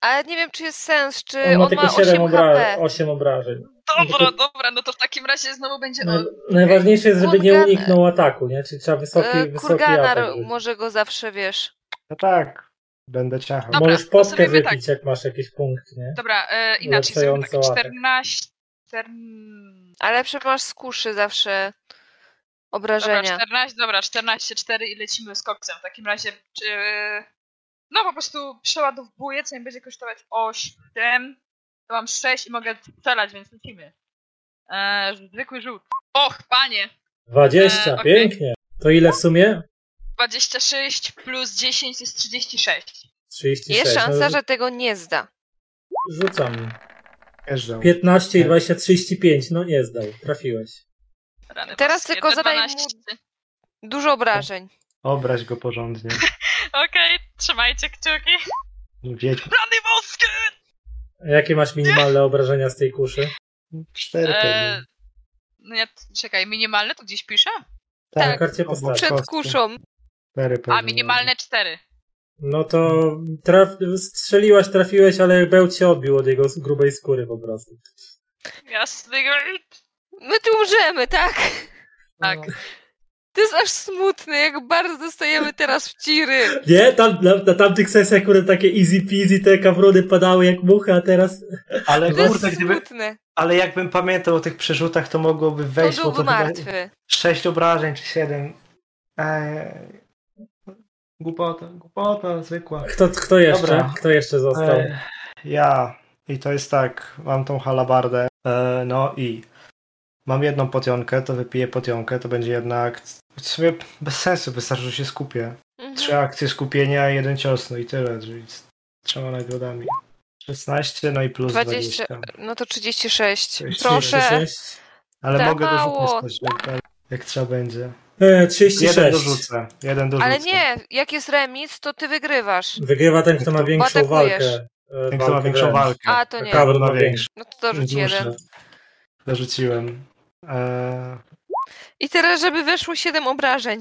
Speaker 2: Ale nie wiem, czy jest sens, czy
Speaker 1: On ma
Speaker 2: Y, on
Speaker 1: tylko
Speaker 2: ma
Speaker 1: 7
Speaker 2: 8
Speaker 1: obra-
Speaker 2: HP. Y,
Speaker 1: 8 obrażeń.
Speaker 3: Dobra, dobra, no to w takim razie znowu będzie.
Speaker 4: No
Speaker 1: Naj-
Speaker 3: O,
Speaker 1: najważniejsze jest, żeby nie
Speaker 2: Kurgan-
Speaker 1: uniknął ataku, nie? Czyli trzeba wysoki,
Speaker 2: E,
Speaker 1: wysoki atak.
Speaker 2: Kurganar
Speaker 1: rzucić.
Speaker 2: może go zawsze, wiesz.
Speaker 4: No tak, będę ciachał.
Speaker 3: Dobra,
Speaker 1: Możesz
Speaker 3: to
Speaker 1: potkę
Speaker 3: zrobimy
Speaker 1: wypić,
Speaker 2: tak.
Speaker 1: jak masz jakiś punkt, nie?
Speaker 3: dobra, e, inaczej zrobimy tak.
Speaker 1: Ulepszająco atak.
Speaker 3: 14. 14
Speaker 2: Ale lepsze masz z kuszy zawsze
Speaker 3: Dobra,
Speaker 2: obrażenia.
Speaker 3: 14, dobra, 14-4 i lecimy z koksem. W takim razie, czy... no po prostu przeładowuję, co mi będzie kosztować 8, to mam 6 i mogę strzelać, więc lecimy. Eee, zwykły rzut. Och, panie!
Speaker 1: 20,
Speaker 3: E,
Speaker 2: Y,
Speaker 3: okej.
Speaker 1: pięknie. To ile w sumie?
Speaker 3: 26 plus 10 jest 36.
Speaker 1: 36.
Speaker 2: Jest
Speaker 1: no,
Speaker 2: szansa, że tego nie zda.
Speaker 1: Rzucam.
Speaker 4: Jeżdżą.
Speaker 1: 15 i
Speaker 4: Tak.
Speaker 1: 20, 35. No nie zdał, trafiłeś.
Speaker 3: Rany
Speaker 2: Teraz
Speaker 3: boskie,
Speaker 2: tylko zadaj mu-
Speaker 3: 12.
Speaker 2: Dużo obrażeń.
Speaker 1: Tak,
Speaker 4: Obraź go porządnie.
Speaker 3: Okej, trzymajcie kciuki.
Speaker 4: Wiedź.
Speaker 3: Rany boskie!
Speaker 1: A Jakie masz minimalne obrażenia z tej kuszy?
Speaker 4: Cztery
Speaker 3: Eee,
Speaker 4: eee,
Speaker 3: no ja, czekaj, minimalne to gdzieś pisze?
Speaker 4: Tak.
Speaker 1: Na karcie postaci.
Speaker 2: Przed kuszą.
Speaker 4: Cztery
Speaker 3: tak. A,
Speaker 4: pewnie.
Speaker 3: minimalne 4.
Speaker 1: No to traf... strzeliłaś, trafiłeś, ale bełt się odbił od jego grubej skóry po prostu.
Speaker 3: Jasny
Speaker 2: My tu umrzemy, tak?
Speaker 3: Tak.
Speaker 2: To jest aż smutne, jak bardzo dostajemy teraz w ciry.
Speaker 1: Nie, tam, na, na tamtych sesjach akurat takie easy peasy, te kawrony padały jak muchy, a teraz...
Speaker 4: Ale
Speaker 2: To jest
Speaker 4: kurde, gdyby,
Speaker 2: smutne.
Speaker 4: ale jakbym pamiętał o tych przerzutach, to mogłoby
Speaker 2: To
Speaker 4: wejść, bo
Speaker 2: byłby
Speaker 4: to chyba
Speaker 2: martwy.
Speaker 4: sześć obrażeń czy siedem. Eee, głupota, głupota zwykła.
Speaker 1: Kto, kto jeszcze?
Speaker 4: Dobra.
Speaker 1: Kto jeszcze został?
Speaker 4: E, Ja. I to jest tak, mam tą halabardę, e, no i mam jedną potionkę, to wypiję potionkę, to będzie jedna akcja. W sumie bez sensu, wystarczy, że się skupię. Trzy
Speaker 2: Mhm.
Speaker 4: akcje skupienia, jeden cios, no i tyle, czyli z trzema nagrodami. 16, no i plus 20.
Speaker 2: 20. No to 36.
Speaker 4: 36.
Speaker 2: Proszę.
Speaker 1: 36?
Speaker 4: Ale
Speaker 2: Za
Speaker 4: mogę
Speaker 2: Tak. mało.
Speaker 4: dorzucać coś, jak, jak trzeba będzie.
Speaker 1: E,
Speaker 4: Jeden
Speaker 1: 36.
Speaker 4: dorzucę, jeden dorzucę.
Speaker 2: Ale nie,
Speaker 1: tak.
Speaker 2: jak jest remis, to ty wygrywasz.
Speaker 1: Wygrywa ten, kto ma większą
Speaker 2: Atakujesz.
Speaker 1: walkę. e,
Speaker 4: Ten, kto ma
Speaker 1: walkę
Speaker 4: większą
Speaker 1: wręcz.
Speaker 4: walkę.
Speaker 2: A, to nie.
Speaker 1: Kawron ma
Speaker 4: Kawron
Speaker 1: większą.
Speaker 2: No to dorzuć
Speaker 4: Duże.
Speaker 2: jeden.
Speaker 1: tak.
Speaker 4: Dorzuciłem. E,
Speaker 2: I teraz, żeby wyszło 7 obrażeń.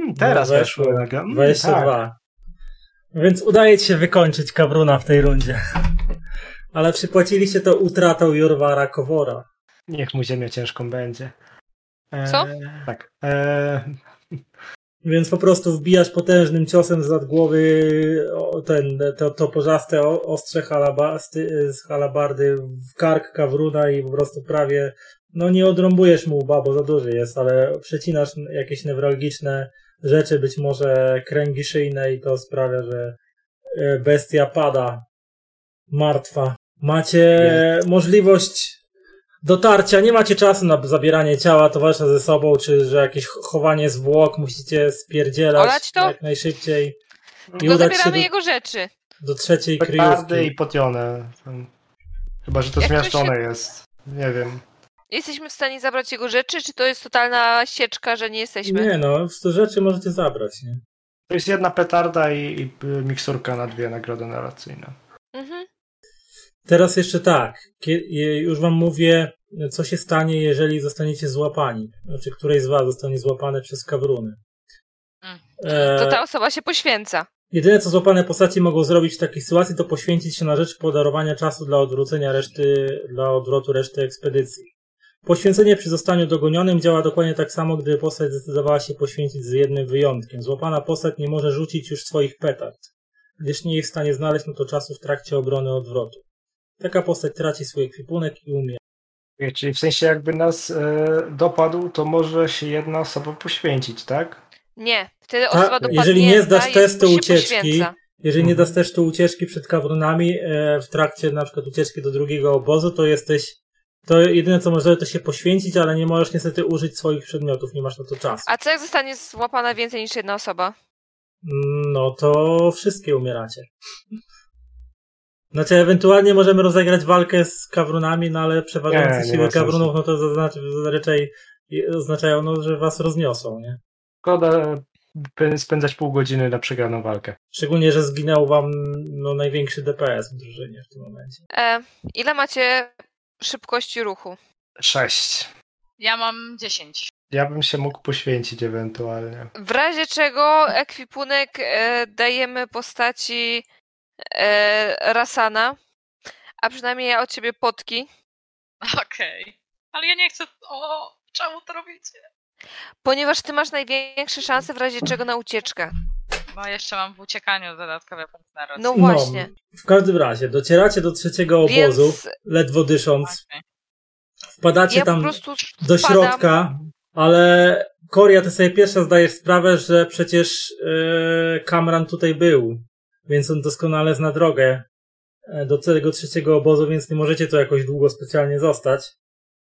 Speaker 4: Hmm, teraz
Speaker 1: No,
Speaker 4: weszło.
Speaker 1: weszło.
Speaker 4: nagle. Mm,
Speaker 1: 22.
Speaker 4: tak.
Speaker 1: Więc udaje ci się wykończyć Kabruna w tej rundzie. Ale przypłaciliście to utratą Jorwara Kowora.
Speaker 4: Niech mu ziemia ciężką będzie. E,
Speaker 2: Co?
Speaker 4: Tak. E,
Speaker 1: Więc po prostu wbijasz potężnym ciosem z nad głowy o, ten, to, to porzaste o- ostrze halaba, z, ty, z halabardy w kark Kawruna i po prostu prawie, no nie odrąbujesz mu łba, bo za duży jest, ale przecinasz jakieś newralgiczne rzeczy, być może kręgi szyjne i to sprawia, że e, bestia pada martwa. Macie możliwość dotarcia, nie macie czasu na zabieranie ciała towarzysza ze sobą, czy że jakieś ch- chowanie zwłok, musicie spierdzielać
Speaker 2: Olać to?
Speaker 1: jak najszybciej i
Speaker 2: Tylko
Speaker 1: udać się do,
Speaker 2: zabieramy jego rzeczy.
Speaker 1: do trzeciej
Speaker 4: petardy
Speaker 1: kryjówki.
Speaker 4: Tak i potione. Tam. Chyba, że to
Speaker 2: Jak to
Speaker 4: zmiażdżone
Speaker 2: się-
Speaker 4: jest. Nie wiem.
Speaker 2: Jesteśmy w stanie zabrać jego rzeczy, czy to jest totalna sieczka, że nie jesteśmy?
Speaker 1: Nie no, sto rzeczy możecie zabrać, nie?
Speaker 4: To jest jedna petarda i, i miksurka na dwie nagrody narracyjne.
Speaker 2: Mhm.
Speaker 1: Teraz jeszcze tak, kie- je- już wam mówię, co się stanie, jeżeli zostaniecie złapani. Znaczy, której z was zostanie złapane przez kawruny.
Speaker 3: Mm.
Speaker 1: E,
Speaker 2: To ta osoba się poświęca.
Speaker 1: Jedyne co złapane postaci mogą zrobić w takiej sytuacji, to poświęcić się na rzecz podarowania czasu dla odwrócenia reszty, dla odwrotu reszty ekspedycji. Poświęcenie przy zostaniu dogonionym działa dokładnie tak samo, gdy postać zdecydowała się poświęcić z jednym wyjątkiem. Złapana postać nie może rzucić już swoich petard, gdyż nie jest w stanie znaleźć na to czasu w trakcie obrony odwrotu. Taka postać traci swój ekwipunek i umie.
Speaker 4: Okej, Czyli w sensie jakby nas e, dopadł, to może się jedna osoba poświęcić, tak?
Speaker 2: Nie. Wtedy
Speaker 1: Ta-
Speaker 2: osoba dopadnięta
Speaker 1: jeżeli nie zdasz
Speaker 2: jest-
Speaker 1: testu
Speaker 2: się
Speaker 1: ucieczki,
Speaker 2: poświęca.
Speaker 1: Jeżeli nie
Speaker 4: Mhm.
Speaker 1: dasz też tu ucieczki przed kawronami e, w trakcie na przykład ucieczki do drugiego obozu, to jesteś. To jedyne co możesz zrobić, to się poświęcić, ale nie możesz niestety użyć swoich przedmiotów, nie masz na to czasu.
Speaker 2: A co jak zostanie złapana więcej niż jedna osoba?
Speaker 1: No to wszystkie umieracie. Znaczy, ewentualnie możemy rozegrać walkę z kawrunami, no ale
Speaker 4: Nie, nie
Speaker 1: przeważające siły
Speaker 4: ma sensu.
Speaker 1: kawrunów, no to zaznaczy, raczej oznaczają, no, że was rozniosą, nie?
Speaker 4: Szkoda e, spędzać pół godziny na przegraną walkę.
Speaker 1: Szczególnie, że zginął wam no, największy DPS w drużynie w tym momencie.
Speaker 2: E, ile macie szybkości ruchu?
Speaker 4: Sześć.
Speaker 3: Ja mam 10.
Speaker 4: Ja bym się mógł poświęcić ewentualnie.
Speaker 2: W razie czego ekwipunek e, dajemy postaci e, Rasana, a przynajmniej ja od ciebie potki,
Speaker 3: Okej. Ale ja nie chcę. O, czemu to robicie?
Speaker 2: ponieważ ty masz największe szanse w razie czego na ucieczkę.
Speaker 3: No, jeszcze mam w uciekaniu dodatkowe punkty na rozwój.
Speaker 2: No właśnie.
Speaker 1: W każdym razie, docieracie do trzeciego
Speaker 2: Więc
Speaker 1: obozu, ledwo dysząc.
Speaker 3: Okej.
Speaker 1: Wpadacie
Speaker 2: ja po
Speaker 1: tam
Speaker 2: prostu
Speaker 1: do
Speaker 2: wpadam.
Speaker 1: środka, ale Koria, ty sobie pierwsza zdajesz sprawę, że przecież e, Kamran tutaj był, więc on doskonale zna drogę e, do tego trzeciego obozu, więc nie możecie tu jakoś długo specjalnie zostać.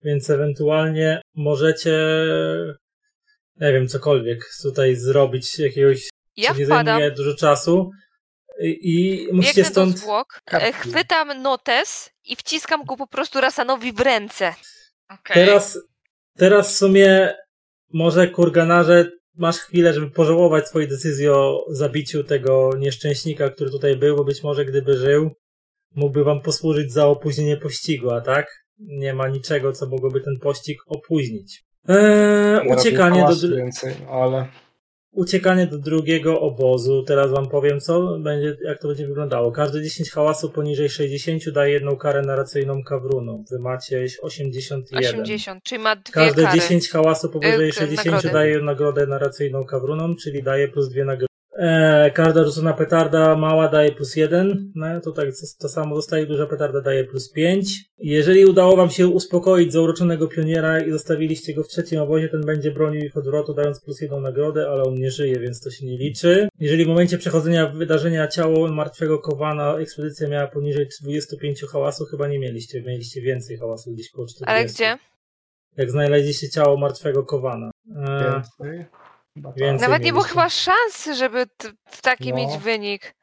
Speaker 1: Więc ewentualnie możecie, nie wiem, cokolwiek tutaj zrobić, jakiegoś,
Speaker 2: Ja
Speaker 1: co nie
Speaker 2: wpadam,
Speaker 1: zajmuje dużo czasu. I, i musicie
Speaker 2: biegnę do
Speaker 1: stąd...
Speaker 2: zwłok, e, chwytam notes i wciskam go po prostu Rasanowi w ręce.
Speaker 1: Teraz, teraz w sumie może kurganarze masz chwilę, żeby pożałować swojej decyzji o zabiciu tego nieszczęśnika, który tutaj był, bo być może gdyby żył, mógłby wam posłużyć za opóźnienie pościgu, a tak? Nie ma niczego, co mogłoby ten pościg opóźnić. Eee,
Speaker 4: Ja
Speaker 1: uciekanie
Speaker 4: robię
Speaker 1: do,
Speaker 4: hałas
Speaker 1: dru-
Speaker 4: więcej, ale
Speaker 1: uciekanie do drugiego obozu. Teraz wam powiem, co będzie, jak to będzie wyglądało. Każde 10 hałasu poniżej 60 daje jedną karę narracyjną kawruną. Wy macie 81.
Speaker 2: 80, czyli ma dwie
Speaker 1: Każde
Speaker 2: kary.
Speaker 1: 10 hałasu powyżej
Speaker 2: Yy, k-
Speaker 1: 60
Speaker 2: nagrody.
Speaker 1: daje nagrodę narracyjną kawrunom, czyli daje plus dwie nagrody. E, każda rzucona petarda mała daje plus jeden, no, to tak to, to samo dostaje, duża petarda daje plus 5. Jeżeli udało wam się uspokoić zauroczonego pioniera i zostawiliście go w trzecim obozie, ten będzie bronił ich odwrotu, dając plus jedną nagrodę, ale on nie żyje, więc to się nie liczy. Jeżeli w momencie przechodzenia wydarzenia ciało martwego kowana ekspedycja miała poniżej 25 hałasu, chyba nie mieliście, mieliście więcej hałasu gdzieś po 40
Speaker 2: Ale gdzie?
Speaker 1: jak znaleźliście ciało martwego kowana. E,
Speaker 4: więcej. Chyba
Speaker 1: Więc-
Speaker 4: tak.
Speaker 2: Nawet nie było
Speaker 1: mieliśmy.
Speaker 2: chyba szansy, żeby t- taki
Speaker 4: No.
Speaker 2: mieć wynik.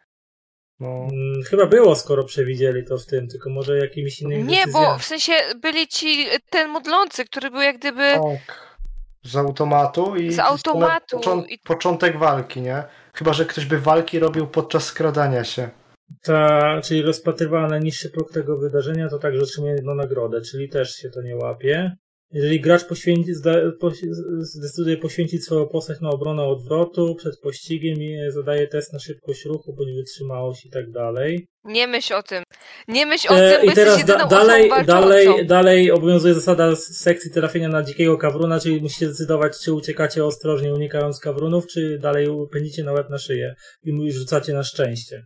Speaker 4: No.
Speaker 1: mm, chyba było, skoro przewidzieli to w tym, tylko może jakimiś innymi
Speaker 2: Nie,
Speaker 1: decyzjami.
Speaker 2: bo w sensie byli ci ten modlący, który był jak gdyby.
Speaker 4: Tak. Z automatu i.
Speaker 2: y, Z automatu
Speaker 4: na Począ...
Speaker 2: i-
Speaker 4: Początek walki, nie? Chyba, że ktoś by walki robił podczas skradania się.
Speaker 1: Ta, czyli rozpatrywała najniższy próg tego wydarzenia, to także otrzymuje jedną nagrodę, czyli też się to nie łapie. Jeżeli gracz poświęci, zda, poś, zdecyduje poświęcić swoją postać na obronę odwrotu przed pościgiem, i zadaje test na szybkość ruchu, bądź wytrzymałość i tak dalej.
Speaker 2: Nie myśl o tym. Nie myśl o
Speaker 1: E,
Speaker 2: tym, bo
Speaker 1: I teraz
Speaker 2: jesteś jedyną
Speaker 1: da, dalej,
Speaker 2: osobą walczącą.
Speaker 1: dalej, dalej obowiązuje zasada z sekcji trafienia na dzikiego kawruna, czyli musicie zdecydować, czy uciekacie ostrożnie, unikając kawrunów, czy dalej pędzicie na łeb na szyję i mu- rzucacie na szczęście.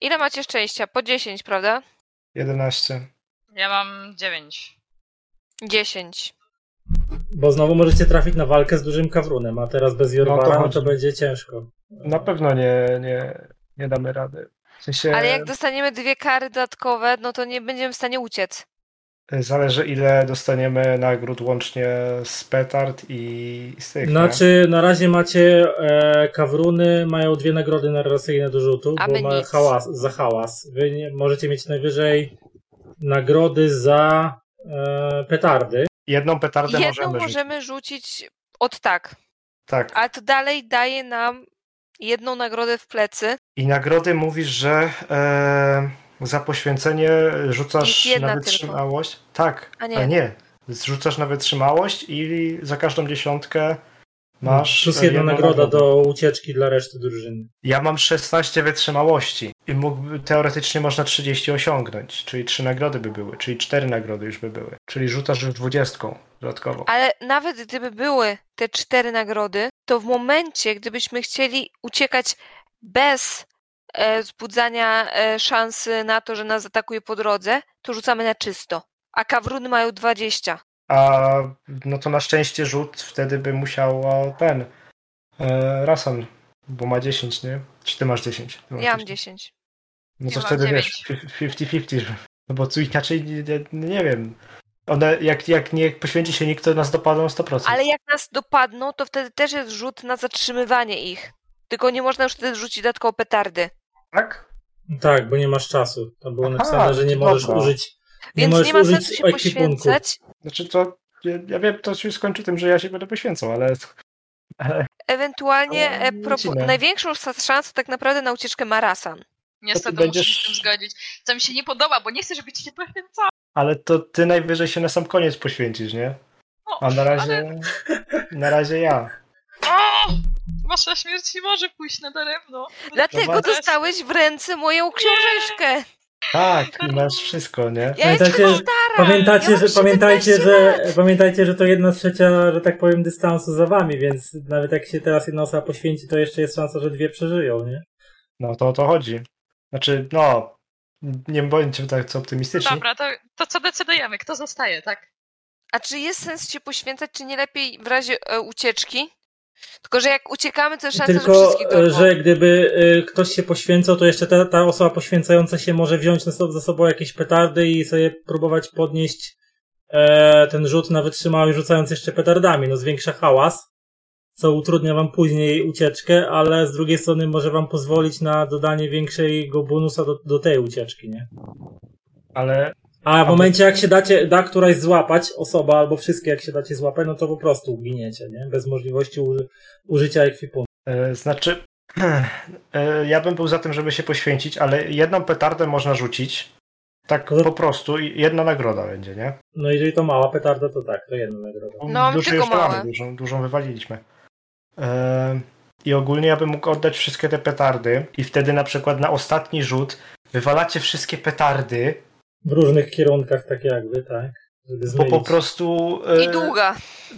Speaker 2: Ile macie szczęścia? Po 10, prawda?
Speaker 4: 11.
Speaker 3: Ja mam 9.
Speaker 2: 10.
Speaker 1: Bo znowu możecie trafić na walkę z dużym kawrunem, a teraz bez Jorwara no to,
Speaker 4: chodzi.
Speaker 1: będzie ciężko.
Speaker 4: Na pewno nie, nie, nie damy rady. W sensie
Speaker 2: Ale jak dostaniemy dwie kary dodatkowe, no to nie będziemy w stanie uciec.
Speaker 4: Y, zależy ile dostaniemy nagród łącznie z petard i z tych. nie?
Speaker 1: Znaczy, na razie macie e, kawruny, mają dwie nagrody narracyjne do rzutu,
Speaker 2: A
Speaker 1: bo
Speaker 2: my
Speaker 1: ma
Speaker 2: nic.
Speaker 1: hałas, za hałas. Wy nie, możecie mieć najwyżej nagrody za e, petardy.
Speaker 4: Jedną petardę
Speaker 2: Jedną
Speaker 4: możemy,
Speaker 2: możemy,
Speaker 4: rzucić.
Speaker 2: rzucić od tak,
Speaker 4: Tak.
Speaker 2: ale to dalej daje nam jedną nagrodę w plecy.
Speaker 4: I nagrody mówisz, że e, za poświęcenie
Speaker 2: Jest
Speaker 4: rzucasz
Speaker 2: jedna
Speaker 4: na
Speaker 2: tylko.
Speaker 4: wytrzymałość. Tak,
Speaker 2: A nie.
Speaker 4: a nie. Zrzucasz na wytrzymałość i za każdą dziesiątkę masz.
Speaker 1: Plus
Speaker 4: e,
Speaker 1: jedna
Speaker 4: jedną
Speaker 1: nagroda
Speaker 4: nagrodę.
Speaker 1: do ucieczki dla reszty drużyny.
Speaker 4: Ja mam 16 wytrzymałości i mógłby, teoretycznie można 30 osiągnąć, czyli 3 nagrody by były, czyli 4 nagrody już by były. Czyli rzucasz już 20 dodatkowo.
Speaker 2: Ale nawet gdyby były te cztery nagrody, to w momencie, gdybyśmy chcieli uciekać bez e, zbudzania e, szansy na to, że nas atakuje po drodze, to rzucamy na czysto. A kawruny mają 20.
Speaker 4: A no to na szczęście rzut wtedy by musiał a, ten e, Rasan, bo ma 10, nie? Czy ty masz 10? Ty masz
Speaker 2: Ja mam 10.
Speaker 4: No to
Speaker 3: Ja mam
Speaker 4: wtedy wiesz,
Speaker 3: dziewięć.
Speaker 4: 50-50, że- no bo co inaczej, nie, nie- nie wiem. One, jak, jak nie poświęci się nikt, to nas dopadną 100%.
Speaker 2: Ale jak nas dopadną, to wtedy też jest rzut na zatrzymywanie ich. Tylko nie można już wtedy rzucić dodatkowo petardy.
Speaker 4: Tak?
Speaker 1: Tak, bo nie masz czasu. Tam było
Speaker 4: Aha,
Speaker 1: napisane, że nie
Speaker 4: dobra.
Speaker 1: możesz użyć.
Speaker 2: Więc nie,
Speaker 1: możesz
Speaker 2: ma
Speaker 1: użyć
Speaker 2: sensu się
Speaker 1: ekwipunku.
Speaker 2: poświęcać.
Speaker 4: Znaczy to, ja, ja wiem, to się skończy tym, że ja się będę poświęcał, ale... ale
Speaker 2: Ewentualnie
Speaker 4: Ale
Speaker 2: e,
Speaker 4: nie
Speaker 2: propo-
Speaker 4: lecimy.
Speaker 2: największą sa- szansą tak naprawdę na ucieczkę ma Rasan.
Speaker 3: Niestety
Speaker 4: będziesz-
Speaker 3: muszę się z tym zgodzić. Co mi się nie podoba, bo nie chcę, żeby ci się poświęcała.
Speaker 4: Ale to ty najwyżej się na sam koniec poświęcisz, nie?
Speaker 3: O,
Speaker 4: A na razie. Na razie ja.
Speaker 3: O! Wasza śmierć nie może pójść na daremno.
Speaker 2: Dlatego
Speaker 4: Zobacz.
Speaker 2: dostałeś w ręce moją książeczkę.
Speaker 4: Tak, i masz wszystko, nie?
Speaker 2: Ja
Speaker 1: Pamiętacie,
Speaker 2: jestem stara.
Speaker 1: Pamiętajcie,
Speaker 2: ja
Speaker 1: że,
Speaker 2: mam
Speaker 1: pamiętajcie,
Speaker 2: 17
Speaker 1: że,
Speaker 2: lat.
Speaker 1: pamiętajcie, że to jedna trzecia, że tak powiem, dystansu za wami, więc nawet jak się teraz jedna osoba poświęci, to jeszcze jest szansa, że dwie przeżyją, nie?
Speaker 4: No to o to chodzi. Znaczy, no. Nie bądźcie tak co
Speaker 2: No
Speaker 4: optymistyczni.
Speaker 3: Dobra, to, to co decydujemy? Kto zostaje, tak?
Speaker 2: A czy jest sens się poświęcać, czy nie lepiej w razie e, ucieczki? Tylko, że jak uciekamy, to jest szansa, że
Speaker 1: Tylko,
Speaker 2: wszystkich
Speaker 1: e,
Speaker 2: dorwą.
Speaker 1: że gdyby e, ktoś się poświęcał, to jeszcze ta, ta osoba poświęcająca się może wziąć na so- ze sobą jakieś petardy i sobie próbować podnieść e, ten rzut na wytrzymałość, rzucając jeszcze petardami. No zwiększa hałas, co utrudnia wam później ucieczkę, ale z drugiej strony może wam pozwolić na dodanie większego bonusa do, do tej ucieczki, nie?
Speaker 4: Ale
Speaker 1: A w momencie, jak się dacie, da któraś złapać, osoba albo wszystkie, jak się dacie złapać, no to po prostu giniecie, nie? Bez możliwości uży- użycia ekwipunku.
Speaker 4: e, znaczy. E, ja bym był za tym, żeby się poświęcić, ale jedną petardę można rzucić. Tak
Speaker 1: No.
Speaker 4: po prostu i jedna nagroda będzie, nie?
Speaker 1: No jeżeli to mała petarda, to tak, to jedna nagroda.
Speaker 2: No,
Speaker 4: dużo
Speaker 2: tylko
Speaker 4: już mamy,
Speaker 2: małe.
Speaker 4: dużą, dużą wywaliliśmy. E, I ogólnie ja bym mógł oddać wszystkie te petardy i wtedy na przykład na ostatni rzut wywalacie wszystkie petardy,
Speaker 1: W różnych kierunkach tak jakby, tak? Żeby
Speaker 4: bo
Speaker 1: zmienić.
Speaker 4: po prostu... e,
Speaker 2: I długa.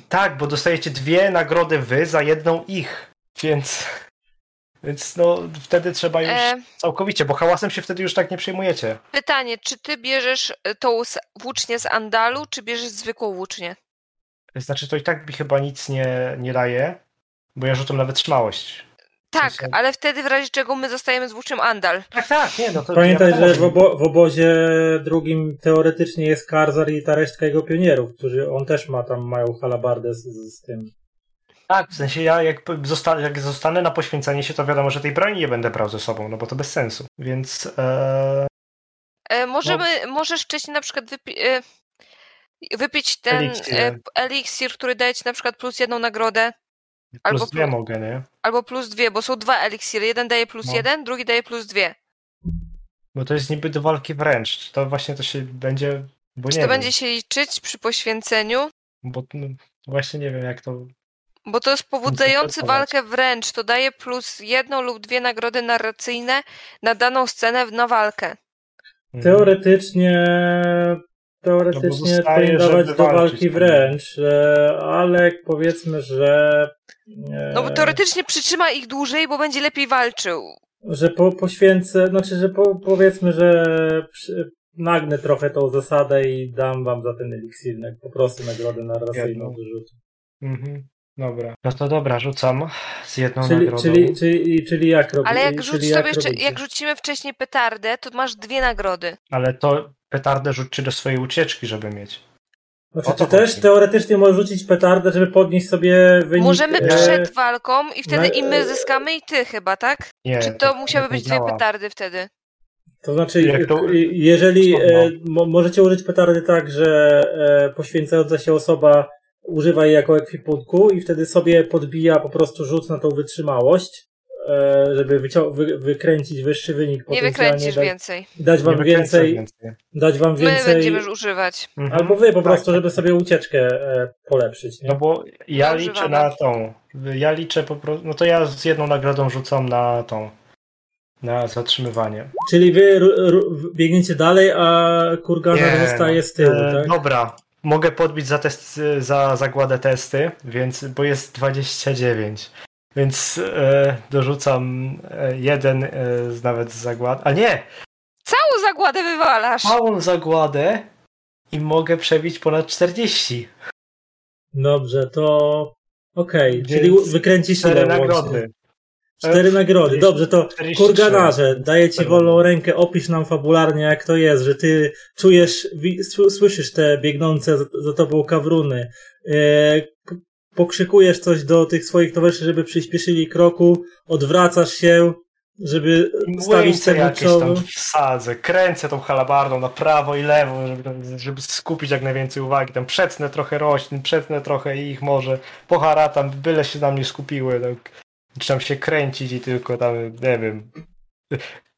Speaker 4: Tak, bo dostajecie dwie nagrody wy za jedną ich, więc... Więc no, wtedy trzeba już
Speaker 2: E,
Speaker 4: całkowicie, bo hałasem się wtedy już tak nie przejmujecie.
Speaker 2: pytanie, czy ty bierzesz e, tą z- włócznię z Andalu, czy bierzesz zwykłą włócznię?
Speaker 4: Znaczy to i tak mi chyba nic nie, nie daje, bo ja rzucam na wytrzymałość.
Speaker 2: Tak,
Speaker 4: sensie-
Speaker 2: ale wtedy w razie czego my zostajemy z włócznią Andal.
Speaker 4: Tak, tak, nie, no to...
Speaker 1: Pamiętaj,
Speaker 4: ja
Speaker 1: że w, obo- w obozie drugim teoretycznie jest Karzar i ta resztka jego pionierów, którzy on też ma tam, mają halabardę z, z
Speaker 4: Mhm.
Speaker 1: tym.
Speaker 4: Tak, w sensie ja jak, p- zosta jak zostanę na poświęcenie się, to wiadomo, że tej broni nie będę brał ze sobą, no bo to bez sensu. Więc e,
Speaker 2: E, możemy,
Speaker 1: No.
Speaker 2: Możesz wcześniej na przykład wypi- e, wypić ten
Speaker 4: Eliksir.
Speaker 2: e, eliksir, który daje ci na przykład plus jedną nagrodę, Albo
Speaker 4: plus dwie
Speaker 2: plus-
Speaker 4: mogę, nie?
Speaker 2: albo plus dwie, bo są dwa eliksiry. Jeden daje plus
Speaker 4: No.
Speaker 2: jeden, drugi daje plus dwie.
Speaker 4: Bo to jest niby do walki wręcz. Czy To właśnie to się będzie. Bo
Speaker 2: Czy
Speaker 4: nie
Speaker 2: to
Speaker 4: wiem,
Speaker 2: będzie się liczyć przy poświęceniu?
Speaker 4: Bo no, właśnie nie wiem, jak to.
Speaker 2: Bo to jest pobudzający
Speaker 4: Interpretować.
Speaker 2: walkę wręcz. To daje plus jedną lub dwie nagrody narracyjne na daną scenę w- na walkę.
Speaker 4: Mhm.
Speaker 1: Teoretycznie
Speaker 4: No bo
Speaker 1: teoretycznie
Speaker 4: zostaje,
Speaker 1: powinien dawać
Speaker 4: żeby
Speaker 1: do
Speaker 4: walczyć,
Speaker 1: walki
Speaker 4: tak.
Speaker 1: wręcz, e, ale powiedzmy, że e,
Speaker 2: No bo
Speaker 4: Eee.
Speaker 2: teoretycznie przytrzyma ich dłużej, bo będzie lepiej walczył.
Speaker 1: że po, poświęcę, znaczy, że po, powiedzmy, że przy, nagnę trochę tą zasadę i dam wam za ten eliksir na- po prostu nagrodę narracyjną
Speaker 4: Jedną.
Speaker 1: wyrzut.
Speaker 4: Mhm. Dobra. No to dobra, rzucam z jedną
Speaker 1: Czyli,
Speaker 4: nagrodą.
Speaker 1: czyli, czyli, czyli jak robię?
Speaker 2: Ale jak
Speaker 1: czyli
Speaker 2: rzuć sobie jeszcze,
Speaker 1: robicie?
Speaker 2: jak rzucimy wcześniej petardę, to masz dwie nagrody.
Speaker 4: Ale to petardę rzućcie do swojej ucieczki, żeby mieć.
Speaker 1: Znaczy,
Speaker 4: o to
Speaker 1: ty też
Speaker 4: chodzi.
Speaker 1: teoretycznie możesz rzucić petardę, żeby podnieść sobie wynik.
Speaker 2: Możemy
Speaker 4: eee,
Speaker 1: e,
Speaker 2: przed walką i wtedy
Speaker 1: no,
Speaker 2: i my
Speaker 1: e,
Speaker 2: zyskamy i ty chyba, tak?
Speaker 4: Nie.
Speaker 2: Czy to musiały
Speaker 4: nie
Speaker 2: być dwie
Speaker 4: działa.
Speaker 2: petardy wtedy?
Speaker 1: To znaczy,
Speaker 4: Jak to- no?
Speaker 1: i- jeżeli
Speaker 4: Osobno.
Speaker 1: e, mo, możecie użyć petardy tak, że e, poświęcająca się osoba używa jej jako ekwipunku i wtedy sobie podbija po prostu rzut na tą wytrzymałość, e, żeby wycią- wy, wykręcić wyższy wynik
Speaker 2: Nie
Speaker 1: potencjalnie,
Speaker 4: tak.
Speaker 2: wykręcisz
Speaker 1: da,
Speaker 2: więcej.
Speaker 1: dać
Speaker 4: Nie
Speaker 1: wam
Speaker 4: wykręcaj
Speaker 1: więcej, dać wam
Speaker 2: My
Speaker 1: więcej,
Speaker 2: będziemy używać.
Speaker 4: Mhm.
Speaker 1: albo wy po
Speaker 4: Tak,
Speaker 1: prostu,
Speaker 4: tak.
Speaker 1: żeby sobie ucieczkę e, polepszyć. Nie?
Speaker 4: No bo ja
Speaker 2: Ja
Speaker 4: liczę
Speaker 2: używam.
Speaker 4: na tą. Ja liczę po prostu. No to ja z jedną nagrodą rzucam na tą. Na zatrzymywanie.
Speaker 1: Czyli wy ru, ru, biegniecie dalej, a kurganer
Speaker 4: Nie,
Speaker 1: zostaje z tyłu,
Speaker 4: E,
Speaker 1: tak?
Speaker 4: Dobra. Mogę podbić za test, za zagładę testy, więc, bo jest 29. Więc e, dorzucam e, jeden e, z- nawet z zagład. A nie!
Speaker 2: Całą zagładę wywalasz.
Speaker 4: Małą zagładę i mogę przebić ponad 40.
Speaker 1: Dobrze, to okej,
Speaker 4: Więc
Speaker 1: czyli u- wykręcisz ile
Speaker 4: Cztery
Speaker 1: łącznie?
Speaker 4: nagrody.
Speaker 1: Cztery nagrody, dobrze, to
Speaker 4: 43.
Speaker 1: kurganarze, daję ci
Speaker 4: Cztery.
Speaker 1: wolną rękę, opisz nam fabularnie jak to jest, że ty czujesz, wi- sł- słyszysz te biegnące za- za tobą kawruny, e, k- pokrzykujesz coś do tych swoich towarzyszy, żeby przyspieszyli kroku, odwracasz się, żeby stawić
Speaker 4: Łęce
Speaker 1: ten
Speaker 4: jakieś tam
Speaker 1: czoło.
Speaker 4: wsadzę, kręcę tą halabardą na prawo i lewo, żeby, żeby skupić jak najwięcej uwagi. Tam przetnę trochę roślin, przetnę trochę ich może, poharatam, byle się na mnie skupiły. Tak. Zaczynam się kręcić i tylko tam, nie wiem,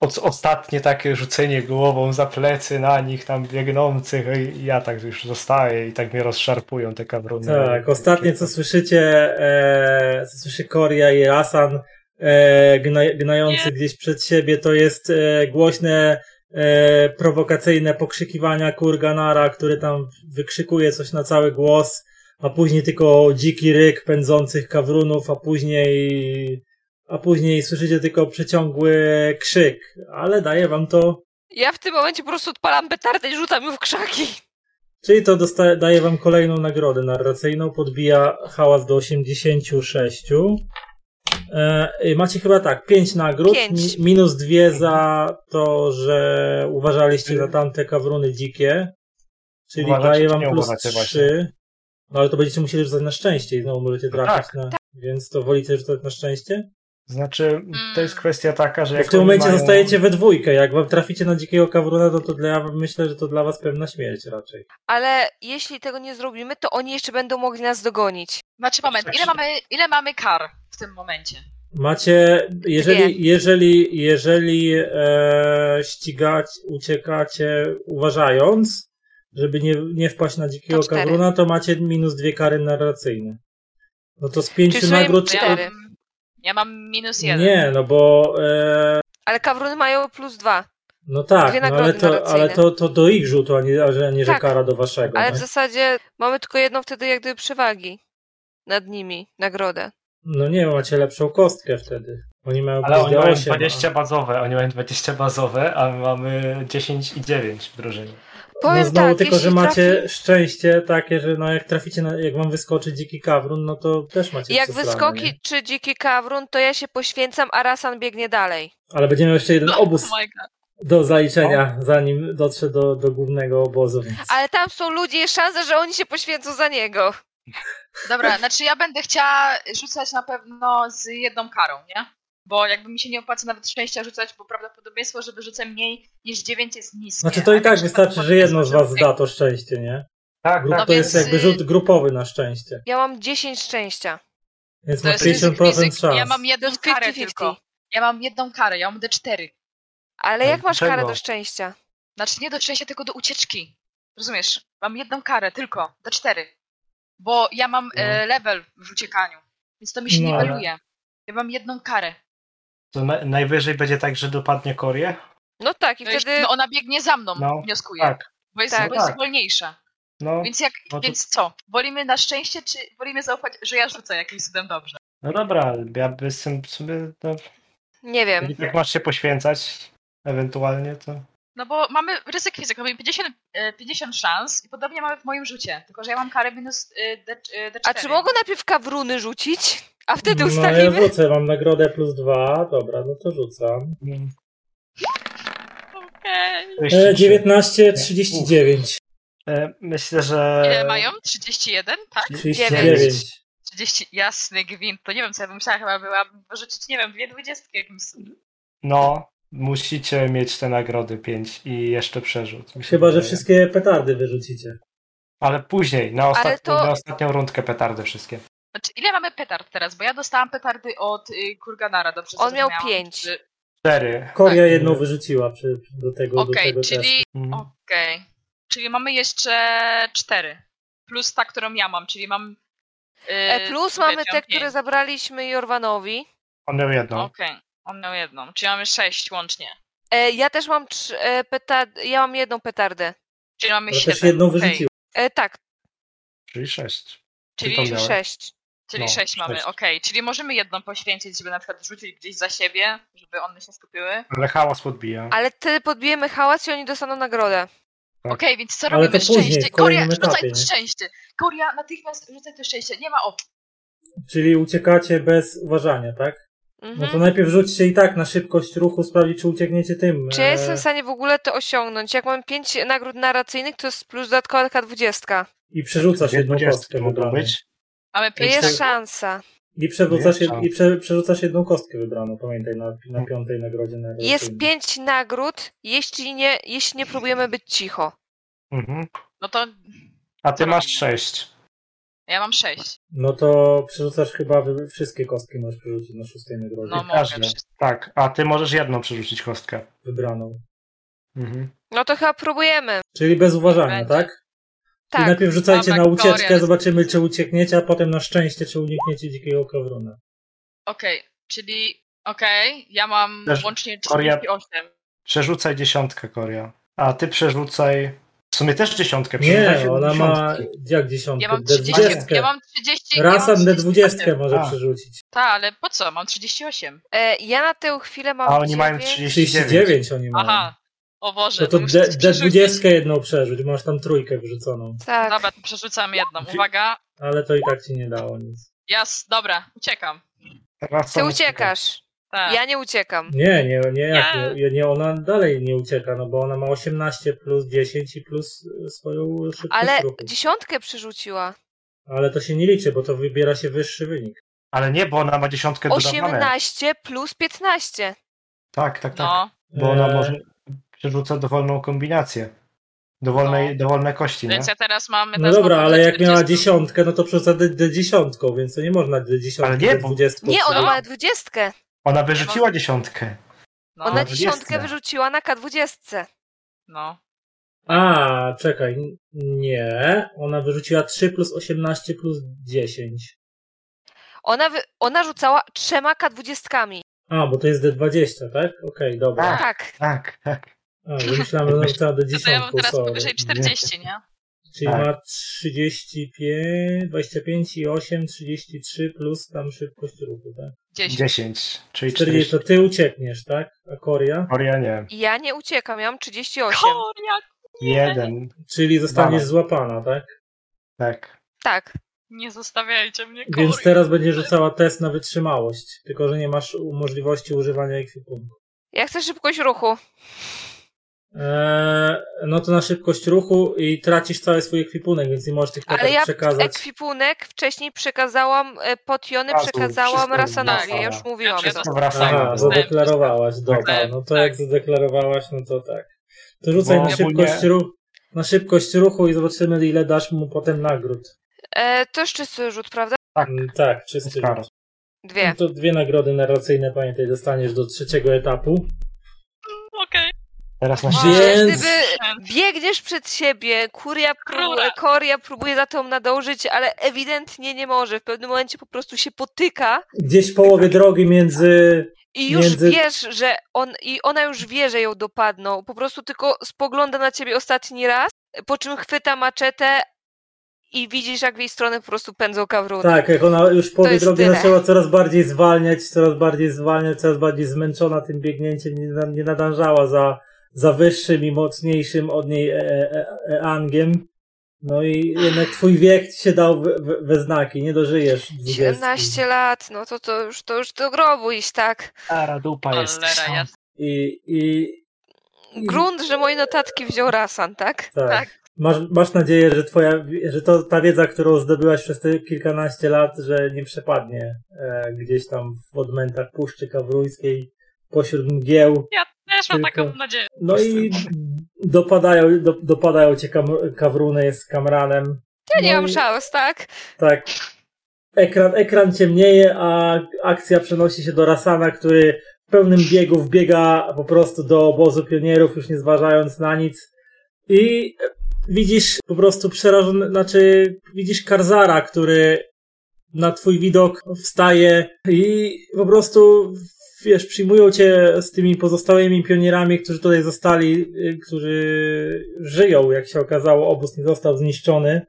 Speaker 4: o- ostatnie takie rzucenie głową za plecy na nich tam biegnących i ja tak już zostaję i tak mnie rozszarpują te kawrony.
Speaker 1: Tak, ostatnie co słyszycie, e, co słyszy Koria i Rasan e, gna, gnający gdzieś przed siebie, to jest e, głośne, e, prowokacyjne pokrzykiwania Kurganara, który tam wykrzykuje coś na cały głos, a później tylko dziki ryk pędzących kawrunów, a później a później słyszycie tylko przeciągły krzyk, ale daje wam to,
Speaker 2: Ja w tym momencie po prostu odpalam petardę i rzucam ją w krzaki.
Speaker 1: czyli to dosta- daje wam kolejną nagrodę narracyjną, podbija hałas do 86. E, i macie chyba tak, 5 nagród,
Speaker 2: Pięć.
Speaker 1: mi- minus 2 za to, że uważaliście za tamte kawruny dzikie, czyli
Speaker 4: Uważacie,
Speaker 1: daje
Speaker 4: czy
Speaker 1: wam
Speaker 4: nie
Speaker 1: plus
Speaker 4: uważacie właśnie?
Speaker 1: 3. No ale to będziecie musieli rzucać na szczęście i znowu możecie trafić
Speaker 4: tak.
Speaker 1: na... Więc to wolicie rzucać na szczęście?
Speaker 4: Znaczy, to jest kwestia taka, że
Speaker 1: Bo
Speaker 4: jak
Speaker 1: w tym
Speaker 4: oni
Speaker 1: momencie
Speaker 4: mają-
Speaker 1: zostajecie we dwójkę. Jak wam traficie na dzikiego kawruna, to, to dla, myślę, że to dla was pewna śmierć raczej.
Speaker 2: Ale jeśli tego nie zrobimy, to oni jeszcze będą mogli nas dogonić.
Speaker 3: Znaczy moment, ile mamy, ile mamy kar w tym momencie?
Speaker 1: Macie, jeżeli, jeżeli, jeżeli e, ścigać, uciekacie uważając, żeby nie, nie wpaść na dzikiego
Speaker 2: To cztery.
Speaker 1: kawruna, to macie minus dwie kary narracyjne. No to z pięciu
Speaker 2: w sumie
Speaker 1: nagród...
Speaker 3: Ja
Speaker 2: Cztery.
Speaker 3: mam, ja mam minus jeden.
Speaker 1: Nie, no bo... E,
Speaker 2: Ale kawruny mają plus dwa.
Speaker 1: no
Speaker 2: Dwie
Speaker 1: tak, no
Speaker 2: nagrody
Speaker 1: ale, to,
Speaker 2: narracyjne.
Speaker 1: ale to, to do ich rzutu, a nie, a że- a nie że
Speaker 2: Tak.
Speaker 1: kara do waszego. no.
Speaker 2: Ale
Speaker 1: nie?
Speaker 2: w zasadzie mamy tylko jedną wtedy jak gdyby przewagi nad nimi, nagrodę.
Speaker 1: No nie, macie lepszą kostkę wtedy. Oni mają
Speaker 5: Ale oni
Speaker 1: plus
Speaker 5: mają
Speaker 1: 8.
Speaker 5: 20 bazowe, oni mają 20 bazowe, a my mamy 10 i 9 w drużynie.
Speaker 2: Powiem
Speaker 1: no znowu
Speaker 2: tak,
Speaker 1: tylko,
Speaker 2: jeśli
Speaker 1: że macie
Speaker 2: trafi-
Speaker 1: szczęście takie, że no jak traficie, na, jak wam wyskoczy dziki kawrun, no to też macie
Speaker 2: Jak
Speaker 1: przesrane, nie?
Speaker 2: wyskoki czy dziki kawrun, to ja się poświęcam, a Rasan biegnie dalej.
Speaker 1: Ale będziemy jeszcze jeden
Speaker 3: No,
Speaker 1: obóz
Speaker 3: oh my god.
Speaker 1: do zaliczenia, zanim dotrze do, do głównego obozu, więc...
Speaker 2: Ale tam są ludzie, jest szansa, że oni się poświęcą za niego.
Speaker 3: Dobra, znaczy ja będę chciała rzucać na pewno z jedną karą, nie? Bo jakby mi się nie opłaca nawet szczęścia rzucać, bo prawdopodobieństwo, że wyrzucę mniej niż 9 jest niskie.
Speaker 1: Znaczy to
Speaker 3: A
Speaker 1: i tak
Speaker 3: także
Speaker 1: wystarczy, że jedno z was
Speaker 3: prawdopodobieństwo,
Speaker 1: da to szczęście, nie?
Speaker 5: Tak,
Speaker 1: Grup,
Speaker 5: tak.
Speaker 1: No to
Speaker 3: więc,
Speaker 2: No
Speaker 1: jest jakby
Speaker 3: y-
Speaker 1: rzut grupowy na szczęście,
Speaker 2: Ja mam 10 szczęścia.
Speaker 1: więc
Speaker 3: To
Speaker 1: ma
Speaker 3: jest ryzyk,
Speaker 1: 50%
Speaker 3: ryzyk.
Speaker 1: szans.
Speaker 3: Ja mam
Speaker 2: To
Speaker 3: jedną
Speaker 2: jest
Speaker 3: karę
Speaker 2: 50-50.
Speaker 3: tylko. Ja mam jedną karę, ja mam D4.
Speaker 2: Ale
Speaker 5: Ale
Speaker 2: jak masz karę
Speaker 5: dlaczego?
Speaker 2: do szczęścia?
Speaker 3: Znaczy nie do szczęścia, tylko do ucieczki. Rozumiesz? Mam jedną karę tylko, D4. Bo ja mam e, level w uciekaniu, więc to mi się
Speaker 1: No,
Speaker 3: nie
Speaker 1: ale-
Speaker 3: waluje. Ja mam jedną karę.
Speaker 4: To na- najwyżej będzie tak, że dopadnie Korię?
Speaker 2: No tak, i
Speaker 3: No, jeśli-
Speaker 2: wtedy
Speaker 3: no ona biegnie za mną,
Speaker 4: No,
Speaker 3: wnioskuję.
Speaker 4: Tak.
Speaker 3: Bo jest,
Speaker 2: tak.
Speaker 3: bo jest
Speaker 4: Tak.
Speaker 3: wolniejsza.
Speaker 4: No,
Speaker 3: Więc, jak,
Speaker 4: no to-
Speaker 3: więc co? Wolimy na szczęście, czy wolimy zaufać, że ja rzucę jakimś cudem dobrze?
Speaker 4: no dobra, ja bym z tym sobie... No,
Speaker 2: nie wiem.
Speaker 4: jak masz się poświęcać ewentualnie, to...
Speaker 3: No bo mamy ryzyk fizyk, mamy 50, e, 50 szans i podobnie mamy w moim rzucie, tylko że ja mam karę minus e, D, e, D4.
Speaker 2: A czy mogą najpierw kawruny rzucić? A wtedy
Speaker 1: No ja
Speaker 2: ustalimy.
Speaker 1: rzucę, mam nagrodę plus dwa, dobra, no to rzucam.
Speaker 3: Okej.
Speaker 1: E, 19, 39.
Speaker 4: E, Myślę, że...
Speaker 3: Ile mają? 31? Tak?
Speaker 1: 39.
Speaker 3: 30, jasny gwint, to nie wiem co ja bym musiała chyba byłam rzucić, nie wiem, dwie dwudziestki jakimś cudem.
Speaker 4: No, musicie mieć te nagrody 5 i jeszcze przerzut. mi się
Speaker 1: Chyba, że
Speaker 4: wydaje.
Speaker 1: wszystkie petardy wyrzucicie.
Speaker 4: Ale później, na, ostatni,
Speaker 2: to-
Speaker 4: na ostatnią rundkę petardy wszystkie.
Speaker 3: Znaczy, ile mamy petard teraz? Bo ja dostałam petardy od y, Kurganara, dobrze
Speaker 2: On miał
Speaker 3: zrozumiałam?
Speaker 2: pięć.
Speaker 3: Czy-
Speaker 4: Cztery.
Speaker 2: Tak.
Speaker 1: Koria jedną wyrzuciła przy, do tego, do
Speaker 3: Okej,
Speaker 1: tego testu.
Speaker 3: czyli
Speaker 4: Mm.
Speaker 1: Mhm.
Speaker 3: Okej. Czyli mamy jeszcze cztery. Plus ta, którą ja mam, czyli mam. yy,
Speaker 2: E, Plus
Speaker 3: tutaj
Speaker 2: mamy te,
Speaker 3: mam
Speaker 2: które
Speaker 3: pięć.
Speaker 2: zabraliśmy Jorwanowi.
Speaker 4: On miał
Speaker 1: No.
Speaker 4: jedną.
Speaker 3: Okej, on miał jedną, czyli mamy sześć łącznie.
Speaker 2: E, Ja też mam trz- e, petard- ja mam jedną petardę.
Speaker 3: Czyli mamy
Speaker 1: Ale
Speaker 3: siedem.
Speaker 2: tak,
Speaker 1: też jedną
Speaker 3: okej.
Speaker 1: wyrzuciła.
Speaker 2: E, tak,
Speaker 4: Czyli sześć.
Speaker 3: Czyli,
Speaker 4: Tylko
Speaker 3: czyli,
Speaker 4: miał. Miałem.
Speaker 2: sześć.
Speaker 4: No,
Speaker 3: sześć mamy,
Speaker 4: sześć.
Speaker 3: okej. Czyli możemy jedną poświęcić, żeby na przykład rzucić gdzieś za siebie, żeby one się skupiły.
Speaker 4: Ale hałas podbija.
Speaker 2: Ale ty podbijemy hałas i oni dostaną nagrodę.
Speaker 4: Tak.
Speaker 3: Okej, więc co
Speaker 1: Ale
Speaker 3: robimy?
Speaker 1: to później, w
Speaker 3: szczęście. Koria,
Speaker 1: kolejnym
Speaker 3: rzucaj
Speaker 1: etapie,
Speaker 3: to
Speaker 1: nie?
Speaker 3: szczęście. Koria, natychmiast rzucaj to szczęście. Nie ma opcji.
Speaker 1: Czyli uciekacie bez uważania, tak? No to
Speaker 2: Mhm.
Speaker 1: najpierw rzućcie i tak na szybkość ruchu, sprawdzić, czy uciekniecie tym.
Speaker 2: Czy
Speaker 1: e,
Speaker 2: ja jestem w stanie w ogóle to osiągnąć? Jak mam pięć nagród narracyjnych, to jest plus dodatkowa taka dwudziestka.
Speaker 1: I przerzucasz
Speaker 4: Dwie
Speaker 1: jedną
Speaker 4: dwudziestki
Speaker 1: kostkę
Speaker 4: mogą
Speaker 1: wybraną.
Speaker 4: być.
Speaker 3: Mamy
Speaker 2: To
Speaker 3: pięć.
Speaker 2: jest szansa.
Speaker 1: I, przewracasz jed...
Speaker 4: Dwie,
Speaker 1: I prze... przerzucasz jedną kostkę wybraną, pamiętaj, na, na
Speaker 4: Mhm.
Speaker 1: piątej nagrodzie. Na
Speaker 2: Jest pięć nagród, jeśli nie, jeśli nie próbujemy być cicho.
Speaker 4: Mhm.
Speaker 3: No to
Speaker 4: A ty
Speaker 3: Co
Speaker 4: masz
Speaker 3: robimy?
Speaker 4: sześć.
Speaker 3: Ja mam sześć.
Speaker 1: No to przerzucasz chyba, wy- wszystkie kostki możesz przerzucić na szóstej nagrodzie.
Speaker 3: No mogę.
Speaker 4: Każdy.
Speaker 3: wszystko.
Speaker 4: Tak, a ty możesz jedną przerzucić kostkę.
Speaker 1: Wybraną.
Speaker 4: Mhm.
Speaker 2: No to chyba próbujemy.
Speaker 1: Czyli bez uważania,
Speaker 3: Będzie.
Speaker 1: tak? I
Speaker 2: Tak.
Speaker 1: najpierw rzucajcie
Speaker 3: Mam
Speaker 1: na
Speaker 3: tak
Speaker 1: ucieczkę,
Speaker 3: teorię.
Speaker 1: zobaczymy czy uciekniecie, a potem na szczęście czy unikniecie dzikiego kawrona.
Speaker 3: Okej, czyli okej, ja mam
Speaker 4: Też-
Speaker 3: łącznie
Speaker 4: Koria-
Speaker 3: 38.
Speaker 4: Przerzucaj dziesiątkę, Koria. A ty przerzucaj. W sumie też dziesiątkę. przerzucaj
Speaker 1: Nie, ona ma
Speaker 4: dziesiątki.
Speaker 1: jak dziesiątkę?
Speaker 3: Ja mam
Speaker 1: D
Speaker 3: 30.
Speaker 1: dwudziestkę.
Speaker 3: Ja mam 30.
Speaker 1: Raz
Speaker 3: ja
Speaker 1: na
Speaker 3: mam
Speaker 1: D
Speaker 3: 38.
Speaker 1: dwudziestkę może
Speaker 4: A.
Speaker 1: przerzucić.
Speaker 3: Tak, ale po co? Mam 38.
Speaker 2: E, ja na tę chwilę mam.
Speaker 4: A oni mają
Speaker 2: 9.
Speaker 4: 39.
Speaker 1: 39 oni mają.
Speaker 3: Aha. O Boże,
Speaker 1: No to
Speaker 3: muszę
Speaker 1: D
Speaker 3: coś przerzucić.
Speaker 1: D20 jedną przerzuć, masz tam trójkę wyrzuconą.
Speaker 2: Tak.
Speaker 3: Dobra, to przerzucam jedną.
Speaker 1: Wi-
Speaker 3: Uwaga.
Speaker 1: Ale to i tak ci nie dało nic.
Speaker 3: Jas, dobra, uciekam.
Speaker 4: Raz
Speaker 2: Ty
Speaker 4: ona-
Speaker 2: uciekasz.
Speaker 3: Tak.
Speaker 2: Ja nie uciekam.
Speaker 1: Nie, nie, nie,
Speaker 3: Nie.
Speaker 1: jak, nie, nie, ona dalej nie ucieka, no bo ona ma 18 plus 10 i plus y, swoją szybkość
Speaker 2: Ale
Speaker 1: ruchu.
Speaker 2: dziesiątkę przerzuciła.
Speaker 1: Ale to się nie liczy, bo to wybiera się wyższy wynik.
Speaker 4: Ale nie, bo ona ma dziesiątkę dodawane.
Speaker 2: 18 plus 15.
Speaker 4: Tak, tak, tak.
Speaker 3: No,
Speaker 4: Bo ona
Speaker 1: Eee.
Speaker 4: może przerzuca dowolną kombinację. Dowolnej,
Speaker 3: No.
Speaker 4: Dowolne kości, nie?
Speaker 3: więc ja teraz mam.
Speaker 1: No
Speaker 3: teraz
Speaker 1: dobra,
Speaker 3: mam
Speaker 1: ale jak
Speaker 3: 40.
Speaker 1: miała dziesiątkę, no to przerzuca D- D10, więc to nie można D10
Speaker 4: Ale nie,
Speaker 1: do
Speaker 4: bo-
Speaker 1: 20.
Speaker 2: Nie, ona
Speaker 3: No.
Speaker 2: ma dwudziestkę.
Speaker 4: Ona wyrzuciła dziesiątkę.
Speaker 3: No,
Speaker 2: Ona
Speaker 4: dwudziestkę.
Speaker 2: dziesiątkę wyrzuciła na K20.
Speaker 3: no.
Speaker 1: A, czekaj, n- nie. Ona wyrzuciła 3 plus 18 plus 10.
Speaker 2: Ona, wy, ona rzucała trzema K20.
Speaker 1: A, bo to jest D20, tak? Okej, dobra.
Speaker 4: A.
Speaker 2: Tak.
Speaker 4: Tak, tak.
Speaker 1: A, bo myślałem, że ona wyrzucała
Speaker 3: No to ja mam
Speaker 1: D10,
Speaker 3: teraz
Speaker 1: sorry.
Speaker 3: powyżej 40, nie?
Speaker 1: Czyli
Speaker 4: Tak.
Speaker 1: ma 35, 25 i 8, 33 plus tam szybkość ruchu, tak?
Speaker 3: 10.
Speaker 4: 10, czyli
Speaker 1: 40,
Speaker 4: 40.
Speaker 1: to ty uciekniesz, tak? A Koria?
Speaker 4: Koria nie.
Speaker 2: Ja nie uciekam, ja mam 38.
Speaker 3: Koria,
Speaker 4: Jeden,
Speaker 1: Czyli zostaniesz
Speaker 4: Dawaj.
Speaker 1: złapana, tak?
Speaker 4: tak.
Speaker 2: Tak.
Speaker 3: nie zostawiajcie mnie, koria.
Speaker 1: Więc teraz będzie rzucała test na wytrzymałość, tylko że nie masz u- możliwości używania ekwipunku.
Speaker 2: Ja chcę szybkość ruchu.
Speaker 1: Eee, no to na szybkość ruchu i tracisz cały swój ekwipunek, więc nie możesz tych
Speaker 2: Ale
Speaker 1: kart
Speaker 2: ja
Speaker 1: przekazać.
Speaker 2: ekwipunek wcześniej przekazałam e, Potiony,
Speaker 4: Razu,
Speaker 2: przekazałam
Speaker 4: wszystko
Speaker 2: Rasanowi.
Speaker 4: wracała.
Speaker 2: Ja już mówiłam
Speaker 3: Tak,
Speaker 2: to.
Speaker 4: Wszystko
Speaker 1: Aha,
Speaker 4: wracało.
Speaker 3: zostało.
Speaker 1: zadeklarowałaś, dobra.
Speaker 3: Tak,
Speaker 1: No to
Speaker 3: tak.
Speaker 1: jak zadeklarowałaś, no to tak. To rzucaj
Speaker 4: Bo-
Speaker 1: na szybkość,
Speaker 4: Bo
Speaker 1: ruchu, na szybkość ruchu i zobaczymy ile dasz mu potem nagród.
Speaker 2: E, to jeszcze czysty rzut, prawda?
Speaker 4: Tak,
Speaker 1: Mm, Tak, czysty
Speaker 4: Tak.
Speaker 1: rzut.
Speaker 2: Dwie.
Speaker 1: No to dwie nagrody narracyjne, pamiętaj, dostaniesz do trzeciego etapu.
Speaker 3: Okej.
Speaker 4: teraz na
Speaker 3: Wow.
Speaker 4: siebie.
Speaker 1: Więc...
Speaker 2: Gdyby biegniesz przed siebie, kuria próbuje,
Speaker 3: Króla.
Speaker 2: koria próbuje za tą nadążyć, ale ewidentnie nie może. W pewnym momencie po prostu się potyka
Speaker 1: Gdzieś w
Speaker 2: Tak.
Speaker 1: połowie drogi między
Speaker 2: i już
Speaker 1: Między-
Speaker 2: wiesz, że on i ona już wie, że ją dopadną. Po prostu tylko spogląda na ciebie ostatni raz, po czym chwyta maczetę i widzisz, jak w jej stronę po prostu pędzą kawruny.
Speaker 1: Tak, jak ona już po
Speaker 2: To
Speaker 1: tej
Speaker 2: jest
Speaker 1: drodze
Speaker 2: tyle.
Speaker 1: zaczęła coraz bardziej zwalniać, coraz bardziej zwalniać, coraz bardziej zmęczona tym biegnięciem, nie, na- nie nadążała za, za wyższym i mocniejszym od niej e, e, e, angiem. No i jednak twój wiek ci się dał we, we, we znaki, nie dożyjesz. 20.
Speaker 2: 17 lat, no to, to, już, to już do grobu iść, tak?
Speaker 4: Stara dupa jest.
Speaker 3: Cholera, ja...
Speaker 1: I, i
Speaker 2: Grunt, że moje notatki wziął Rasan, tak?
Speaker 1: tak.
Speaker 3: Tak.
Speaker 1: Masz, masz nadzieję, że twoja, wi- że to ta wiedza, którą zdobyłaś przez te kilkanaście lat, że nie przepadnie e, gdzieś tam w odmętach Puszczy Kawrujskiej pośród mgieł.
Speaker 3: ja też mam taką
Speaker 1: Tylko-
Speaker 3: nadzieję.
Speaker 1: No i dopadają, do, dopadają cię kam, kawruny z kamranem.
Speaker 2: Ja nie
Speaker 1: no
Speaker 2: mam
Speaker 1: i-
Speaker 2: szans, tak?
Speaker 1: Tak. Ekran, ekran ciemnieje, a akcja przenosi się do Rasana, który w pełnym biegu wbiega po prostu do obozu pionierów, już nie zważając na nic. I widzisz po prostu przerażony, znaczy widzisz Karzara, który na twój widok wstaje i po prostu wiesz, przyjmują cię z tymi pozostałymi pionierami, którzy tutaj zostali, y, którzy żyją, jak się okazało, obóz nie został zniszczony,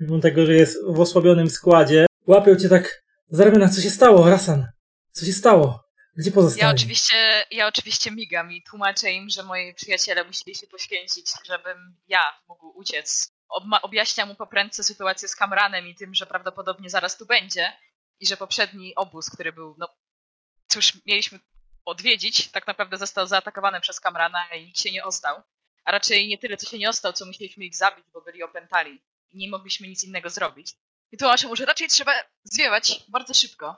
Speaker 1: mimo tego, że jest w osłabionym skład łapią cię tak za ramiona. Co się stało, Rasan? Co się stało? Gdzie pozostali?
Speaker 3: Ja oczywiście, ja oczywiście migam i tłumaczę im, że moi przyjaciele musieli się poświęcić, żebym ja mógł uciec. Obma- objaśniam mu po prędce sytuację z Kamranem i tym, że prawdopodobnie zaraz tu będzie i że poprzedni obóz, który był, no cóż, mieliśmy odwiedzić, tak naprawdę został zaatakowany przez Kamrana i nikt się nie ostał. A raczej nie tyle, co się nie ostał, co musieliśmy ich zabić, bo byli opętali i nie mogliśmy nic innego zrobić. I tłumaczę mu, że raczej trzeba zwiewać bardzo szybko,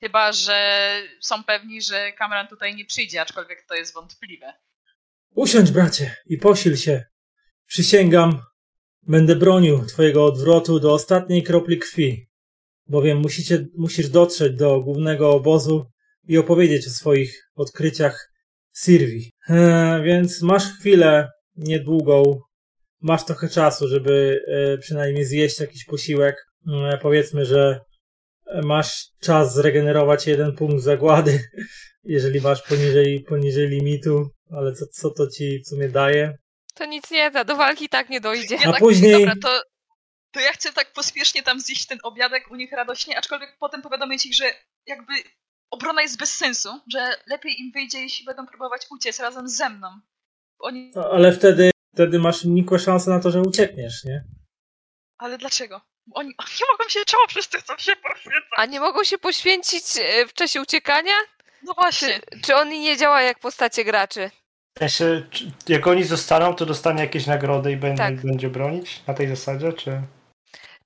Speaker 3: Chyba, że są pewni, że Cameron tutaj nie przyjdzie, aczkolwiek to jest wątpliwe.
Speaker 1: Usiądź, bracie, i posil się. Przysięgam, Będę bronił twojego odwrotu do ostatniej kropli krwi, bowiem musicie, musisz dotrzeć do głównego obozu i opowiedzieć o swoich odkryciach Sirwi. E, więc masz chwilę niedługą, masz trochę czasu, żeby e, przynajmniej zjeść jakiś posiłek. E, powiedzmy, że masz czas zregenerować jeden punkt zagłady, jeżeli masz poniżej, poniżej limitu, ale co, co to ci w sumie daje?
Speaker 2: To nic nie da, do walki i tak nie dojdzie.
Speaker 1: A
Speaker 3: tak,
Speaker 1: później-
Speaker 3: Dobra, to, to ja chcę tak pospiesznie tam zjeść ten obiadek u nich radośnie, aczkolwiek potem powiadomić ich, że jakby obrona jest bez sensu, że lepiej im wyjdzie, jeśli będą próbować uciec razem ze mną. Bo Oni...
Speaker 1: No, ale wtedy, wtedy masz nikłe szanse na to, że uciekniesz, nie?
Speaker 3: Ale dlaczego? Bo Oni nie mogą się czemu przez tych, co się poświęca.
Speaker 2: A nie mogą się poświęcić e, w czasie uciekania?
Speaker 3: No właśnie.
Speaker 2: Czy, czy oni nie działają jak postacie graczy?
Speaker 4: W sensie, czy- jak oni zostaną, to dostanie jakieś nagrody i będzie,
Speaker 2: Tak.
Speaker 4: będzie bronić na tej zasadzie, czy...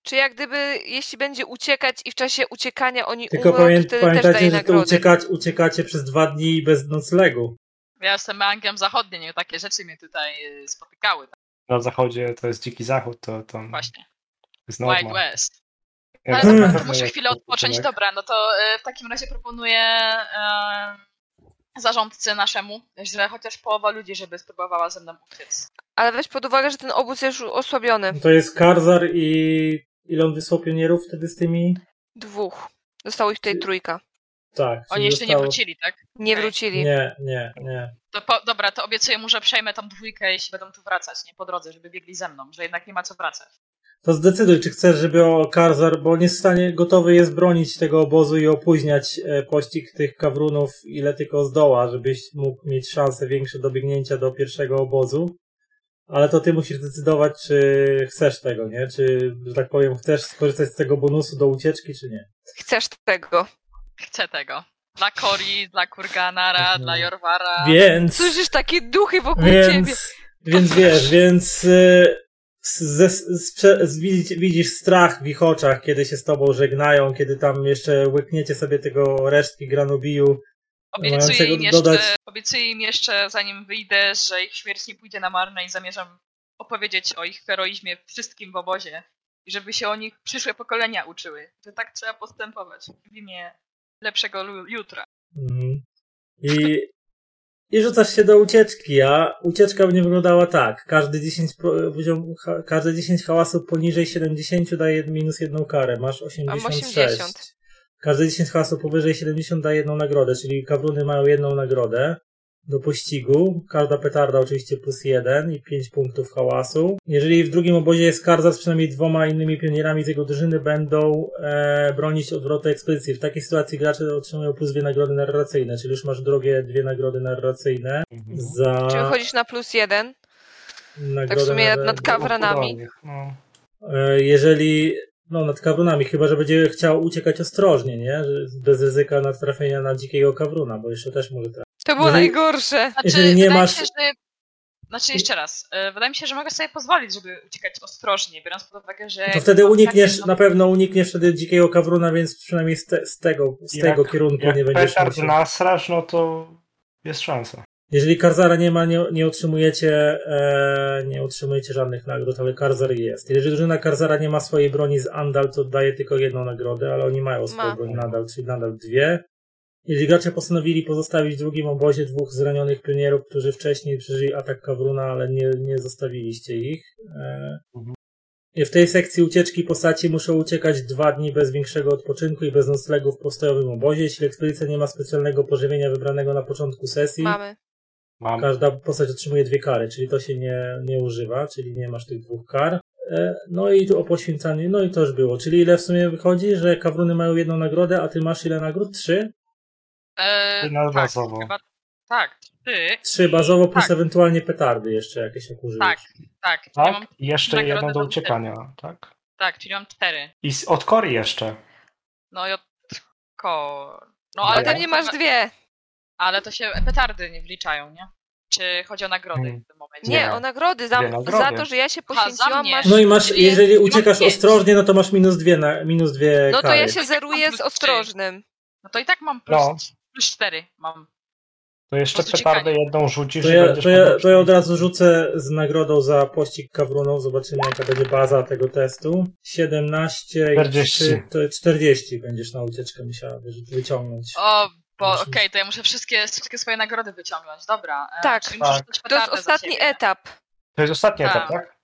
Speaker 2: Czy jak gdyby, jeśli będzie uciekać i w czasie uciekania oni
Speaker 1: Tylko
Speaker 2: umrą,
Speaker 1: pamię,
Speaker 2: to wtedy też daje
Speaker 1: pamiętajcie, że to
Speaker 2: nagrody.
Speaker 1: uciekać, uciekacie przez dwa dni bez noclegu.
Speaker 3: Ja jestem Angliem Zachodnim, nie takie rzeczy mnie tutaj y, spotykały. Tak
Speaker 4: Na zachodzie to jest dziki zachód, to, to
Speaker 3: właśnie.
Speaker 4: jest
Speaker 3: Wild
Speaker 4: norma.
Speaker 3: West.
Speaker 4: Ja
Speaker 3: Ale
Speaker 4: tak-
Speaker 3: dobra, to muszę chwilę odpocząć. Dobra, no to e, w takim razie proponuję e, zarządcy naszemu, że chociaż połowa ludzi, żeby spróbowała ze mną uciec.
Speaker 2: Ale weź pod uwagę, że ten obóz jest już osłabiony.
Speaker 1: No To jest Karzar i ile on wysłał pionierów wtedy z tymi?
Speaker 2: Dwóch. Zostało ich tutaj trójka.
Speaker 1: Tak. czyli
Speaker 3: Oni jeszcze nie
Speaker 1: zostało-
Speaker 3: wrócili, tak?
Speaker 2: Nie
Speaker 3: Okej.
Speaker 2: wrócili.
Speaker 1: Nie, nie, nie.
Speaker 3: To po, dobra, to obiecuję mu, że przejmę tam dwójkę, jeśli będą tu wracać, nie po drodze, żeby biegli ze mną, że jednak nie ma co wracać.
Speaker 1: To zdecyduj, czy chcesz, żeby o Karzar, bo on jest w stanie, gotowy jest bronić tego obozu i opóźniać e, pościg tych kawrunów, ile tylko zdoła, żebyś mógł mieć szanse większe do biegnięcia do pierwszego obozu. Ale to ty musisz decydować, czy chcesz tego, nie? Czy, że tak powiem, chcesz skorzystać z tego bonusu do ucieczki, czy nie.
Speaker 2: Chcesz tego.
Speaker 3: Chcę tego. Dla Cori, dla Kurganara,
Speaker 5: Mhm.
Speaker 3: dla Jorvara.
Speaker 1: Więc...
Speaker 2: Słyszysz takie duchy wokół ciebie.
Speaker 1: Więc, więc wiesz, więc y, z, ze- z, prze- z, widzisz, widzisz strach w ich oczach, kiedy się z tobą żegnają, kiedy tam jeszcze łykniecie sobie tego resztki granubiju.
Speaker 3: Obiecuję
Speaker 1: mającego
Speaker 3: im, jeszcze,
Speaker 1: dodać-
Speaker 3: obiecuję im jeszcze, zanim wyjdę, że ich śmierć nie pójdzie na marne i zamierzam opowiedzieć o ich heroizmie wszystkim w obozie i żeby się o nich przyszłe pokolenia uczyły, że tak trzeba postępować w imię lepszego lu- jutra.
Speaker 1: Mhm. I, I rzucasz się do ucieczki, a ucieczka będzie wyglądała tak. Każdy 10, pro- poziom- ha- każde 10 hałasów poniżej 70 daje minus jedną karę. Masz 86.
Speaker 2: 80.
Speaker 1: Każde 10 hałasów powyżej 70 daje jedną nagrodę, czyli kawruny mają jedną nagrodę do pościgu. Każda petarda oczywiście plus jeden i 5 punktów hałasu. Jeżeli w drugim obozie jest Karza z przynajmniej dwoma innymi pionierami z jego drużyny będą e, bronić odwrotu ekspedycji. W takiej sytuacji gracze otrzymują plus dwie nagrody narracyjne, czyli już masz drogie dwie nagrody narracyjne
Speaker 4: Mhm.
Speaker 1: za
Speaker 2: Czy wychodzisz na plus jeden?
Speaker 1: nagrodę
Speaker 2: Tak w sumie
Speaker 1: narra-
Speaker 2: nad kawranami.
Speaker 4: No.
Speaker 1: E, Jeżeli, no nad kawrunami, chyba że będzie chciał uciekać ostrożnie, nie? Że- Bez ryzyka na trafienia na dzikiego kawruna, bo jeszcze też może trafić.
Speaker 2: To było
Speaker 1: No i-
Speaker 2: najgorsze.
Speaker 3: Znaczy,
Speaker 1: Jeżeli nie
Speaker 3: wydaje mi
Speaker 1: masz-
Speaker 3: się, że... Znaczy, jeszcze raz, e, wydaje mi się, że mogę sobie pozwolić, żeby uciekać ostrożnie, biorąc pod uwagę, że...
Speaker 1: No To wtedy
Speaker 3: mam
Speaker 1: unikniesz,
Speaker 3: takie-
Speaker 1: na pewno unikniesz wtedy dzikiego kawruna, więc przynajmniej z, te, z tego, z
Speaker 4: Jak-
Speaker 1: tego kierunku
Speaker 4: Jak
Speaker 1: nie będziesz
Speaker 4: petard
Speaker 1: musiał.
Speaker 4: nasrasz, no to jest szansa.
Speaker 1: Jeżeli Karzara nie ma, nie, nie otrzymujecie e, nie otrzymujecie żadnych nagród, ale Karzar jest. Jeżeli drużyna Karzara nie ma swojej broni z Andal, to daje tylko jedną nagrodę, ale oni mają swoją
Speaker 2: Ma.
Speaker 1: broń nadal, czyli nadal dwie. Jeżeli gracze postanowili pozostawić w drugim obozie dwóch zranionych pionierów, którzy wcześniej przeżyli atak Kawruna, ale nie, nie zostawiliście ich. E,
Speaker 4: Mhm.
Speaker 1: i w tej sekcji ucieczki postaci muszą uciekać dwa dni bez większego odpoczynku i bez noclegu w postojowym obozie. Jeśli ekspedycja nie ma specjalnego pożywienia wybranego na początku sesji,
Speaker 2: Mamy.
Speaker 4: Mam.
Speaker 1: Każda postać otrzymuje dwie kary, czyli to się nie, nie używa, czyli nie masz tych dwóch kar. E, No i tu o poświęcaniu, no i to już było. Czyli ile w sumie wychodzi, że kawruny mają jedną nagrodę, a ty masz ile nagród? Trzy?
Speaker 3: E,
Speaker 4: Ty na
Speaker 3: tak,
Speaker 4: bazowo.
Speaker 3: chyba, tak, ty,
Speaker 1: Trzy bazowo plus
Speaker 3: Tak.
Speaker 1: ewentualnie petardy jeszcze jakieś jak użyjesz.
Speaker 3: tak, tak. Ja
Speaker 4: Tak?
Speaker 3: mam,
Speaker 4: I jeszcze
Speaker 3: nagrodę
Speaker 4: jedną do
Speaker 3: mam
Speaker 4: uciekania, tak?
Speaker 3: tak, czyli mam cztery.
Speaker 4: I z, od Cory jeszcze.
Speaker 3: No i od... Ko... No,
Speaker 4: Ale
Speaker 2: Ale
Speaker 4: tam
Speaker 2: tam nie masz dwie.
Speaker 3: Ale to się petardy nie wliczają, nie? Czy chodzi o nagrody
Speaker 4: Hmm.
Speaker 3: w tym momencie?
Speaker 2: Nie,
Speaker 4: Nie.
Speaker 2: o nagrody. Za,
Speaker 4: Dwie nagrody.
Speaker 2: za to, że ja się
Speaker 3: za
Speaker 2: poświęciłam,
Speaker 3: mnie.
Speaker 2: masz...
Speaker 1: No i masz,
Speaker 3: Czyli
Speaker 1: jeżeli
Speaker 3: mam
Speaker 1: uciekasz
Speaker 3: pięć.
Speaker 1: ostrożnie, no to masz minus dwie, na, minus dwie
Speaker 2: No to
Speaker 1: kary.
Speaker 2: ja się zeruję z
Speaker 3: Plus trzy.
Speaker 2: ostrożnym.
Speaker 3: No to i tak mam plus,
Speaker 4: No.
Speaker 3: plus cztery mam.
Speaker 4: To jeszcze
Speaker 3: Po prostu
Speaker 4: petardę jedną rzucisz
Speaker 1: To
Speaker 4: i
Speaker 1: ja,
Speaker 4: będziesz
Speaker 1: to, ja,
Speaker 4: podróż-
Speaker 1: to ja od razu rzucę z nagrodą za pościg kawruną. Zobaczymy, jaka będzie baza tego testu. 17
Speaker 4: 40.
Speaker 1: i 3, to 40 będziesz na ucieczkę musiała wy- wyciągnąć.
Speaker 3: O, bo okej,
Speaker 1: Właśnie.
Speaker 3: to ja muszę wszystkie, wszystkie swoje nagrody wyciągnąć, dobra. E,
Speaker 2: Tak.
Speaker 3: Czyli muszę
Speaker 4: Tak.
Speaker 3: rzucać
Speaker 2: To jest
Speaker 3: petardę za
Speaker 2: ostatni
Speaker 3: siebie.
Speaker 2: etap.
Speaker 4: To jest ostatni
Speaker 3: Tak.
Speaker 4: etap, tak?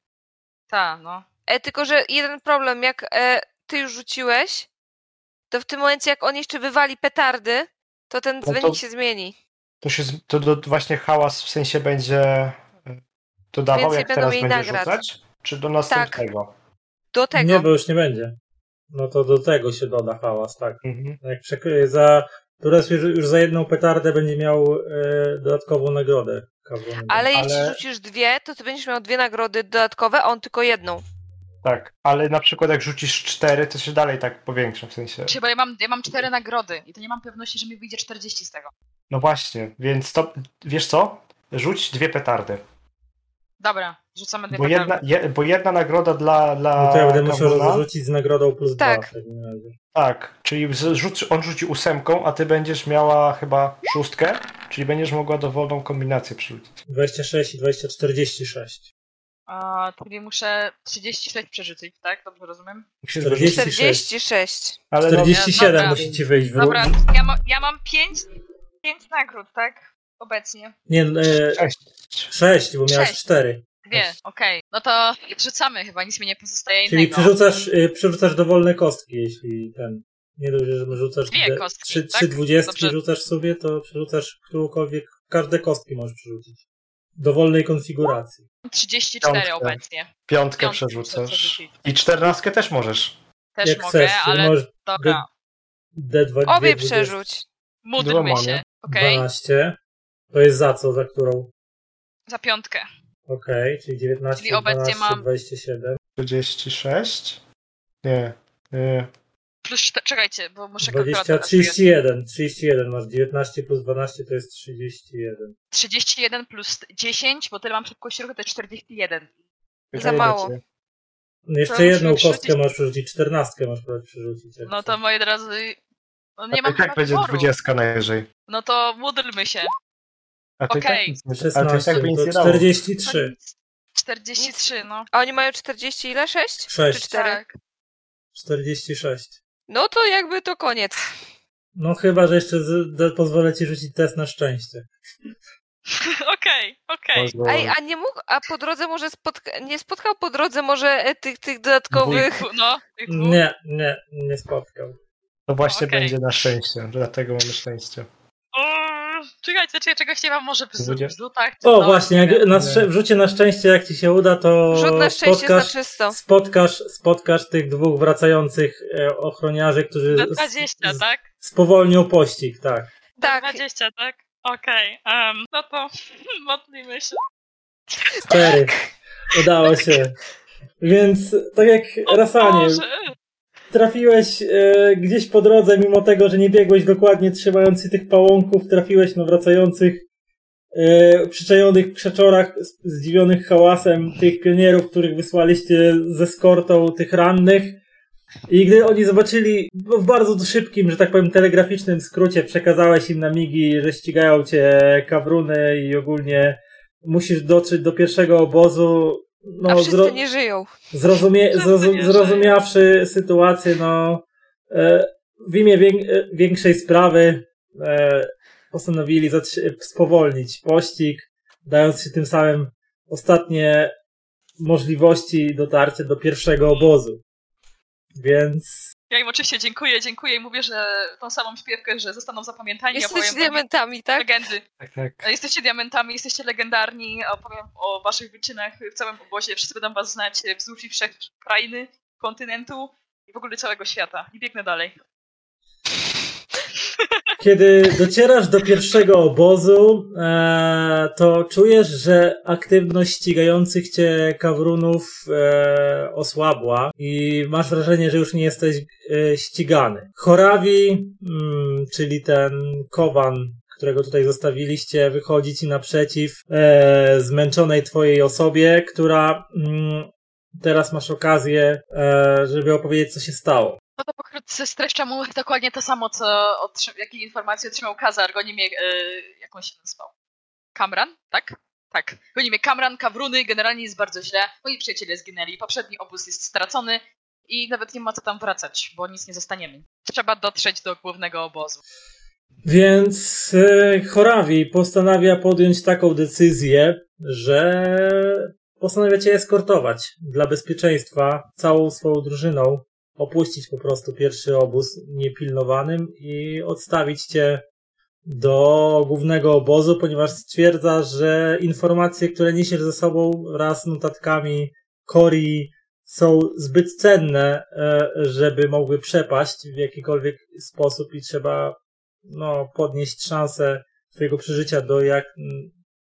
Speaker 3: Tak, no.
Speaker 2: E, tylko, że jeden problem, jak e, ty już rzuciłeś, to w tym momencie, jak on jeszcze wywali petardy, to ten
Speaker 5: to-
Speaker 2: dzwonik się zmieni.
Speaker 4: To, się, z- to, to właśnie hałas w sensie będzie y, dodawał,
Speaker 2: Więcej
Speaker 4: jak
Speaker 2: będą
Speaker 4: teraz
Speaker 2: mieli
Speaker 4: będzie
Speaker 2: nagrad.
Speaker 4: rzucać? Czy do następnego?
Speaker 3: Tak.
Speaker 2: Do tego.
Speaker 1: Nie, bo już nie będzie. No to do tego się doda hałas, tak.
Speaker 4: Mhm.
Speaker 1: Jak przekry- za, teraz już, już za jedną petardę będzie miał e, dodatkową nagrodę kawruną.
Speaker 2: Ale jeśli
Speaker 4: Ale-
Speaker 2: rzucisz dwie, to ty będziesz miał dwie nagrody dodatkowe, a on tylko jedną.
Speaker 4: Tak, ale na przykład jak rzucisz cztery, to się dalej tak powiększa w sensie.
Speaker 3: Czy, bo ja mam, ja mam cztery nagrody i to nie mam pewności, że mi wyjdzie 40 z tego.
Speaker 4: No właśnie, więc to, wiesz co? Rzuć dwie petardy.
Speaker 3: Dobra, rzucamy dwie
Speaker 4: Bo jedna, je, bo jedna nagroda dla. dla
Speaker 1: No to ja będę musiał
Speaker 4: Kawruna-
Speaker 1: rzucić z nagrodą plus dwa.
Speaker 2: Tak.
Speaker 1: w takim razie.
Speaker 4: Tak, czyli z- rzuc, on rzuci ósemką, a ty będziesz miała chyba szóstkę, czyli będziesz mogła dowolną kombinację przerzucić.
Speaker 1: 26 i 20, 46.
Speaker 3: A, czyli muszę 36 przerzucić, tak? Dobrze rozumiem?
Speaker 4: Musisz
Speaker 1: 40.
Speaker 4: wyrzucić,
Speaker 2: 46.
Speaker 4: ale no,
Speaker 1: 47
Speaker 3: dobra.
Speaker 1: musi ci wyjść. Bo...
Speaker 3: Dobra, ja, ma, ja mam 5, pięć nagród, tak? Obecnie.
Speaker 1: Nie, e,
Speaker 4: sześć.
Speaker 1: 6, bo miałeś
Speaker 3: Sześć.
Speaker 1: 4.
Speaker 3: Dwie, okej. No to rzucamy chyba, nic mi nie pozostaje
Speaker 1: Czyli
Speaker 3: innego.
Speaker 1: przerzucasz, y, przerzucasz dowolne kostki, jeśli ten. Nie dość, że rzucasz
Speaker 3: Dwie
Speaker 1: de-
Speaker 3: kostki,
Speaker 1: trzy,
Speaker 3: tak?
Speaker 1: trzy dwudziestki
Speaker 3: Dobrze.
Speaker 1: rzucasz sobie, to przerzucasz którąkolwiek, każde kostki możesz przerzucić. Dowolnej konfiguracji.
Speaker 3: 34
Speaker 4: Piątkę.
Speaker 3: obecnie.
Speaker 4: Piątkę
Speaker 3: Piątkę muszę
Speaker 4: przerzucasz.
Speaker 3: przerzucić.
Speaker 4: I czternastkę też możesz.
Speaker 3: Też
Speaker 1: Jak
Speaker 3: mogę,
Speaker 1: chcesz, to
Speaker 3: ale
Speaker 1: możesz
Speaker 3: dobra.
Speaker 1: D2,
Speaker 2: Obie przerzuć.
Speaker 3: Módlmy
Speaker 5: Dwoma,
Speaker 3: się,
Speaker 5: nie?
Speaker 3: okej?
Speaker 1: 12. To jest za co, za którą?
Speaker 3: Za piątkę.
Speaker 1: Okej, czyli 19,
Speaker 3: Czyli obecnie
Speaker 1: 12,
Speaker 3: mam-
Speaker 1: 27,
Speaker 4: 36? Nie, nie.
Speaker 3: Plus, czte- czekajcie, bo
Speaker 1: 20,
Speaker 3: muszę kalkulatora sobie-
Speaker 1: 31. 31 masz, 19 plus 12 to jest 31.
Speaker 3: 31 plus 10, bo tyle mam szybkość ruchu, to jest 41.
Speaker 2: Za mało.
Speaker 1: No Jeszcze
Speaker 3: To
Speaker 1: jedną
Speaker 3: musimy
Speaker 1: kostkę
Speaker 3: przerzucić-
Speaker 1: możesz przerzucić, 14 możesz przerzucić. jak
Speaker 3: No
Speaker 1: chcesz.
Speaker 3: to moi drodzy, no nie
Speaker 4: Nie
Speaker 3: mam
Speaker 4: tak
Speaker 3: chyba
Speaker 4: będzie
Speaker 3: wyboru.
Speaker 4: dwudziestka najwyżej.
Speaker 3: No to módlmy się.
Speaker 4: A to i
Speaker 3: Okej.
Speaker 4: tak nic nie- ale to i
Speaker 1: 16,
Speaker 4: tak by nic
Speaker 1: to
Speaker 4: nie dało.
Speaker 1: 43.
Speaker 3: 43, no.
Speaker 2: A oni mają 40 ile? 6? Czy
Speaker 1: 6,
Speaker 2: 4?
Speaker 3: Tak.
Speaker 1: 46.
Speaker 2: No to jakby to koniec.
Speaker 1: No chyba, że jeszcze z, da, pozwolę ci rzucić test na szczęście.
Speaker 3: Okej, okej.
Speaker 4: Boże.
Speaker 2: Ej, a nie mógł, a po drodze może spotka, nie spotkał po drodze może e, tych, tych dodatkowych.
Speaker 3: No, tych dwóch.
Speaker 1: Nie, nie, nie spotkał.
Speaker 4: To właśnie
Speaker 3: Okej.
Speaker 4: będzie na szczęście, dlatego mamy szczęście.
Speaker 3: Mm, Czekajcie, czy ja czegoś nie mam może w
Speaker 4: Dwudzie-
Speaker 3: zlutach? czy
Speaker 1: O,
Speaker 3: coś?
Speaker 1: właśnie, jak na
Speaker 4: Nie.
Speaker 1: szczę- w rzucie na szczęście, jak ci się uda, to
Speaker 2: Rzut na szczęście
Speaker 1: spotkasz,
Speaker 2: za czysto.
Speaker 1: spotkasz, spotkasz tych dwóch wracających e, ochroniarzy, którzy
Speaker 3: Do
Speaker 1: s-
Speaker 3: 20,
Speaker 1: s-
Speaker 3: tak?
Speaker 1: spowolnią pościg, tak.
Speaker 3: Do
Speaker 2: Tak.
Speaker 3: 20, tak? Okej, em, no to modlimy się.
Speaker 1: Cztery.
Speaker 2: Tak.
Speaker 1: Udało się. Więc tak jak Rasanie,
Speaker 3: Boże.
Speaker 1: trafiłeś e, gdzieś po drodze, mimo tego, że nie biegłeś dokładnie trzymając się tych pałąków, trafiłeś na wracających e, przyczajonych krzeczorach, z- zdziwionych hałasem tych pionierów, których wysłaliście z eskortą tych rannych. I gdy oni zobaczyli no, w bardzo szybkim, że tak powiem, telegraficznym skrócie, przekazałeś im na migi, że ścigają cię kawruny i ogólnie musisz dotrzeć do pierwszego obozu. No,
Speaker 2: A wszyscy
Speaker 1: zro-
Speaker 2: nie żyją.
Speaker 1: Zrozumie,
Speaker 3: Wszyscy
Speaker 1: zrozum,
Speaker 3: wierzą.
Speaker 1: zrozumiawszy sytuację, no e, w imię wię, e, większej sprawy e, postanowili zatrzy- spowolnić pościg, dając się tym samym ostatnie możliwości dotarcia do pierwszego obozu. Więc
Speaker 3: Ja im oczywiście dziękuję, dziękuję i mówię, że tą samą śpiewkę, że zostaną zapamiętani.
Speaker 2: Jesteś
Speaker 3: opowiem wam
Speaker 2: diamentami, tak?
Speaker 3: legendy.
Speaker 4: Tak, tak.
Speaker 3: Jesteście diamentami, jesteście legendarni, opowiem o waszych wyczynach w całym obozie, wszyscy będą was znać wzdłuż i wszech krainy, kontynentu i w ogóle całego świata. I biegnę dalej.
Speaker 1: Kiedy docierasz do pierwszego obozu, e, to czujesz, że aktywność ścigających cię kawrunów e, osłabła i masz wrażenie, że już nie jesteś e, ścigany. Chorawi, mm, czyli ten kowan, którego tutaj zostawiliście, wychodzi ci naprzeciw e, zmęczonej twojej osobie, która mm, teraz masz okazję, e, żeby opowiedzieć, co się stało.
Speaker 3: No to pokrótce streszczam mu dokładnie to samo, co otrzyma, jakie informacje otrzymał Kazar. Goni mnie, yy, jak on się nazywał? Kamran, tak? Tak. Goni mnie Kamran, Kawruny, generalnie jest bardzo źle. Moi przyjaciele zginęli, poprzedni obóz jest stracony i nawet nie ma co tam wracać, bo nic nie zostaniemy. Trzeba dotrzeć do głównego obozu.
Speaker 1: Więc e, Chorawi postanawia podjąć taką decyzję, że postanawia cię eskortować dla bezpieczeństwa całą swoją drużyną, opuścić po prostu pierwszy obóz niepilnowanym i odstawić cię do głównego obozu, ponieważ stwierdza, że informacje, które niesiesz ze sobą wraz z notatkami Kori są zbyt cenne, e, żeby mogły przepaść w jakikolwiek sposób i trzeba no, podnieść szansę twojego przeżycia do jak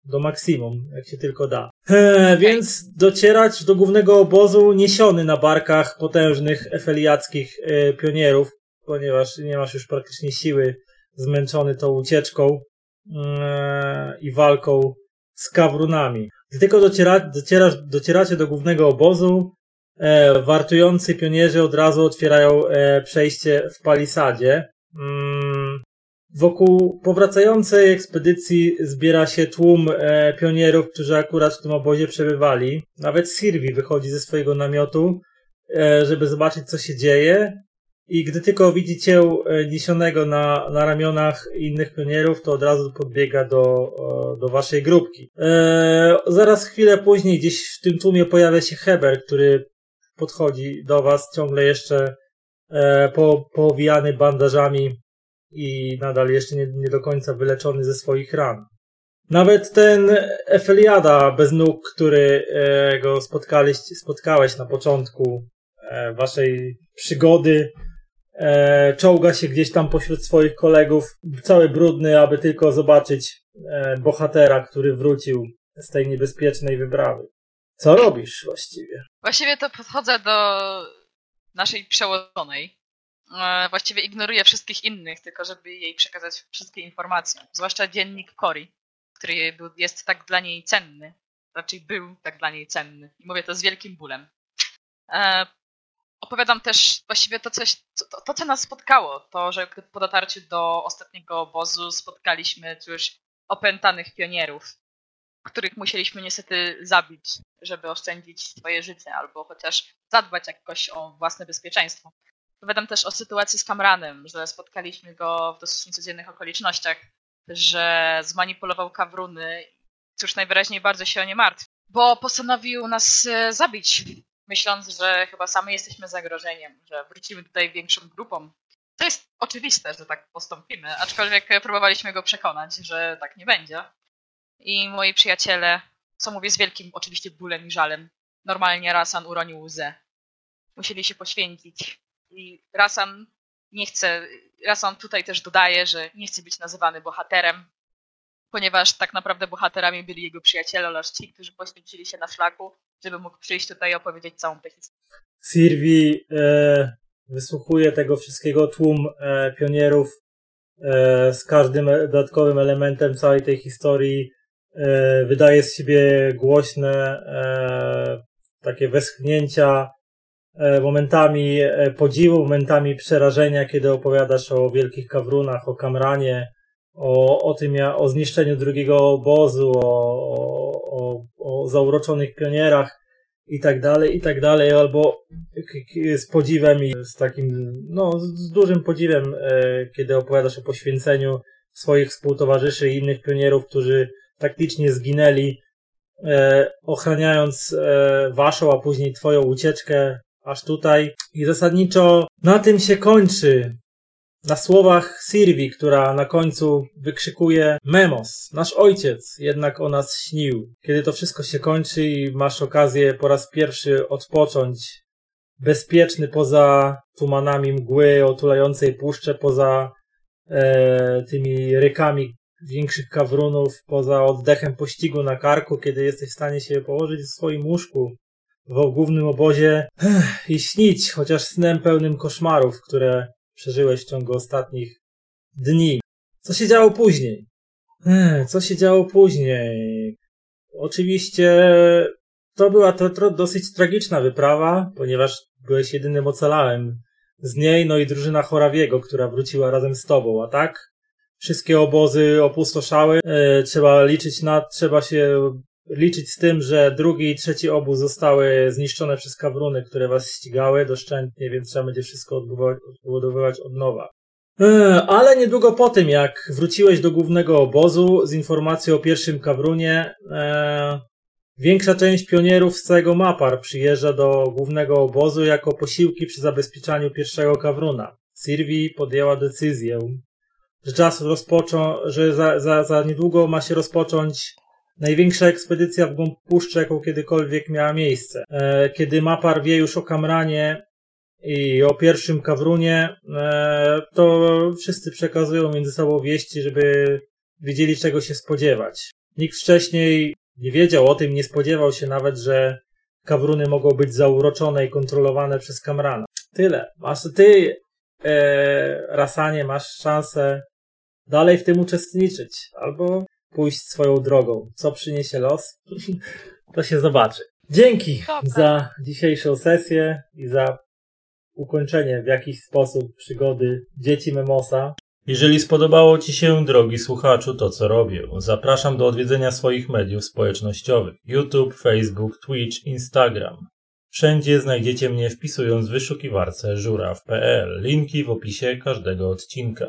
Speaker 1: do maksimum, jak się tylko da. E, więc docierać do głównego obozu niesiony na barkach potężnych efeliackich e, pionierów, ponieważ nie masz już praktycznie siły, zmęczony tą ucieczką e, i walką z kawrunami. Gdy tylko dociera, docierasz, docieracie do głównego obozu, e, wartujący pionierzy od razu otwierają e, przejście w palisadzie. Mm, Wokół powracającej ekspedycji zbiera się tłum e, pionierów, którzy akurat w tym obozie przebywali. Nawet Sirwi wychodzi ze swojego namiotu, e, żeby zobaczyć, co się dzieje. I gdy tylko widzi cię e, niesionego na, na ramionach innych pionierów, to od razu podbiega do, e, do waszej grupki. E, zaraz chwilę później gdzieś w tym tłumie pojawia się Heber, który podchodzi do was ciągle jeszcze e, po, powijany bandażami i nadal jeszcze nie, nie do końca wyleczony ze swoich ran. Nawet ten Efeliada bez nóg, który e, go spotkałeś, spotkałeś na początku e, waszej przygody, e, czołga się gdzieś tam pośród swoich kolegów, cały brudny, aby tylko zobaczyć e, bohatera, który wrócił z tej niebezpiecznej wyprawy. Co robisz właściwie?
Speaker 3: Właściwie to podchodzę do naszej przełożonej. E, Właściwie ignoruję wszystkich innych, tylko żeby jej przekazać wszystkie informacje. Zwłaszcza dziennik Cory, który był- jest tak dla niej cenny. Raczej był tak dla niej cenny. I mówię to z wielkim bólem. E, Opowiadam też właściwie to, coś, to- to, to, co nas spotkało. To, że gdy po dotarciu do ostatniego obozu spotkaliśmy już opętanych pionierów, których musieliśmy niestety zabić, żeby oszczędzić swoje życie albo chociaż zadbać jakoś o własne bezpieczeństwo. Opowiadam też o sytuacji z Kamranem, że spotkaliśmy go w dosyć niecodziennych okolicznościach, że zmanipulował kawruny, cóż najwyraźniej bardzo się o nie martwi, bo postanowił nas e, zabić, myśląc, że chyba sami jesteśmy zagrożeniem, że wrócimy tutaj większą grupą. To jest oczywiste, że tak postąpimy, aczkolwiek e, próbowaliśmy go przekonać, że tak nie będzie. I moi przyjaciele, co mówię z wielkim oczywiście bólem i żalem, normalnie Rasan uronił łzę. Musieli się poświęcić, i Rasan nie chce, Rasan tutaj też dodaje, że nie chce być nazywany bohaterem, ponieważ tak naprawdę bohaterami byli jego przyjaciele oraz ci, którzy poświęcili się na szlaku, żeby mógł przyjść tutaj i opowiedzieć całą tę historię.
Speaker 1: Sirwi e, wysłuchuje tego wszystkiego tłum e, pionierów e, z każdym e- dodatkowym elementem całej tej historii. E, wydaje z siebie głośne e, takie westchnięcia, e, momentami e, podziwu, momentami przerażenia, kiedy opowiadasz o wielkich kawrunach, o Kamranie, o, o tym, ja- o zniszczeniu drugiego obozu, o, o, o, o zauroczonych pionierach i tak dalej, i tak dalej, albo k- k- z podziwem i z takim, no, z- z dużym podziwem, e, kiedy opowiadasz o poświęceniu swoich współtowarzyszy i innych pionierów, którzy taktycznie zginęli, e, ochraniając e, waszą, a później twoją ucieczkę aż tutaj. I zasadniczo na tym się kończy. Na słowach Sirwi, która na końcu wykrzykuje Memos, nasz ojciec, jednak o nas śnił. Kiedy to wszystko się kończy i masz okazję po raz pierwszy odpocząć, bezpieczny poza tumanami mgły otulającej puszczę, poza e, tymi rykami większych kawrunów, poza oddechem pościgu na karku, kiedy jesteś w stanie się położyć w swoim łóżku w głównym obozie ech, i śnić, chociaż snem pełnym koszmarów, które przeżyłeś w ciągu ostatnich dni. Co się działo później? Ech, Co się działo później? Oczywiście to była to, to dosyć tragiczna wyprawa, ponieważ byłeś jedynym ocalałem z niej, no i drużyna Chorawiego, która wróciła razem z tobą, a tak? Wszystkie obozy opustoszały, e, trzeba liczyć na, trzeba się liczyć z tym, że drugi i trzeci obóz zostały zniszczone przez kawruny, które was ścigały doszczętnie, więc trzeba będzie wszystko odbudowa- odbudowywać od nowa. E, Ale niedługo po tym, jak wróciłeś do głównego obozu z informacją o pierwszym kawrunie, e, większa część pionierów z całego Mapar przyjeżdża do głównego obozu jako posiłki przy zabezpieczaniu pierwszego kawruna. Sirwi podjęła decyzję, że czas rozpoczą, że za, za, za niedługo ma się rozpocząć Największa ekspedycja w głąb puszczy, jaką kiedykolwiek miała miejsce. E, Kiedy Mapar wie już o Kamranie i o pierwszym Kawrunie, e, to wszyscy przekazują między sobą wieści, żeby wiedzieli czego się spodziewać. Nikt wcześniej nie wiedział o tym, nie spodziewał się nawet, że Kawruny mogą być zauroczone i kontrolowane przez Kamrana. Tyle. Masz, ty, e, Rasanie, masz szansę dalej w tym uczestniczyć. Albo pójść swoją drogą. Co przyniesie los, to się zobaczy. Dzięki
Speaker 3: Dobra.
Speaker 1: za dzisiejszą sesję i za ukończenie w jakiś sposób przygody dzieci Memosa. Jeżeli spodobało Ci się, drogi słuchaczu, to co robię, zapraszam do odwiedzenia swoich mediów społecznościowych: YouTube, Facebook, Twitch, Instagram. Wszędzie znajdziecie mnie wpisując w wyszukiwarce żuraw.pl. Linki w opisie każdego odcinka.